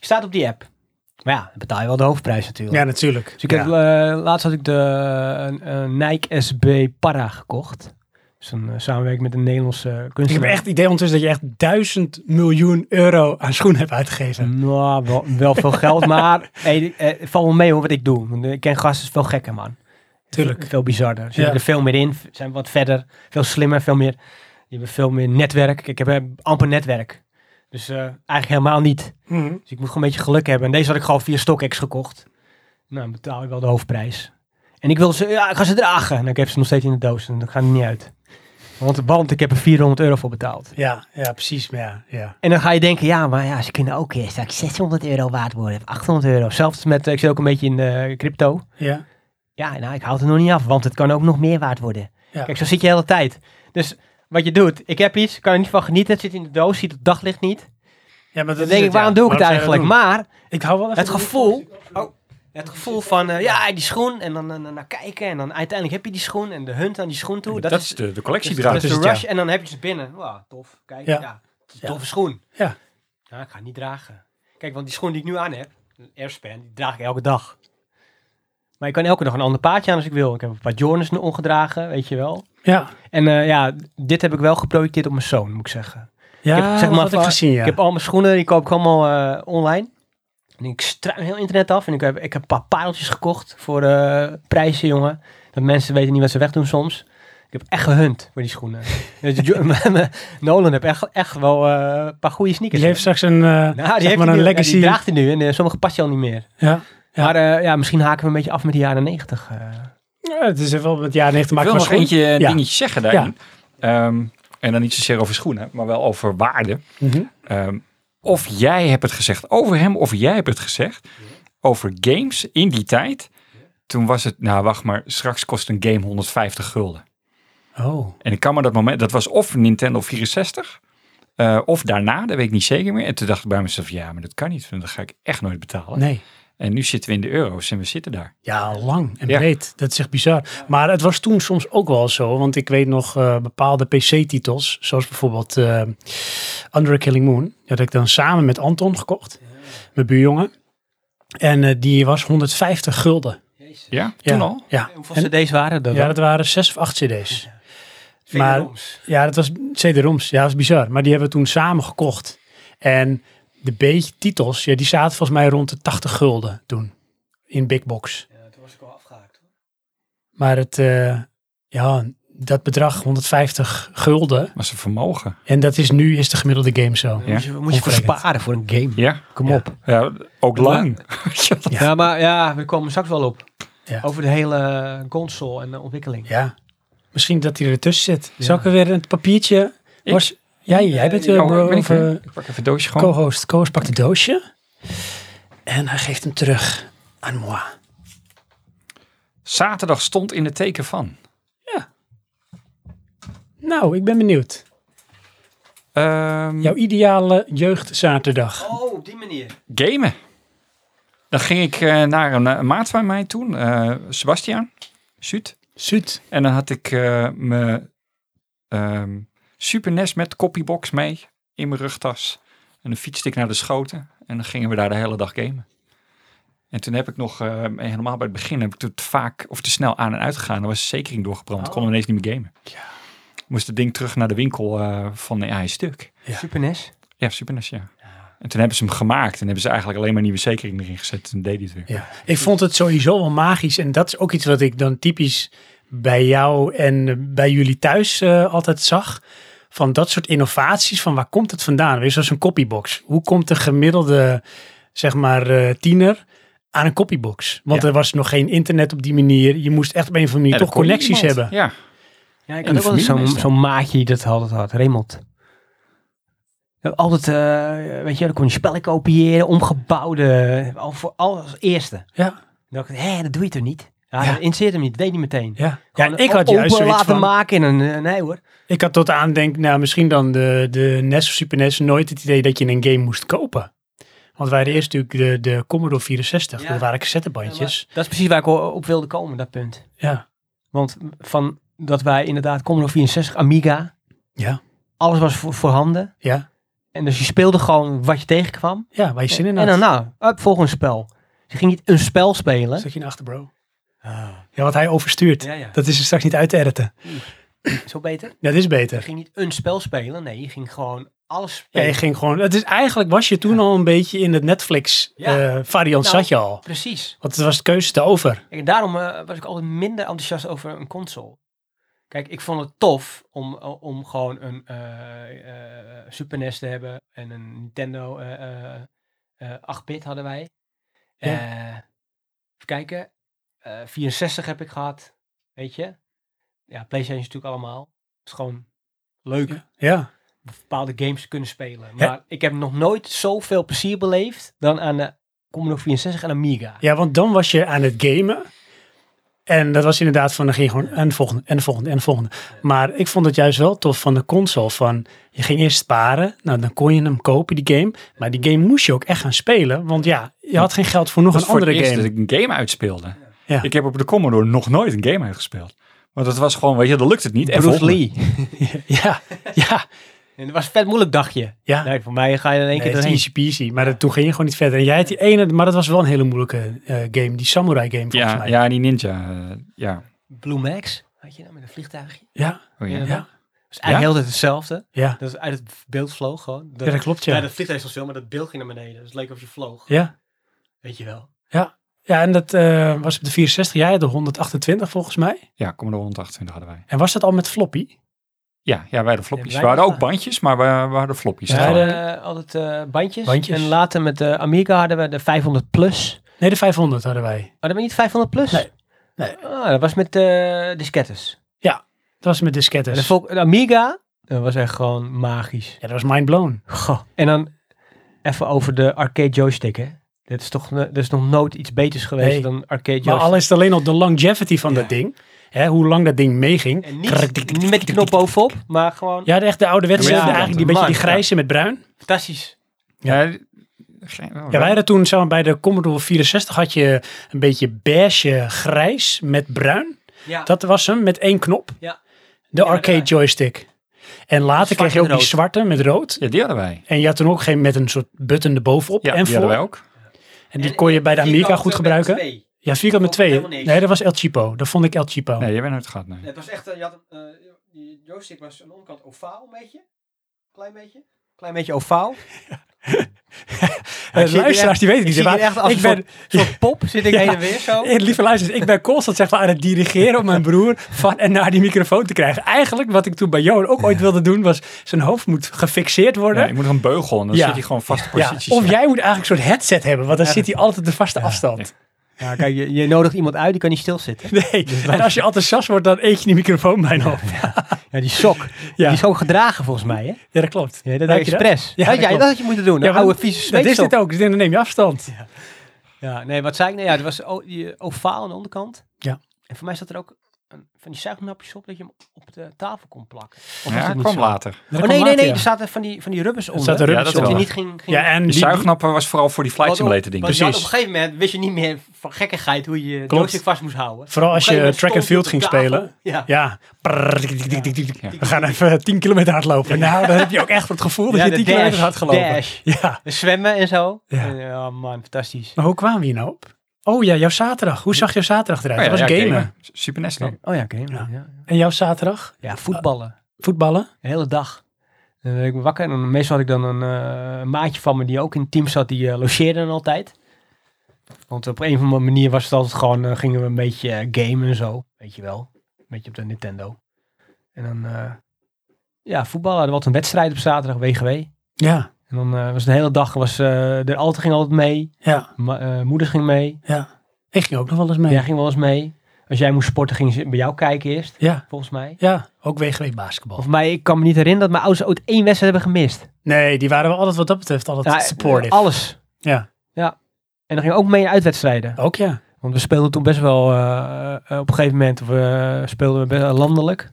C: staat op die app. Maar ja, dan betaal je wel de hoofdprijs natuurlijk.
A: Ja, natuurlijk.
C: Dus ik
A: Ja.
C: heb, eh, laatst had ik de een- een Nike SB Para gekocht. Dus een eh, samenwerking met een Nederlandse
A: Ik heb
C: kunstenaar.
A: echt het idee ondertussen dat je echt duizend miljoen euro aan schoenen hebt uitgegeven.
C: Nou, wel, wel veel geld, maar hey, eh, val me mee hoor wat ik doe. Want Ik ken gasten veel gekker, man.
A: Tuurlijk.
C: Veel, veel bizarder. Ze zitten
A: Ja.
C: er veel meer in, v- zijn wat verder, veel slimmer, veel meer. Je hebt veel meer netwerk. Kijk, Ik heb eh, amper netwerk. Dus eh, eigenlijk helemaal niet. Dus ik moet gewoon een beetje geluk hebben. En deze had ik gewoon via StockX gekocht. Nou, dan betaal je wel de hoofdprijs. En ik wil ze, ja, ik ga ze dragen. En ik heb ze nog steeds in de doos en dat gaat er niet uit. Want, want ik heb er 400 euro voor betaald.
A: Ja, ja, precies. Maar ja, ja.
C: En dan ga je denken, ja, maar ja, ze kunnen ook eh, straks 600 euro waard worden, of 800 euro. Zelfs met, eh, ik zit ook een beetje in eh, crypto.
A: ja.
C: Ja, nou, ik houd het nog niet af, want het kan ook nog meer waard worden.
A: Ja.
C: Kijk, zo zit je de hele tijd. Dus wat je doet, ik heb iets, kan er niet van genieten, het zit in de doos, ziet het daglicht niet. Dan
A: ja maar dat is
C: denk ik,
A: het,
C: waarom
A: ja.
C: doe ik het
A: Waarom zou
C: eigenlijk?
A: je dat
C: Maar
A: doen? Ik hou wel even
C: het gevoel, oh, het gevoel van, eh, ja, die schoen, en dan, dan, dan naar kijken, en dan uiteindelijk heb je die schoen, en de hunt aan die schoen toe.
B: dat, is de, de collectie
C: dus dat
B: draagt.
C: is
A: Dus het,
C: de
A: ja.
C: rush en dan heb je ze binnen. Wauw, tof. Kijk,
A: Ja.
C: ja. het is
A: Ja.
C: een toffe schoen.
A: Ja.
C: Ja, ik ga het niet dragen. Kijk, want die schoen die ik nu aan heb, een Airspan, die draag ik elke dag. Maar ik kan elke dag een ander paardje aan als ik wil. Ik heb een paar Jordans nu ongedragen, weet je wel.
A: Ja,
C: En eh, ja, dit heb ik wel geprojecteerd op mijn zoon, moet ik zeggen.
A: ja
C: Ik heb, zeg maar,
A: dat had ik
C: van-
A: gezien, ja.
C: Ik heb al mijn schoenen, die koop ik allemaal eh, online. En ik struin heel internet af. En ik heb, ik heb een paar pareltjes gekocht voor eh, prijzen, jongen. Dat mensen weten niet wat ze wegdoen soms. Ik heb echt gehunt voor die schoenen. Dus Jo- Nolan heeft echt, echt wel eh, een paar goede sneakers.
A: Die heeft straks een, eh,
C: Nou, die
A: zeg
C: heeft
A: maar
C: hij
A: een
C: nu. Ja,
A: legacy.
C: die draagt hij nu en eh, sommige past hij al niet meer.
A: ja. Ja.
C: Maar eh, ja, misschien haken we een beetje af met de jaren negentig. eh.
A: Ja, het is wel met jaar 90
B: Ik
A: maken
B: wil
A: van
B: nog
A: schoenen.
B: eentje een
A: Ja.
B: dingetje zeggen daarin. Ehm, en dan niet zozeer over schoenen, maar wel over waarde.
A: Mhm.
B: Ehm, of jij hebt het gezegd over hem, of jij hebt het gezegd over games in die tijd. Toen was het, nou wacht maar, straks kost een game 150 gulden.
A: Oh,
B: En ik kan me dat moment, dat was of Nintendo 64, eh, of daarna, dat weet ik niet zeker meer. En toen dacht ik bij mezelf, ja, maar dat kan niet, want dat ga ik echt nooit betalen.
A: nee.
B: En nu zitten we in de euro's en we zitten daar.
A: Ja, lang en
B: Ja.
A: breed. Dat is echt bizar. Maar het was toen soms ook wel zo. Want ik weet nog eh, bepaalde PC-titels. Zoals bijvoorbeeld eh Under a Killing Moon. Die had ik dan samen met Anton gekocht. Mijn buurjongen. En eh, die was 150 gulden.
B: Ja,
A: Ja.
B: toen al.
A: Ja.
C: Hoeveel
A: En-
C: cd's waren dat?
A: ja, dat waren zes of acht
B: Oh,
A: cd's. maar- Ja, dat was CD-ROMs. Ja, dat is bizar. Maar die hebben we toen samen gekocht. En de B-titels, ja, die zaten volgens mij rond de 80 gulden toen. In Big Box.
C: Ja, toen was ik al afgehaakt.
A: Maar het, eh, ja, dat bedrag 150 gulden.
B: Maar ze vermogen.
A: En dat is nu is de gemiddelde game zo.
B: Ja.
C: Moet je, moet je voor
A: Onverrekend.
C: sparen voor een game.
B: Ja,
C: Kom
A: Ja.
C: op.
B: ja ook lang.
A: Ja.
C: Ja. maar ja, we komen straks wel op.
A: Ja.
C: Over de hele console en de ontwikkeling.
A: Ja. Misschien dat hij ertussen zit.
C: Ja.
A: Zal ik er weer een papiertje?
B: Ik?
A: Was, ja, jij bent weer
B: Oh,
A: bro-
B: ik ben
A: of,
B: er.
A: eh,
B: Ik pak even het doosje gewoon.
A: co-host. Co-host pakt het doosje. En hij geeft hem terug aan moi.
B: Zaterdag stond in het teken van.
A: Nou, ik ben benieuwd.
B: Ehm,
A: Jouw ideale jeugdzaterdag.
C: Oh, op die manier.
B: Gamen. Dan ging ik eh, naar een, eh, maat van mij toen, eh, Sebastiaan, Zuid.
A: Zuid.
B: En dan had ik eh, mijn ehm, Super NES met copybox mee in mijn rugtas. En dan fietste ik naar de Schoten en dan gingen we daar de hele dag gamen. En toen heb ik nog, eh, helemaal bij het begin, heb ik toen te vaak of te snel aan en uit gegaan. Dan was de zekering doorgebrand,
C: Oh.
B: konden we ineens niet meer gamen. Moest het ding terug naar de winkel eh, van de AI stuk.
A: Ja. E
C: Super NES.
B: Ja, Super NES, ja. En toen hebben ze hem gemaakt en hebben ze eigenlijk alleen maar nieuwe zekering erin gezet. En deed hij het weer.
A: Ja. Ik vond het sowieso wel magisch. En dat is ook iets wat ik dan typisch bij jou en bij jullie thuis eh, altijd zag. Van dat soort innovaties. Van waar komt het vandaan? Weer zoals een copybox. Hoe komt de gemiddelde, zeg maar, eh, tiener aan een copybox? Want
B: Ja.
A: er was nog geen internet op die manier. Je moest echt op een of andere manier
B: En
A: toch
B: dat kon
A: connecties
B: niemand.
A: hebben.
B: Ja,
C: Ja, ik
B: En
C: had ook
B: de
C: wel eens zo'n
B: familie
C: zo'n maatje die dat altijd had. Raymond. Ja, Altijd, eh, weet je, dan kon je spellen kopiëren, omgebouwde, al voor alles als eerste.
A: Ja,
C: Dan dacht ik, hé, dat doe je toch niet? Ja,
A: Ja.
C: dat interesseert hem niet, weet niet meteen.
A: ja.
C: Gewoon
A: ja ik had
C: o-
A: juist
C: open
A: zoiets
C: laten
A: van...
C: maken en een, eh, nee hoor.
A: Ik had tot aan denk, nou misschien dan de, de NES of Super NES nooit het idee dat je een game moest kopen. Want wij hadden eerst natuurlijk de, de Commodore 64,
C: Ja.
A: dat waren cassettebandjes.
C: Dat is precies waar ik o- op wilde komen, dat punt.
A: Ja,
C: Want van dat wij inderdaad Commodore 64, Amiga,
A: ja,
C: alles was voor, voorhanden.
A: ja.
C: En dus je speelde gewoon wat je tegenkwam.
A: Ja, waar je zin in
C: en
A: had.
C: dan nou, up, volgend spel. Je ging niet een spel spelen.
A: Zet je in achter, bro. Ja, wat hij overstuurt.
C: Ah. Ja, ja.
A: Dat is er straks niet uit te editen.
C: Zo beter.
A: Dat is
C: Je
A: beter.
C: ging niet een spel spelen. Nee, je ging gewoon alles
A: Ja,
C: spelen.
A: je ging gewoon... Het is, eigenlijk was je toen al een beetje in het Netflix
C: Ja.
A: eh, variant
C: Nou.
A: zat je al.
C: Precies.
A: Want het was de keuze te over.
C: En daarom eh, was ik altijd minder enthousiast over een console. Kijk, ik vond het tof om, om gewoon een eh, eh, Super NES te hebben en een Nintendo eh, eh, eh, 8-bit hadden wij.
A: Ja.
C: Eh, even kijken. Eh, 64 heb ik gehad, weet je. Ja, PlayStation is natuurlijk allemaal. Het is gewoon leuk
A: Ja,
C: bepaalde games kunnen spelen.
A: Ja.
C: Maar ik heb nog nooit zoveel plezier beleefd dan aan de Commodore 64 en Amiga.
A: Ja, want dan was je aan het gamen. En dat was inderdaad van, dan ging je gewoon en de volgende, en de volgende, en de volgende. Maar ik vond het juist wel tof van de console. Van, je ging eerst sparen. Nou, dan kon je hem kopen, die game. Maar die game moest je ook echt gaan spelen. Want ja, je had geen geld voor nog
B: dat
A: een
B: was voor het
A: andere
B: eerst
A: game.
B: dat ik een game uitspeelde.
A: Ja.
B: Ik heb op de Commodore nog nooit een game uitgespeeld. Want dat was gewoon, weet je, dat lukt het niet. En
C: Bruce
B: volgende.
C: Lee.
A: Ja, ja,
C: En dat was een vet moeilijk dagje.
A: ja.
B: Nou,
C: Nee, voor mij ga je in één
A: Nee,
C: keer
A: het is
C: doorheen.
A: easy peasy. Maar dat, toen ging je gewoon niet verder. En jij had die ene, maar dat was wel een hele moeilijke eh, game. Die samurai game volgens
B: Ja,
A: mij.
B: ja, die ninja. eh, ja.
C: Blue Max had je nou met een vliegtuigje.
A: ja,
B: Oh, ja.
C: Ja.
A: ja.
C: Dat is eigenlijk heel de tijd hetzelfde.
A: ja.
C: Dat is uit het beeld vloog gewoon. Dat,
A: Ja, dat klopt, ja.
C: Nee, dat vliegtuig was veel, maar dat beeld ging naar beneden. Dus het leek of je vloog.
A: ja.
C: Weet je wel.
A: Ja, en dat eh, was op de 64. Jij had de 128 volgens mij.
B: ja, Commodore 128 hadden wij.
A: En was dat al met floppy?
B: Ja, ja wij hadden floppies.
C: wij
B: we hadden ook
C: hadden-
B: bandjes, maar we, we hadden floppies.
A: Ja,
C: We
B: Ja,
C: hadden eh, altijd eh, bandjes.
A: Bandjes.
C: En later met de Amiga hadden we de 500 plus. Oh,
A: Nee, de 500 hadden wij.
C: Hadden we niet 500 plus?
A: Nee. Nee.
C: Ah, dat was met eh diskettes.
A: Dat was met
C: En
A: diskettes.
C: de, Vol- de Amiga dat was echt gewoon magisch.
A: Ja, dat was mind blown.
C: Goh. En dan even over de arcade joystick, hè. Dat is toch ne- dat is nog nooit iets beters geweest
A: Nee.
C: dan arcade
A: Maar
C: joystick.
A: al is het alleen al de longevity van
C: Ja.
A: dat ding. Hè, hoe lang dat ding meeging.
C: En
A: Krrr, tik, tik,
C: niet met die knop bovenop, maar gewoon
A: Ja, echt de ouderwetse,
C: Ja,
A: eigenlijk die beetje die
C: man,
A: grijze met bruin.
C: fantastisch.
B: ja. geen- oh,
C: Mhm.
A: Ja, wij hadden toen zeg maar, bij de Commodore 64 had je een beetje beige grijs met bruin.
C: Ja.
A: Dat was hem, met één knop.
C: Ja.
A: De
C: Ja,
A: arcade
C: ja.
A: joystick. En later kreeg je ook
C: met
A: die
C: rood.
A: zwarte met rood.
B: Ja, die hadden wij.
A: En je had toen ook geen met een soort button erbovenop
B: Ja,
A: en
B: die hadden wij
A: voor.
B: ook.
A: En die kon je bij de Amiga goed
C: eh,
A: gebruiken. Ja, vierkant met
C: Ik vond
A: twee.
C: het helemaal niks.
A: Nee, dat was El Chipo. Dat vond ik El Chipo.
B: Nee, jij bent nooit gehad, nee.
C: eh, Het was echt, je had die joystick was aan de onderkant ovaal een beetje. Klein beetje. Klein beetje ovaal.
A: Eh,
C: Ik zie
A: luisteraars, die weten
C: Ik
A: niet.
C: zie
A: maar
C: hier echt als
A: ik
C: een
A: ben,
C: soort, soort pop zit ik
A: Ja.
C: heen en weer zo.
A: Eh, Lieve luisteraars, ik ben constant zeg maar, aan het dirigeren om mijn broer van en naar die microfoon te krijgen. Eigenlijk wat ik toen bij Johan ook ooit wilde doen, was zijn hoofd moet gefixeerd
B: Ja,
A: worden.
B: ik moet er een beugel en dan
A: Ja.
B: zit hij gewoon vast
A: Ja,
B: posities.
A: of jij moet eigenlijk een soort headset hebben, want dan
C: Ja,
A: zit hij altijd op de vaste afstand.
C: Ja, kijk, je, je nodigt iemand uit, die kan niet stilzitten.
A: Nee, en als je enthousiast wordt, dan eet je die microfoon bijna op.
C: Dus Ja, die sok.
A: Ja,
C: Die is ook gedragen volgens mij, hè?
A: ja dat klopt.
C: Ja, dat
A: Merk je
C: expres.
A: Ja,
C: Ja,
A: dat
C: dat, ja, dat
A: klopt.
C: had je moeten doen.
A: Ja,
C: Een
A: want
C: oude vieze
A: Dat is
C: zweetstok.
A: dit ook, dus dan neem je afstand.
C: Oh, Ja, nee, wat zei ik? Nou ja, het was o- die ovaal aan de onderkant.
A: Ja.
C: En voor mij zat er ook een, van die zuignapjes op dat je hem op de tafel kon plakken. Of was
B: Ja,
C: dat niet
B: kwam
C: zo?
B: later.
A: Dat
C: Oh
A: komt
C: nee, nee,
A: later,
C: nee.
A: ja.
C: Er zaten van die, van die rubbers onder.
A: zaten rubbers
B: Ja, dat
C: zodat
B: wel.
C: hij niet ging... ging
A: Ja, en
B: De
A: die,
B: zuignappen was vooral voor die flight
C: Want op-
B: simulator dingen.
C: want je had
A: Precies.
C: Op een gegeven moment wist je niet meer van gekkigheid hoe je
A: Klopt.
C: joystick vast moest houden.
A: Vooral
C: Op een
A: als je
C: gegeven moment
A: track and
C: stond
A: field
C: hij op
A: ging
C: de tafel.
A: spelen.
C: Ja.
A: ja, Prrr, tik, tik, tik, tik, tik, tik. we gaan even 10 kilometer hardlopen. Nou, dan heb je ook echt het gevoel dat
C: Ja,
A: je
C: de
A: 10 kilometer
C: dash,
A: hard gelopen.
C: dash.
A: Ja,
C: Zwemmen en zo.
A: Ja.
C: En, ja, oh man, fantastisch.
A: maar hoe kwamen we hier nou op? Oh ja, jouw zaterdag. Hoe zag jouw zaterdag eruit?
B: Oh ja,
A: dat was
B: ja,
A: gamen.
B: Super NES dan.
C: Oh ja, oké.
A: Ja.
C: Ja. Ja.
A: En jouw zaterdag?
C: voetballen.
A: Voetballen?
C: De hele dag. En dan werd ik me wakker en dan, meestal had ik dan een eh, een maatje van me die ook in het team zat, die eh, logeerde dan altijd. Want op een of andere manier was het altijd gewoon, eh, gingen we een beetje eh, gamen en zo, weet je wel. Een beetje op de Nintendo. En dan, eh, ja, voetballen. Er was een wedstrijd op zaterdag, WGW.
A: Ja,
C: En dan eh, was de hele dag, was, eh de alter ging altijd mee,
A: ja,
C: ma- eh, moeder ging mee,
A: ja. Ik ging ook nog wel eens mee.
C: jij
A: Ja,
C: ging wel eens mee. Als jij moest sporten, ging ze bij jou kijken eerst,
A: ja,
C: volgens mij.
A: ook wegenweek basketbal.
C: Of mij, ik kan me niet herinneren dat mijn ouders ooit één wedstrijd hebben gemist.
A: Nee, die waren wel altijd wat dat betreft altijd
C: Ja, eh,
A: supportive.
C: Alles.
A: Ja. Oh.
C: ja. En dan ging ook mee naar uitwedstrijden.
A: Ook ja.
C: Want we speelden toen best wel, eh, eh, op een gegeven moment we speelden we best wel landelijk.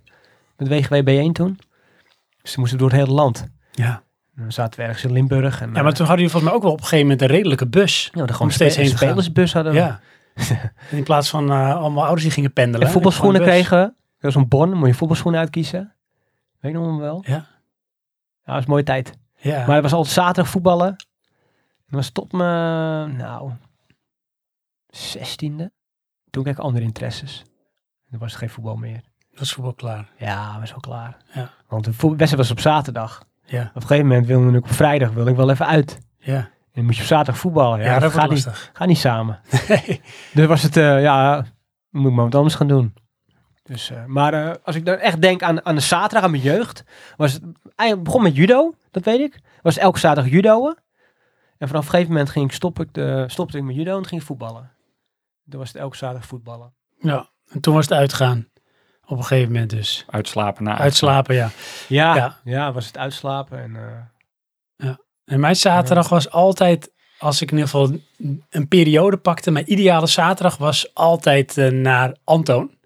C: Met WGW B1 toen. Dus toen moesten we door het hele land.
A: ja.
C: En dan zaten we ergens in Limburg. En, eh,
A: Ja, maar toen hadden jullie volgens mij ook wel op een gegeven moment een redelijke bus.
C: ja, gewoon
A: om steeds
C: spe-
A: heen te gaan.
C: spelersbus hadden we.
A: Ja. En in plaats van eh, allemaal ouders die gingen pendelen.
C: En voetbalschoenen
A: Gewoon een bus.
C: kregen we. Dat was een bon, moet je voetbalschoenen uitkiezen. Weet je nog wel wel?
A: Ja.
C: Ja, dat was een mooie tijd.
A: Ja.
C: Maar het was altijd zaterdag voetballen. En dat was tot mijn, nou, zestiende. Toen kreeg ik andere interesses. Toen was het geen voetbal meer.
A: Dat is voetbal klaar.
C: Ja, was wel klaar.
A: Ja.
C: Want de voet- wedstrijd was op zaterdag.
A: Ja.
C: Op een gegeven moment wilde ik op vrijdag wilde ik wel even uit.
A: Ja,
C: En dan moet je op zaterdag voetballen. Ja,
A: ja, dat
C: dat
A: wordt
C: gaat niet,
A: lastig.
C: gaat niet samen.
A: Nee.
C: Dus was het, eh, ja, moet ik maar wat anders gaan doen. Dus, eh, maar eh, als ik dan echt denk aan, aan de zaterdag, aan mijn jeugd. Was het, eigenlijk begon met judo, dat weet ik. Was elke zaterdag judoën. En vanaf een gegeven moment ging ik stop ik de, stopte ik met judo en ging ik voetballen. Dan was het elke zaterdag voetballen.
A: Ja, en toen was het uitgaan. Op een gegeven moment dus.
B: Uitslapen na
A: Uitslapen, ja.
C: Ja,
A: Ja.
C: ja. was het uitslapen. En, eh,
A: En mijn zaterdag was altijd, als ik in ieder geval een- een periode pakte, mijn ideale zaterdag was altijd eh, naar Antoon.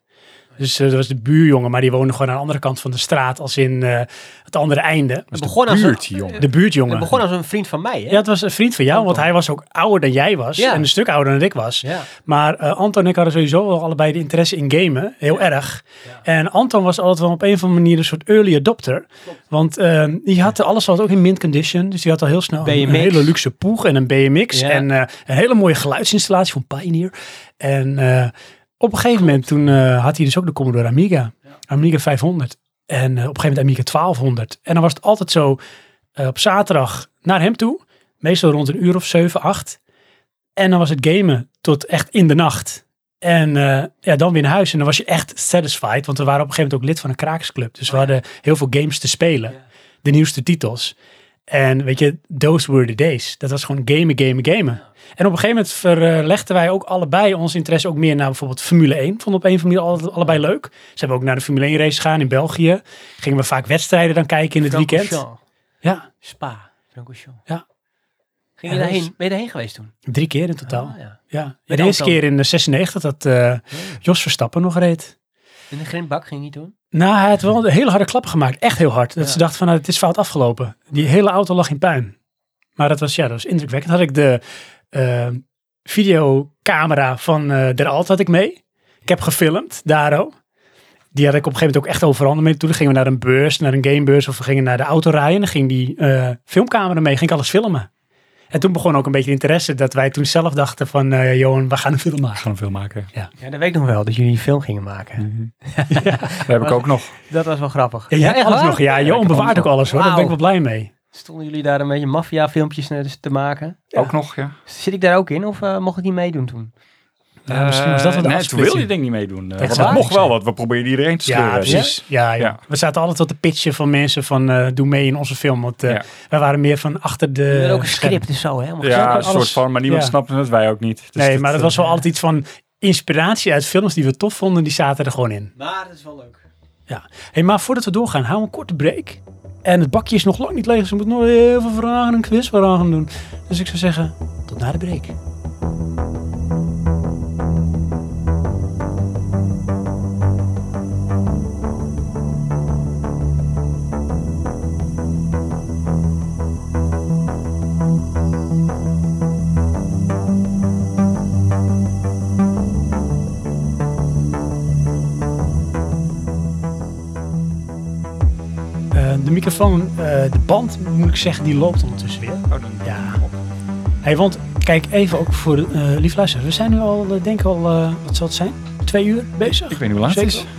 A: Dus eh, dat was de buurjongen, maar die woonde gewoon aan de andere kant van de straat, als in eh, het andere einde.
B: Dat
C: het,
B: is de
C: begon als
B: buurt,
C: een,
B: jongen.
A: De buurtjongen.
C: het begon als een vriend van mij. Hè?
A: ja, het was een vriend van jou, want
C: Anton.
A: hij was ook ouder dan jij was.
C: Ja.
A: En een stuk ouder dan ik was.
C: Ja.
A: Maar eh, Anton en ik hadden sowieso wel allebei de interesse in gamen. Heel erg. En Anton was altijd wel op een of andere manier een soort early adopter. Want eh, die had alles wat ook in mint condition. Dus die had al heel snel een, een
C: BMX.
A: hele luxe poeg en een BMX.
C: Ja.
A: En eh, een hele mooie geluidsinstallatie van Pioneer. En eh, op een gegeven moment toen eh, had hij dus ook de Commodore Amiga. Amiga 500. En eh, op een gegeven moment Amiga 1200. En dan was het altijd zo eh, op zaterdag naar hem toe. Meestal rond een uur of zeven, acht. En dan was het gamen tot echt in de nacht. En eh, ja, dan weer naar huis. En dan was je echt satisfied. Want we waren op een gegeven moment ook lid van een krakersclub. Dus we hadden heel veel games te spelen.
C: Oh Ja.
A: De nieuwste titels. En weet je, those were the days. Dat was gewoon gamen, gamen, gamen. En op een gegeven moment verlegden wij ook allebei ons interesse ook meer naar bijvoorbeeld Formule 1. Vonden we op een of andere manier altijd allebei leuk. Ze hebben ook naar de Formule 1 race gegaan in België. Gingen we vaak wedstrijden dan kijken in het weekend.
C: Francorchamps,
A: Ja,
C: Spa, Francorchamps.
A: Ja.
C: Ging
A: Ja,
C: je
A: dat is-
C: daarheen, ben je daarheen geweest toen?
A: drie keer in totaal.
C: Ah, ja.
A: Ja,
C: Met
A: de eerste
C: auto.
A: keer in eh, 96 dat eh, Jos Verstappen nog reed.
C: In de grindbak ging je toen?
A: Nou, hij had wel een hele harde klap gemaakt. Echt heel hard. Dat
C: Ja.
A: ze dachten van, nou, het is fout afgelopen. Die hele auto lag in puin. Maar dat was, ja, dat was indrukwekkend. Had ik de eh, videocamera van eh Der Alt had ik mee. Ik heb gefilmd, Daro. Die had ik op een gegeven moment ook echt overal mee. Toen gingen we naar een beurs, naar een gamebeurs of we gingen naar de autorijden. En dan ging die eh, filmcamera mee, ging ik alles filmen. En toen begon ook een beetje de interesse dat wij toen zelf dachten van, eh Johan, we gaan een film maken.
B: Gewoon veel maken.
C: Ja, dat weet ik nog wel, dat jullie die film gingen maken.
B: Mhm. Dat heb ik ook nog.
C: Dat was wel grappig.
A: Ja, jij hebt alles nog. Ja,
B: ik
A: Johan
B: heb
A: bewaart
B: alles
A: ook alles hoor. Daar ben ik wel blij mee.
C: Stonden jullie daar een beetje maffia-filmpjes eh, te maken?
A: Ja.
B: Ook nog, ja.
C: Zit ik daar ook in of eh, mocht ik niet meedoen toen?
A: Ja, misschien was dat wel de
B: Eh, nee, toen
A: afsplitsing.
B: wilde je denk ik niet meedoen. eh,
A: Echt
B: want
A: waar?
B: dat mocht wel, want we probeerden iedereen te sleuren.
A: Ja, precies. Ja, ja.
B: Ja.
A: We zaten altijd tot de pitchen van mensen van eh, doe mee in onze film. Want eh,
B: Ja.
A: wij waren meer van achter de...
C: Uh, ook
A: schermen.
C: een script en zo, hè?
B: Ja,
C: Ja.
B: een
A: alles-
B: soort van, maar niemand
A: ja.
B: snapte het, wij ook niet. Dus
A: nee, maar dat was wel
C: eh,
A: altijd iets van inspiratie uit films die we tof vonden. Die zaten er gewoon in.
C: Maar dat is wel leuk.
A: hey, maar voordat we doorgaan, hou een korte break. En het bakje is nog lang niet leeg, dus we moeten nog heel veel vragen en quiz voor aan gaan doen. Dus ik zou zeggen, tot na de break. Eh, de microfoon, eh, de band moet ik zeggen, die loopt ondertussen weer.
B: Oh, dan-
A: Ja. Hey, want kijk even ook voor de eh lief luisteraars. We zijn nu al, eh, denk ik al, eh, wat zal het zijn? Twee uur bezig.
B: Ik weet niet hoe laat het is.
A: Zeker.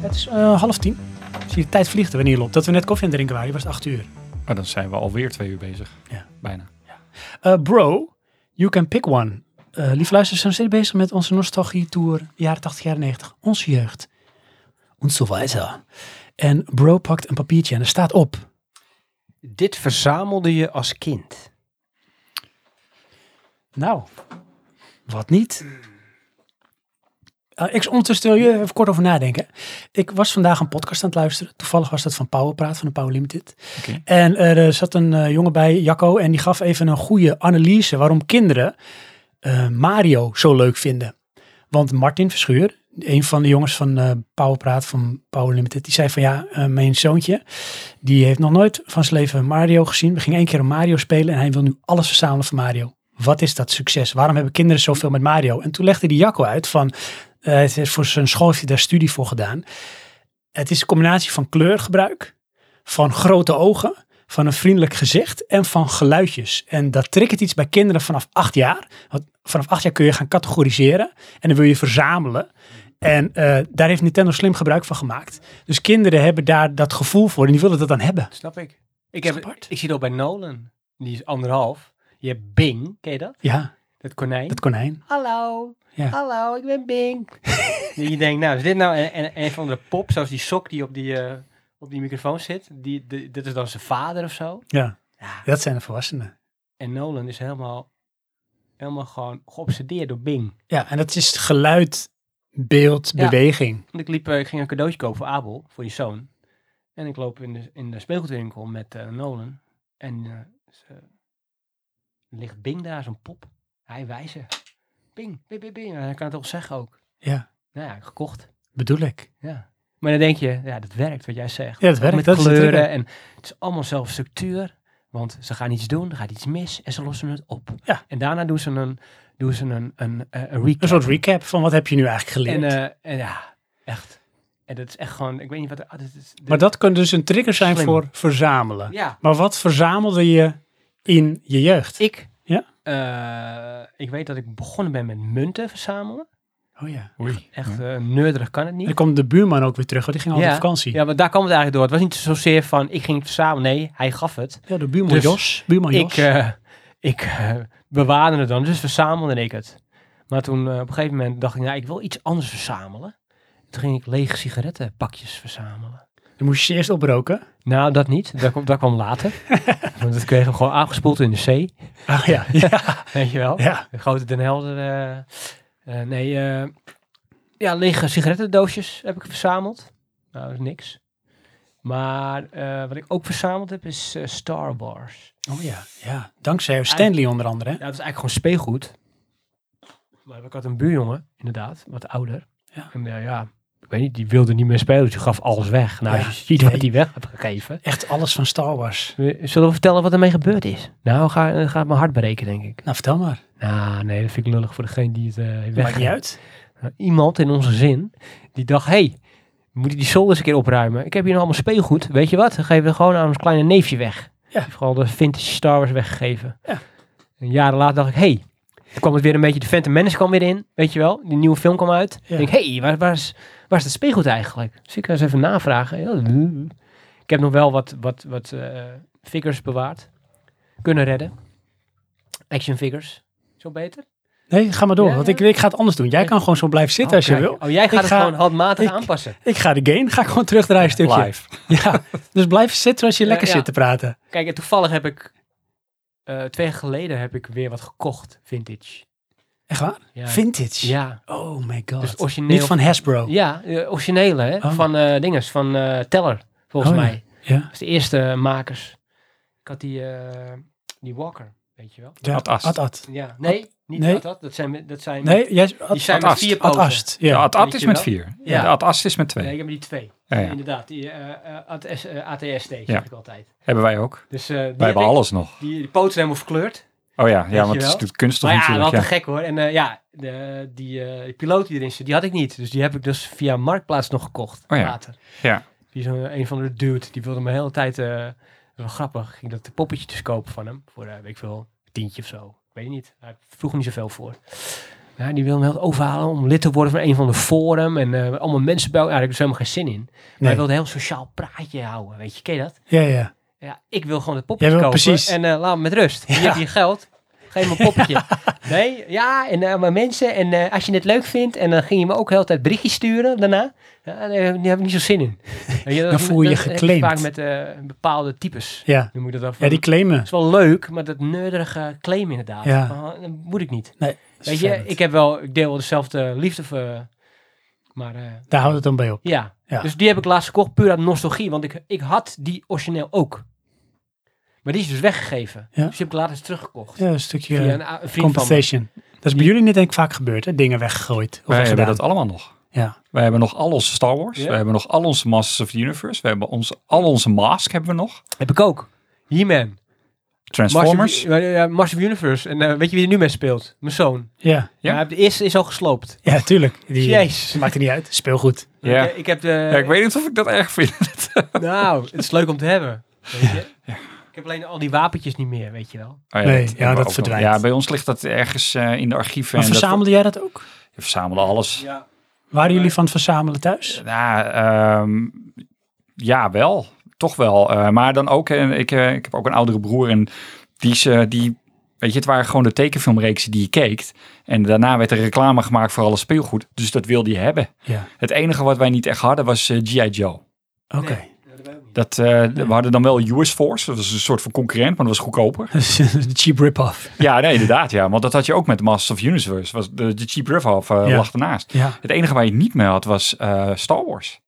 A: Het is eh, half tien. Zie je, de tijd vliegt er wanneer je loopt. Dat we net koffie aan het drinken waren, was het acht uur.
B: Maar dan zijn we alweer twee uur bezig.
A: Ja.
B: Bijna.
A: Eh, bro, you can pick one. Eh lief luisteraars, we zijn steeds bezig met onze nostalgie-tour. Jaren 80, jaren 90. Onze jeugd. Und so weiter. En bro pakt een papiertje en er staat op. Eh.
C: Dit verzamelde je als kind.
A: Nou, wat niet? Eh, ik ondertussen wil je even kort over nadenken. Ik was vandaag een podcast aan het luisteren. Toevallig was dat van Powerpraat, van de Power Limited.
B: Oké.
A: En eh, er zat een eh, jongen bij, Jacco, en die gaf even een goede analyse waarom kinderen eh, Mario zo leuk vinden. Want Martin Verschuur, een van de jongens van eh Powerpraat, van Power Limited, die zei van ja, eh, mijn zoontje, die heeft nog nooit van zijn leven Mario gezien. We gingen één keer een Mario spelen en hij wil nu alles verzamelen van Mario. Wat is dat succes? Waarom hebben kinderen zoveel met Mario? En toen legde die Jacco uit van, eh, het is voor zijn school heeft hij daar studie voor gedaan. Het is een combinatie van kleurgebruik, van grote ogen, van een vriendelijk gezicht en van geluidjes. En dat triggert iets bij kinderen vanaf acht jaar. Want vanaf acht jaar kun je gaan categoriseren en dan wil je verzamelen. En eh, daar heeft Nintendo slim gebruik van gemaakt. Dus kinderen hebben daar dat gevoel voor en die willen dat dan hebben.
C: Snap ik. Ik,
A: Is
C: heb,
A: apart.
C: ik zie dat bij Nolan. Die is anderhalf. Je hebt Bing, ken je dat?
A: Ja,
C: Dat konijn.
A: dat konijn.
C: Hallo,
A: Ja.
C: hallo, ik ben Bing. En je denkt, nou, is dit nou een, een, een van de pop, zoals die sok die op die, eh, op die microfoon zit? Die, de- dit is dan zijn vader of zo.
A: Ja,
C: Ja.
A: dat zijn de volwassenen.
C: En Nolan is helemaal, helemaal gewoon geobsedeerd door Bing.
A: Ja, en dat is geluid, beeld,
C: Ja.
A: beweging.
C: Want ik, liep, eh, ik ging een cadeautje kopen voor Abel, voor je zoon. En ik loop in de, in de speelgoedwinkel met eh, Nolan. En eh, ze- ligt Bing daar, zo'n pop. Hij wijzen. Bing, bing, bing, bing. En hij kan het toch zeggen ook.
A: Ja,
C: Nou ja, gekocht.
A: bedoel ik.
C: Ja. Maar dan denk je, ja, dat werkt wat jij zegt.
A: Ja, dat werkt.
C: Met
A: dat is het
C: kleuren
A: werk.
C: en het is allemaal zelf structuur. Want ze gaan iets doen, er gaat iets mis en ze lossen het op.
A: Ja.
C: En daarna doen ze een, doen ze een, een, eh, een recap.
A: Een soort recap van wat heb je nu eigenlijk geleerd.
C: en, eh, en ja, echt. En dat is echt gewoon, ik weet niet wat... er- ah, dit is, dit-
A: maar dat kan dus een trigger zijn
C: Slim.
A: voor verzamelen.
C: Ja,
A: Maar wat verzamelde je in je jeugd?
C: ik...
A: Ja?
C: eh, ik weet dat ik begonnen ben met munten verzamelen.
A: Oh ja.
B: Oei.
C: Echt eh neurderig kan het
A: En
C: niet.
A: dan kwam de buurman ook weer terug, want die ging altijd op vakantie. Ja,
C: Ja, maar daar kwam het eigenlijk door. Het was niet zozeer van, ik ging het verzamelen. Nee, hij gaf het.
A: de buurman
C: Dus
A: Jos. Buurman
C: ik,
A: Oh, Jos.
C: eh, ik eh, bewaarde het dan, dus verzamelde ik het. Maar toen eh, op een gegeven moment dacht ik, nou, ik wil iets anders verzamelen. Toen ging ik lege sigarettenpakjes verzamelen.
A: Dan moest je ze eerst oproken.
C: Nou, dat niet. Dat, kwam- dat kwam later. Want dat kregen we gewoon aangespoeld in de zee.
A: Ah ja, ja,
C: Weet je wel?
A: ja.
C: De grote Den Helder. eh, eh, nee, eh, ja, lege sigarettendoosjes heb ik verzameld. Nou, dat is niks. Maar eh, wat ik ook verzameld heb, is eh, Star Wars.
A: Oh ja, ja. Dankzij Stanley onder andere. hè?
C: Ja, dat is eigenlijk gewoon speelgoed. Maar ik had een buurjongen, inderdaad, wat ouder.
A: Ja.
C: En eh, ja, ik weet niet, die wilde niet meer spelen, dus die gaf alles weg. Nou,
A: Ja.
C: als je ziet wat hij weg heeft gegeven.
A: Echt alles van Star Wars.
C: Zullen we vertellen wat ermee gebeurd is? Nou, ga, eh, gaat mijn hart breken, denk ik.
A: Nou, vertel maar.
C: Nou, nee, dat vind ik lullig voor degene die het eh, heeft
A: Maakt niet
C: weggegeven.
A: uit.
C: Nou, Iemand in onze zin, die dacht, hey, moet ik die zolder eens een keer opruimen? Ik heb hier nog allemaal speelgoed, weet je wat? Dan geven we het gewoon aan ons kleine neefje weg.
A: Ja.
C: Die heeft gewoon de vintage Star Wars weggegeven.
A: Ja.
C: En jaren later dacht ik, hey, toen kwam het weer een beetje, de Phantom Menace kwam weer in, weet je wel? Die nieuwe film kwam uit.
A: Ja.
C: Ik denk, hey, waar, waar, is, waar is dat speelgoed eigenlijk? Dus ik ga eens even navragen. Ja, Ik heb nog wel wat, wat, wat eh, figures bewaard. Kunnen redden. Action figures. Zo beter.
A: Nee, ga maar door.
C: Ja,
A: want
C: ja.
A: Ik, ik ga het anders doen. Jij kan gewoon zo blijven zitten
C: Oh,
A: als je
C: kijk.
A: wil.
C: Oh, jij gaat
A: Ik
C: het
A: ga-
C: gewoon handmatig
A: ik-
C: aanpassen.
A: Ik ga de game, ga ik gewoon terugdraaien een stukje.
B: Live.
A: Ja, dus blijf zitten als je
C: Ja,
A: lekker
C: ja.
A: zit te praten.
C: Kijk, en toevallig heb ik... eh, twee jaar geleden heb ik weer wat gekocht. Vintage.
A: Echt waar?
C: Ja.
A: Vintage.
C: Ja.
A: Oh my god.
C: Dus het origineel.
A: Niet van Hasbro.
C: Ja, eh, originele, hè?
A: Oh.
C: Van eh dinges, van eh, Teller, volgens
A: Oh, ja.
C: mij.
A: Ja.
C: Dat is de eerste eh, makers. Ik had die, eh, die Walker, weet je wel.
A: Ja,
B: Ad Ast.
A: Ad Ad.
C: Ja, nee, niet
A: Nee.
C: dat, dat. Dat zijn, dat zijn
A: Nee, jij...
C: die
A: Ad,
C: zijn
B: Ad
C: met
B: Ast.
C: vier
A: Ad
C: poten.
A: Ast.
B: Ja,
A: Ja.
B: Ad Ad
C: Weet
B: is
C: je
B: met
C: wel?
B: vier.
C: Ja.
B: De Ad Ast is met twee.
C: Nee, ik heb die twee.
B: Ja, ja.
C: Inderdaad, die eh, eh, AT- eh, ATST
B: Ja.
C: zeg ik altijd.
B: Hebben wij ook.
C: Dus, eh, die heb
B: Wij hebben
C: ik.
B: alles nog.
C: Die, die poten zijn helemaal verkleurd.
B: Oh ja, ja
C: je
B: want het is
C: wel?
B: natuurlijk kunststof
C: Maar ja, wel
B: natuurlijk.
C: te
B: Ja.
C: gek hoor. En eh, ja, de, die, eh, die piloot die erin zit, die had ik niet. Dus die heb ik dus via Marktplaats nog gekocht
B: Oh ja.
C: later.
B: Ja.
C: Die is een, een van de dude, die wilde me de hele tijd, eh, dat is wel grappig, ging dat poppetje dus kopen van hem. Voor, eh weet ik veel, een tientje of zo. Ik weet niet, hij vroeg me niet zoveel voor. Ja, die wilde me heel overhalen om lid te worden van een van de forum. En eh, allemaal mensen bij elkaar, ja, daar heb ik dus helemaal geen zin in. Maar hij
A: Nee.
C: wilde een heel sociaal praatje houden, weet je, ken je dat?
A: Ja, ja.
C: Ja, ik wil gewoon het poppetje
A: Jij wil
C: kopen
A: precies.
C: en eh, laat me met rust. Je
A: Ja.
C: hebt je geld, geef me een poppetje. Nee, ja, en eh, maar mensen, en eh, als je het leuk vindt, en dan ging je me ook heel de tijd berichtjes sturen daarna. Ja, daar heb ik- daar heb ik niet zo zin in. Weet dat-
A: Dan voel je
C: dat
A: je
C: heb
A: geclaimd.
C: Vaak met eh, bepaalde types.
A: Ja.
C: Noem ik dat dan.
A: Ja, die claimen.
C: is wel leuk, maar dat neurderige claim inderdaad.
A: Ja.
C: Van, dat moet ik niet.
A: Nee. dat is
C: Weet je,
A: vervelend.
C: ik heb wel, ik deel wel dezelfde liefde voor, maar eh,
A: Daar houdt het dan bij op.
C: ja.
A: Ja.
C: Dus die heb ik laatst gekocht puur uit nostalgie. Want ik, ik had die origineel ook. Maar die is dus weggegeven.
A: Ja.
C: Dus die heb ik laatst teruggekocht.
A: Ja, een stukje
C: Via
A: eh,
C: een, a- een vriend van me.
A: compensation. Dat is bij jullie niet denk ik vaak gebeurd, hè? Dingen weggegooid. Of
B: Wij hebben
A: weggedaan.
B: dat allemaal nog.
A: Ja.
B: Wij hebben nog al onze Star Wars.
C: Ja.
B: We hebben nog al onze Masters of the Universe. We hebben onze, al onze Mask hebben we nog.
C: Heb ik ook. He-Man.
B: Transformers.
C: Mars of, eh, ja, Mars of Universe. En eh, weet je wie er nu mee speelt? Mijn zoon.
A: Ja,
B: Ja.
C: Ja. de eerste is al gesloopt.
A: ja tuurlijk. Die,
C: Jezus.
A: Maakt er niet uit. Speelgoed.
B: Ja.
C: Ik, eh, ik heb de...
B: Ja, ik weet niet of ik dat erg vind. Oh
C: Nou, het is leuk om te hebben. Weet je? Ik heb alleen al die wapentjes niet meer, weet je wel.
B: Oh
A: Nee, ja,
B: hebben we
A: dat
B: ook nog.
A: verdwijnt.
B: Ja, bij ons ligt dat ergens eh, in de archieven.
A: Maar
B: en dat-
A: verzamelde jij dat ook?
B: We verzamelen alles. Ja,
C: Ja.
A: Waren jullie van het verzamelen thuis?
B: ehm, ja wel. Toch wel. Eh, maar dan ook, en ik, eh, ik heb ook een oudere broer en die is... eh, die, Weet je, het waren gewoon de tekenfilmreeksen die je keek. En daarna werd er reclame gemaakt voor alle speelgoed. Dus dat wilde je hebben.
A: Ja.
B: Het enige wat wij niet echt hadden was eh, G.I. Joe.
A: Oké.
B: Dat, eh, We hadden dan wel US Force. Dat was een soort van concurrent, maar dat was goedkoper.
A: Dat is een cheap rip-off.
B: ja, nee, inderdaad. Ja. Want dat had je ook met Masters of Universe. Was de, de Cheap Riff half eh,
A: Ja.
B: lag ernaast.
A: Ja.
B: Het enige waar je het niet mee had was eh, Star Wars.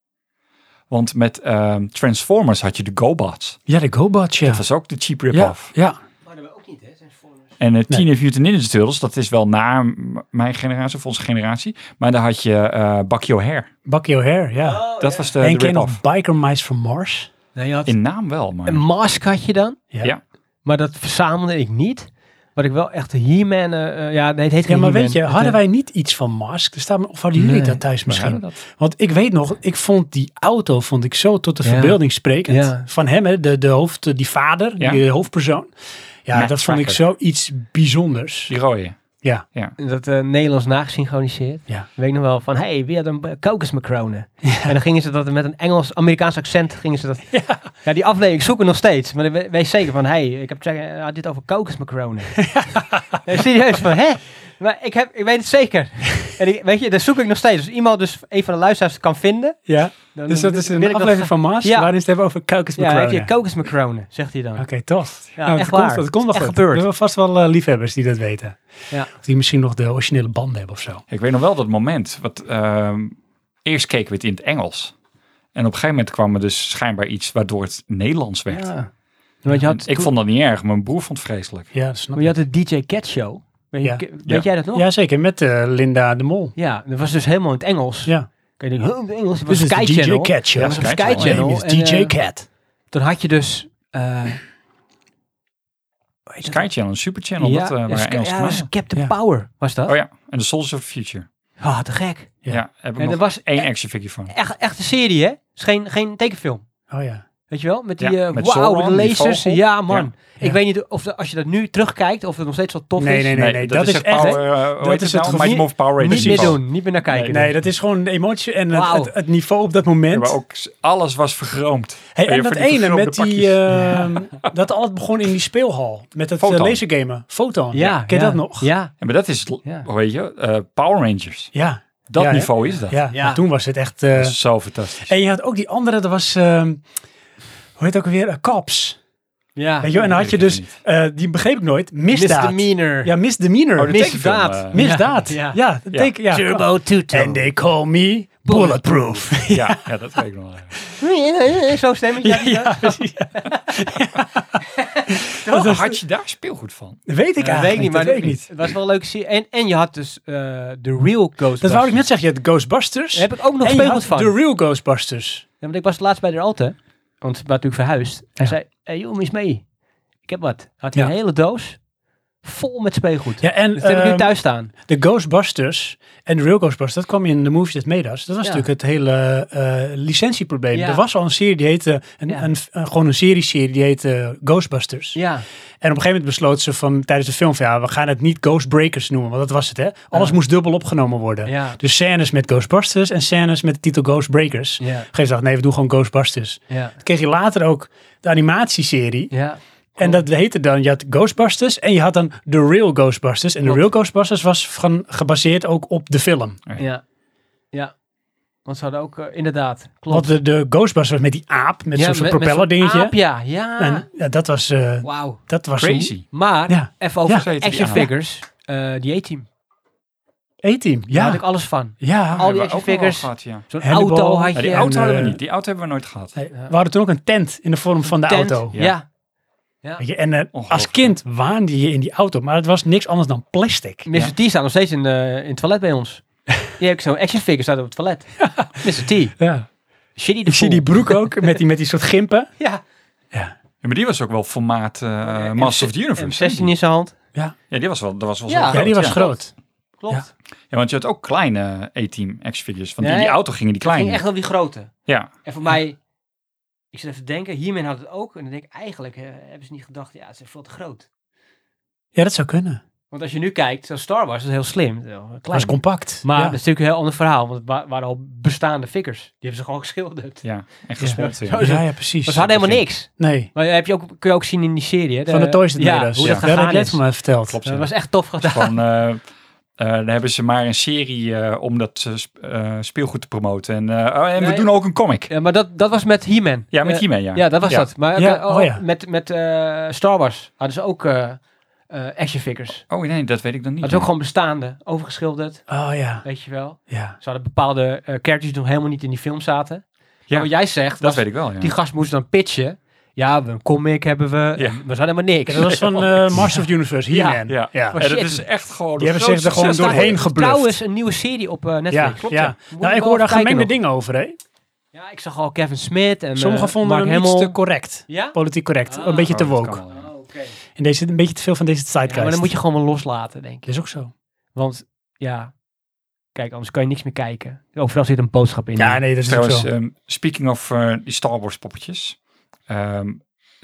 B: Want met ehm, Transformers had je de GoBots.
A: Ja, de GoBot, ja.
B: Dat was ook de cheap
A: ja,
B: rip-off.
A: ja.
C: Maar dat hebben we ook niet, hè? Transformers.
B: En eh
A: Nee.
B: Teenage Mutant Ninja Turtles, dat is wel na m- mijn generatie of onze generatie. Maar daar had je eh Bucky O'Hare.
A: Bucky O'Hare, ja.
B: Dat was
C: Eh,
B: de,
A: en
B: de
A: ken je
B: rip-off.
A: nog Biker Mice from Mars?
C: Nee, je had
B: In naam wel, maar...
C: Een mask had je dan?
B: Ja.
C: Maar dat verzamelde ik niet. Wat ik wel echt He-Man... eh, eh, ja, nee, het heet
A: Ja,
C: geen
A: maar weet
C: He-Man.
A: je,
C: Het,
A: hadden
C: eh,
A: wij niet iets van Mask? Er staat, of hadden jullie
C: Nee.
A: dat thuis
B: We hadden
A: misschien?
B: dat.
A: Want ik weet nog, ik vond die auto vond ik zo tot de
C: Ja.
A: verbeelding sprekend.
C: Ja.
A: Van hem, hè, de, de hoofd, eh, die vader,
B: Ja.
A: die hoofdpersoon. Ja,
B: Matt
A: dat vond ik
B: Tracker.
A: zoiets bijzonders.
B: Die rode.
A: Ja.
C: Dat eh, Nederlands nagesynchroniseerd.
A: Ja.
C: Weet ik nog wel van, hey, wie had een eh, kokosmacronen? En dan gingen ze dat met een Engels-Amerikaans accent, gingen ze dat... Ja, die aflevering zoeken nog steeds. Maar we- wees zeker van, hey, ik heb check- eh, had dit over kokosmacronen. Nee, serieus van, hè? Maar ik, heb, ik weet het zeker. En ik, weet je, dat zoek ik nog steeds. Dus iemand, dus een van de luisteraars het kan vinden.
A: Ja.
C: dan-
A: Dus dat is
C: wil
A: een
C: ik dat
A: aflevering van Mask
C: Ja.
A: waarin ze het hebben over Kaukens
C: Ja, heb
A: McCrone.
C: je kokosmacronen, zegt hij dan.
A: Oké, tof.
C: Ja,
A: Nou,
C: echt
A: dat
C: waar.
A: Komt, dat komt nog
C: echt
A: goed.
C: gebeurd.
A: We hebben vast wel eh, liefhebbers die dat weten.
C: Ja.
A: Of die misschien nog de originele banden hebben of zo.
B: Ik weet nog wel dat moment. Wat, ehm, eerst keken we het in het Engels. En op een gegeven moment kwam er dus schijnbaar iets waardoor het Nederlands werd.
C: Ja. Want
A: Nou,
C: je had
B: ik
C: toen-
B: vond dat niet erg. Mijn broer vond het vreselijk.
A: Ja, dat snap
C: Maar
A: ik.
C: je had de DJ Cat Show. Weet, je-
A: Ja.
C: ke- weet
B: Ja.
C: jij dat nog? Ja.
A: Ja, zeker. Met eh, Linda de Mol.
C: dat was dus helemaal in het Engels.
A: Ja.
C: Kun je denken, huh, in het Engels? Het was
A: Dit is
C: Sky
A: de DJ
C: Channel.
A: Cat Show.
C: Ja, het was op
B: Sky
C: Sky
B: Channel.
C: Channel.
A: My name is
C: En,
A: DJ
C: eh,
A: Cat.
C: Dan had je dus... eh, hoe heet dat?
B: Sky Channel, Super Channel,
C: Ja,
B: dat eh
C: ja,
B: waren
C: Sky-
B: Engelse
C: ja, dat
B: kanaals.
C: was Captain
A: Ja.
C: Power was dat.
B: Oh ja, en de Soldiers of the Future.
C: Ah, te gek.
A: Ja.
B: Ja, heb ik
C: En
B: nog
C: dat was
B: één
C: e-
B: action figure van.
C: echt, echt een serie, hè? Het is geen, geen tekenfilm.
A: Oh ja.
C: Weet je wel? Met die,
B: Ja,
C: eh,
B: met
C: wauw,
B: Sauron,
C: de
B: die
C: lasers.
B: vogel.
C: Ja, man. Ik
A: Ja.
C: weet niet of de- als je dat nu terugkijkt, of het nog steeds wel tof
A: Nee,
C: is.
A: nee, nee, dat is
B: het
A: echt-
B: Power, eh, hoe
A: dat
B: heet
A: is het
B: het nou? Mighty
A: gevoel-
B: Mover Power Rangers.
C: Niet meer
B: niveau.
C: doen, niet meer naar kijken.
A: Nee, dat is gewoon de emotie en het,
C: Wauw.
A: het, het niveau op dat moment.
B: Ja, maar ook s- alles was vergroomd.
A: Hey,
B: Maar je
A: en dat
B: hebt van die
A: ene met
B: vergroomde
A: die,
B: pakjes.
A: ehm, dat alles begon in die speelhal. Met het
B: Photon.
A: lasergamen. lasergamen. Photon.
C: Ja,
A: Ken je
C: ja,
A: dat nog?
C: Ja.
B: Ja, maar dat is,
C: Ja.
B: hoe heet je, eh, Power Rangers.
A: Ja.
B: Dat
A: Ja, hè?
B: niveau is dat.
A: Ja,
C: Ja.
A: maar toen was het echt... eh,
B: Dat is zo fantastisch.
A: en je had ook die andere, dat was... ehm, hoe heet het ook weer? Cops.
C: ja.
A: Weet je, wel? en dan had
B: weet
A: je
B: ik
A: dus,
B: niet.
A: eh, die begreep ik nooit, misdaad.
C: Misdemeanor.
A: Ja, misdemeanor.
B: Oh, de
A: Mis-
B: tekenfilm,
C: misdaad.
B: eh,
A: misdaad.
C: Ja.
A: Ja, ja. dat
B: Ja.
A: teken- ja.
C: Turbo Tuto.
A: And they call me bulletproof.
B: ja. Ja, dat weet ik nog wel.
C: Zo'n stemmetje. had hij dat?
B: Wat had je daar speelgoed van?
A: weet ik eigenlijk
C: Ja, weet ik niet, maar
A: dat weet ik niet.
C: Het was wel een leuke serie. En, en je had dus eh, de real Ghostbusters.
A: Dat wou ik net zeggen, je hebt Ghostbusters.
C: Daar heb ik ook nog
A: en je had
C: gespeeld van.
A: The Real Ghostbusters.
C: Ja, want ik was laatst bij de Alte. Want ik was natuurlijk verhuisd. Hij zei, hey, joh, mis mee. Ik heb wat. Had hij
A: Ja.
C: een hele doos vol met speelgoed.
A: Ja, en
C: Dus dat heb ik nu
A: ehm,
C: thuis staan.
A: de Ghostbusters en de Real Ghostbusters, dat kwam in de Movies That Made Us. Dat was
C: Ja.
A: natuurlijk het hele eh, licentieprobleem.
C: Ja.
A: Er was al een serie die heette, een,
C: Ja.
A: een, een- gewoon een serie-serie die heette Ghostbusters.
C: Ja,
A: En op een gegeven moment besloot ze van tijdens de film van ja, we gaan het niet Ghostbreakers noemen, want dat was het hè. Alles
C: Ja.
A: moest dubbel opgenomen worden.
C: ja,
A: Dus scènes met Ghostbusters en scènes met de titel Ghostbreakers. Op
C: ja,
A: een gegeven moment dacht ik, nee, we doen gewoon Ghostbusters.
C: ja,
A: Dan kreeg je later ook de animatieserie.
C: ja.
A: En dat heette dan, je had Ghostbusters en je had dan The Real Ghostbusters. En The
C: Klopt.
A: Real Ghostbusters was van, gebaseerd ook op de film.
C: Ja, ja. Want ze hadden ook, eh, inderdaad, klopt.
A: Want de, de Ghostbusters was met die aap, met
C: Ja,
A: zo'n soort
C: met- met
A: propeller dingetje.
C: aap, ja, ja.
A: En ja, dat was... eh,
C: Wauw.
A: dat was
B: Crazy.
C: Maar,
A: Ja.
C: even over
A: Ja.
B: Zo heette die
C: action
B: aan.
C: figures. eh, die A-team.
A: een E-team.
C: Daar
A: Ja,
C: had ik alles van.
A: ja.
C: Al die
B: Hebben we ook
C: action
B: nog wel
C: figures.
B: Gehad, ja.
C: Zo'n
A: Hannibal.
C: auto had
B: Ja,
C: je.
B: die auto
A: En,
B: hadden we
A: eh,
B: niet. Die auto hebben we nooit gehad.
A: Nee, We hadden toen ook een tent in de vorm van de
C: tent.
A: auto.
C: Ja.
A: Weet je, En eh,
B: Ongelooflijk.
A: als kind waande je in die auto, maar het was niks anders dan plastic.
C: Mr. T staat nog steeds in, eh, in het toilet bij ons. Die heb ik zo'n action figure staat op het toilet. Mr. T.
A: Ja.
C: Shitty de
A: Ik zie
C: Fool.
A: die broek ook met die, met die soort gimpen.
C: Ja.
B: Ja, maar die was ook wel formaat eh Master of the Universe.
C: En
B: hè?
C: 16 in zijn hand.
B: Ja, die was wel, dat was wel
C: Ja.
B: zo
A: Ja, die was groot.
C: Klopt.
B: Ja, want je had ook kleine A-team X-figures. Want
C: Nee.
B: in die auto gingen die
C: Het ging
B: kleine.
C: echt wel die grote.
B: Ja.
C: En voor mij, ik zit even te denken, hiermee had het ook. En dan denk ik, eigenlijk eh, hebben ze niet gedacht, ja, ze is veel te groot.
A: Ja, dat zou kunnen.
C: Want als je nu kijkt, zo'n Star Wars dat is heel slim. Heel
A: Het was
C: Klein.
A: compact.
C: Maar dus-
A: Ja.
C: dat is natuurlijk een heel ander verhaal, want het wa- waren al bestaande figures. Die hebben ze gewoon geschilderd.
B: Ja, en gesmolten.
C: Zo
B: Ja.
C: is het.
A: Ja, ja, precies.
C: Maar ze hadden helemaal niks.
A: Nee.
C: Maar heb je ook, kun je ook zien in die serie. Hè? Eh,
A: Van de Toys That
C: ja,
A: Made Us.
C: Hoe
B: Ja.
C: dat
A: Daar heb
C: gegaan
A: je
C: is.
A: het van mij verteld.
B: Klopt,
C: Dat
B: ja.
C: was echt tof gedaan.
B: Van, eh, eh, daar hebben ze maar een serie eh, om dat eh, sp- eh, speelgoed te promoten. En, eh, oh, en we
C: Nee.
B: doen ook een comic.
C: Ja, maar dat, dat was met He-Man.
B: Ja, met
C: Eh,
B: hiermee, ja.
C: Ja, dat was
B: Ja.
C: dat. Maar
A: Ja,
C: eh, oh,
A: oh ja.
C: met, met eh, Star Wars hadden ze ook eh, eh, action figures.
B: Oh nee, dat weet ik dan niet.
C: Hadden ze ook gewoon bestaande, overgeschilderd,
A: Oh ja,
C: weet je wel.
A: ja.
C: Ze hadden bepaalde eh, characters die nog helemaal niet in die film zaten.
B: Ja,
C: Maar wat jij zegt,
B: dat
C: was,
B: weet ik wel, ja.
C: die gast moest dan pitchen. Ja, we- een comic hebben we,
B: Ja.
C: maar ze hadden maar niks. Oh.
A: Ja, Dat was van eh Master of the Universe,
C: Ja.
A: He-Man.
B: Ja.
A: ja.
C: Oh,
B: en dat
C: shit.
B: is echt
A: Die
B: gewoon... de
A: hebben zich er
B: grootste
A: gewoon
B: succes.
A: doorheen geblufft.
C: Trouwens, een nieuwe serie op eh,
A: Ja, ja.
C: Netflix. Moet
A: Nou,
C: je
A: ik
C: wel
A: hoorde
C: even
A: al
C: kijken
A: gemengde
C: nog.
A: dingen over, hè.
C: Ja, ik zag al Kevin Smith en
A: Sommigen
C: eh,
A: vonden
C: Mark
A: hem iets
C: Hamill.
A: te correct.
C: Ja?
A: Politiek correct.
C: Ah.
A: een beetje te
B: Oh, dat
A: woke.
B: kan wel, ja.
C: Oh, oké. Ja,
A: En deze, een beetje te veel van deze zeitgeist.
C: maar dan moet je gewoon wel loslaten, denk ik.
A: Dat is ook zo.
C: Want ja, kijk, anders kan je niks meer kijken. Overal zit een boodschap in.
A: Ja, nee, dat is ook
B: Trouwens,
A: zo.
B: ehm, speaking of eh, die Star Wars poppetjes. Ehm,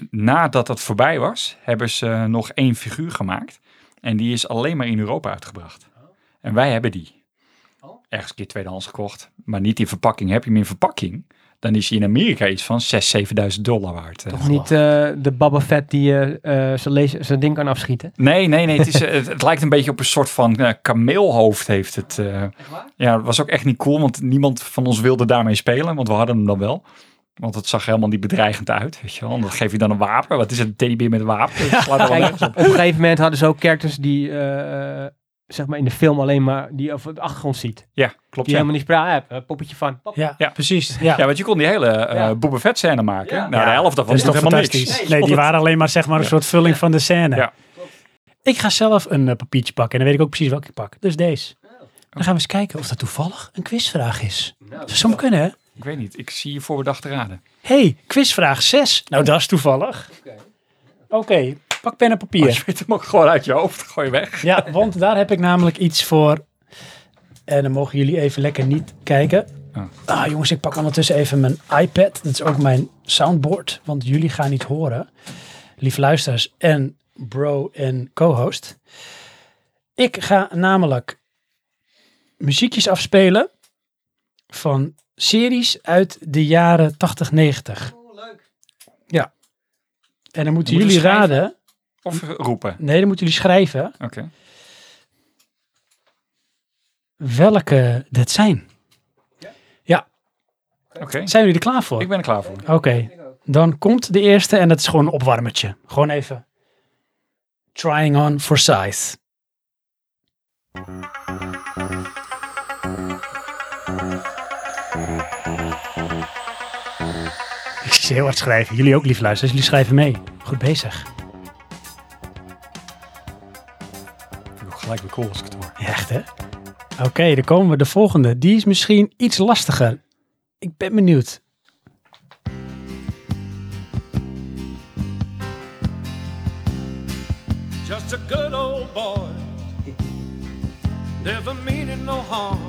B: nadat dat voorbij was, hebben ze eh, nog één figuur gemaakt. En die is alleen maar in Europa uitgebracht. En wij hebben die.
C: Oh.
B: Ergens een keer tweedehands gekocht. Maar niet in verpakking. Heb je hem in verpakking, dan is hij in Amerika iets van 6.000, 7.000 dollar waard. eh,
C: Toch
B: geloof
C: niet eh, de Boba Fett die eh, eh, zijn laser- zijn ding kan afschieten.
B: Nee, nee, nee. Het, is, eh, het, het lijkt een beetje op een soort van eh, kameelhoofd heeft het. eh. ja, dat was ook echt niet cool, want niemand van ons wilde daarmee spelen. Want we hadden hem dan wel. Want het zag helemaal niet bedreigend uit, weet je wel. En dat geef je dan een wapen. Wat is het, een teddybeer met een wapen? Dat slaat er wel nergens op.
C: Op een gegeven moment hadden ze ook characters die, eh, eh, zeg maar in de film alleen maar, die over de achtergrond ziet. Die
B: Ja, klopt. Ja.
C: helemaal niet praat hebt. Een eh, poppetje van. Pop.
A: Ja,
B: ja.
A: precies. Ja.
B: ja, want je kon die hele eh
C: Ja.
B: Boba Fett scène maken.
C: Ja.
B: Nou, de helft daarvan
A: Dat is
B: is
A: toch
B: helemaal niks.
A: fantastisch. Nee, die waren alleen maar zeg maar een
B: Ja.
A: soort vulling van de scène.
B: Ja.
A: Ik ga zelf een eh, papiertje pakken en dan weet ik ook precies welke ik pak. Dus deze. Dan gaan we eens kijken of dat toevallig een quizvraag is. Nou, Dat zou zomaar kunnen, hè?
B: Ik weet niet, ik zie je voor bedacht te raden.
A: hey, quizvraag 6. Nou, dat is toevallig. Oké, pak pen en papier.
B: Oh, je weet hem ook gewoon uit je hoofd. Gooi weg.
A: Ja, want daar heb ik namelijk iets voor. En dan mogen jullie even lekker niet kijken. Ah, jongens, ik pak ondertussen even mijn iPad. Dat is ook mijn soundboard, want jullie gaan niet horen. Lief luisteraars en bro en co-host. Ik ga namelijk muziekjes afspelen van series uit de jaren 80, 90.
D: Oh, leuk.
A: En dan moeten
B: Moeten
A: jullie
B: schrijven?
A: raden.
B: Of roepen.
A: Nee, dan moeten jullie schrijven
B: Oké.
A: welke dit zijn.
B: Oké.
A: Zijn jullie er klaar voor?
B: Ik ben er klaar voor.
A: Oké,
D: Ik ook.
A: dan komt de eerste en dat is gewoon een opwarmertje. Gewoon even. Trying on for size. Ik zie heel hard schrijven. Jullie ook, lief luisteraars. Jullie schrijven mee. Goed bezig.
B: Ik heb ook gelijk weer cool als ik het hoor.
A: Ja, Echt, hè? Oké, dan komen we. De volgende. Die is misschien iets lastiger. Ik ben benieuwd.
E: Just a good old boy, never meaning no harm.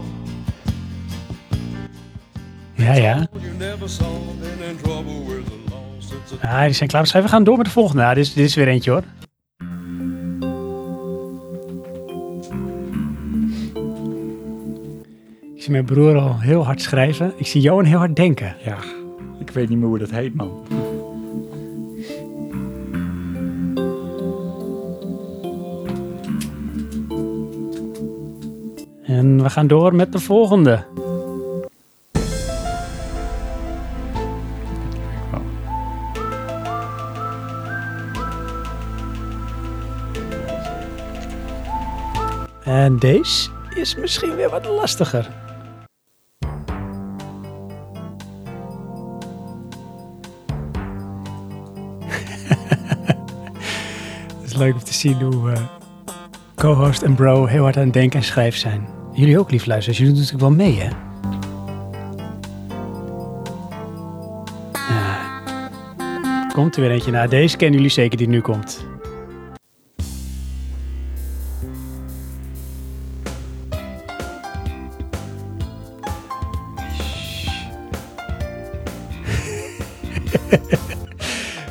A: Ja, ja.
E: You never saw been in trouble with the law since the
A: Ah, die zijn klaar. We gaan door met de volgende. Ah, dit, is, dit is weer eentje, hoor. Ik zie mijn broer al heel hard schrijven. Ik zie Johan heel hard denken.
B: Ja. Ik weet niet meer hoe dat heet, man.
A: En we gaan door met de volgende. En deze is misschien weer wat lastiger. Het is leuk om te zien hoe eh, co-host en bro heel hard aan het denken en schrijven zijn. Jullie ook, lief luisteraars. Jullie doen natuurlijk wel mee, hè? Ja. Komt er weer eentje na. Deze kennen jullie zeker die nu komt.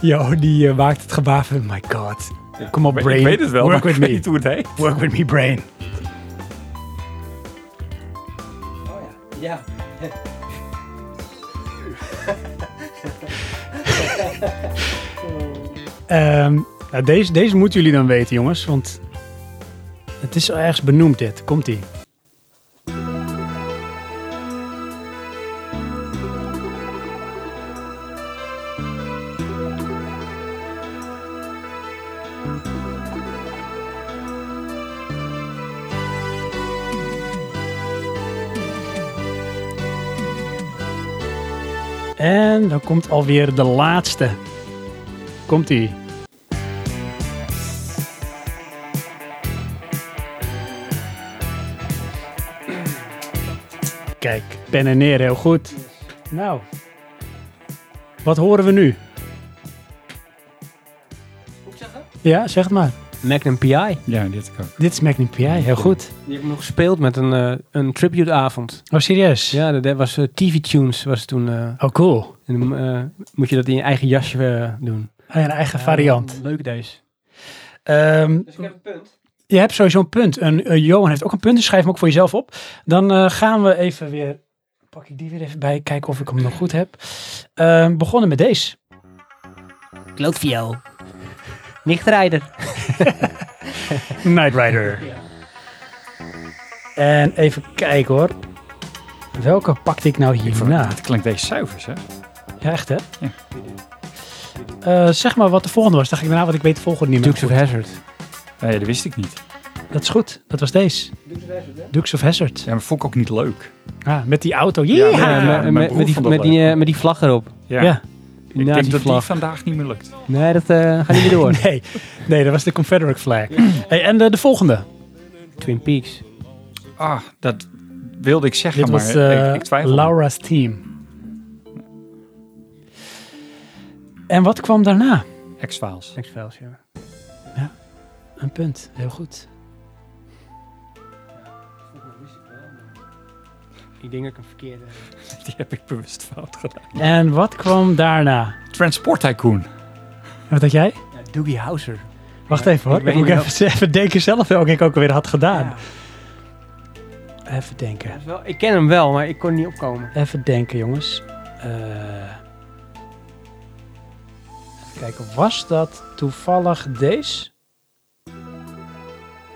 A: Jo, die eh, maakt het gebaar van, my god. Kom op,
B: Ik
A: brain.
B: weet het wel,
A: Work
B: maar
A: with
B: ik
A: me.
B: weet niet hoe het heet.
A: Work with me, brain.
C: Ja.
A: Ehm, nou, deze, deze moeten jullie dan weten, jongens. Want het is ergens benoemd, dit. Komt-ie. En dan komt alweer de laatste. Komt-ie. Kijk, pen en neer, heel goed. Nou, wat horen we nu? Ja, zeg het maar.
C: Magnum PI.
B: Ja, dit heb ik ook.
A: Dit is Magnum PI, heel goed.
C: Die heb ik nog gespeeld met een, eh, een tributeavond.
A: Oh, serieus?
C: Ja, dat, dat was eh, TV Tunes was toen. eh,
A: Oh, cool.
C: en dan eh, moet je dat in je eigen jasje eh, doen.
A: Hij een eigen variant.
C: Ja, leuk deze.
A: Ehm,
C: Dus ik heb een punt.
A: je hebt sowieso een punt. En, eh, Johan heeft ook een punt, dus schrijf hem ook voor jezelf op. Dan eh, gaan we even weer... Pak ik die weer even bij, kijken of ik hem nog goed heb. Ehm, begonnen met deze.
C: Klootviool. Nichtrijder.
A: Knight Rider. En even kijken hoor. Welke pakte ik nou
B: Ik vond-
A: hierna?
B: Het klinkt deze zuivers, hè?
A: Ja, echt hè? Eh, zeg maar wat de volgende was. Dan ga ik daarna, want ik weet de volgende niet meer.
C: Dukes of Hazard.
B: Nee, dat wist ik niet.
A: Dat is goed. Dat was deze. Dukes of Hazard.
B: Ja, maar vond ik ook niet leuk.
A: Ah, met die auto.
B: Ja,
A: Yeeha!
B: ja,
C: Eh,
B: ja.
C: met-
B: mijn
C: met,
B: broer
C: met, die,
B: vond dat
C: met, die, eh, met die vlag erop.
B: Ja.
A: Ja.
B: Ik denk dat die
C: Nazi-vlag.
B: vandaag niet meer lukt. Oké.
C: Nee, dat eh, gaat niet meer door.
A: Nee. nee, dat was de Confederate flag. Hey, en eh, de, de volgende.
C: Twin Peaks.
B: Ah, dat wilde ik zeggen,
A: Dit
B: maar
A: was eh,
B: ik, ik twijfel.
A: Laura's Team. En wat kwam daarna?
B: X-Files.
C: X-Files, ja.
A: Een punt. Heel goed.
C: Ik denk dat ik een verkeerde...
B: Die heb ik bewust fout gedaan.
A: En wat kwam daarna?
B: Transport Tycoon.
A: Wat had jij?
C: Ja, Doogie Howser.
B: Ah,
A: Wacht
C: Ja,
A: even hoor.
C: ik weet
A: Ik moet
C: niet
A: even, even denken zelf welke ik ook weer had gedaan.
C: Ja,
A: Even denken.
C: dat is wel- ik ken hem wel, maar ik kon er niet opkomen.
A: Even denken, jongens. Eh, even kijken, was dat toevallig deze?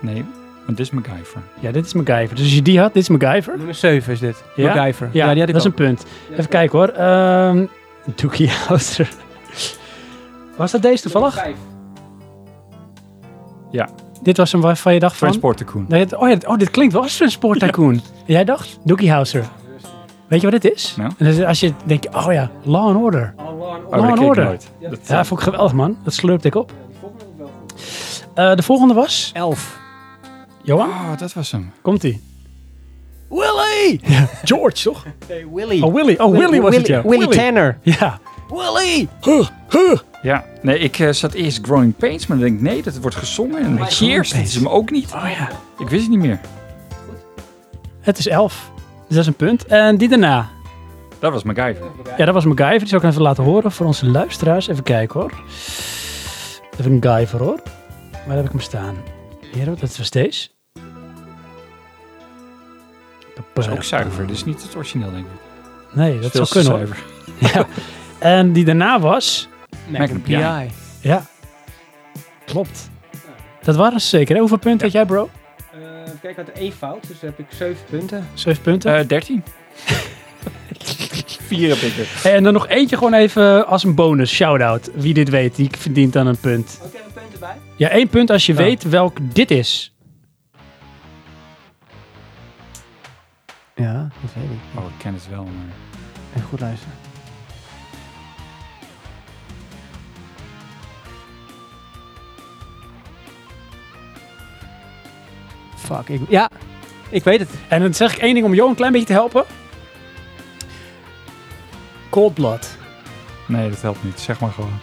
B: Nee, want dit is MacGyver.
A: Ja, dit is MacGyver. Dus als je die had, dit is MacGyver.
C: Nummer 7 is dit.
A: Ja?
C: MacGyver.
A: Ja,
C: die had ik
A: dat is
C: ook.
A: een punt. Even kijken hoor. Ehm Dookie Howser. Was dat deze toevallig? Dit was hem waarvan je dacht van...
B: Transport Tycoon.
A: Nee, het- oh, ja, dit- oh, dit klinkt wel als Transport Tycoon. En Jij dacht Dookie Houser. Weet je wat dit is?
B: Nou?
A: En dus als je denkt, oh ja, Law and Order.
B: Oh, dat
A: Law and
B: keek ik
A: Order.
B: nooit. Dat,
A: Ja, vond ik geweldig man. Dat slurpte ik op.
C: goed.
A: Eh, de volgende was...
C: 11.
A: Johan,
B: oh, dat was hem.
A: komt-ie.
C: Willy!
A: George, toch?
C: Nee, Eh, Willy.
A: Oh, Willy. Oh, Willy was het, ja.
C: Willy Tanner.
A: Ja.
C: Willy!
B: Ja, nee, ik eh, zat eerst Growing Pains, maar dan denk ik, nee, dat wordt gezongen. En
A: Growing
B: Cheers, dat
A: Pains.
B: is hem ook niet.
A: Oh ja.
B: Ik wist het niet meer.
A: Het is 11. Dus dat is een punt. En die daarna.
B: Dat was MacGyver.
A: Ja, dat was MacGyver. Die zou ik even laten horen voor onze luisteraars. Even kijken hoor. Even een MacGyver hoor. Waar heb ik hem staan? Hier, dat was deze.
B: Dat is ook zuiver, dus niet het origineel, denk ik.
A: Oh. Nee, dat zou
B: Veel te
A: kunnen hoor.
B: zuiver.
A: En die daarna was...
B: Magnum PI.
A: Ja, klopt. Dat waren ze zeker. hè? Hoeveel punten had jij bro?
C: Eh, Kijk, ik had één fout, dus heb ik 7 punten.
A: Zeven punten.
B: Eh 13. Vier heb ik er.
A: en dan nog eentje gewoon even als een bonus. Shout-out. Wie dit weet, die verdient dan een punt.
C: Ook even punten bij.
A: Ja, één punt als je
B: Ja.
A: weet welk dit is.
C: Ja, dat weet ik.
B: Oh, ik ken het wel, maar...
C: Even goed luisteren. Fuck, ik... Ja, ik weet het.
A: En dan zeg ik één ding om jou een klein beetje te helpen. Cold Blood.
B: Nee, dat helpt niet. Zeg maar gewoon.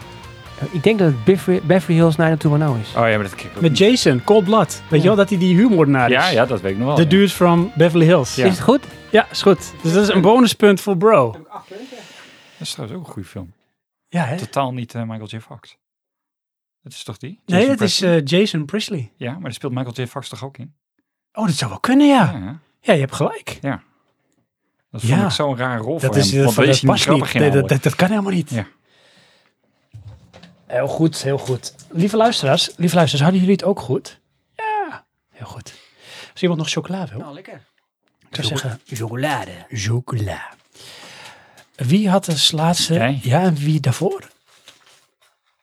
C: Eh, Ik denk dat het Beverly, Beverly Hills 90210 is.
B: Oh ja, maar dat kijk ik ook
A: Met
B: niet.
A: Jason, Cold Blood. Weet je wel dat hij die huurmoordenaar is?
B: Ja, ja, dat weet ik nog wel.
A: De
B: ja.
A: dude from Beverly Hills.
B: Ja.
C: Is het goed?
A: Ja, is goed. Dus dat is een bonuspunt voor bro.
B: Dat is trouwens ook een goede film.
A: Ja, hè?
B: Totaal niet eh, Michael J. Fox. Dat is toch die?
A: Nee,
B: Jason
A: dat is
B: Presley?
A: eh, Jason Priestley.
B: Ja, maar daar speelt Michael J. Fox toch ook in?
A: Oh, dat zou wel kunnen, ja.
B: ja.
A: Ja, je hebt gelijk.
B: Dat
A: Ja.
B: vond ik zo'n raar rol
A: Dat,
B: voor
A: is, eh,
B: hem.
A: dat,
B: want dat
A: dat
B: is niet
A: past
B: grappig
A: niet.
B: in
A: Nee, dat,
B: namelijk.
A: dat, dat kan helemaal niet.
B: Ja.
A: Heel goed, heel goed. Lieve luisteraars, lieve luisteraars, hadden jullie het ook goed? Ja, heel goed. Als iemand nog chocola wil,
C: Nou, lekker.
A: ik zou zeggen
C: Chocolade.
A: chocola. Wie had als laatste...
B: Jij.
A: Ja, en wie daarvoor?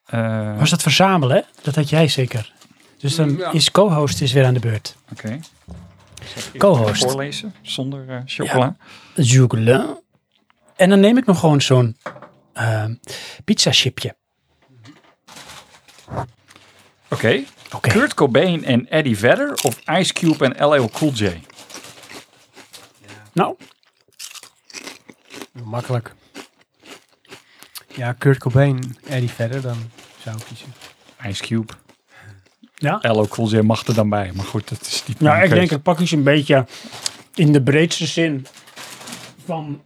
B: Eh,
A: Was dat verzamelen? hè? Dat had jij zeker. Dus dan
C: Ja.
A: is co-host is weer aan de beurt.
B: Oké. Zal ik
A: Co-host.
B: even Voorlezen zonder eh, chocola.
A: Chocola. En dan neem ik nog gewoon zo'n ehm pizza chipje.
B: Oké.
A: Oké.
B: Kurt Cobain en Eddie Vedder of Ice Cube en LL Cool J?
A: Nou,
C: Makkelijk. Ja, Kurt Cobain, Eddie verder dan zou ik kiezen.
B: Ice Cube.
A: ja.
B: LL Cool J mag er dan bij. Maar goed, dat is niet
A: Nou,
B: mijn
A: ik
B: keuze.
A: denk het pak is een beetje in de breedste zin van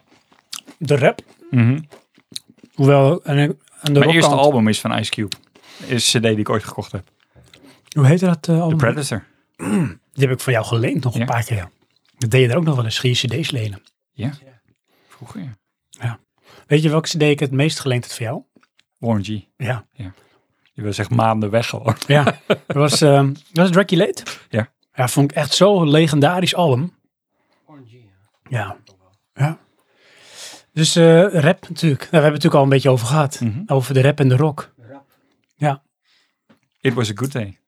A: de rap.
B: Mhm.
A: Hoewel, en, en de
B: Mijn eerste
A: rockkant-
B: album is van Ice Cube. Is een cd die ik ooit gekocht heb.
A: Hoe heette dat eh,
B: The
A: album?
B: Predator.
A: Die heb ik van jou geleend nog
B: Ja.
A: een paar keer. Dat deed je daar ook nog wel eens, ging je cd's lenen.
B: Ja. Vroeger, ja.
A: Weet je welke cd ik het meest geleend heb van jou?
B: Warren G.
A: Ja.
B: Die was echt maanden weg gewoon.
A: Ja. dat was, ehm was het Late?
B: Ja.
A: Ja, vond ik echt zo'n legendarisch album. Ja. Ja. Dus eh, rap natuurlijk. Nou, we hebben het natuurlijk al een beetje over gehad.
B: Mhm.
A: Over de rap en de rock.
B: It Was A Good Day.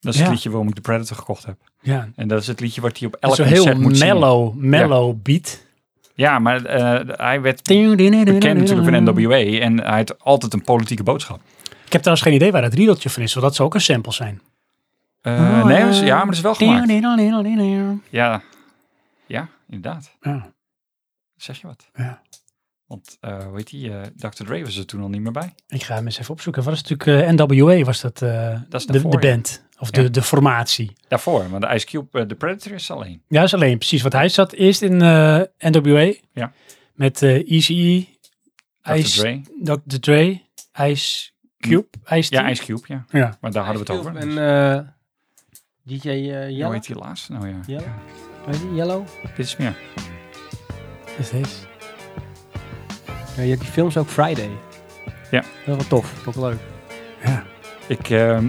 B: Dat is het
A: Ja.
B: liedje waarom ik The Predator gekocht heb.
A: Ja.
B: En dat is het liedje wat hij op
A: Dat
B: elk
A: is Zo'n
B: concert
A: heel
B: moet zingen.
A: mellow, mellow beat.
B: Ja, maar eh, hij werd bekend natuurlijk van NWA en hij had altijd een politieke boodschap.
A: Ik heb trouwens geen idee waar dat riedeltje van is, want dat zou ook een sample zijn.
B: Eh,
A: Oh,
B: nee, dat is- ja, maar dat is wel gemaakt. Ja, ja inderdaad.
A: Ja.
B: Zeg je wat?
A: Ja.
B: Want, eh hoe heet die, eh, Dr. Dre was er toen al niet meer bij.
A: Ik ga hem eens even opzoeken. Wat is natuurlijk eh, NWA was dat, eh,
B: Dat is
A: de,
B: daarvoor,
A: de
B: ja.
A: band. Of
B: Ja.
A: de, de formatie.
B: Daarvoor, want de Ice Cube, eh, de Predator is alleen.
A: Ja, is alleen precies wat hij zat. Eerst in eh, NWA.
B: Ja.
A: Met eh Easy
B: Dr.
A: Ice,
B: Dre.
A: Dr. Dre, Ice Cube, Ice
B: Ja,
A: T.
B: Ice Cube, ja.
A: Ja.
B: Maar daar hadden we het over.
C: En
B: dus.
C: eh, DJ eh
B: Hoe
C: Yellow.
B: heet die laatste? Nou ja.
C: Yellow? Hoe heet die? Yellow?
B: Dit is meer.
A: Is dit?
C: Ja, je hebt die films ook Friday.
B: Ja.
C: Dat was wel tof. Dat was leuk.
A: Ja.
B: Ik, ehm,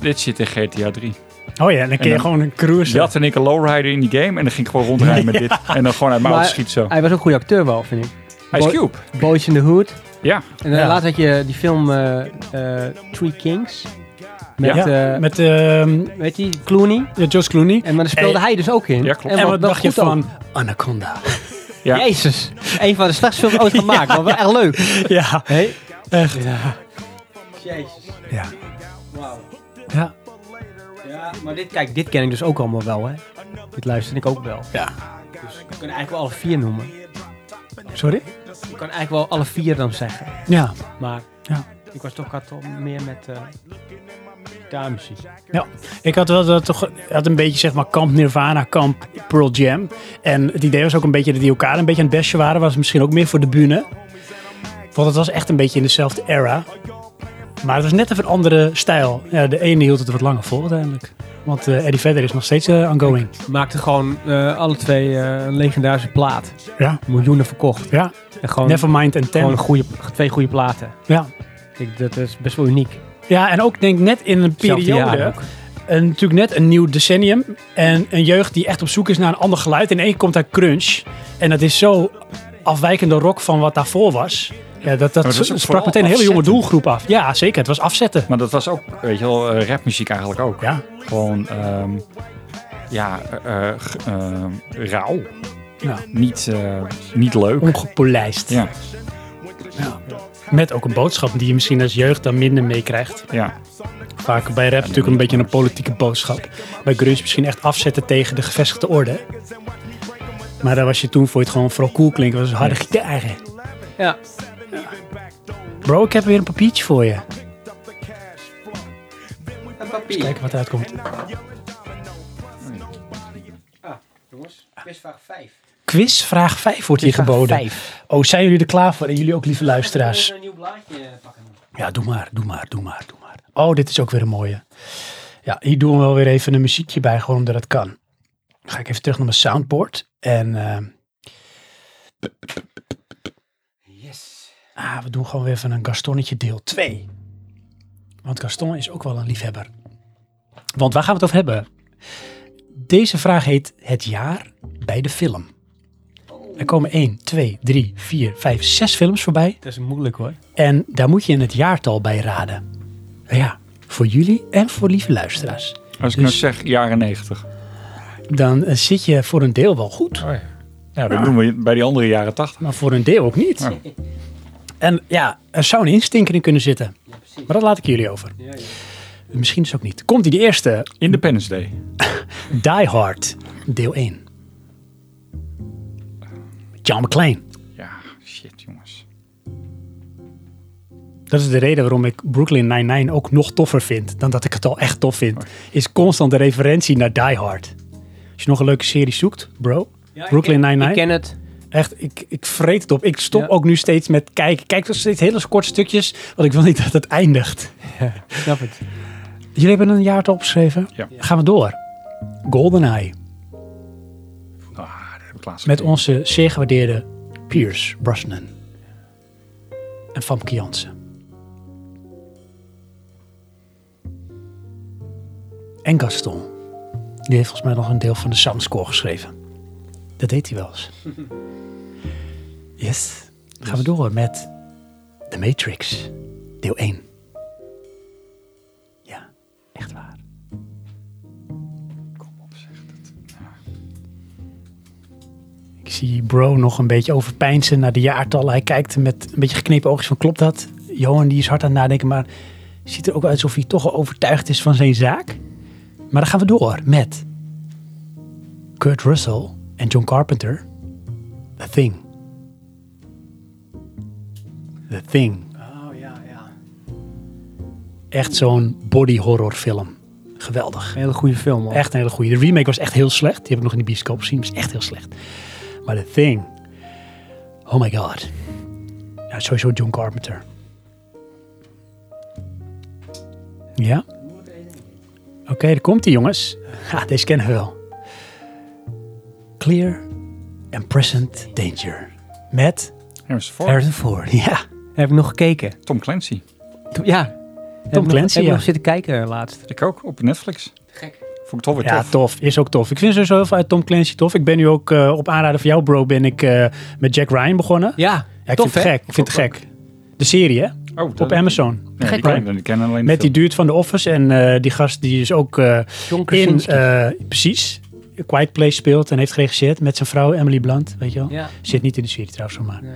B: dit zit in GTA 3.
A: Oh ja, dan kun je
B: dan-
A: gewoon een cruise.
B: Jat en ik een lowrider in die game en dan ging ik gewoon rondrijden met dit. En dan gewoon uit mijn
C: Maar-
B: auto schiet zo.
C: Hij was ook een goede acteur wel, vind ik.
B: Ice
C: Boy-
B: Cube.
C: Boys in the Hood.
B: Ja.
C: En dan
A: Ja.
C: later had je die film eh, eh, Three Kings. Met,
A: Ja,
C: eh,
A: met ehm
C: weet je, Clooney.
A: ja, George Clooney.
C: En maar daar speelde
A: Hey.
C: hij dus ook in.
B: Ja, klopt.
A: En,
C: wel-
A: wat
C: wel
A: dacht je
C: goed ook.
A: van Anaconda?
B: Ja.
C: Jezus. Een van de slechtste films ooit gemaakt. Maar wel echt leuk.
A: ja,
C: Hey.
A: echt. Ja.
C: Jezus.
A: Ja.
C: Wauw.
A: Ja.
C: Ja, maar dit, kijk, dit ken ik dus ook allemaal wel, hè. Dit luister ik ook wel.
A: Ja.
C: Dus ik kan eigenlijk wel alle vier noemen.
A: Sorry?
C: Ik kan eigenlijk wel alle vier dan zeggen.
A: Ja.
C: Maar
A: Ja.
C: ik was toch, had toch meer met eh gitaarmuziek.
A: Ja, ik had wel dat toch had een beetje zeg maar kamp Nirvana, kamp Pearl Jam. En het idee was ook een beetje dat die elkaar een beetje aan het bestje waren. Was misschien ook meer voor de bühne. Want het was echt een beetje in dezelfde era. Maar het was net even een andere stijl. Ja, de ene hield het wat langer vol uiteindelijk. Want eh Eddie Vedder is nog steeds eh, ongoing.
C: Maakte gewoon eh, alle twee eh, een legendarische plaat.
A: Ja.
C: Miljoenen verkocht.
A: Ja,
C: En gewoon,
A: Nevermind en Ten.
C: gewoon goede, twee goede platen.
A: Ja.
C: Ik, dat is best wel uniek.
A: ja, en ook denk ik net in een
C: Hetzelfde
A: periode.
C: jaar ook.
A: een, natuurlijk net een nieuw decennium. En een jeugd die echt op zoek is naar een ander geluid. En één komt uit crunch. En dat is zo afwijkende rock van wat daarvoor was. Ja, dat dat,
B: Maar dat is ook
A: sprak
B: vooral
A: meteen een hele jonge
B: afzetten.
A: doelgroep af. Ja, zeker. Het was afzetten.
B: Maar dat was ook, weet je wel, eh, rapmuziek eigenlijk ook.
A: Ja,
B: Gewoon, ehm, ja, eh, eh, g- ehm, rauw.
A: Ja.
B: Niet, eh, niet leuk.
A: ongepolijst.
B: Ja,
A: Ja. Met ook een boodschap die je misschien als jeugd dan minder meekrijgt.
B: ja.
A: Vaak bij rap natuurlijk een beetje een politieke boodschap. Bij grunge misschien echt afzetten tegen de gevestigde orde. Maar daar was je toen voor je het gewoon vooral cool klinken. Dat was harde gitaren.
C: Ja.
A: Bro, ik heb weer een papiertje voor je.
C: Een
A: Eens kijken wat eruit komt.
C: Ah, jongens, quizvraag 5.
A: Quiz vraag 5 wordt hier geboden. Oh, zijn jullie er klaar voor? En jullie ook, lieve luisteraars.
C: een nieuw blaadje pakken.
A: Ja, doe maar, doe maar, doe maar, doe maar. Oh, dit is ook weer een mooie. Ja, hier doen we wel weer even een muziekje bij, gewoon omdat het kan. Dan ga ik even terug naar mijn soundboard. En ehm,
C: Yes.
A: ah, we doen gewoon weer even een Gastonnetje deel 2. Want Gaston is ook wel een liefhebber. Want waar gaan we het over hebben? Deze vraag heet het jaar bij de film. Er komen 1, 2, 3, 4, 5, 6 films voorbij.
C: Dat is moeilijk hoor.
A: En daar moet je in het jaartal bij raden. Ja, voor jullie en voor lieve luisteraars.
B: Als ik nou
A: Dus-
B: zeg jaren negentig.
A: Dan eh, zit je voor een deel wel goed,
B: Oh Ja, dat doen we bij die andere jaren tachtig.
A: maar voor een deel ook niet.
B: Ja.
A: En ja, er zou een instinker in kunnen zitten.
C: precies.
A: Maar dat laat ik jullie over.
C: Ja,
A: Misschien is het ook niet. Komt die de eerste?
B: Independence Day.
A: Die Hard, deel 1. John McClane.
B: Ja, shit jongens.
A: Dat is de reden waarom ik Brooklyn Nine-Nine ook nog toffer vind dan dat ik het al echt tof vind. Is constant de referentie naar Die Hard. Als je nog een leuke serie zoekt, bro. Brooklyn Nine-Nine.
C: Ik ken het.
A: Echt, ik, ik vreet het op. Ik stop
C: Ja.
A: ook nu steeds met kijken. Ik Kijk nog steeds hele korte stukjes, want ik wil niet dat het eindigt.
C: Snap het.
A: Jullie hebben een jaartal opgeschreven.
B: Ja.
A: Gaan we door. GoldenEye.
B: Ah, dat heb ik laatst
A: Met
B: gezien.
A: onze zeer gewaardeerde Piers Brosnan. En Famke Jansen. En Gaston. Die heeft volgens mij nog een deel van de Samscore geschreven. Dat deed hij wel eens. Yes. Dan gaan we door met The Matrix, deel 1. Ja, echt waar.
B: Kom op, zeg dat.
A: Ik zie Bro nog een beetje overpeinzen naar de jaartallen. Hij kijkt met een beetje geknepen oogjes van klopt dat? Johan die is hard aan het nadenken, maar ziet er ook uit alsof hij toch al overtuigd is van zijn zaak. Maar dan gaan we door met Kurt Russell en John Carpenter. The Thing. The Thing.
C: Oh ja, ja.
A: Echt zo'n body horror film. Geweldig.
C: Een hele goede film. man.
A: Echt een hele goede. De remake was echt heel slecht. Die heb ik nog in de bioscoop gezien. Was echt heel slecht. Maar The Thing. Oh my god. Ja, sowieso John Carpenter. Ja. Oké, daar komt hij jongens. Ha, deze kennen we wel. Clear and Present Danger. Met
B: Harrison Ford.
A: Harrison Ford. Ja.
C: Heb ik nog gekeken.
B: Tom Clancy.
C: To- Ja. Heb ik nog-
A: Clancy,
C: Heb ik
A: ja.
C: nog zitten kijken eh, laatst.
B: Ik ook, op Netflix.
D: Gek.
B: Vond ik toch weer
A: Ja,
B: tof.
A: tof. Is ook tof. Ik vind sowieso heel veel uit Tom Clancy tof. Ik ben nu ook eh, op aanraden van jou, bro, ben ik eh, met Jack Ryan begonnen.
C: Ja,
A: Ja, ik
C: tof
A: vind het
C: hè?
A: gek. Ik vind het gek. De serie, hè?
B: Oh, dat-
A: Op Amazon.
B: Nee,
C: Gek,
B: die ken
A: hè?
B: ik, die ken alleen de
A: Met die
B: film.
A: duurt van The Office. En eh, die gast die is ook eh,
C: John
A: in...
C: Krasinski.
A: eh, precies. Quiet Place speelt en heeft geregisseerd met zijn vrouw Emily Blunt. Weet je wel?
C: ja.
A: Zit niet in de serie trouwens, maar...
C: Nee.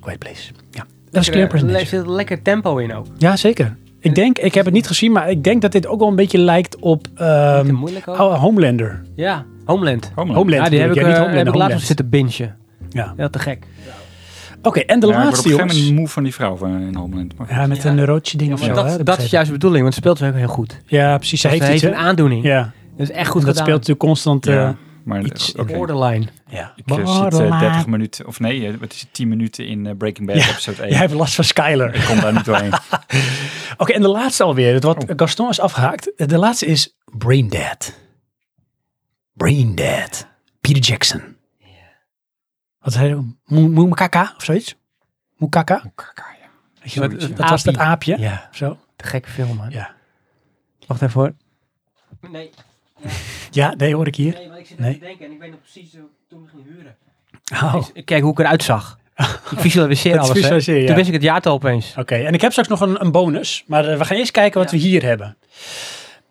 A: Quiet Place. Ja. Dat is Clear and Present
C: Er
A: Danger.
C: zit lekker tempo in ook.
A: Ja, zeker. Ik denk, ik heb het niet gezien, maar ik denk dat dit ook wel een beetje lijkt op ehm,
C: Te moeilijk ook.
A: Homelander.
C: Ja, Homeland.
B: Homeland.
A: Homeland. Oh,
C: ja, die heb ik,
A: bedoel
C: eh,
A: ja, niet
C: heb ik
A: Homeland,
C: laatst op
A: Homeland.
C: zitten bingen.
A: Ja.
C: Ja, te gek.
A: Oké, en de
B: Ja, ik word op
A: laatste
B: een gegeven
A: jongens.
B: moment moe van die vrouw van in Homeland. Maar
A: Ja, nou, met
C: Ja.
A: een roodje ding of
C: Maar
A: zo. hè,
C: dat, dat is
A: begrijp
C: juist de bedoeling, want het speelt ook heel goed.
A: ik. Ja, precies. Ze
C: Dat
A: heeft iets,
C: een
A: hè?
C: aandoening.
A: Ja,
C: Dat is echt goed
A: dat
C: gedaan.
A: speelt natuurlijk constant... eh,
B: Ja, maar
A: iets-
B: oké.
C: Borderline.
A: ja.
B: Ik eh, zit eh, 30 minuten, of nee, eh, wat is het, 10 minuten in eh, Breaking Bad
A: Ja.
B: episode 1.
A: Jij hebt last van Skyler.
B: Ik kom daar niet doorheen.
A: Oké, en de laatste alweer. Het Wat Gaston is afgehaakt. De laatste is Brain Dead. Brain Dead. Peter Jackson. Wat zei hij? Moe- Moe- Moekaka of zoiets? Moekaka?
B: Kaka, ja.
A: Weet je wel,
C: Dat-
A: Dat,
C: dat
A: was dat
C: aapje.
A: aapje.
C: Ja.
A: Zo.
C: Te gekke film, man.
A: Ja.
C: Wacht even hoor. Nee,
A: ja, nee hoor ik hier.
C: nee, maar ik zit
A: Nee.
C: te denken en ik weet nog precies hoe ik toen ging huren.
A: Oh. Oké,
C: Dus Kijk hoe ik eruit zag. Ik visualiseer
A: Dat
C: alles, hè.
A: visualiseer je, ja.
C: Toen wist ik het jaartal opeens.
A: en ik heb straks nog een, een bonus. Maar eh, we gaan eerst kijken wat
C: Ja.
A: we hier hebben.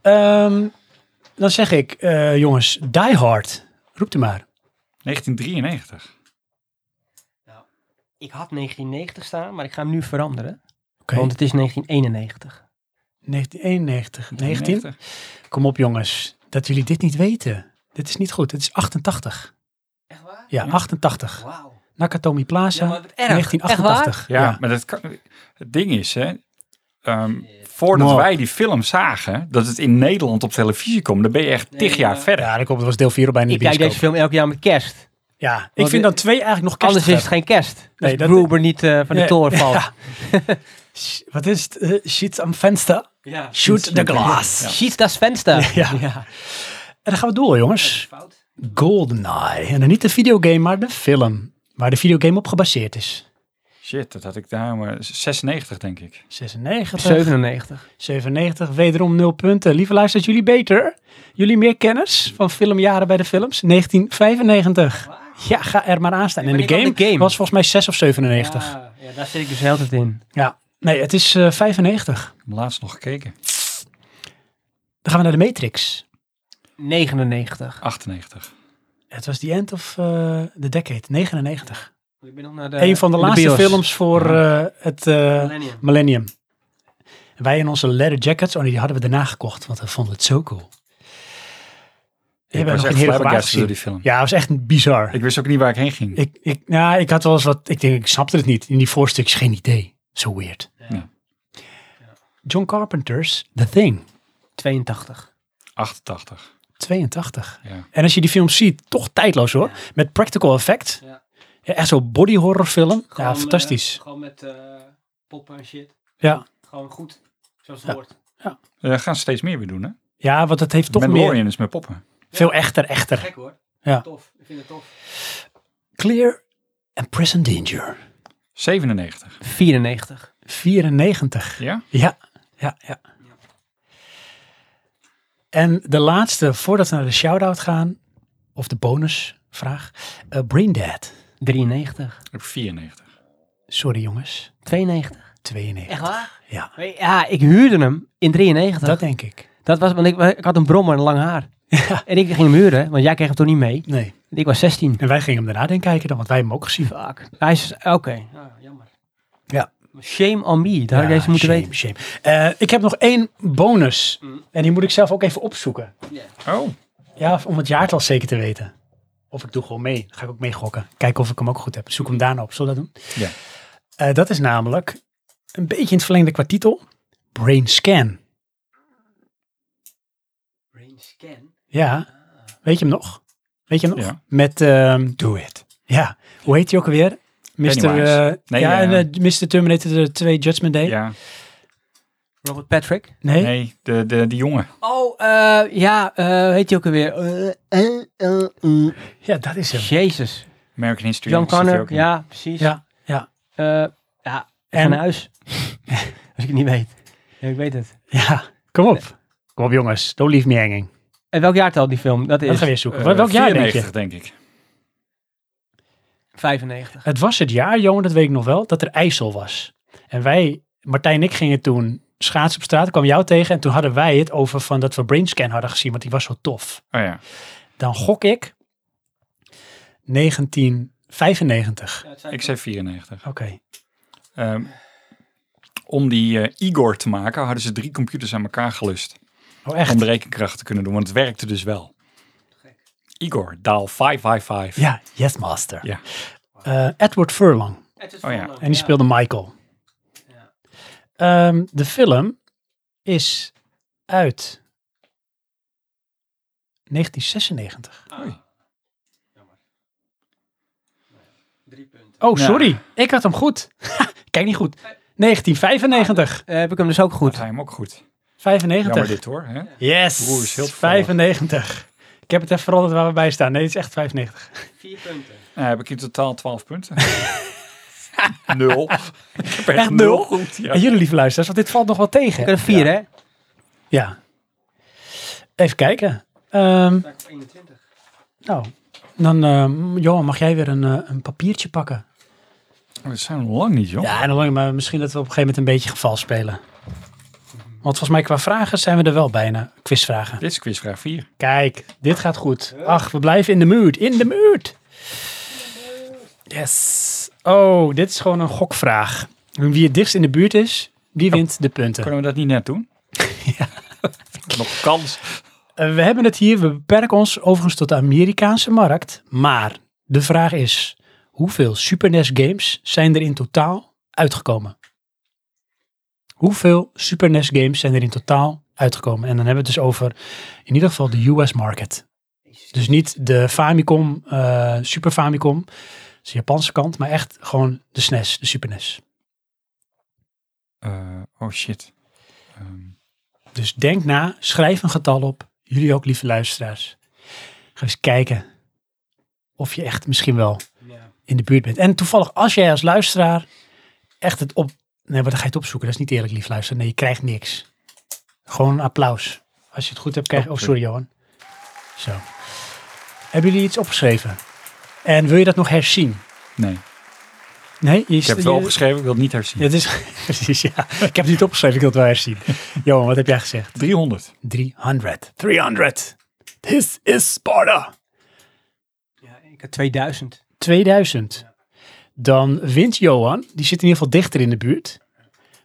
A: Ehm, dan zeg ik, eh, jongens, Die Hard. Roep hem maar.
B: 1993.
C: Ik had 1990 staan, maar ik ga hem nu veranderen.
A: Oké.
C: Want het is 1991.
A: 1991. 19?
B: 1990.
A: Kom op jongens, dat jullie dit niet weten. Dit is niet goed. Het is 88.
C: Echt waar?
A: Ja, 88.
C: Wauw.
A: Nakatomi Plaza,
C: Ja, maar wat erg.
A: 1988.
B: Ja, maar dat kan, het ding is, hè, ehm, voordat
A: Wow.
B: wij die film zagen, dat het in Nederland op televisie komt, dan ben je echt tig jaar
C: maar-
B: verder.
A: ja, dat komt. Dat was deel 4 al bijna in
C: Ik
A: de
C: kijk
A: bioscoop.
C: deze film elk jaar met kerst.
A: Ja, ik
C: Want
A: vind
C: de-
A: dan twee eigenlijk nog
C: Anders is
A: kerstiger.
C: het geen kerst.
A: Nee,
C: Nee, dat
A: dat-
C: Gruber niet eh, van de
A: Nee.
C: toren valt.
A: Ja. Sh- Wat is het? Eh, shit aan venster. Shoot the glass.
B: Ja.
C: Ziet dat venster.
A: Ja. En dan gaan we door, jongens. GoldenEye. En dan niet de videogame, maar de film. Waar de videogame op gebaseerd is.
B: Shit, dat had ik daar maar 96 denk ik.
A: 96.
C: 97.
A: 97, wederom 0 punten. Lieve luisteraars, jullie beter. Jullie meer kennis van filmjaren bij de films. 1995. Ja, ga er maar aan staan.
C: Nee,
A: en
C: maar
A: de
C: niet
A: game,
C: aan de game.
A: was volgens mij 6 of 97. Ja.
C: Ja, ja, daar zit ik dus heel tijd in.
A: Nee, het is eh, 95.
B: Ik heb Laatst nog gekeken.
A: Dan gaan we naar de Matrix.
C: 99.
B: 98.
A: Het was the end of eh the decade. 99.
C: Ik ben nog naar de,
B: Eh,
A: Een van de
C: in
A: laatste
C: bios.
A: films voor eh, het eh,
C: Millennium.
A: millennium. Wij in onze leather jackets. Oh nee, die hadden we daarna gekocht. Want we vonden het zo cool.
B: Ik
A: bent
B: was
A: nog
B: echt
A: een hele
B: flabbergast
A: verbaasd
B: door die film.
A: Ja, het was echt bizar.
B: Ik wist ook niet waar ik heen ging.
A: Ik, ik, nou, ik had wel eens wat. Ik denk, ik snapte het niet. In die voorstukjes geen idee. Zo weird.
B: Ja.
A: John Carpenter's The Thing,
C: 82.
B: 88.
A: 82.
B: Ja.
A: En als je die film ziet, toch tijdloos hoor. Met practical effect.
C: Ja.
A: Ja, echt zo'n body horror film. ja, fantastisch.
B: eh,
C: gewoon met eh, poppen en shit.
A: ja.
C: Gewoon goed. Zoals het
A: Ja.
C: hoort.
B: Eh, We gaan ze steeds meer weer doen, hè?
A: ja, want het heeft toch
B: Mandalorian
A: meer.
B: is met poppen.
A: Veel echter, echter.
C: hoor.
A: Ja.
C: Tof. Ik vind het tof.
A: Clear and Present Danger.
B: 97.
C: 94.
A: 94.
B: Ja?
A: Ja, ja, ja. En de laatste, voordat we naar de shout-out gaan, of de bonusvraag. eh Brain Dead.
C: 93.
B: Ik heb 94.
A: Sorry jongens,
C: 92.
A: 92.
C: Echt waar?
A: Ja,
C: Ja, ik huurde hem in 93.
A: dat denk ik.
C: Dat was, want ik, ik had een brommer en lang haar. En ik ging hem huren, want jij kreeg hem toen niet mee.
A: Nee.
C: Ik was 16.
A: En wij gingen hem daarna denk kijken dan, want wij hebben hem ook gezien.
C: Fuck. Hij is, oké. Ah, jammer.
A: Ja.
C: Shame on me. Dat had ik
A: Ja,
C: deze moeten
A: shame,
C: weten.
A: shame. Eh, ik heb nog één bonus.
C: Mm.
A: En die moet ik zelf ook even opzoeken.
B: Oh,
A: Ja, of om het jaartal zeker te weten. Of ik doe gewoon mee. Dan ga ik ook mee gokken. Kijken of ik hem ook goed heb. Zoek hem daarna op. Zullen we dat doen?
B: Ja.
A: Eh, dat is namelijk een beetje in het verlengde qua titel. Brain Scan.
C: scan.
A: Ja. Weet je hem nog? Weet je hem nog?
B: Ja.
A: Met, ehm,
B: Do it.
A: ja, hoe heet hij ook alweer? Mr.
B: Pennywise.
A: eh,
B: Nee,
A: ja,
B: eh,
A: en, eh, Mr. Terminator 2 Judgment Day.
B: Ja.
C: Robert Patrick.
A: Nee?
B: Nee, de, de, die jongen.
C: Oh, eh, ja, eh heet hij ook alweer? Eh, eh, eh, eh.
A: Ja, dat is hem.
C: Jezus.
B: American History.
C: John
B: X zit er
C: Connor,
B: ook in.
C: ja, precies.
A: Ja, ja.
C: Eh, ja, en
A: En-
C: naar huis. Als ik het niet weet. Ja, ik weet het.
A: Ja, kom op. Kom op jongens, don't leave me hanging.
C: En welk jaartal die film? Dat
A: Dat
C: is
A: gaan we eens zoeken.
B: Eh,
A: Wel- Welk jaar denk je?
B: 94, denk ik.
C: 95.
A: Het was het jaar, Johan, dat weet ik nog wel, dat er IJssel was. En wij, Martijn en ik gingen toen schaatsen op straat, ik kwam jou tegen en toen hadden wij het over van dat we Brainscan hadden gezien, want die was zo tof.
B: Oh ja.
A: Dan gok ik 1995.
B: Ik zei 94.
A: Oké.
B: Ehm, om die eh, Igor te maken hadden ze drie computers aan elkaar gelust.
A: Oh echt?
B: Om de rekenkracht te kunnen doen, want het werkte dus wel. Igor, daal 555.
A: Ja, Yes Master.
B: Ja.
A: Eh, Edward Furlong.
B: Oh ja.
A: En die speelde Michael.
C: Ja.
A: Ehm, de film is uit 1996.
C: Drie punten.
A: Oh,
B: Ja.
A: sorry. Ik had hem goed. Kijk niet goed. 1995.
C: heb ik hem dus ook
B: Had
C: goed.
B: hij hem ook goed. Jammer
A: 95.
B: dit hoor. Hè? Oeh, is
A: Yes.
B: heel toevallig.
A: 95. Ik heb het even veranderd waar we bij staan. Nee, het is echt 95.
C: Vier punten.
B: Nou, heb ik in totaal 12 punten. nul. Ik heb echt,
A: Echt nul?
B: nul goed. Ja.
A: En jullie lieve luisteraars, want dit valt nog wel tegen.
C: Ik had er vier, hè?
A: Ja. Even kijken. Ehm,
C: 21.
A: nou, dan ehm, Johan, mag jij weer een, eh, een papiertje pakken?
B: We zijn nog lang niet, joh.
A: Ja, en dan lang, maar misschien dat we op een gegeven moment een beetje geval spelen. Want volgens mij qua vragen zijn we er wel bijna. Quizvragen.
B: Dit is quizvraag 4.
A: Kijk, dit gaat goed. Ach, we blijven in de mood. In de mood. Yes. Oh, dit is gewoon een gokvraag. Wie het dichtst in de buurt is, die wint de punten.
B: Kunnen we dat niet net doen? ja. Nog kans.
A: Eh, we hebben het hier, we beperken ons overigens tot de Amerikaanse markt. Maar de vraag is, hoeveel Super NES games zijn er in totaal uitgekomen? Hoeveel Super NES games zijn er in totaal uitgekomen? En dan hebben we het dus over in ieder geval de US market. Dus niet de Famicom, eh, Super Famicom, dus de Japanse kant, maar echt gewoon de SNES, de Super E NES.
B: Eh, oh shit. Ehm,
A: Dus denk na, schrijf een getal op. Jullie ook, lieve luisteraars. Ga eens kijken of je echt misschien wel
C: Ja.
A: in de buurt bent. En toevallig, als jij als luisteraar echt het op... Nee, maar dan ga je het opzoeken. Dat is niet eerlijk, lief luisteraar. Nee, je krijgt niks. Gewoon een applaus. Als je het goed hebt, krijg je... Oh, sorry, Johan. Zo. Hebben jullie iets opgeschreven? En wil je dat nog herzien?
B: nee.
A: Nee? Je,
B: Ik heb het wel opgeschreven, ik wil het niet herzien.
A: Het is, precies, ja. Ik heb het niet opgeschreven, ik wil het wel herzien. Johan, wat heb jij gezegd?
B: 300.
A: 300. 300. This is Sparta.
C: ik had 2000.
A: 2000. Dan wint Johan. Die zit in ieder geval dichter in de buurt.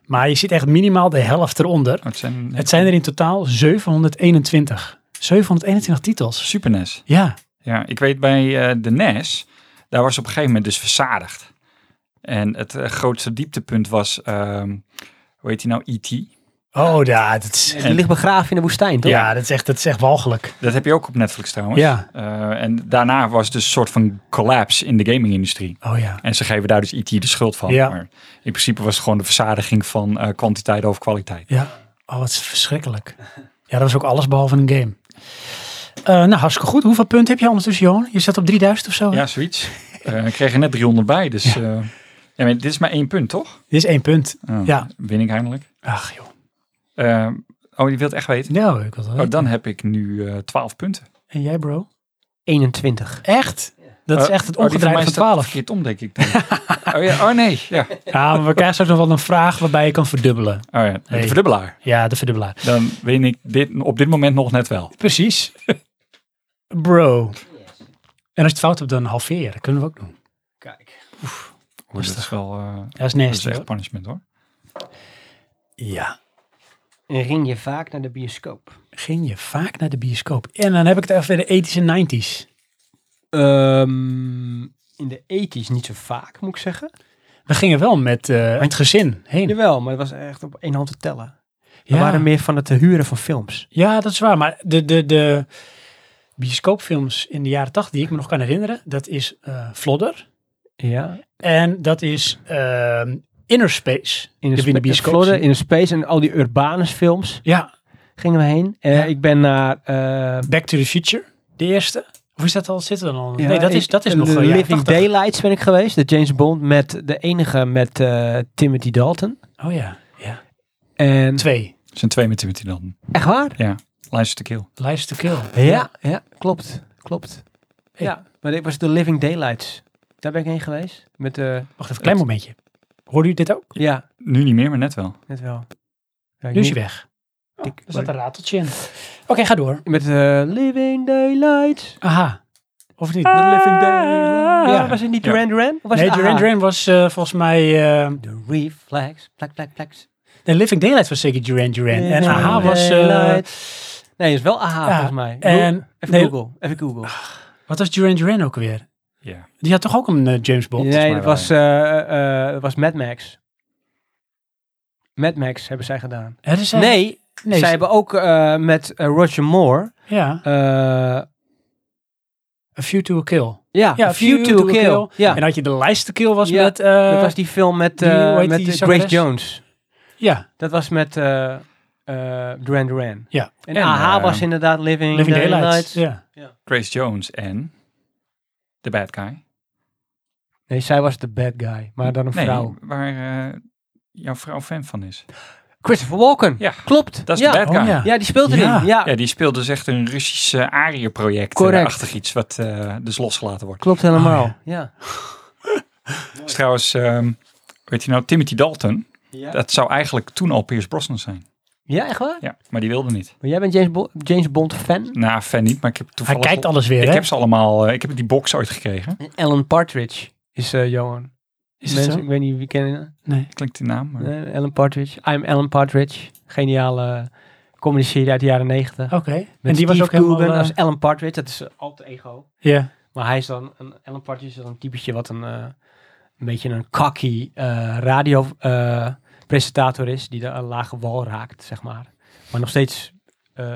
A: Maar je zit echt minimaal de helft eronder.
B: Oh, het zijn,
A: Het zijn er in totaal 721. 721 titels.
B: Super E NES.
A: Ja,
B: Ja, ik weet bij eh, de NES, daar was op een gegeven moment dus verzadigd. En het eh, grootste dieptepunt was, ehm, hoe heet die nou, E.T.
A: oh ja, dat is,
C: Die ligt begraven in de woestijn, toch?
A: ja, dat is, echt, dat is echt walgelijk.
B: Dat heb je ook op Netflix trouwens.
A: Ja.
B: Eh, en daarna was het dus een soort van collapse in de gaming-industrie.
A: Oh ja.
B: En ze geven daar dus E.T. de schuld van.
A: Ja.
B: Maar in principe was het gewoon de verzadiging van eh, kwantiteit over kwaliteit.
A: Ja, oh, wat verschrikkelijk. Ja, dat was ook alles behalve een game. Eh, nou, hartstikke goed. Hoeveel punten heb je ondertussen, Johan? Je zat op 3000 of zo? hè?
B: Ja, zoiets. Eh, ik kreeg er net 300 bij, dus... eh, ja, maar dit is maar één punt, toch?
A: Dit is één punt.
B: Oh,
A: Ja.
B: Win ik eindelijk.
A: Ach joh.
B: Eh, oh, je wilt echt weten?
A: Nou, ik wil dat
B: Oh, dan heb ik nu eh 12 punten.
A: En jij, bro?
C: 21.
A: Echt? Dat is
B: Eh,
A: echt het
B: oh, die
A: omgedraaide
B: mij
A: van
B: staat
A: 12.
B: verkeerd om, denk ik. dan. oh, ja, oh nee, ja. Oh
A: Ja, maar we krijgen straks nog wel een vraag waarbij je kan verdubbelen.
B: ja, de
A: Hey.
B: verdubbelaar.
A: Ja, de verdubbelaar.
B: Dan win ik dit, op dit moment nog net wel.
A: Precies. Bro. En als je het fout hebt, dan halveren. Dat kunnen we ook doen.
C: Kijk.
B: Oh, dat is wel eh,
A: Dat is
B: dat is
A: nasty.
B: echt
A: hoor.
B: punishment hoor.
A: Ja.
C: En ring je vaak naar de bioscoop?
A: Ging je vaak naar de bioscoop? En dan heb ik het even weer de 80s en 90s.
C: in de 80s niet zo vaak, moet ik zeggen.
A: We gingen wel met eh, het gezin heen.
C: Jawel, maar dat was echt op één hand te tellen.
A: Ja.
C: We waren meer van het eh, huren van films.
A: Ja, dat is waar. Maar de, de, de bioscoopfilms in de jaren 80 die ik me nog kan herinneren, dat is eh Flodder.
C: Ja.
A: En dat is ehm Inner Space.
C: In
A: Die
C: de,
A: heb je in de
C: spa-
A: bioscoop
C: Florida,
A: gezien.
C: in de space en al die urbane films
A: Ja,
C: gingen we heen. Eh,
A: Ja.
C: Ik ben naar... eh,
A: Back to the Future, de eerste. Of is dat al zitten dan al?
C: ja,
A: nee, dat
C: ik-
A: is, dat is
C: de
A: nog eh, jaren
C: Living
A: 80.
C: Daylights ben ik geweest. De James Bond met de enige met eh, Timothy Dalton.
A: Oh ja, ja.
C: En,
A: Twee.
B: Het zijn twee met Timothy dan.
C: echt waar?
B: Ja, License to Kill.
A: Lies to Kill.
C: Ja, ja klopt. Klopt.
A: Hey.
C: Ja, maar dit was de Living Daylights. Daar ben ik heen geweest. Met, eh,
A: Wacht even, klein momentje. Hoorde u dit ook?
C: ja,
B: Nu niet meer, maar net wel.
C: net wel. Ja, ik
A: Nu is
C: niet-
A: hij weg. Oh,
C: ik-
A: Er zat een rateltje in. Oké, ga door.
C: Met eh, Living Daylights.
A: Aha. Of niet?
C: The Living Daylights.
A: Ja.
C: Was het niet
B: Ja.
C: Duran Duran? Of was
A: nee,
C: het
A: Duran
C: Aha?
A: Duran was eh, volgens mij... eh,
C: The Reflex. Plak, plak, plak.
A: nee, Living Daylight was zeker Duran Duran. En
C: Duran
A: Aha was... eh,
C: Daylights. nee, is wel Aha
A: ja,
C: volgens mij.
A: en-
C: Doe- even
A: nee.
C: Google. Even
B: Ah,
C: Google.
A: Wat was Duran Duran ook weer?
B: Ja.
A: Die had toch ook een eh, James Bond?
C: nee,
B: mij
C: dat
B: wel,
C: was, eh, eh, dat was Mad Max. Mad Max hebben zij gedaan.
A: Hè, dus zij-
C: Nee,
A: nee
C: zij
A: ze-
C: hebben ook eh, met eh, Roger Moore.
A: ja.
C: eh,
A: A View to a Kill.
C: ja,
A: Ja,
C: A View to a Kill. Ja,
A: En had je de lijst to Kill was
C: Ja,
A: met... eh,
C: dat was die film met,
A: die-
C: eh,
A: hoe heet
C: met
A: die
C: eh, Grace
A: zangeres?
C: Jones.
A: Ja,
C: Dat was met eh, eh, Duran Duran.
A: Ja.
C: En,
B: En,
C: AHA
B: eh,
C: was inderdaad Living,
A: Living
C: Daylights.
A: Daylights. Ja.
B: Grace Jones en The Bad Guy.
C: Nee, zij was de bad guy, maar dan een
B: Nee,
C: vrouw.
B: waar eh, jouw vrouw fan van is.
C: Christopher Walken.
B: Ja.
C: Klopt.
B: Dat is
C: ja.
B: The Bad
A: Oh,
B: Guy.
A: ja.
B: ja.
C: ja, die speelt erin.
A: Ja.
C: Ja,
B: die speelt dus echt een Russische
C: Correct.
B: Arië-project-achtig iets wat eh, dus losgelaten wordt.
C: klopt helemaal.
A: Oh,
C: ja.
B: Dus trouwens, weet je nou, Timothy Dalton,
C: Ja.
B: dat zou eigenlijk toen al Pierce Brosnan zijn.
C: Ja, echt waar?
B: Ja, maar die wilde niet.
C: Maar jij bent James, Bo- James Bond fan?
B: Nou, fan niet, maar ik heb
A: Hij
B: toevallig...
A: kijkt alles weer,
B: Ik
A: hè?
B: heb ze allemaal, eh, ik heb die box ooit gekregen.
C: Ellen Partridge is eh, Johan.
A: Is het zo?
C: Ik weet niet wie kennen.
A: Nee.
B: Klinkt die naam, maar...
C: Nee, Ellen Partridge. I'm Ellen Partridge. Geniale comedy serie uit de jaren negentig.
A: Oké. Oh. En
C: Met
A: die was
C: Steve
A: ook helemaal...
C: Coogan
A: eh,
C: als Ellen Partridge. Dat is eh, alter ego.
A: ja.
C: Maar hij is dan, een, Alan Partridge is dan een typetje wat een, eh, een beetje een cocky eh, radiopresentator is, die de, een lage wal raakt, zeg maar. Maar nog steeds eh,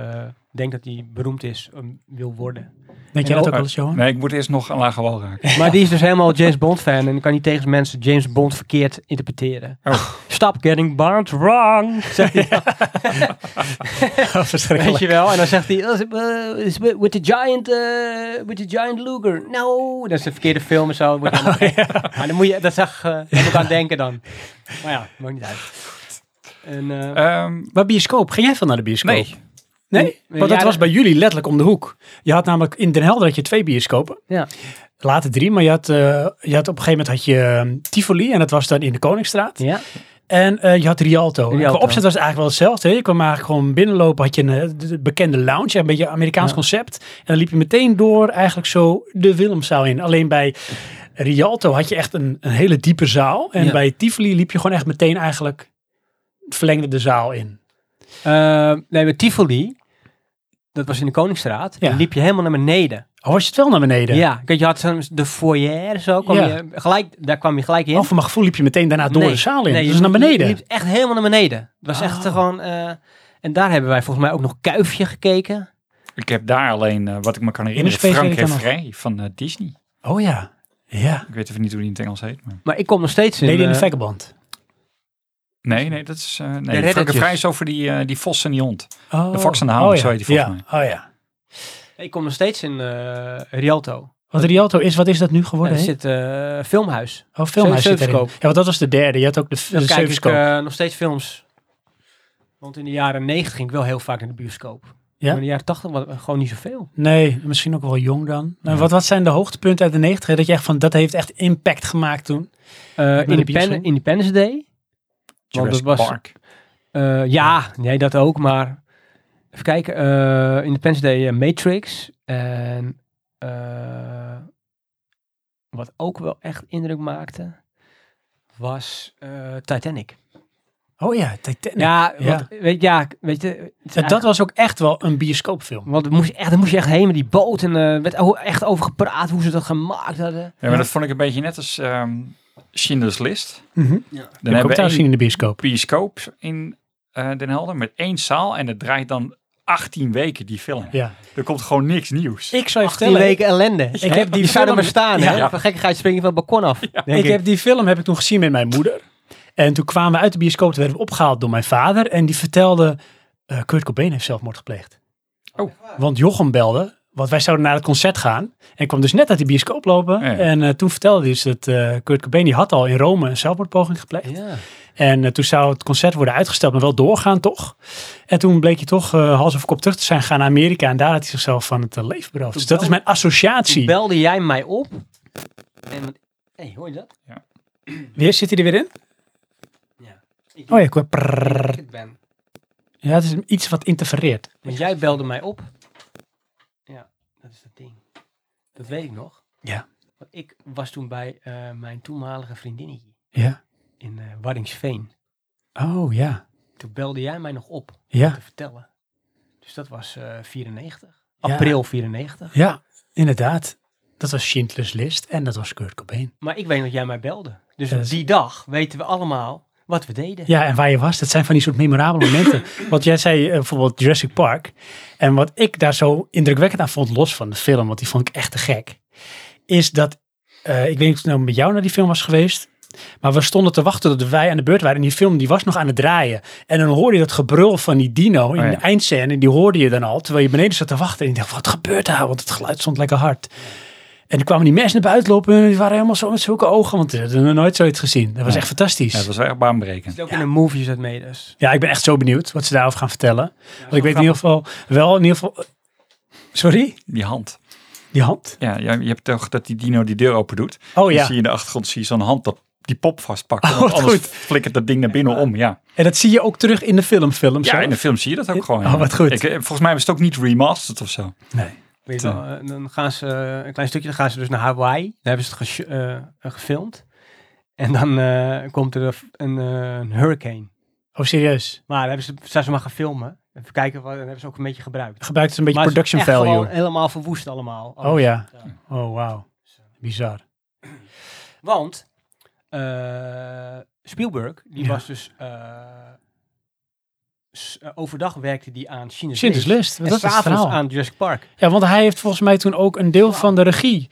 C: denkt dat hij beroemd is, um, wil worden.
A: Denk jij
C: En Nou,
A: dat ook
C: ook-
A: wel eens, Johan?
B: Nee, ik moet eerst nog een lage wal raken.
C: Maar die is dus helemaal James Bond fan en kan niet tegen mensen James Bond verkeerd interpreteren.
B: Oh.
C: Stop getting Bond wrong, zegt hij. dan, Weet
A: Verschrikkelijk.
C: je wel? En dan zegt hij, eh, is with with the giant, eh, with the giant Luger. No, dat is de verkeerde film en zo.
A: Oh,
C: Wordt allemaal Maar dan moet je, dat zag, eh daar moet ik aan denken dan. Maar ja, maakt niet uit. En, eh,
B: Ehm,
A: Maar bioscoop, ga jij veel naar de bioscoop?
B: nee,
A: Nee? Want dat
C: ja,
A: was
C: dat-
A: bij jullie letterlijk om de hoek. Je had namelijk in Den Helder had je twee bioscopen.
C: Ja.
A: Later drie, maar je had, eh, je had op een gegeven moment had je ehm, Tivoli en dat was dan in de Koningsstraat.
C: ja,
A: En eh, je had Rialto. En
C: Rialto.
A: Qua opzet was het eigenlijk wel hetzelfde. hè. Je kwam eigenlijk gewoon binnenlopen, had je een eh, de- de bekende lounge, een beetje Amerikaans
C: Ja.
A: concept. En dan liep je meteen door eigenlijk zo de Willemzaal in. Alleen bij Rialto had je echt een, een hele diepe zaal. En
C: Ja.
A: bij Tivoli liep je gewoon echt meteen eigenlijk verlengde de zaal in.
C: Eh, nee, met Tivoli, dat was in de Koningsstraat,
A: Ja.
C: dan liep je helemaal naar beneden.
A: Oh, was je het wel naar
C: Ja,
A: beneden?
C: kijk, je had zo'n- de foyer zo, kwam
A: Ja.
C: je gelijk, daar kwam je gelijk in.
A: Oh, van mijn gevoel liep je meteen daarna door
C: Nee,
A: de zaal in.
C: nee,
A: dus
C: je-
A: naar beneden.
C: Je liep echt helemaal naar beneden. Het was echt
A: Oh.
C: eh, gewoon, eh, en daar hebben wij volgens mij ook nog Kuifje gekeken.
B: ik heb daar alleen, eh, wat ik me kan herinneren,
A: Space
B: Frank
A: weet ik dan
B: Vrij van eh, Disney.
A: Oh ja. Ja.
B: Ik weet even niet hoe die in het Engels heet, maar...
C: Maar ik kom nog steeds in.
A: Lady in de
C: eh,
A: Vagabond.
B: Nee, nee, dat is... eh, nee, Frank en
C: reddertjes.
B: Vrij is over die, eh, die vos en die hond.
A: Oh.
B: De Fox and the Hound,
A: oh, ja.
B: zo heet die volgens
A: ja. Oh ja.
C: ik kom nog steeds in eh, Rialto.
A: Wat Rialto is, wat is dat nu
C: Er
A: geworden? hè?
C: zit eh filmhuis.
A: oh, filmhuis zit erin. Ja,
C: Zeufscope.
A: want dat was de derde. Je had ook de, de
C: Dan kijk ik
A: Zeufscope.
C: eh, nog steeds films. Want in de jaren 90 ging ik wel heel vaak naar de bioscoop. Maar in de jaren 80 was eh, gewoon niet zoveel.
A: Nee, misschien ook wel jong dan. En
B: Ja.
A: wat, wat zijn de hoogtepunten uit de 90? Dat je echt van, dat heeft echt impact gemaakt toen.
C: Eh
A: de
C: Independ-
A: bioscoop?
C: Independence Day. Want
B: Jurassic
C: dat was-
B: Park.
C: Eh, ja, nee, dat ook. Maar even kijken. eh, Independence Day, eh, Matrix. En eh, wat ook wel echt indruk maakte, was eh, Titanic.
A: Oh ja, Titanic.
C: Ja,
A: Ja.
C: want, Weet, ja, weet je... het is
A: En dat was ook echt wel een bioscoopfilm.
C: Want er moest, echt, er moest je echt heen met die boot. En eh werd o- echt over gepraat hoe ze dat gemaakt hadden.
B: Ja, maar dat vond ik een beetje net als ehm Schindler's List.
A: Mhm.
B: Dan
A: Die heb ik ook
B: hebben we
A: thuis gezien
B: een
A: in de bioscoop.
B: bioscoop in eh, Den Helder met één zaal en het draait dan 18 weken die film.
A: Ja.
B: Er komt gewoon niks nieuws.
A: Ik zou je
C: 18
A: vertellen,
C: weken ellende. ik heb die zouden maar
A: film-
C: staan,
B: Ja.
C: hè?
B: Ja.
C: Van gekkigheid spring je van het balkon af. denk
A: ik,
C: ik.
A: heb die film heb ik toen gezien met mijn moeder. En toen kwamen we uit de bioscoop, toen werden we opgehaald door mijn vader. En die vertelde, eh, Kurt Cobain heeft zelfmoord gepleegd.
B: Oh.
A: Want Jochem belde, want wij zouden naar het concert gaan. En kwam dus net uit de bioscoop lopen.
B: Ja.
A: En eh, toen vertelde hij dus dat eh, Kurt Cobain, die had al in Rome een zelfmoordpoging gepleegd.
C: Ja.
A: En eh, toen zou het concert worden uitgesteld, maar wel doorgaan toch. En toen bleek hij toch eh, hals over kop terug te zijn gaan naar Amerika. En daar had hij zichzelf van het eh, leven beroofd. Dus dat is
C: belde-
A: mijn associatie.
C: Toen belde jij mij op. En, hey, hoor je dat?
A: Weer zit hij er weer in?
C: Ja.
A: Oh ja, ik hoor
C: dat
A: prrrr.
C: ik het ben.
A: Ja, het is iets wat interfereert.
C: Want jij belde mij op. Ja, dat is dat ding. Dat weet ik nog.
A: Ja.
C: Want ik was toen bij eh, mijn toenmalige vriendinnetje
A: Ja.
C: in eh Waddingsveen.
A: Oh ja.
C: Toen belde jij mij nog op om
A: Ja.
C: te vertellen. Dus dat was eh 94.
A: Ja.
C: April 94.
A: Ja, inderdaad. Dat was Schindler's List en dat was Kurt Cobain.
C: Maar ik weet dat jij mij belde. Dus
A: Dat is-
C: die dag weten we allemaal wat we deden.
A: Ja, en waar je was, dat zijn van die soort memorabele momenten. Want jij zei eh, bijvoorbeeld Jurassic Park. En wat ik daar zo indrukwekkend aan vond, los van de film, want die vond ik echt te gek. Is dat, eh, ik weet niet of het nou met jou naar die film was geweest. Maar we stonden te wachten tot wij aan de beurt waren. En die film die was nog aan het draaien. En dan hoorde je dat gebrul van die dino in
B: Oh ja.
A: de eindscène. Die hoorde je dan al, terwijl je beneden zat te wachten. En je dacht, wat gebeurt daar? Want het geluid stond lekker hard. En er kwamen die mensen naar buiten lopen. En die waren helemaal zo met zulke ogen. Want ze hadden nog nooit zoiets gezien. Dat was
B: Ja.
A: echt fantastisch.
B: Ja, dat was wel echt baanbrekend.
C: Het is ook in de movies dat mee dus.
A: Ja, ik ben echt zo benieuwd wat ze daarover gaan vertellen. Want ik
C: wel
A: weet in ieder geval wel in ieder geval. Sorry?
B: Die hand.
A: Die hand?
B: Ja, je, je hebt toch dat die dino die deur open doet.
A: Oh
B: Dan
A: ja.
B: zie je in de achtergrond zie je zo'n hand dat die pop vastpakt.
A: Oh,
B: want
A: wat
B: anders
A: goed.
B: flikkert dat ding naar binnen om. Ja.
A: En dat zie je ook terug in de filmfilm.
B: ja, in de film zie je dat ook gewoon.
A: Oh,
B: ja.
A: wat goed.
B: Ik, eh, volgens mij was het ook niet remasterd of zo.
A: Nee.
C: Weet je
B: Ja.
C: wel, eh, dan gaan ze eh, een klein stukje, dan gaan ze dus naar Hawaii. Daar hebben ze het gesho- eh, eh, gefilmd. En dan eh, komt er een- een, eh, een hurricane.
A: Oh, serieus.
C: Maar daar hebben ze, zijn ze maar gaan filmen. Even kijken, wat, dan hebben ze ook een beetje gebruikt.
A: Gebruikt het een beetje
C: Maar het is
A: production
C: echt Gewoon
A: value.
C: helemaal verwoest allemaal.
A: Oh ja.
C: Ja.
A: Oh, wauw. Bizar.
C: Want eh, Spielberg, die
A: Ja.
C: was dus... eh, s- eh, overdag werkte die aan China's
A: Schindler's
C: List.
A: List.
C: En
A: Dat is het
C: s'avonds
A: verhaal.
C: aan Jurassic Park.
A: Ja, want hij heeft volgens mij toen ook een deel van de regie.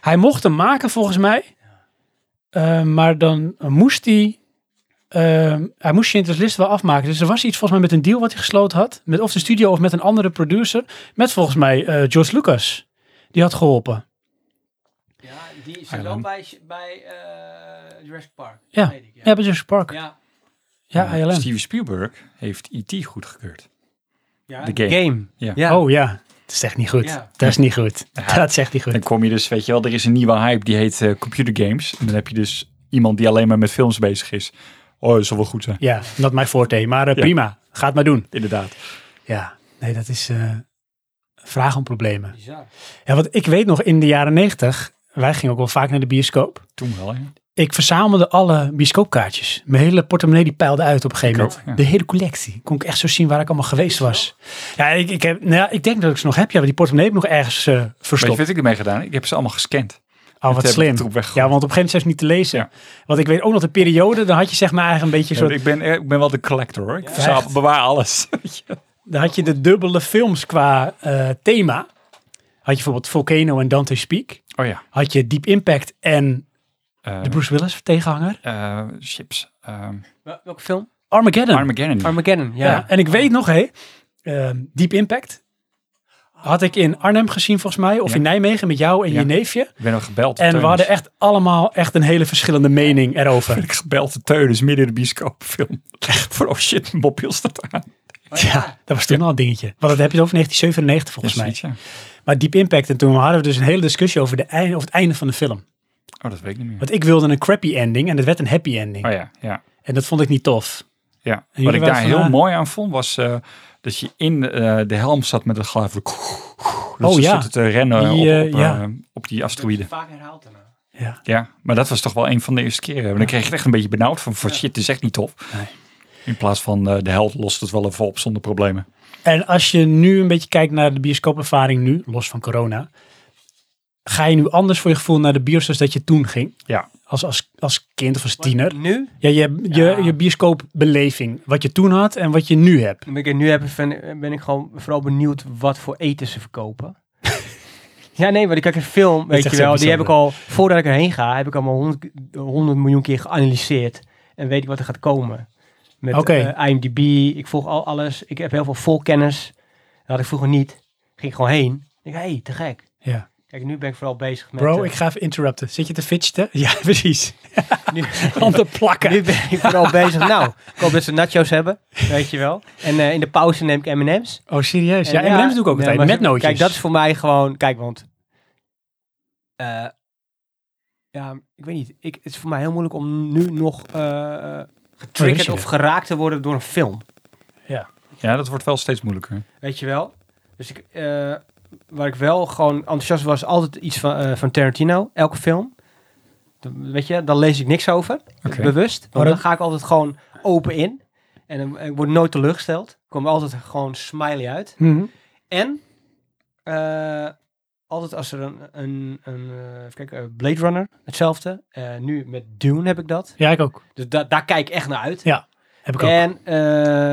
A: Hij mocht hem maken volgens mij. Eh, maar dan moest hij... eh, hij moest Schindler's List wel afmaken. Dus er was iets volgens mij met een deal wat hij gesloten had. Met of de studio of met een andere producer. Met volgens mij eh, George Lucas. Die had geholpen.
C: Ja, die
B: zijn wel
C: bij, bij eh, Jurassic Park.
A: Ja. weet Ja, bij Jurassic Park. Ja,
C: Ja,
B: Ja,
A: ILM.
B: Steven Spielberg heeft E.T. goedgekeurd.
C: ja.
B: De game. Ja.
A: Oh ja, dat is echt niet goed.
C: Ja.
A: Dat is niet goed. Dat zegt hij
B: Dan
A: goed.
B: kom je dus, weet je wel, er is een nieuwe hype die heet eh, computer games. En dan heb je dus iemand die alleen maar met films bezig is. Oh, dat zal wel goed zijn.
A: Ja, dat mijn forte. Maar eh,
B: Ja.
A: prima. Ga het maar doen.
B: Inderdaad.
A: Ja, nee, dat is eh, vraag om problemen.
C: Bizar.
A: Ja, want ik weet nog in de jaren negentig, wij gingen ook wel vaak naar de bioscoop.
B: Toen wel, hè?
A: Ik verzamelde alle bioscoopkaartjes. Mijn hele portemonnee die peilde uit op een gegeven
B: Ik
A: moment.
B: ook, ja.
A: De hele collectie. Kon ik echt zo zien waar ik allemaal geweest was. Ja, ik, ik, heb, nou ja, ik denk dat ik ze nog heb. Ja, want die portemonnee heb ik nog ergens eh,
B: Weet je
A: verstopt.
B: wat ik ermee gedaan? heb? Ik heb ze allemaal gescand.
A: Oh, wat
B: heb ik
A: slim.
B: de troep weggegooid.
A: Ja, want op een gegeven moment is het niet te lezen.
B: Ja.
A: Want ik weet ook nog de periode, dan had je zeg maar eigenlijk een beetje
B: Ja,
A: zo...
B: ik, ben, eh, ik ben wel de collector, hoor. Ik
A: Ja,
B: verzamel-
A: echt.
B: bewaar alles. Weet je?
A: Dan had je de dubbele films qua eh, thema. Had je bijvoorbeeld Volcano en Dante Speak.
B: oh ja.
A: Had je Deep Impact en
B: Eh,
A: de Bruce Willis tegenhanger.
B: eh, chips. Ehm,
C: Welke film?
A: Armageddon.
B: Armageddon.
C: Armageddon, ja.
A: Ja. en ik weet nog, hé, ehm, Deep Impact had ik in Arnhem gezien volgens mij, of
B: Ja.
A: in Nijmegen met jou en
B: Ja.
A: je neefje.
B: ik ben nog gebeld.
A: En we
B: Teunis.
A: hadden echt allemaal echt een hele verschillende mening erover.
B: Ik gebeld de teunus midden in de bioscoopfilm. Echt voor, oh shit, mijn mobiel staat aan.
A: Ja, dat was toen al een dingetje. Want dat heb je het over 1997 volgens
B: Ja,
A: mij.
B: zoiets, ja.
A: Maar Deep Impact, en toen hadden we dus een hele discussie over, de einde, over het einde van de film.
B: Oh, dat weet ik niet meer.
A: Want ik wilde een crappy ending en het werd een happy ending.
B: Oh ja, ja.
A: En dat vond ik niet tof.
B: Ja,
A: En
B: wat
A: jullie
B: ik daar
A: waren van,
B: heel
A: ah.
B: mooi aan vond was eh, dat je in eh, de helm zat met een geluid van... Dat
A: Oh
B: ze
A: ja.
B: zitten te rennen
A: Die, eh,
B: op, op,
A: ja.
B: eh, op die asteroïden.
C: Vaak herhaald daarna.
A: Ja.
B: Ja, maar dat was toch wel een van de eerste keren. En dan kreeg je echt een beetje benauwd van, van shit, dit is echt niet tof.
A: Nee.
B: In plaats van eh, de held lost het wel even op zonder problemen.
A: En als je nu een beetje kijkt naar de bioscoopervaring nu, los van corona. ga je nu anders voor je gevoel naar de bioscoop dat je toen ging?
B: Ja.
A: Als, als, als kind of als tiener?
C: Nu?
A: Ja, je, je,
C: Ja.
A: je bioscoopbeleving. Wat je toen had en wat je nu hebt.
C: Ben ik, nu heb, ik- ben, ben ik gewoon vooral benieuwd wat voor eten ze verkopen. ja, nee, want ik kijk een film, weet
A: echt
C: je
A: zo
C: wel. Die heb ik
A: bijzonder.
C: al, voordat ik erheen ga, heb ik allemaal 100, 100 miljoen keer geanalyseerd. En weet ik wat er gaat komen. Met
A: Oké.
C: eh, IMDb, ik volg al alles. Ik heb heel veel volkennis. Dat had ik vroeger niet. Ging gewoon heen. Ik hé, hey, te gek.
A: Ja.
C: Kijk, nu ben ik vooral bezig met...
A: Bro,
C: eh,
A: ik ga even interrupten. Zit je te fidgeten? Ja, precies.
C: nu,
A: Handen plakken.
C: nu ben ik vooral bezig. Nou, ik hoop dat ze nachos hebben, weet je wel. En eh, in de pauze neem ik M&M's.
A: Oh, serieus? Ja,
C: En
A: en MM's doe ik ook
C: ja,
A: altijd.
C: maar
A: met
C: zo-
A: nootjes.
C: Kijk, dat is voor mij gewoon... Kijk, want... eh, ja, ik weet niet. Ik, het is voor mij heel moeilijk om nu nog eh getriggerd
A: je
C: of
A: dit?
C: geraakt te worden door een film.
B: Ja, dat wordt wel steeds moeilijker.
C: Weet je wel? Dus ik, eh, waar ik wel gewoon enthousiast was, altijd iets van, eh, van Tarantino. Elke film. Dan, weet je, dan lees ik niks over. dus
B: Oké.
C: Bewust. Want
A: Maar dat-
C: dan ga ik altijd gewoon open in. En dan, ik word nooit teleurgesteld. Ik kom altijd gewoon smiley uit.
A: Mhm.
C: En eh, altijd als er een, een, een eh, even kijken, eh, Blade Runner, hetzelfde. Eh, nu met Dune heb ik dat.
A: Ja, ik ook.
C: Dus da- daar kijk ik echt naar uit.
A: Heb ik ook.
C: En eh,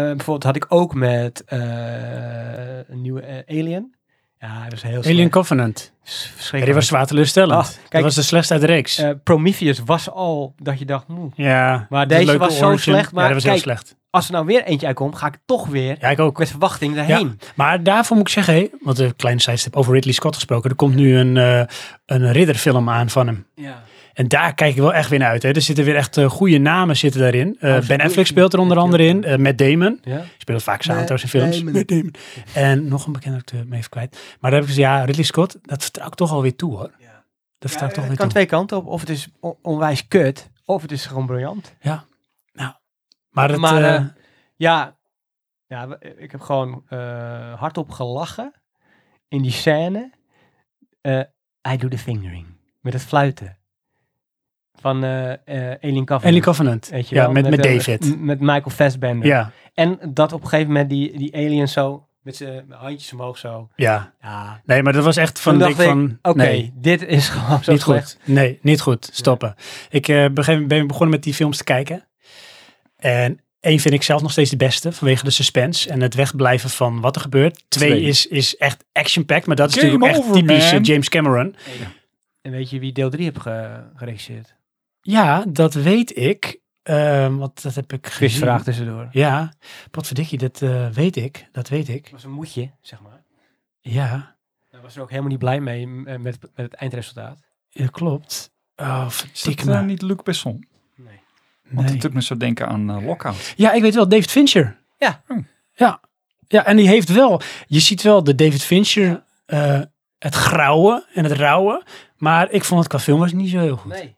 C: bijvoorbeeld had ik ook met eh, een nieuwe eh, Alien. Ja, dat was heel
A: Alien
C: slecht.
A: Covenant.
C: Is
A: Ja, die
C: Verschrikkelijk.
A: was zwaar teleurstellend.
C: Ah, kijk.
A: dat was de slechtste uit de reeks.
C: Eh, Prometheus was al dat je dacht, moe.
A: ja.
C: maar
A: de
C: deze
A: leuke
C: was zo slecht, maar
A: ja, dat was heel
C: kijk.
A: slecht.
C: Als er nou weer eentje uitkomt, ga ik toch weer
A: Ja, ik ook.
C: met verwachting daarheen.
A: Maar daarvoor moet ik zeggen, hé, want een kleine sidestep over Ridley Scott gesproken. Er komt nu een, eh, een ridderfilm aan van hem.
C: Ja.
A: En daar kijk ik wel echt weer naar uit. Hè. Er zitten weer echt eh, goede namen zitten daarin. Eh,
C: Absoluut.
A: ben Affleck speelt er onder andere in. eh Matt Damon.
C: ja.
A: Speelt vaak
C: Matt
A: samen trouwens in films.
C: Damon.
A: Matt Damon. En nog een bekende acteur, me even kwijt. Maar daar heb ik gezegd, ja, Ridley Scott, dat vertrouw ik toch alweer toe hoor.
C: Ja.
A: Dat
C: Ja, eh,
A: vertrouw ik toch weer
C: het kan
A: toe.
C: twee kanten op. Of het is on- onwijs kut, of het is gewoon briljant.
A: Maar, het,
C: maar,
A: eh,
C: eh, Ja, ja we- ik heb gewoon eh, hardop gelachen in die scène. Eh I do the fingering. Met het fluiten. Van eh eh Alien Covenant.
A: Alien Covenant.
C: Weet je
A: ja,
C: wel?
A: met, met
C: eh,
A: David.
C: m- Met Michael Fassbender.
A: ja,
C: En dat op een gegeven moment die, die alien zo, met zijn handjes omhoog zo.
A: ja.
C: Ja,
A: Nee, maar dat was echt van...
C: Toen
A: de
C: dacht ik,
A: van
C: oké,
A: nee.
C: dit is gewoon zo
A: niet
C: slecht.
A: goed. Nee, niet goed. Stoppen. Ik eh, begin- ben begonnen met die films te kijken. En één vind ik zelf nog steeds de beste vanwege de suspense en het wegblijven van wat er gebeurt. Twee,
B: Twee.
A: Is, is echt action-packed, maar dat is
B: Game
A: natuurlijk ook echt
B: over,
A: typisch eh,
B: man.
A: James Cameron.
C: En weet je wie deel 3 heeft ge- geregisseerd?
A: Ja, dat weet ik. Ehm, want dat heb ik gezien.
C: Quizvraag tussendoor.
A: Ja, potverdikkie, dat eh, weet ik. Dat weet ik.
C: was een moedje, zeg maar.
A: Ja,
C: Daar was er ook helemaal niet blij mee m- eh, met, met het eindresultaat.
A: dat klopt. Oh,
B: Is dat
A: verdikke
B: eh,
A: me.
B: niet Luc Besson?
C: Nee.
B: Want
A: Nee.
B: dat doet me zo denken aan eh, Lockout.
A: Ja, ik weet wel, David Fincher. Oh.
C: Ja.
B: Hmm.
A: Ja, ja en die heeft wel, je ziet wel de David Fincher, eh, het grauwe en het rauwe. Maar ik vond het qua film was het niet zo heel goed.
C: Nee.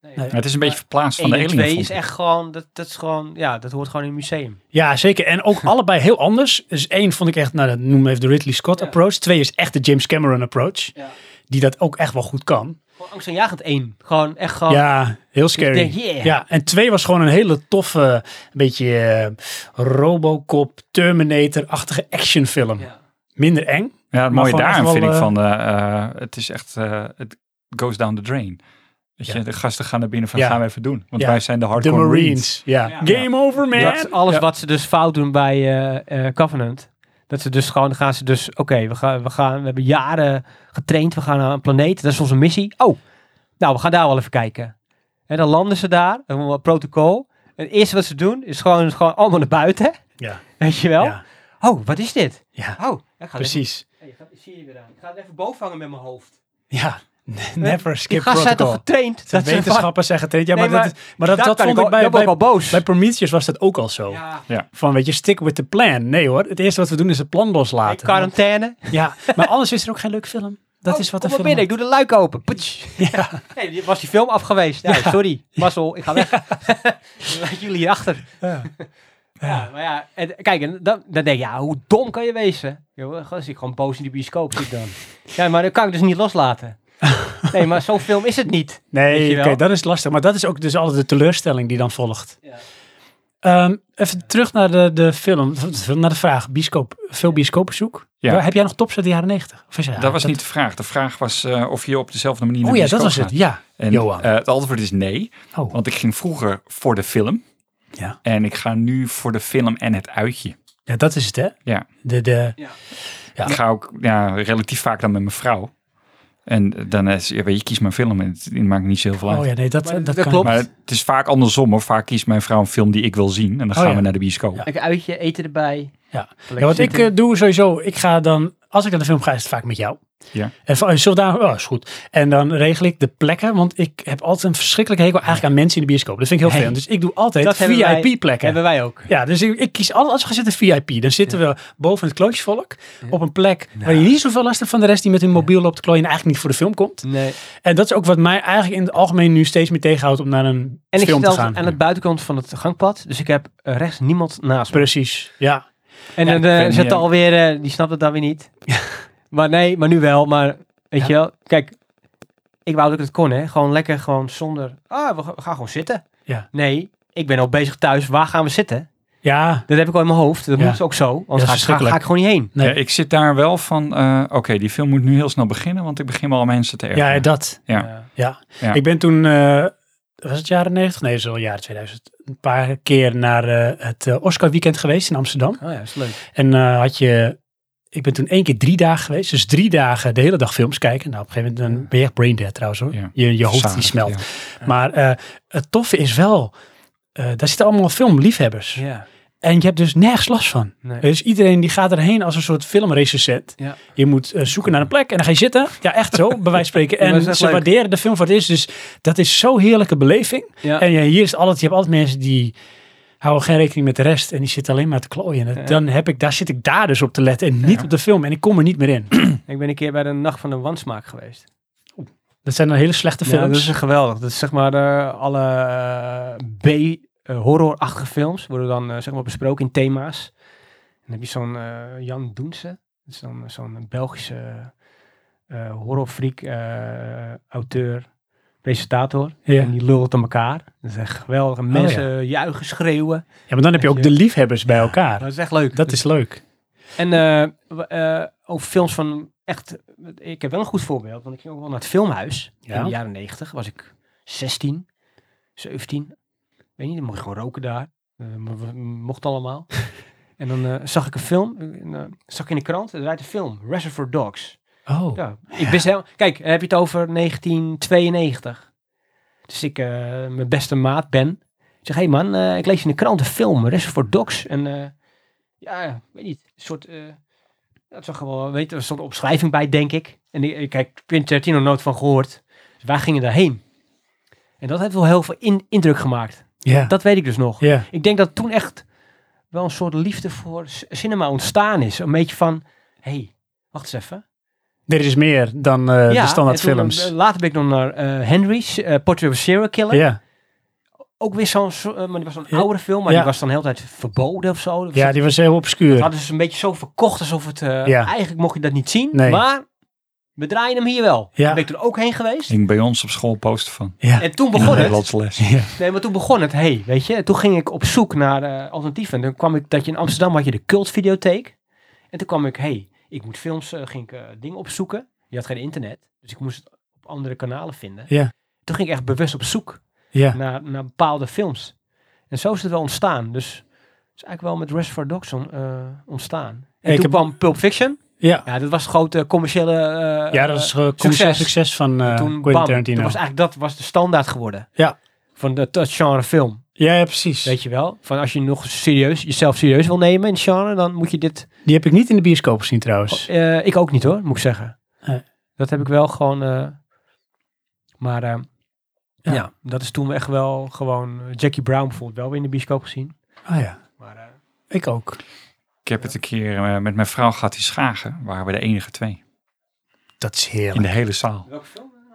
C: nee.
A: Nee.
B: het is een beetje verplaatst van de
C: 1 en
B: Alien.
C: 2
B: vond
C: is
B: ik.
C: echt gewoon, dat, dat is gewoon, ja, dat hoort gewoon in een museum.
A: Ja, zeker. En ook allebei heel anders. Dus één vond ik echt, nou dat noemen we even de Ridley Scott
C: Ja.
A: approach. Twee is echt de James Cameron approach.
C: Ja.
A: Die dat ook echt wel goed kan.
C: Gewoon angstaanjagend 1. Gewoon echt gewoon.
A: Ja, heel scary.
C: denk, Oh. yeah.
A: Ja, en twee was gewoon een hele toffe, een beetje eh, Robocop, Terminator-achtige actionfilm.
C: Ja.
A: Minder eng.
B: Ja, het mooie
A: gewoon echt
B: daaraan
A: wel,
B: vind ik
A: eh,
B: van, eh, eh, het is echt, eh, het goes down the drain. Weet je,
A: Ja.
B: de gasten gaan naar binnen van,
A: Ja.
B: gaan we even doen. Want
A: Ja.
B: wij zijn de
A: De
B: hardcore
A: Marines.
B: Marines.
A: Ja.
C: Ja.
A: Game over, man.
C: Dat is alles wat ze dus fout doen bij eh, eh, Covenant. Dat ze dus gewoon, dan gaan ze dus, oké, we, gaan, we, gaan, we hebben jaren getraind, we gaan naar een planeet, dat is onze missie. Oh, nou, we gaan daar wel even kijken. En dan landen ze daar, dan hebben we een protocol. En het eerste wat ze doen, is gewoon, is gewoon allemaal naar buiten,
A: Ja.
C: weet je wel.
A: Ja.
C: Oh, wat is dit?
A: Ja.
C: Oh, ik ga
A: Prevangen
C: Even, je gaat, zie je weer aan. Ik ga het even boven hangen met mijn hoofd.
A: Ja, never
C: Die
A: skip
C: gasten zijn toch
A: protocol.
C: getraind?
A: Dat wetenschappers zeggen tegen ja,
C: Nee,
A: maar, dat, maar dat, dat vond ik bij,
C: ben ik al
A: bij,
C: boos.
A: bij Prometheus was dat ook al zo.
C: ja,
A: Van, weet je, stick with the plan. Nee hoor, het eerste wat we doen is het plan
C: in
A: loslaten.
C: quarantaine.
A: Ja, maar anders is er ook geen leuke film. Dat
C: Oh,
A: is wat de
C: kom
A: film...
C: maar binnen, ik doe de luik open. Putsch.
A: Ja.
C: Nee, die- was die film af geweest. Nee, sorry. Marcel, ik ga weg. Dan Laat jullie hierachter.
A: Ja.
C: Ja, maar ja. En, kijk, en dan, dan denk je, ja, hoe dom kan je wezen? Joh, dan zit ik gewoon boos in die bioscoop. Zit ik dan. Ja, maar dat kan ik dus niet loslaten. Nee, maar zo'n film is het niet. Weet
A: Nee,
C: je
A: oké,
C: wel?
A: dat is lastig. Maar dat is ook dus altijd de teleurstelling die dan volgt.
C: Ja.
A: Ehm, even terug naar de, de film, de film, naar de vraag. Bioscoop, veel bioscoopbezoek?
B: Ja.
A: Heb jij nog tops uit de jaren 90? Of is hij-
B: dat was niet de vraag. De vraag was eh, of je op dezelfde manier naar
A: Oh
B: de
A: ja, dat was
B: bioscoop
A: het.
B: gaat.
A: Ja,
B: En,
A: Johan.
B: eh, het antwoord is nee.
A: oh.
B: Want ik ging vroeger voor de film.
A: Ja.
B: En ik ga nu voor de film en het uitje.
A: ja, dat is het hè.
B: Ja.
A: De, de, Ja.
B: Ik ga ook ja, relatief vaak dan met mijn vrouw. En eh, dan is, ja, weet je, kies mijn film en het, het maakt niet zo heel veel uit.
A: oh ja, nee, dat,
C: Maar
A: dat,
C: dat
A: kan.
C: klopt.
B: Maar het is vaak andersom hoor. Vaak kiest mijn vrouw een film die ik wil zien. En dan
A: Oh,
B: gaan
A: ja.
B: we naar de bioscoop.
A: Ja.
B: Ja.
C: Lekker uitje, eten erbij.
A: Ja.
C: Lekker
A: Ja, wat ik
C: zitten.
A: eh, doe sowieso, ik ga dan, als ik naar de film ga, is het vaak met jou.
B: Ja.
A: En van, eh, zullen we daar, oh, is goed. En dan regel ik de plekken, want ik heb altijd een verschrikkelijke hekel eigenlijk aan mensen in de bioscoop. Dat vind ik heel
B: Hey.
A: vervelend. Dus ik doe altijd
C: Dat hebben wij-
A: VIP-plekken.
C: Hebben wij ook.
A: Ja, dus ik, ik kies alles. Als we gaan zitten VIP, dan zitten we boven het klootjesvolk. Op een plek waar je niet zoveel last hebt van de rest die met hun mobiel loopt te klooien en eigenlijk niet voor de film komt.
C: Nee.
A: En dat is ook wat mij eigenlijk in het algemeen nu steeds meer tegenhoudt om naar een
C: En ik
A: film
C: zit
A: te
C: altijd
A: gaan.
C: aan het buitenkant van het gangpad. Dus ik heb eh, rechts niemand naast me.
A: Precies, ja.
C: En
B: Ja,
C: dan
B: ik
C: eh,
B: vind,
C: zit
B: ja.
C: alweer, eh, die snapt het dan weer niet. maar nee, maar nu wel. Maar weet je wel, kijk, ik wou dat ik het kon, hè. Gewoon lekker, gewoon zonder, ah, we ga- we gaan gewoon zitten.
A: Ja.
C: Nee, ik ben al bezig thuis, waar gaan we zitten?
A: Ja,
C: Dat heb ik al in mijn hoofd, dat
A: Ja.
C: moet ook zo.
A: is
C: Anders ga ik- ga,
A: verschrikkelijk.
C: ga ik gewoon niet heen.
A: nee.
B: ik zit daar wel van, eh, oké, die film moet nu heel snel beginnen, want ik begin wel mensen te ergeren.
A: ja, dat.
B: Ja.
A: Ja.
B: Ja.
A: ik ben toen, eh, was het jaren 90? Nee, dat is al jaren 2000. Een paar keer naar eh, het eh, Oscar weekend geweest in Amsterdam.
C: Oh ja, is leuk.
A: En eh, had je, ik ben toen één keer drie dagen geweest. Dus drie dagen de hele dag films kijken. Nou, op een gegeven moment dan ben je echt brain dead trouwens hoor.
B: Ja.
A: Je, je hoofd die
B: Zalig,
A: smelt.
B: ja.
A: Maar eh, het toffe is wel, eh, daar zitten allemaal filmliefhebbers.
C: Ja.
A: En je hebt dus nergens last van.
C: Nee.
A: Dus iedereen die gaat erheen als een soort filmrecensent.
C: Ja.
A: Je moet eh, zoeken naar een plek en dan ga je zitten. Ja, echt zo, bij wijze van spreken.
C: Ja, dat
A: En
C: is echt
A: ze
C: leuk.
A: waarderen de film voor het is. Dus dat is zo'n heerlijke beleving.
C: Ja.
A: En ja, hier is het altijd, je hebt altijd mensen die houden geen rekening met de rest. En die zitten alleen maar te klooien. En
C: Ja.
A: dan heb ik, daar zit ik daar dus op te letten en niet op de film. En ik kom er niet meer in.
C: Ik ben een keer bij de Nacht van de Wansmaak geweest.
A: Dat zijn dan hele slechte
C: Ja, dat
A: films.
C: is een geweldig. Dat is zeg maar eh, alle eh, B-horrorachtige films worden dan eh, zeg maar besproken in thema's. En dan heb je zo'n eh, Jan Doense. Dat is dan eh, zo'n Belgische eh horrorfreak eh, auteur, presentator.
A: ja.
C: En die lult aan elkaar. Dat is echt geweldig. En
A: Oh,
C: mensen juichen, schreeuwen.
A: ja, maar dan heb je ook
C: Weet je-
A: de liefhebbers bij elkaar.
C: Dat is echt leuk. Dus
A: Dat is leuk.
C: En eh, w- eh, ook films van echt. Ik heb wel een goed voorbeeld, want ik ging ook wel naar het filmhuis
A: Ja.
C: in de jaren 90 Was ik 16, 17. Weet niet, dan mocht je gewoon roken daar. Eh, mo- mo- mocht allemaal. en dan eh, zag ik een film. en, eh, zag ik in de krant, er draait een film. Reservoir Dogs.
A: Oh,
C: Ja, ik wist helemaal. Kijk, dan heb je het over 1992. Dus ik, eh, mijn beste maat Ben. Ik zeg, hé hey man, eh, ik lees in de krant een film, Reservoir Dogs. En eh, ja, weet niet, een soort... eh dat zag er wel, weet je, er stond een opschrijving bij, denk ik. En ik, ik heb Quentin nog nooit van gehoord. Dus wij gingen daarheen. En dat heeft wel heel veel in- indruk gemaakt.
A: ja.
C: Dat weet ik dus nog.
A: Ja,
C: Ik denk dat toen echt wel een soort liefde voor c- cinema ontstaan is. Een beetje van, hé, hey, wacht eens even
A: dit is meer dan eh, de standaard
C: en toen,
A: films.
C: eh, Later ben ik nog naar eh, Henry's, eh, Portrait of a Serial Killer.
A: ja.
C: Ook weer zo'n, zo- eh, maar die was een
A: Ja.
C: oudere film, maar
A: Ja.
C: die was dan de hele tijd verboden of zo. Dat was-
A: Ja, die was heel
C: dat
A: obscuur.
C: hadden ze een beetje zo verkocht alsof het, eh,
A: Ja.
C: eigenlijk mocht je dat niet zien.
A: Nee.
C: Maar we draaien hem hier wel.
A: Ja.
C: Daar ben ik toen ook heen geweest.
B: Hing bij ons op school poster van.
A: Ja.
C: En toen
B: In de
C: begon het.
B: Nederlandsles.
C: Nee, maar toen begon het. Hey, weet je, toen ging ik op zoek naar eh, alternatieven. En toen kwam ik dat je in Amsterdam had je de cultvideotheek. En toen kwam ik, hey, ik moet films, eh, ging ik eh, dingen opzoeken. Je had geen internet, dus ik moest het op andere kanalen vinden.
A: Ja.
C: Toen ging ik echt bewust op zoek
A: Ja.
C: naar, naar bepaalde films. En zo is het wel ontstaan. Dus het is eigenlijk wel met Rest for Dogs on- eh, ontstaan. En
A: ik
C: toen
A: heb-
C: kwam Pulp Fiction.
A: Ja.
C: Ja, dat was het grote commerciële eh,
A: ja, dat is eh, commercieel
C: succes.
A: succes van eh
C: toen,
A: Quentin
C: bam,
A: Tarantino.
C: toen was eigenlijk dat was de standaard geworden.
A: Ja.
C: Van dat, dat genre film.
A: Ja, ja, precies.
C: Weet je wel? Van als je nog serieus, jezelf serieus wil nemen in het genre, dan moet je dit...
A: Die heb ik niet in de bioscoop gezien trouwens.
C: Eh, ik ook niet hoor, moet ik zeggen.
A: Nee.
C: Dat heb ik wel gewoon... eh, maar eh,
A: Ja.
C: ja. dat is toen echt wel gewoon... eh, Jackie Brown bijvoorbeeld wel weer in de bioscoop gezien.
A: Oh ja,
C: Maar eh,
A: ik ook.
B: Ik heb het een keer eh, met mijn vrouw gehad die schagen. Waren we de enige twee.
A: Dat is
B: In
A: heerlijk.
B: de hele zaal.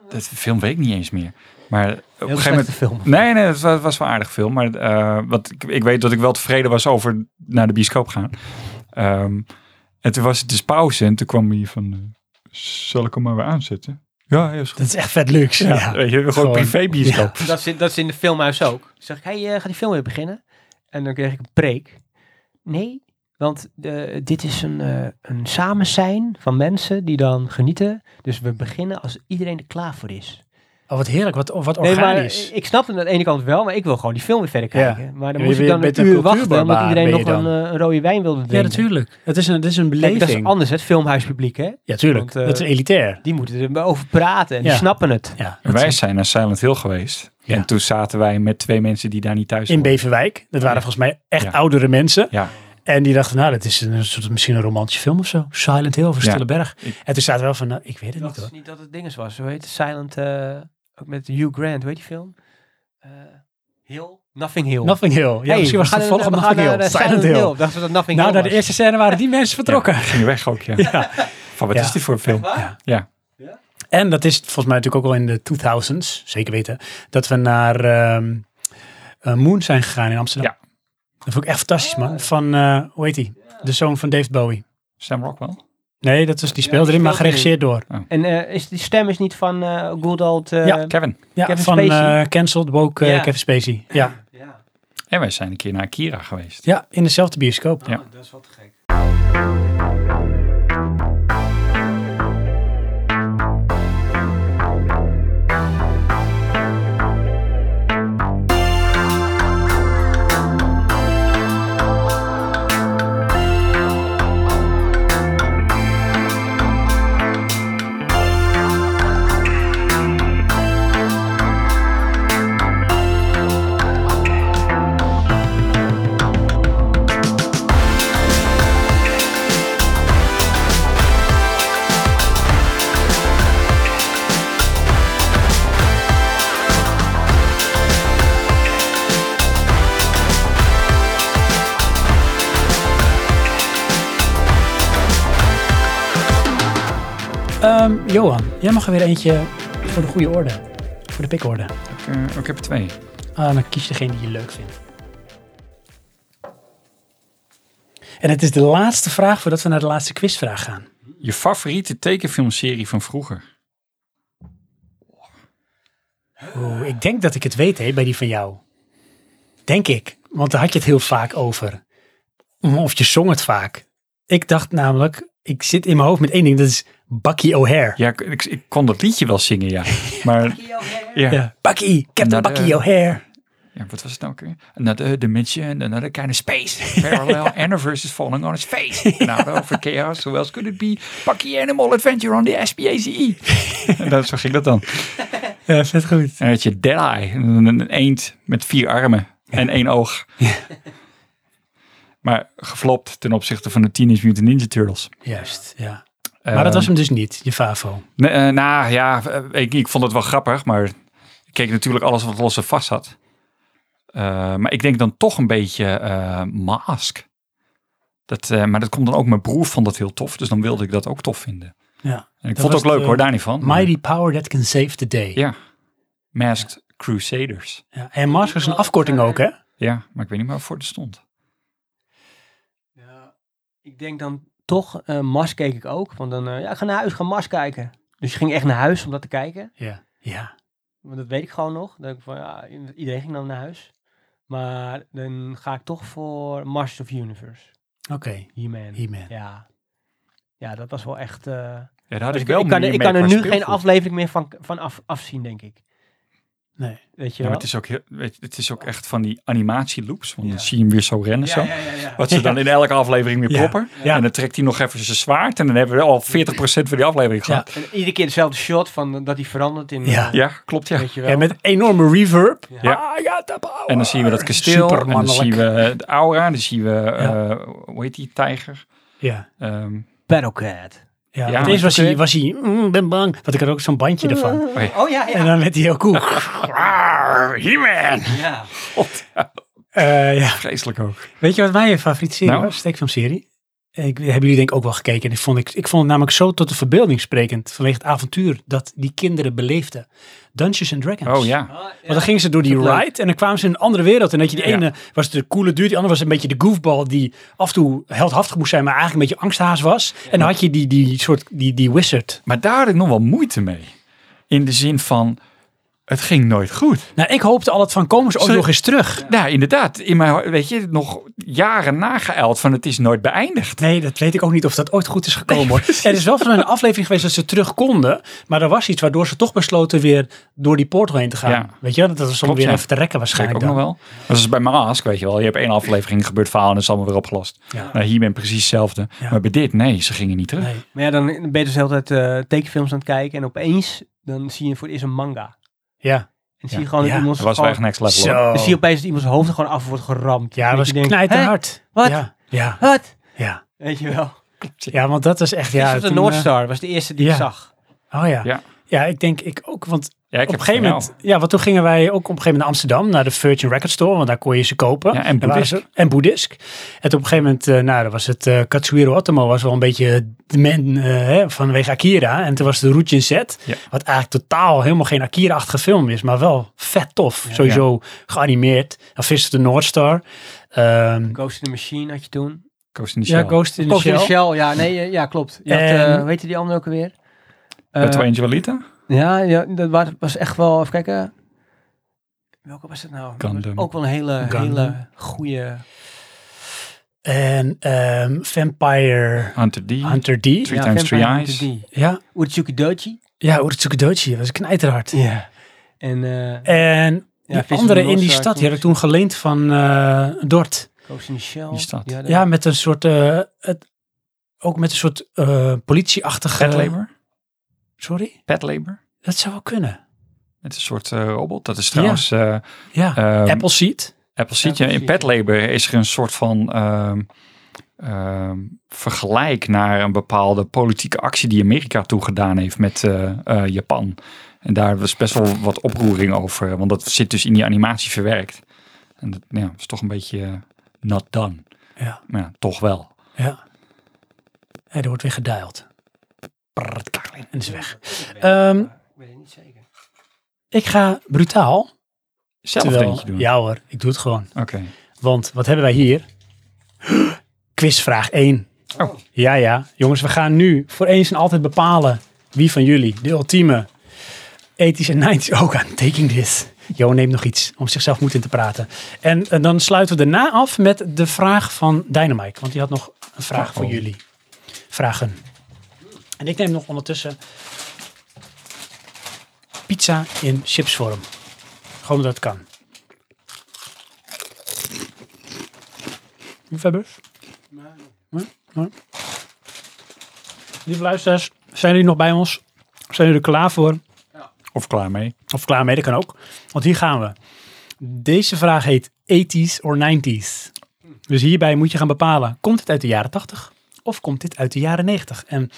B: Dat film weet ik niet eens meer. Maar op een
C: heel
B: gegeven moment...
C: slechte film.
B: Nee, nee, het was, was wel een aardig film. Maar eh, wat, ik, ik weet dat ik wel tevreden was over naar de bioscoop gaan. Ehm, en toen was het dus pauze en toen kwam hij van... eh, zal ik hem maar weer aanzetten? Ja, heel goed.
A: Dat is echt vet luxe. Ja.
B: Ja, weet je, gewoon,
A: Gewoon-
B: privé bioscoop.
C: Dat is, in- dat is in de filmhuis ook. Dan zeg ik, hey, eh, gaat die film weer beginnen? En dan kreeg ik een preek. Nee, Want eh, dit is een, eh een samen zijn van mensen die dan genieten. Dus we beginnen als iedereen er klaar voor is.
A: Oh, wat heerlijk, wat, wat
C: Nee, maar
A: organisch.
C: ik snap het aan de ene kant wel, maar ik wil gewoon die film weer verder
A: Ja.
C: kijken. Maar dan
A: Je
C: moest ik
A: bent
C: dan een
A: een
C: uur wachten,
A: cultuurbarbaar,
C: omdat
A: ben
C: iedereen nog
A: je
C: een, eh, een rode wijn wilde
A: ja,
C: drinken.
A: natuurlijk. Het is een, het is een
C: Kijk,
A: beleving.
C: dat is anders, het filmhuispubliek, hè?
A: ja, tuurlijk.
C: want, eh,
A: dat is elitair.
C: Die moeten erover praten en die
A: Ja.
C: snappen het.
A: Ja,
B: En
A: dat
B: wij
A: is-
B: zijn naar Silent Hill geweest.
A: Ja.
B: En toen zaten wij met twee mensen die daar niet thuis
A: in
B: horen.
A: Beverwijk. Dat waren
B: Ja.
A: volgens mij echt
B: Ja.
A: oudere mensen.
B: Ja.
A: En die dachten, nou, dat is een soort, misschien een romantische film of zo. Silent Hill of een
B: Ja.
A: Stille Berg.
B: Ik-
A: En toen zaten we wel van, nou, ik weet het
C: Ik
A: niet
C: dacht
A: hoor.
C: dus niet dat het dinges was. Hoe heet het? Silent, eh, ook met Hugh Grant, weet je film? Eh, Hill? Nothing Hill.
A: Nothing Hill. Ja,
C: Hey,
A: misschien was
C: we
A: het
C: gaan-
A: vervolg op
C: we
A: Nothing
C: gaan
A: Hill.
C: naar, eh,
A: Silent Hill.
C: Dachten we dat Nothing
A: Nou,
C: Hill
A: na
C: was.
A: de eerste scène waren die mensen vertrokken.
B: Ja, gingen weg ook, ja.
A: Ja.
B: Van wat
A: Ja.
B: is dit voor een film?
C: Echt waar?
B: Ja.
A: En dat is volgens mij natuurlijk ook al in de 2000s, zeker weten, dat we naar ehm, eh, Moon zijn gegaan in Amsterdam.
B: Ja.
A: Dat vond ik echt fantastisch,
C: Ah.
A: man. Van, eh, hoe heet die? De zoon van David Bowie.
B: Sam Rockwell?
A: Nee, dat was, die
C: Ja,
A: speelde
C: die
A: erin, maar
C: speelt erin.
A: geregisseerd door.
C: En eh, is, die stem is niet van eh Good Old... eh,
A: Ja.
B: Kevin.
A: Ja,
C: Kevin
A: van
C: Spacey.
A: eh Cancelled Woke eh,
C: Ja.
A: Kevin Spacey. Ja.
C: ja.
B: En wij zijn een keer naar Akira geweest.
A: ja, in dezelfde bioscoop.
B: Ja.
C: dat is wat te gek.
A: Ehm, Johan, jij mag er weer eentje voor de goede orde. Voor de pikorde.
B: Ik, eh, ik heb er twee.
A: Ah, dan kies degene die je leuk vindt. En het is de laatste vraag voordat we naar de laatste quizvraag gaan.
B: Je favoriete tekenfilmserie van vroeger?
A: Oeh, ik denk dat ik het weet hè, bij die van jou. Denk ik. Want daar had je het heel vaak over. Of je zong het vaak. Ik dacht namelijk, ik zit in mijn hoofd met één ding. Dat is Bucky O'Hare.
B: Ja, ik, ik, ik kon dat liedje wel zingen, ja. Maar ja.
A: Ja. Bucky, Captain
B: Nou, de-
A: Bucky O'Hare.
B: Ja, wat was het nou ook weer? Another dimension, another kind of space. Parallel universe is falling on its face. Now over chaos, who else could it be? Bucky Animal Adventure on the SPACE. E. en dat, zo ging dat dan.
A: Ja, vet goed.
B: En dan had je Deadeye, een, een eend met vier armen en één oog. maar geflopt ten opzichte van de Teenage Mutant Ninja Turtles.
A: Juist, ja. Maar dat was hem dus niet, je favo.
B: Nee, eh, nou ja, eh, ik, ik vond het wel grappig, maar ik keek natuurlijk alles wat los en vast zat. Eh, maar ik denk dan toch een beetje eh, Mask. Dat, eh, maar dat komt dan ook, mijn broer vond dat heel tof, dus dan wilde ik dat ook tof vinden.
A: Ja.
B: En ik
A: Dat
B: vond het
A: was
B: ook leuk
A: de-
B: hoor, daar niet van. maar-
A: Mighty power that can save the day.
B: Ja, Masked Crusaders.
A: Ja. En Mars is een afkorting ook, hè?
B: Ja, maar ik weet niet meer waarvoor het stond.
C: Ja, ik denk dan toch, eh Mars keek ik ook. Want dan, eh, ja, ik ga naar huis, ik ga Mars kijken. Dus je ging echt naar huis om dat te kijken.
A: Ja. Ja.
C: Want dat weet ik gewoon nog. Dat ik van, ja, iedereen ging dan naar huis. Maar dan ga ik toch voor Masters of Universe.
A: Oké,
C: He-Man.
A: He-Man.
C: Ja. Ja, dat was wel echt... eh,
B: Ja, daar had
C: dus
B: ik
C: ik,
B: wel
C: ik kan,
B: moeite
C: ik
B: mee
C: kan er
B: qua
C: nu geen
B: speelgoed.
C: aflevering meer van, van af, afzien, denk ik.
A: Nee.
C: Weet je
B: Ja, maar
C: wel?
B: het is, ook heel, weet je, het is ook echt van die animatieloops. Want dan
C: Ja.
B: zie je hem weer zo rennen zo. Wat ze dan in elke aflevering weer
A: Ja.
B: proppen.
A: Ja.
B: En dan trekt hij nog even zijn zwaard. En dan hebben we al 40% van die aflevering gehad.
C: En iedere keer dezelfde shot van eh, dat hij verandert in...
A: Ja.
C: eh,
B: Ja, klopt ja.
C: Weet je wel?
A: Ja, met enorme reverb.
B: Ja.
A: Ah, ja, de power.
B: En dan zien we dat kasteel. En dan
A: Supermannelijk.
B: zien we eh, de aura. Dan zien we, eh, hoe heet die, tijger.
A: Ja.
B: Ehm,
C: Battlecat.
A: Ja,
B: Ja,
A: want
B: maar
A: eerst was
B: oké.
A: hij, was hij "Mm, ik ben bang. Want ik had ook zo'n bandje ervan.
B: oh ja.
C: Oh ja,
A: En
C: ja.
A: dan werd hij heel cool.
B: Raar, He-Man!
C: ja.
B: God, ja,
A: Eh, ja.
B: Vreselijk ook.
A: Weet je wat mijn favoriete serie
B: Nou?
A: was? Steekfilmserie. Ik, hebben jullie denk ik ook wel gekeken. En ik vond, ik, ik vond het namelijk zo tot de verbeelding sprekend. Vanwege het avontuur dat die kinderen beleefden. Dungeons and Dragons.
B: Oh ja.
C: Ah.
A: Want dan gingen ze door die
C: Dat leuk.
A: ride en dan kwamen ze in een andere wereld. En dat je die
B: Ja.
A: ene was de coole dude, die andere was een beetje de goofball die af en toe heldhaftig moest zijn, maar eigenlijk een beetje angsthaas was. En dan had je die, die soort, die, die wizard.
B: Maar daar had ik nog wel moeite mee. In de zin van, Het ging nooit goed.
A: Nou, ik hoopte al het van komen ze ook
B: Ze-
A: nog eens terug.
B: Nou, inderdaad. In mijn, weet je, nog jaren nageijld van het is nooit beëindigd.
A: Nee, dat weet ik ook niet of dat ooit goed is gekomen. hoor. er is wel van een aflevering geweest dat ze terug konden. Maar er was iets waardoor ze toch besloten weer door die portal heen te gaan.
B: Ja.
A: Weet je, dat was om
B: Klopt,
A: weer
B: ja.
A: even te rekken
B: Schrik
A: waarschijnlijk.
B: ook nog
A: dan.
B: wel. Maar zoals bij Mask, weet je wel. Je hebt één aflevering, gebeurt verhaal en het is allemaal weer opgelost.
A: Ja.
B: Nou, hier ben ik precies hetzelfde.
A: Ja.
B: Maar bij dit, nee, ze gingen niet terug.
A: Nee.
C: Maar ja, dan ben je dus de hele tijd eh, tekenfilms aan het kijken. En opeens, dan zie je voor het eerst een manga.
A: Ja.
C: En zie
B: Ja.
C: je gewoon
A: Ja.
C: dat iemand
B: Dat was wel
C: gewoon-
B: echt next level. hoor.
A: Zo.
C: dan zie je opeens dat iemands hoofd er gewoon af wordt geramd.
A: Ja,
C: Dat
A: dat was
C: je denkt,
A: knijten
C: "Hè?
A: hard.
C: Wat?
A: Ja. Ja.
C: Wat?
A: ja.
C: Weet je wel.
A: Ja, want dat is echt... Ja,
C: Ja, of de
A: toen, eh,
C: Noordstar was de eerste die
A: ja.
C: ik zag.
A: Oh ja. ja.
B: Ja.
A: ik denk ik ook. Want
B: Ja, ik
A: op
B: heb
A: een gegeven
B: geen
A: moment... Ja, want toen gingen wij ook op een gegeven moment naar Amsterdam. Naar de Virgin Record Store. Want daar kon je ze kopen.
B: Ja, en
A: waren
B: Boeddhisk.
A: ze- en Boeddhisk. En toen op een gegeven moment... eh, nou, dat was het... eh, Katsuhiro Otomo was wel een beetje de man eh, hè, vanwege Akira. En toen was de Routine Set.
B: Ja.
A: Wat eigenlijk totaal helemaal geen Akira-achtige film is. Maar wel vet tof. Sowieso geanimeerd. Dan viste de Noordstar. Ehm
C: Ghost in the Machine had je toen.
B: Ghost in the
A: ja,
B: Shell.
A: Ghost in the
C: Ghost in the
A: Shell.
C: Shell, ja, nee, eh, ja, klopt. Je had,
A: En-
C: eh, hoe heette die andere ook alweer?
B: Met
C: Eh,
B: Angelita?
C: Ja, ja, dat wa- was echt wel, even kijken. Welke was het nou? Dat was
B: Gundam.
C: Ook wel een hele,
A: Gundam.
C: hele goede.
A: En ehm, Vampire
B: Hunter D.
A: Hunter D.
B: Three times three eyes.
A: Ja,
C: Utsuki Doji.
A: ja Urutsuki Dochi. Dat was knijterhard.
C: Ja. En eh
A: En
C: Ja,
A: die
C: Vision
A: andere
C: Lost
A: in die
C: Ark
A: stad, die had ik
C: was-
A: toen geleend van eh, Dort.
C: Ghost in the Shell.
B: Die stad.
C: Ja, dat-
A: Ja, met een soort, eh, het, ook met een soort eh, politieachtige...
B: Pet Labor.
A: Sorry?
B: Pet Labor.
A: Dat zou wel kunnen.
B: Het is een soort eh, robot. Dat is trouwens... eh
A: Ja,
B: ehm,
A: Appleseed.
B: Apple ziet je, in
C: Appleseed.
B: Pet Labor is er een soort van ehm, ehm, vergelijk naar een bepaalde politieke actie die Amerika toegedaan heeft met eh, eh, Japan. En daar was best wel wat oproering over, want dat zit dus in die animatie verwerkt. En dat nou ja, is toch een beetje eh, not done.
A: Ja.
B: Maar ja, toch wel.
A: Ja. Hé, er wordt weer geduild. En is weg. Ehm,
C: Ik weet het niet zeker.
A: ik ga brutaal.
B: Zelf
A: terwijl-
B: denk je doen.
A: Ja hoor, ik doe het gewoon.
B: Oké.
A: Want wat hebben wij hier? Quizvraag 1.
B: Oh.
A: Ja, ja. Jongens, we gaan nu voor eens en altijd bepalen wie van jullie de ultieme 80s en 90s... Oh, I'm taking this. Jo neemt nog iets om zichzelf moed in te praten. En, eh, dan sluiten we daarna af met de vraag van Dynamite. Want die had nog een vraag voor
B: Oh.
A: jullie. Vragen. En ik neem nog ondertussen pizza in chipsvorm. Gewoon omdat het kan. Liefhebbers? Nee. Nee? Lieve luisteraars, zijn jullie nog bij ons? Zijn jullie er klaar voor?
B: Of klaar mee.
A: Of klaar mee, dat kan ook. Want hier gaan we. Deze vraag heet 80s or 90s. Dus hierbij moet je gaan bepalen, komt dit uit de jaren 80 of komt dit uit de jaren 90? En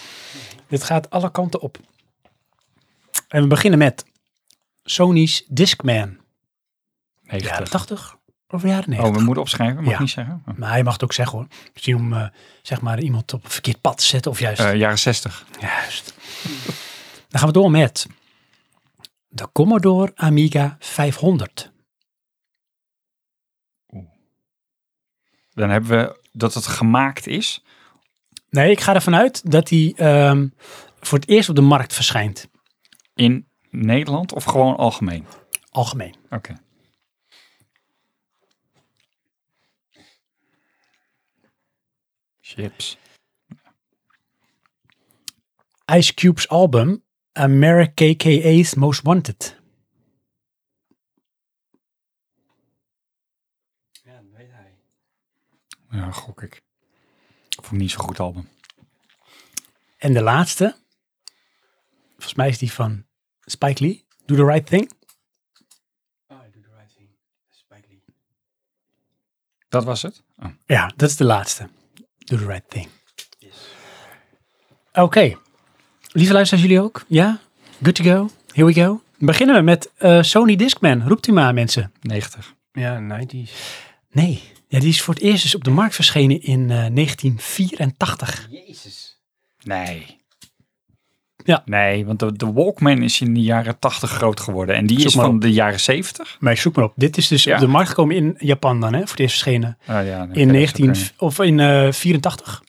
A: dit gaat alle kanten op. En we beginnen met Sony's Discman.
B: 90.
A: Jaren 80 of jaren 90?
B: Oh, we moeten opschrijven, mag
A: Ja.
B: ik niet zeggen? Oh.
A: Maar hij mag het ook zeggen hoor. Misschien om eh, zeg maar iemand op een verkeerd pad te zetten of juist.
B: Eh, jaren 60.
A: Juist. Dan gaan we door met de Commodore Amiga 500.
B: Dan hebben we dat het gemaakt is.
A: Nee, ik ga ervan uit dat die ehm, voor het eerst op de markt verschijnt.
B: In Nederland of gewoon algemeen?
A: Algemeen.
B: Oké. Chips.
A: Ice Cube's album America KKA's Most Wanted.
C: Ja, dat weet hij.
B: Ja, gok ik. Vond ik niet zo'n goed album.
A: En de laatste, volgens mij is die van Spike Lee, Do the Right Thing.
C: Oh, I do the right thing. Spike Lee.
B: Dat was het? Oh.
A: Ja, dat is de laatste. Do the right thing.
C: Yes.
A: Oké. Lieve luisteraars, jullie ook? Ja? Good to go? Here we go. Beginnen we met eh, Sony Discman. Roept u maar, mensen.
B: 90.
C: Ja, 90s.
A: Nee. Ja, die is voor het eerst dus op de markt verschenen in eh, 1984.
C: Jezus.
B: Nee.
A: Ja.
B: Nee, want de, de Walkman is in de jaren 80 groot geworden. En die
A: Zoek
B: is
A: maar
B: van
A: op.
B: de jaren 70.
A: Maar zoek maar op. Dit is dus
B: Ja.
A: op de markt gekomen in Japan dan, hè? Voor het eerst verschenen
B: Ah ja, nee,
A: in
B: oké, dat zou
A: 19...
B: kunnen.
A: Of in eh 84.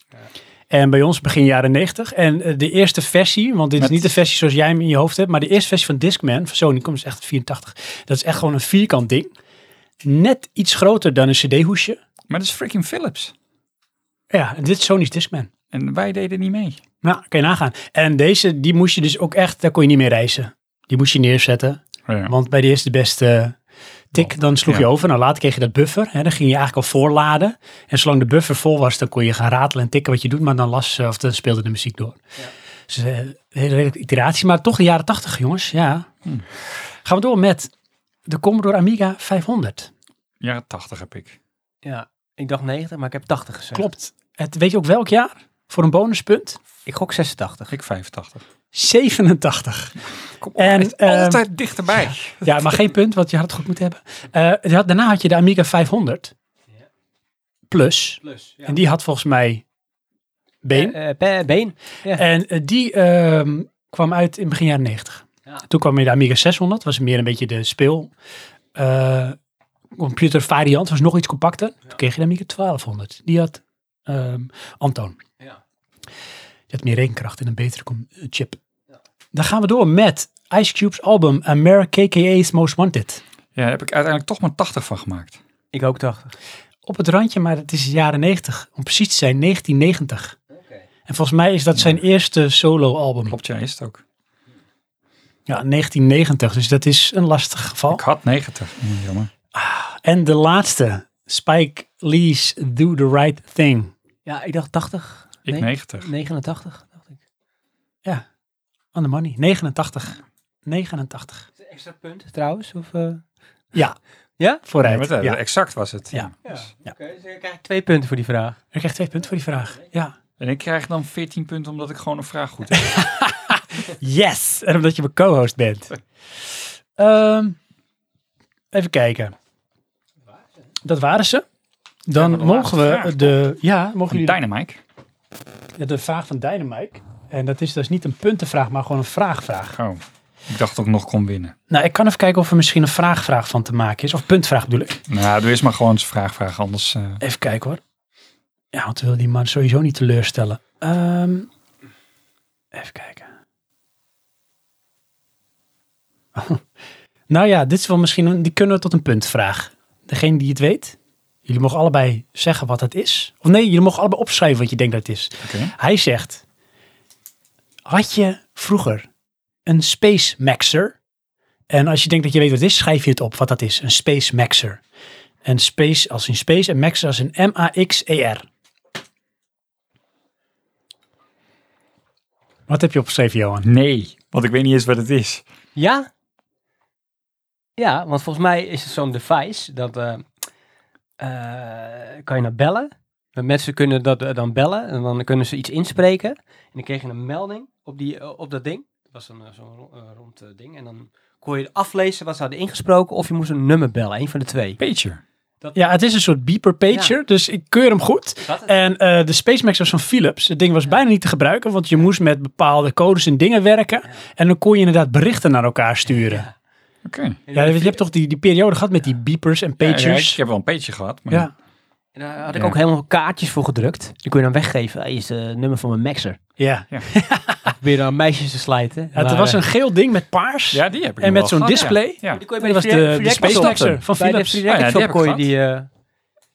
A: En bij ons begin jaren 90. En eh, de eerste versie, want dit
B: Met-
A: is niet de versie zoals jij hem in je hoofd hebt, maar de eerste versie van Discman van Sony komt dus echt 84. Dat is echt gewoon een vierkant ding. Net iets groter dan een CD-hoesje.
B: Maar dat is freaking Philips.
A: Ja, en dit is Sony's Discman.
B: En wij deden niet mee.
A: Nou, kan je nagaan. En deze, die moest je dus ook echt, daar kon je niet meer reizen. Die moest je neerzetten.
B: Ja.
A: Want bij de eerste beste tik, dan sloeg
B: Ja.
A: je over. Nou, later kreeg je dat buffer. Hè, dan ging je eigenlijk al voorladen. En zolang de buffer vol was, dan kon je gaan ratelen en tikken wat je doet. Maar dan, las, eh, of dan speelde de muziek door. Dus eh, een hele redelijke iteratie. Maar toch de jaren tachtig, jongens. Ja.
B: Hmm.
A: Gaan we door met de Commodore Amiga 500.
B: Jaren 80 heb ik.
C: Ja, ik dacht 90, maar ik heb 80 gezegd.
A: Klopt. Het, weet je ook welk jaar? Voor een bonuspunt?
C: Ik gok 86.
B: Ik 85.
A: 87.
B: Kom op,
A: En,
B: het is
A: ehm,
B: altijd dichterbij.
A: Ja, maar geen punt, want je had het goed moeten hebben. Eh, je had- daarna had je de Amiga 500 Plus.
C: Plus.
A: En die had volgens mij
C: Eh,
A: been.
C: been.
A: En eh, die ehm, kwam uit in begin jaren 90.
C: Ja.
A: Toen kwam je de Amiga 600. was meer een beetje de speel eh, computer variant. was nog iets compacter. Toen kreeg je de Amiga 1200. Die had ehm, Antoon.
C: Ja.
A: Die had meer rekenkracht en een betere com- eh, chip. Dan gaan we door met Ice Cube's album America KKA's Most Wanted.
B: Ja, daar heb ik uiteindelijk toch maar 80 van gemaakt.
C: Ik ook 80.
A: Op het randje, maar het is jaren 90. Om precies te zijn, 1990. En volgens mij is dat zijn eerste solo album.
B: Klopt, jij is het ook.
A: Ja, 1990, dus dat is een lastig geval.
B: Ik had 90. Hm, Jammer.
A: En de laatste, Spike Lee's Do the Right Thing.
C: Ja, ik dacht 80.
B: Ik
C: Nee,
B: 90.
C: 89, dacht ik.
A: On the money, 89. 89.
C: Extra punt trouwens? Of, eh,
A: Ja.
C: Ja?
B: Nee,
A: Vooruit.
B: maar dat-
A: ja.
B: Exact was het.
A: Ja.
C: dus twee punten voor die vraag.
A: Ik krijg twee punten voor die vraag. Ja.
B: En ik krijg dan 14 punten omdat ik gewoon een vraag goed heb.
A: Yes! En omdat je mijn co-host bent. Ehm, even kijken. Dat waren ze. Dan
B: maar de
A: mogen
B: laatste
A: we
B: vraag,
A: de, ja, mogen jullie
B: Dynamite.
A: de, de vraag van Dynamite. En dat is dus niet een puntenvraag, maar gewoon een vraagvraag.
B: Oh, ik dacht dat ik nog kon winnen.
A: Nou, ik kan even kijken of er misschien een vraagvraag van te maken is. Of puntvraag bedoel ik.
B: Nou, doe eerst maar gewoon eens vraag vragen, anders... eh,
A: Even kijken hoor. Ja, want we willen die man sowieso niet teleurstellen. Ehm, even kijken. nou ja, dit is wel misschien... Een, die kunnen we tot een puntvraag. Degene die het weet. Jullie mogen allebei zeggen wat het is. Of nee, jullie mogen allebei opschrijven wat je denkt dat het is.
B: Oké.
A: Hij zegt... Had je vroeger een Space Maxer? En als je denkt dat je weet wat het is, schrijf je het op wat dat is. Een Space Maxer. En space als in space en max als in M-A-X-E-R. Wat heb je opgeschreven, Johan?
B: Nee, want ik weet niet eens wat het is.
C: Ja? Ja, want volgens mij is het zo'n device dat eh, eh, kan je naar bellen. En Mensen kunnen dat eh, dan bellen en dan kunnen ze iets inspreken. En dan kreeg je een melding op, die, eh, op dat ding. Dat was een, eh, zo'n ro- eh, rond eh, ding. En dan kon je aflezen wat ze hadden ingesproken of je moest een nummer bellen. Een van de twee.
B: Pager.
A: Ja, het is een soort beeper pager, dus ik keur hem goed.
C: Dat het?
A: En eh, de Space Max was van Philips. Het ding was bijna niet te gebruiken, want je moest met bepaalde codes en dingen werken. En dan kon je inderdaad berichten naar elkaar sturen.
B: Oké.
A: Ja, je hebt toch die, die periode gehad met die beepers en
B: Ja, ja, ik
A: pagers?
B: heb wel een pager gehad, maar
A: Ja,
C: En daar had ik
B: Ja.
C: ook helemaal kaartjes voor gedrukt. Die kon je dan weggeven. Hey, is eh, het nummer van mijn maxer.
A: ja.
C: Probeer dan meisjes te slijten.
A: Ja, het
C: Maar,
A: was
C: eh,
A: een geel ding met paars.
B: Ja, die heb ik
A: En
B: nog
A: met
B: wel
A: zo'n
B: gehad,
A: display?
B: Ja. Ja.
C: die kon je
A: Nee, dat was de, de Space
B: Shop.
A: Maxer van
C: Bij de
A: Philips.
C: Free
B: Oh ja,
C: Record
B: die
C: Shop
B: heb ik
C: kon je
B: gehad.
C: die... eh,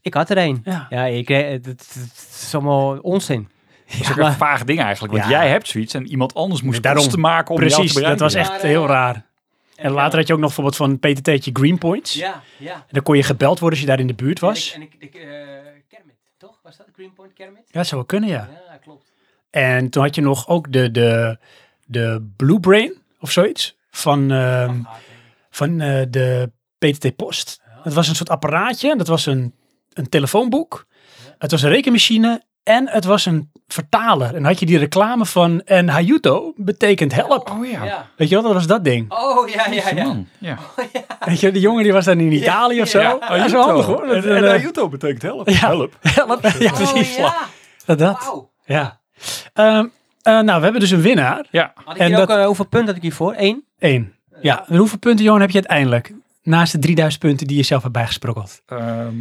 C: ik had er een.
A: Ja.
C: Ja, ik, eh, het, het- het is allemaal onzin.
B: Dat is ook
C: maar-
B: een vaag ding eigenlijk, want
A: Ja.
B: jij hebt zoiets en iemand anders moest
A: Daarom.
B: kosten maken om jou
A: Precies,
B: te
A: dat
B: bereiken.
A: was echt heel raar. En later had je ook nog bijvoorbeeld van PTT'tje Greenpoints.
C: Ja, ja.
A: En dan kon je gebeld worden als je daar in de buurt was.
C: En ik, eh, Kermit, toch? Was dat Greenpoint Kermit?
A: Ja, dat zou wel kunnen, ja.
C: klopt.
A: En toen had je nog ook de, de, de Blue Brain of zoiets van, ehm, van eh, de PTT Post. Dat was een soort apparaatje. Dat was een, een telefoonboek. Het was een rekenmachine. En het was een vertaler. En dan had je die reclame van... En Hayuto betekent help.
B: Oh ja.
A: Weet je wel, dat was dat ding.
C: Oh, ja, ja,
B: Man, ja.
A: Weet je, die jongen die was dan in Italië of zo.
B: Ja,
A: Oh, dat is wel handig hoor. Dat, eh,
B: YouTube betekent help.
A: ja. Help. Ja, precies. Dat. dat.
C: Oh, Wauw.
A: Ja. Ehm, eh, nou, we hebben dus een winnaar.
B: Ja,
C: Had ik
A: En
C: hier
A: dat-
C: ook, eh, hoeveel punten had ik hiervoor? Eén?
A: Eén. Ja. En hoeveel punten, Johan, heb je uiteindelijk? Naast de 3000 punten die je zelf hebt bijgesprokkeld.
B: ehm,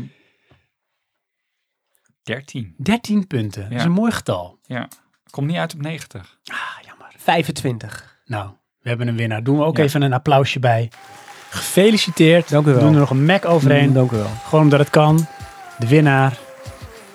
B: 13.
A: 13 punten. Dat is
B: Ja.
A: een mooi getal.
B: Ja. Komt niet uit op 90.
A: Ah, jammer.
C: 25.
A: Nou, we hebben een winnaar. Doen we ook
B: Ja.
A: even een applausje bij. Gefeliciteerd.
C: Dank u wel. Mm,
A: We doen er nog een Mac overheen.
C: Dank u wel.
A: Gewoon omdat het kan. De winnaar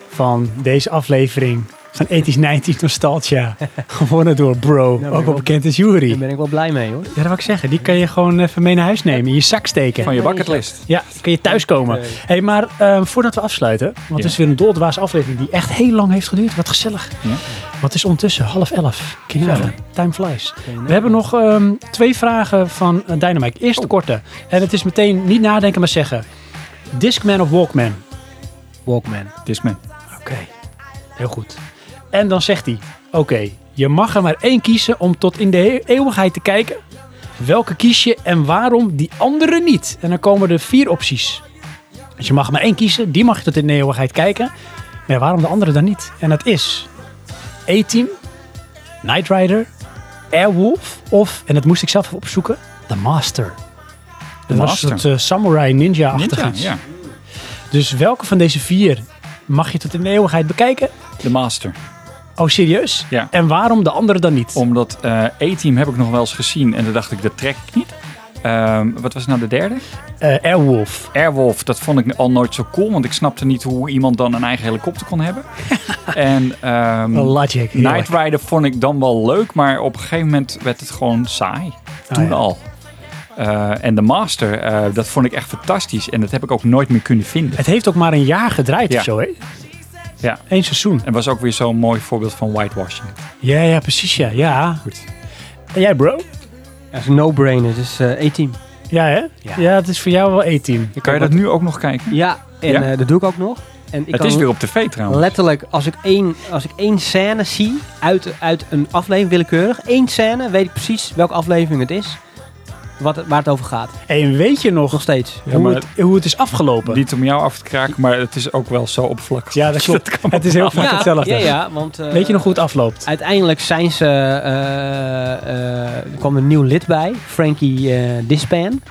A: van deze aflevering van Ethisch 19 Nostalgia. Gewonnen door Bro.
C: ben ik
A: ook wel
C: wel-
A: bekend als
C: Daar
A: Jury.
C: ben ik wel blij mee hoor.
A: Ja, dat wil ik zeggen. Die kan je gewoon even mee naar huis nemen. In je zak steken.
B: Van je bucketlist.
A: Ja, kun je thuiskomen.
C: Nee.
A: hey, maar ehm, voordat we afsluiten, want het
B: Ja.
A: is weer een doldwaas aflevering die echt heel lang heeft geduurd. Wat gezellig.
B: Ja.
A: Wat is ondertussen half elf? Kun je
C: Zo.
A: nagaan. Time flies.
B: nou.
A: We hebben nog ehm, twee vragen van eh, Dynamite. Eerst de
B: Oh.
A: korte. En het is meteen niet nadenken, maar zeggen. Discman of Walkman?
C: Walkman.
B: Discman.
A: Oké, heel goed. En dan zegt hij, oké, je mag er maar één kiezen om tot in de he- eeuwigheid te kijken. Welke kies je en waarom die andere niet? En dan komen er vier opties. Dus je mag er maar één kiezen, die mag je tot in de eeuwigheid kijken. Maar ja, waarom de andere dan niet? En dat is A-Team, Knight Rider, Airwolf of, en dat moest ik zelf even opzoeken, The Master. Dat was
B: Master.
A: het eh, samurai ninja-achtig
B: Ninja,
A: iets.
B: ja.
A: Dus welke van deze vier mag je tot in de eeuwigheid bekijken?
B: De Master.
A: Oh, serieus?
B: Ja.
A: En waarom de andere dan niet?
B: Omdat eh A-Team heb ik nog wel eens gezien en dan dacht ik, dat trek ik niet. Ehm, wat was nou de derde?
A: Eh, Airwolf.
B: Airwolf, dat vond ik al nooit zo cool, want ik snapte niet hoe iemand dan een eigen helikopter kon hebben. en ehm,
A: Logic. heerlijk.
B: Knight Rider vond ik dan wel leuk, maar op een gegeven moment werd het gewoon saai. Toen
A: Ah, ja.
B: al. Eh, en The Master, eh, dat vond ik echt fantastisch. En dat heb ik ook nooit meer kunnen vinden.
A: Het heeft ook maar een jaar gedraaid
B: Ja.
A: of zo, hè?
B: Ja.
A: Eén seizoen.
B: En was ook weer zo'n mooi voorbeeld van whitewashing.
A: Ja, ja, precies, ja. ja.
B: Goed.
A: En jij, bro?
C: Ja, is een no-brainer, dus eh A-team.
A: Ja, hè? Ja, het is voor jou wel A-team.
B: Kan je dat nu ook nog kijken?
C: Ja, en
B: Ja?
C: eh, dat doe ik ook nog. En ik
B: het
C: kan
B: is weer op tv
A: Oh.
B: trouwens.
C: Letterlijk, als ik één, als ik één scène zie uit, uit een aflevering, willekeurig, één scène, weet ik precies welke aflevering het is, wat, het- waar het over gaat.
A: En weet je nog
C: Nog steeds.
B: Ja,
A: hoe,
B: maar-
A: het, hoe het is afgelopen?
B: Niet om jou af te kraken, maar het is ook wel zo oppervlakkig.
A: Ja, dat klopt.
B: kan
A: het is heel vaak hetzelfde.
C: Ja, ja, want... eh,
A: Weet je nog hoe het afloopt?
C: Uiteindelijk zijn ze, eh, eh, er kwam een nieuw lid bij, Frankie eh, Dispan.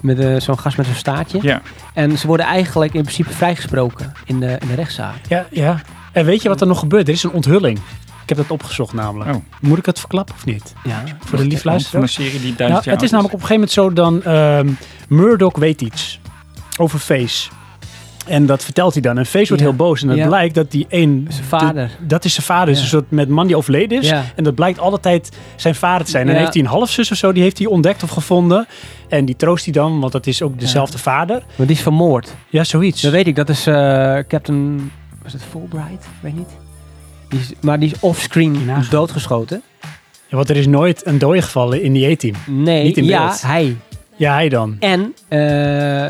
C: Met eh, zo'n gast met zo'n staartje.
B: Ja.
C: En ze worden eigenlijk in principe vrijgesproken in de, in de rechtszaak.
A: Ja, ja. En weet je wat er nog gebeurt? Er is een onthulling. Ik heb dat opgezocht namelijk.
B: Oh.
A: Moet ik het verklappen of niet?
C: Ja.
A: Voor de lief
B: Van
A: luisteraars?
B: een serie die duizend
A: Nou,
B: jaar
A: het is
B: oud
A: namelijk op een gegeven moment zo dan... ehm Murdoch weet iets over Face. En dat vertelt hij dan. En Face wordt
C: Ja.
A: heel boos. En het
C: Ja.
A: blijkt dat die één...
C: Zijn vader.
A: de- dat is zijn vader. Het is
C: Ja.
A: een soort met man die overleden is.
C: Ja.
A: En dat blijkt altijd zijn vader te zijn. En
C: Ja.
A: heeft hij een halfzus of zo. Die heeft hij ontdekt of gevonden. En die troost hij dan. Want dat is ook dezelfde vader.
C: Maar die is vermoord.
A: Ja, zoiets.
C: Dat weet ik. Dat is eh, Captain... Was het Fulbright? Ik weet niet. Die is, maar die is
A: Die
C: offscreen
A: nagel.
C: doodgeschoten.
A: Ja, want er is nooit een dooi gevallen in die A-team.
C: Nee,
A: Niet in
C: ja,
A: beeld.
C: hij.
A: Ja, hij dan.
C: En eh,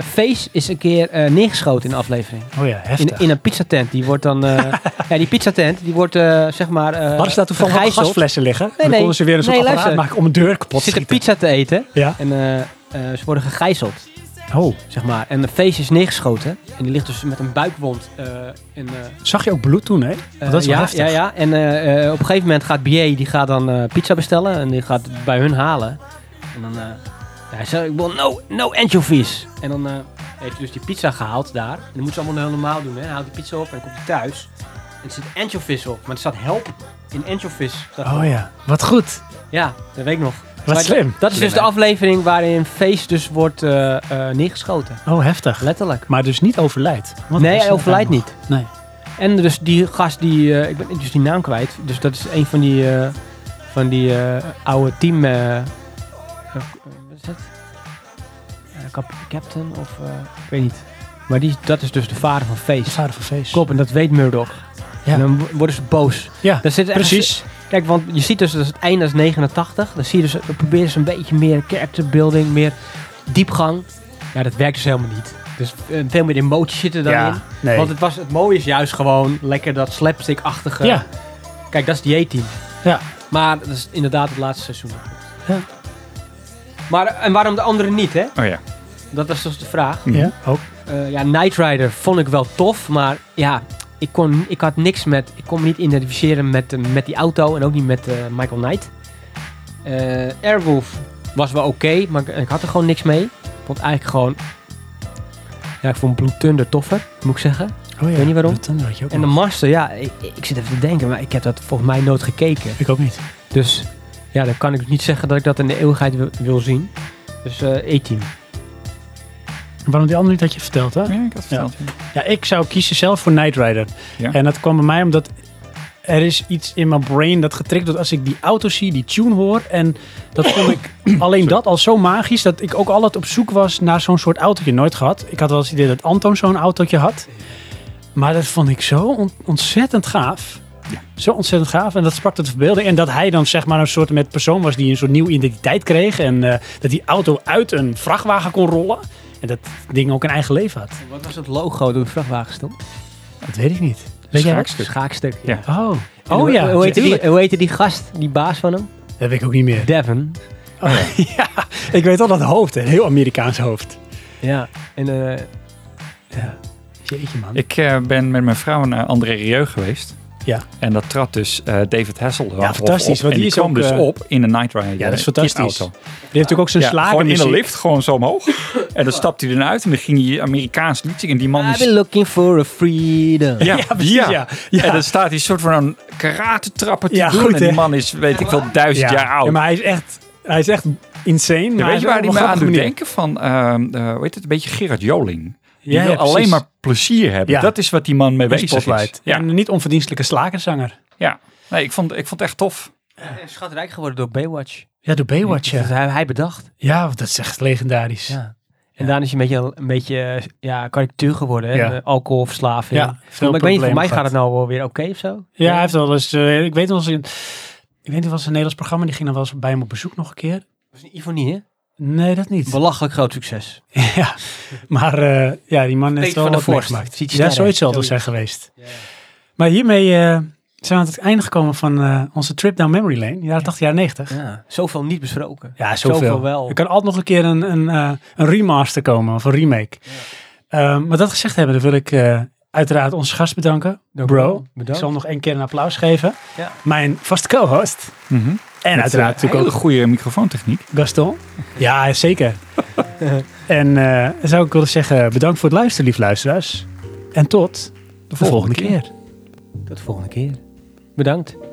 C: Face is een keer eh, neergeschoten in de aflevering.
A: Oh ja, heftig.
C: In, in een pizzatent. Die wordt dan... eh, ja, die pizzatent, die wordt eh, zeg maar... eh
A: Hadden ze daar toevallig ook
C: vergijzeld.
A: gasflessen liggen? En dan
C: nee.
A: konden ze weer een soort
C: Nee,
A: apparaat
C: luister.
A: maken om een deur
C: Ze
A: kapot te
C: zitten
A: schieten.
C: pizza te eten.
A: Ja.
C: En eh, eh, ze worden gegijzeld,
A: Oh,
C: zeg maar. En de Face is neergeschoten. En die ligt dus met een buikwond eh, in... eh,
A: zag je ook bloed toen, hè?
C: Eh,
A: Oh, dat is wel
C: ja,
A: heftig.
C: ja, ja. En eh, eh, op een gegeven moment gaat BA die gaat dan eh, pizza bestellen en die gaat het bij hun halen. En dan eh, hij zegt, ik wil no, no anchovies. En dan eh, heeft hij dus die pizza gehaald daar. En dan moeten ze allemaal heel normaal doen. Hè. Hij haalt die pizza op en dan komt hij thuis. En er zit anchovies op, maar er staat help in anchovies. Staat
A: Oh
C: erop.
A: ja, wat goed.
C: ja, dat weet ik nog.
A: Wat
C: Maar
A: slim.
C: Dat is dus de aflevering waarin Face dus wordt eh, eh, neergeschoten.
A: Oh, heftig.
C: Letterlijk.
A: Maar dus niet overlijdt. Want
C: nee,
A: dat is
C: hij overlijdt
A: nog-
C: niet.
A: Nee.
C: En dus die gast, die, eh, ik ben dus die naam kwijt. Dus dat is een van die, eh, van die eh, oude team... eh, eh, wat is het? Eh, kap- captain of... eh, ik weet niet. Maar die, dat is dus de vader van
A: De
C: Face.
A: vader van Feest.
C: Klopt, en dat weet Murdoch.
A: Ja.
C: En dan wo- worden ze boos.
A: Ja,
C: Daar zit echt-
A: precies.
C: Kijk, want je ziet dus dat het einde is 89. Dan zie je dus, dan proberen ze een beetje meer character building, meer diepgang. Ja, dat werkt dus helemaal niet. Dus eh, veel meer emotie zit er dan in.
A: Ja, nee.
C: Want het, was, het mooie is juist gewoon lekker dat slapstick-achtige.
A: ja,
C: Kijk, dat is die A-team.
A: Ja.
C: Maar dat is inderdaad het laatste seizoen.
A: Ja.
C: Maar, en waarom de anderen niet, hè?
B: Oh ja.
C: Dat was dus de vraag.
B: Mhm.
A: ja, ook.
C: Eh, ja, Knight Rider vond ik wel tof, maar ja, ik, kon, ik had niks met... Ik kon me niet identificeren met, eh, met die auto en ook niet met eh, Michael Knight. Eh, Airwolf was wel oké, maar ik, ik had er gewoon niks mee. Ik vond eigenlijk gewoon... Ja, ik vond Blue Thunder toffer, moet ik zeggen.
A: Oh, ja.
C: weet niet waarom.
A: Dat andere had je ook
C: En de
A: nog.
C: Master, ja, ik, ik zit even te denken, maar ik heb dat volgens mij nooit gekeken.
A: Ik ook niet.
C: Dus ja, dan kan ik niet zeggen dat ik dat in de eeuwigheid wil, wil zien. Dus eh E-team.
A: Waarom die andere niet had je verteld, hè?
B: Ja, ik had verteld. ja.
A: Ja, ik zou kiezen zelf voor Knight Rider.
B: Ja.
A: En dat kwam bij mij omdat er is iets in mijn brain dat getriggerd wordt als ik die auto zie, die tune hoor. En dat vond ik alleen dat al zo magisch dat ik ook altijd op zoek was naar zo'n soort autootje. Nooit gehad. Ik had wel eens het idee dat Anton zo'n autootje had. Maar dat vond ik zo on- ontzettend gaaf. Zo ontzettend gaaf. En dat sprak tot de verbeelding. En dat hij dan zeg maar een soort met persoon was die een soort nieuwe identiteit kreeg. En eh, dat die auto uit een vrachtwagen kon rollen. En dat ding ook een eigen leven had.
C: Wat was het logo dat op de vrachtwagen stond?
A: Dat weet ik niet. Weet jij wat?
C: Schaakstuk. Schaakstuk.
B: Ja.
A: Oh,
C: En
A: oh
C: hoe-
A: ja.
C: Hoe heette, die,
A: natuurlijk.
C: hoe heette die gast, die baas van hem?
A: Dat weet ik ook niet meer.
C: Devon.
A: ja, ik weet al dat hoofd. Een heel Amerikaans hoofd.
C: Ja. En eh,
A: Jeetje man.
B: Ik eh, ben met mijn vrouw naar André Rieu geweest.
A: Ja.
B: En dat trad dus eh, David Hasselhoff
A: Ja, fantastisch,
B: Op,
A: want
B: en
A: die
B: die
A: is
B: kwam
A: ook,
B: dus
A: eh,
B: op in een Night Rider.
A: ja, dat is fantastisch. eh, Die
B: auto.
A: heeft natuurlijk ook zijn
B: Ja,
A: slagen.
B: gewoon in de lift, gewoon zo omhoog. En dan stapte hij eruit en dan ging hij Amerikaans lied zingen. En die man
C: I've
B: is...
C: been looking for a
B: Ja,
C: freedom.
A: Ja, precies. Ja, ja. ja.
B: En dan staat hij soort van een karate trappen te
A: Ja,
B: doen.
A: goed,
B: en die
A: hè?
B: man is, weet ik wel, duizend jaar Dus oud.
A: Ja, maar hij is echt, hij is echt insane.
B: Ja,
A: maar
B: weet je waar
A: hij
B: die
A: is
B: me
A: wel
B: aan
A: op een
B: doet
A: grappige
B: denken? Van, ehm, eh, hoe heet het, een beetje Gerard Joling. Die
A: manier. Ja,
B: wil
A: ja,
B: alleen
A: precies.
B: maar plezier hebben.
A: Ja.
B: Dat is wat die man mee
A: Een
B: bezig
A: spotlight.
B: is. Ja.
A: En een niet onverdienstelijke slagerzanger.
B: ja. Nee, ik vond, ik vond het echt tof.
C: Schatrijk geworden door Baywatch.
A: Ja, door Baywatch.
C: Dat
A: Ja,
C: hij, hij bedacht.
A: ja dat is echt legendarisch. Ja,
C: Ja. En daarna is hij een beetje een beetje eh, ja, karikatuur geworden. hè.
A: Ja.
C: Eh, Alcoholverslaving.
A: Ja,
C: Maar
A: veel
C: ik weet niet, voor
A: problemen
C: mij gaat
A: gehad.
C: het nou wel weer oké of zo.
A: hij heeft wel eens, eh, ik weet wel eens, in- ik weet niet, was een Nederlands programma, die ging dan wel eens bij hem op bezoek nog een keer.
C: was een ironie, hè?
A: Nee, dat niet.
C: Belachelijk groot succes.
A: Ja, maar eh, ja, die man heeft wel
C: Peter van
A: wat
C: der Vorst.
A: meegemaakt.
C: Ziet
A: Ja,
C: sterren.
A: zoiets zal het wel zijn
C: Zoiets.
A: geweest. Maar hiermee eh, zijn we aan het einde gekomen van eh, onze trip down memory lane. Jaren 80, jaren 90. Ja,
C: Ja. Zoveel niet besproken.
A: zoveel.
C: wel.
A: Er kan altijd nog een keer een, een, eh, een remaster komen of een remake. Ehm, maar dat gezegd hebben, dan wil ik eh, uiteraard onze gast bedanken.
C: Dank u wel.
A: Bro, ik
C: Bedankt.
A: zal hem nog één keer een applaus geven.
C: Ja.
A: Mijn vaste co-host.
B: Mhm.
A: En
B: Met,
A: uiteraard
B: eh,
A: natuurlijk
B: hele
A: ook
B: goede microfoontechniek.
A: Gaston. Ja, zeker. en eh, zou ik willen zeggen, bedankt voor het luisteren, lief luisteraars. En tot de volgende,
B: volgende keer.
A: keer.
C: Tot de volgende keer. Bedankt.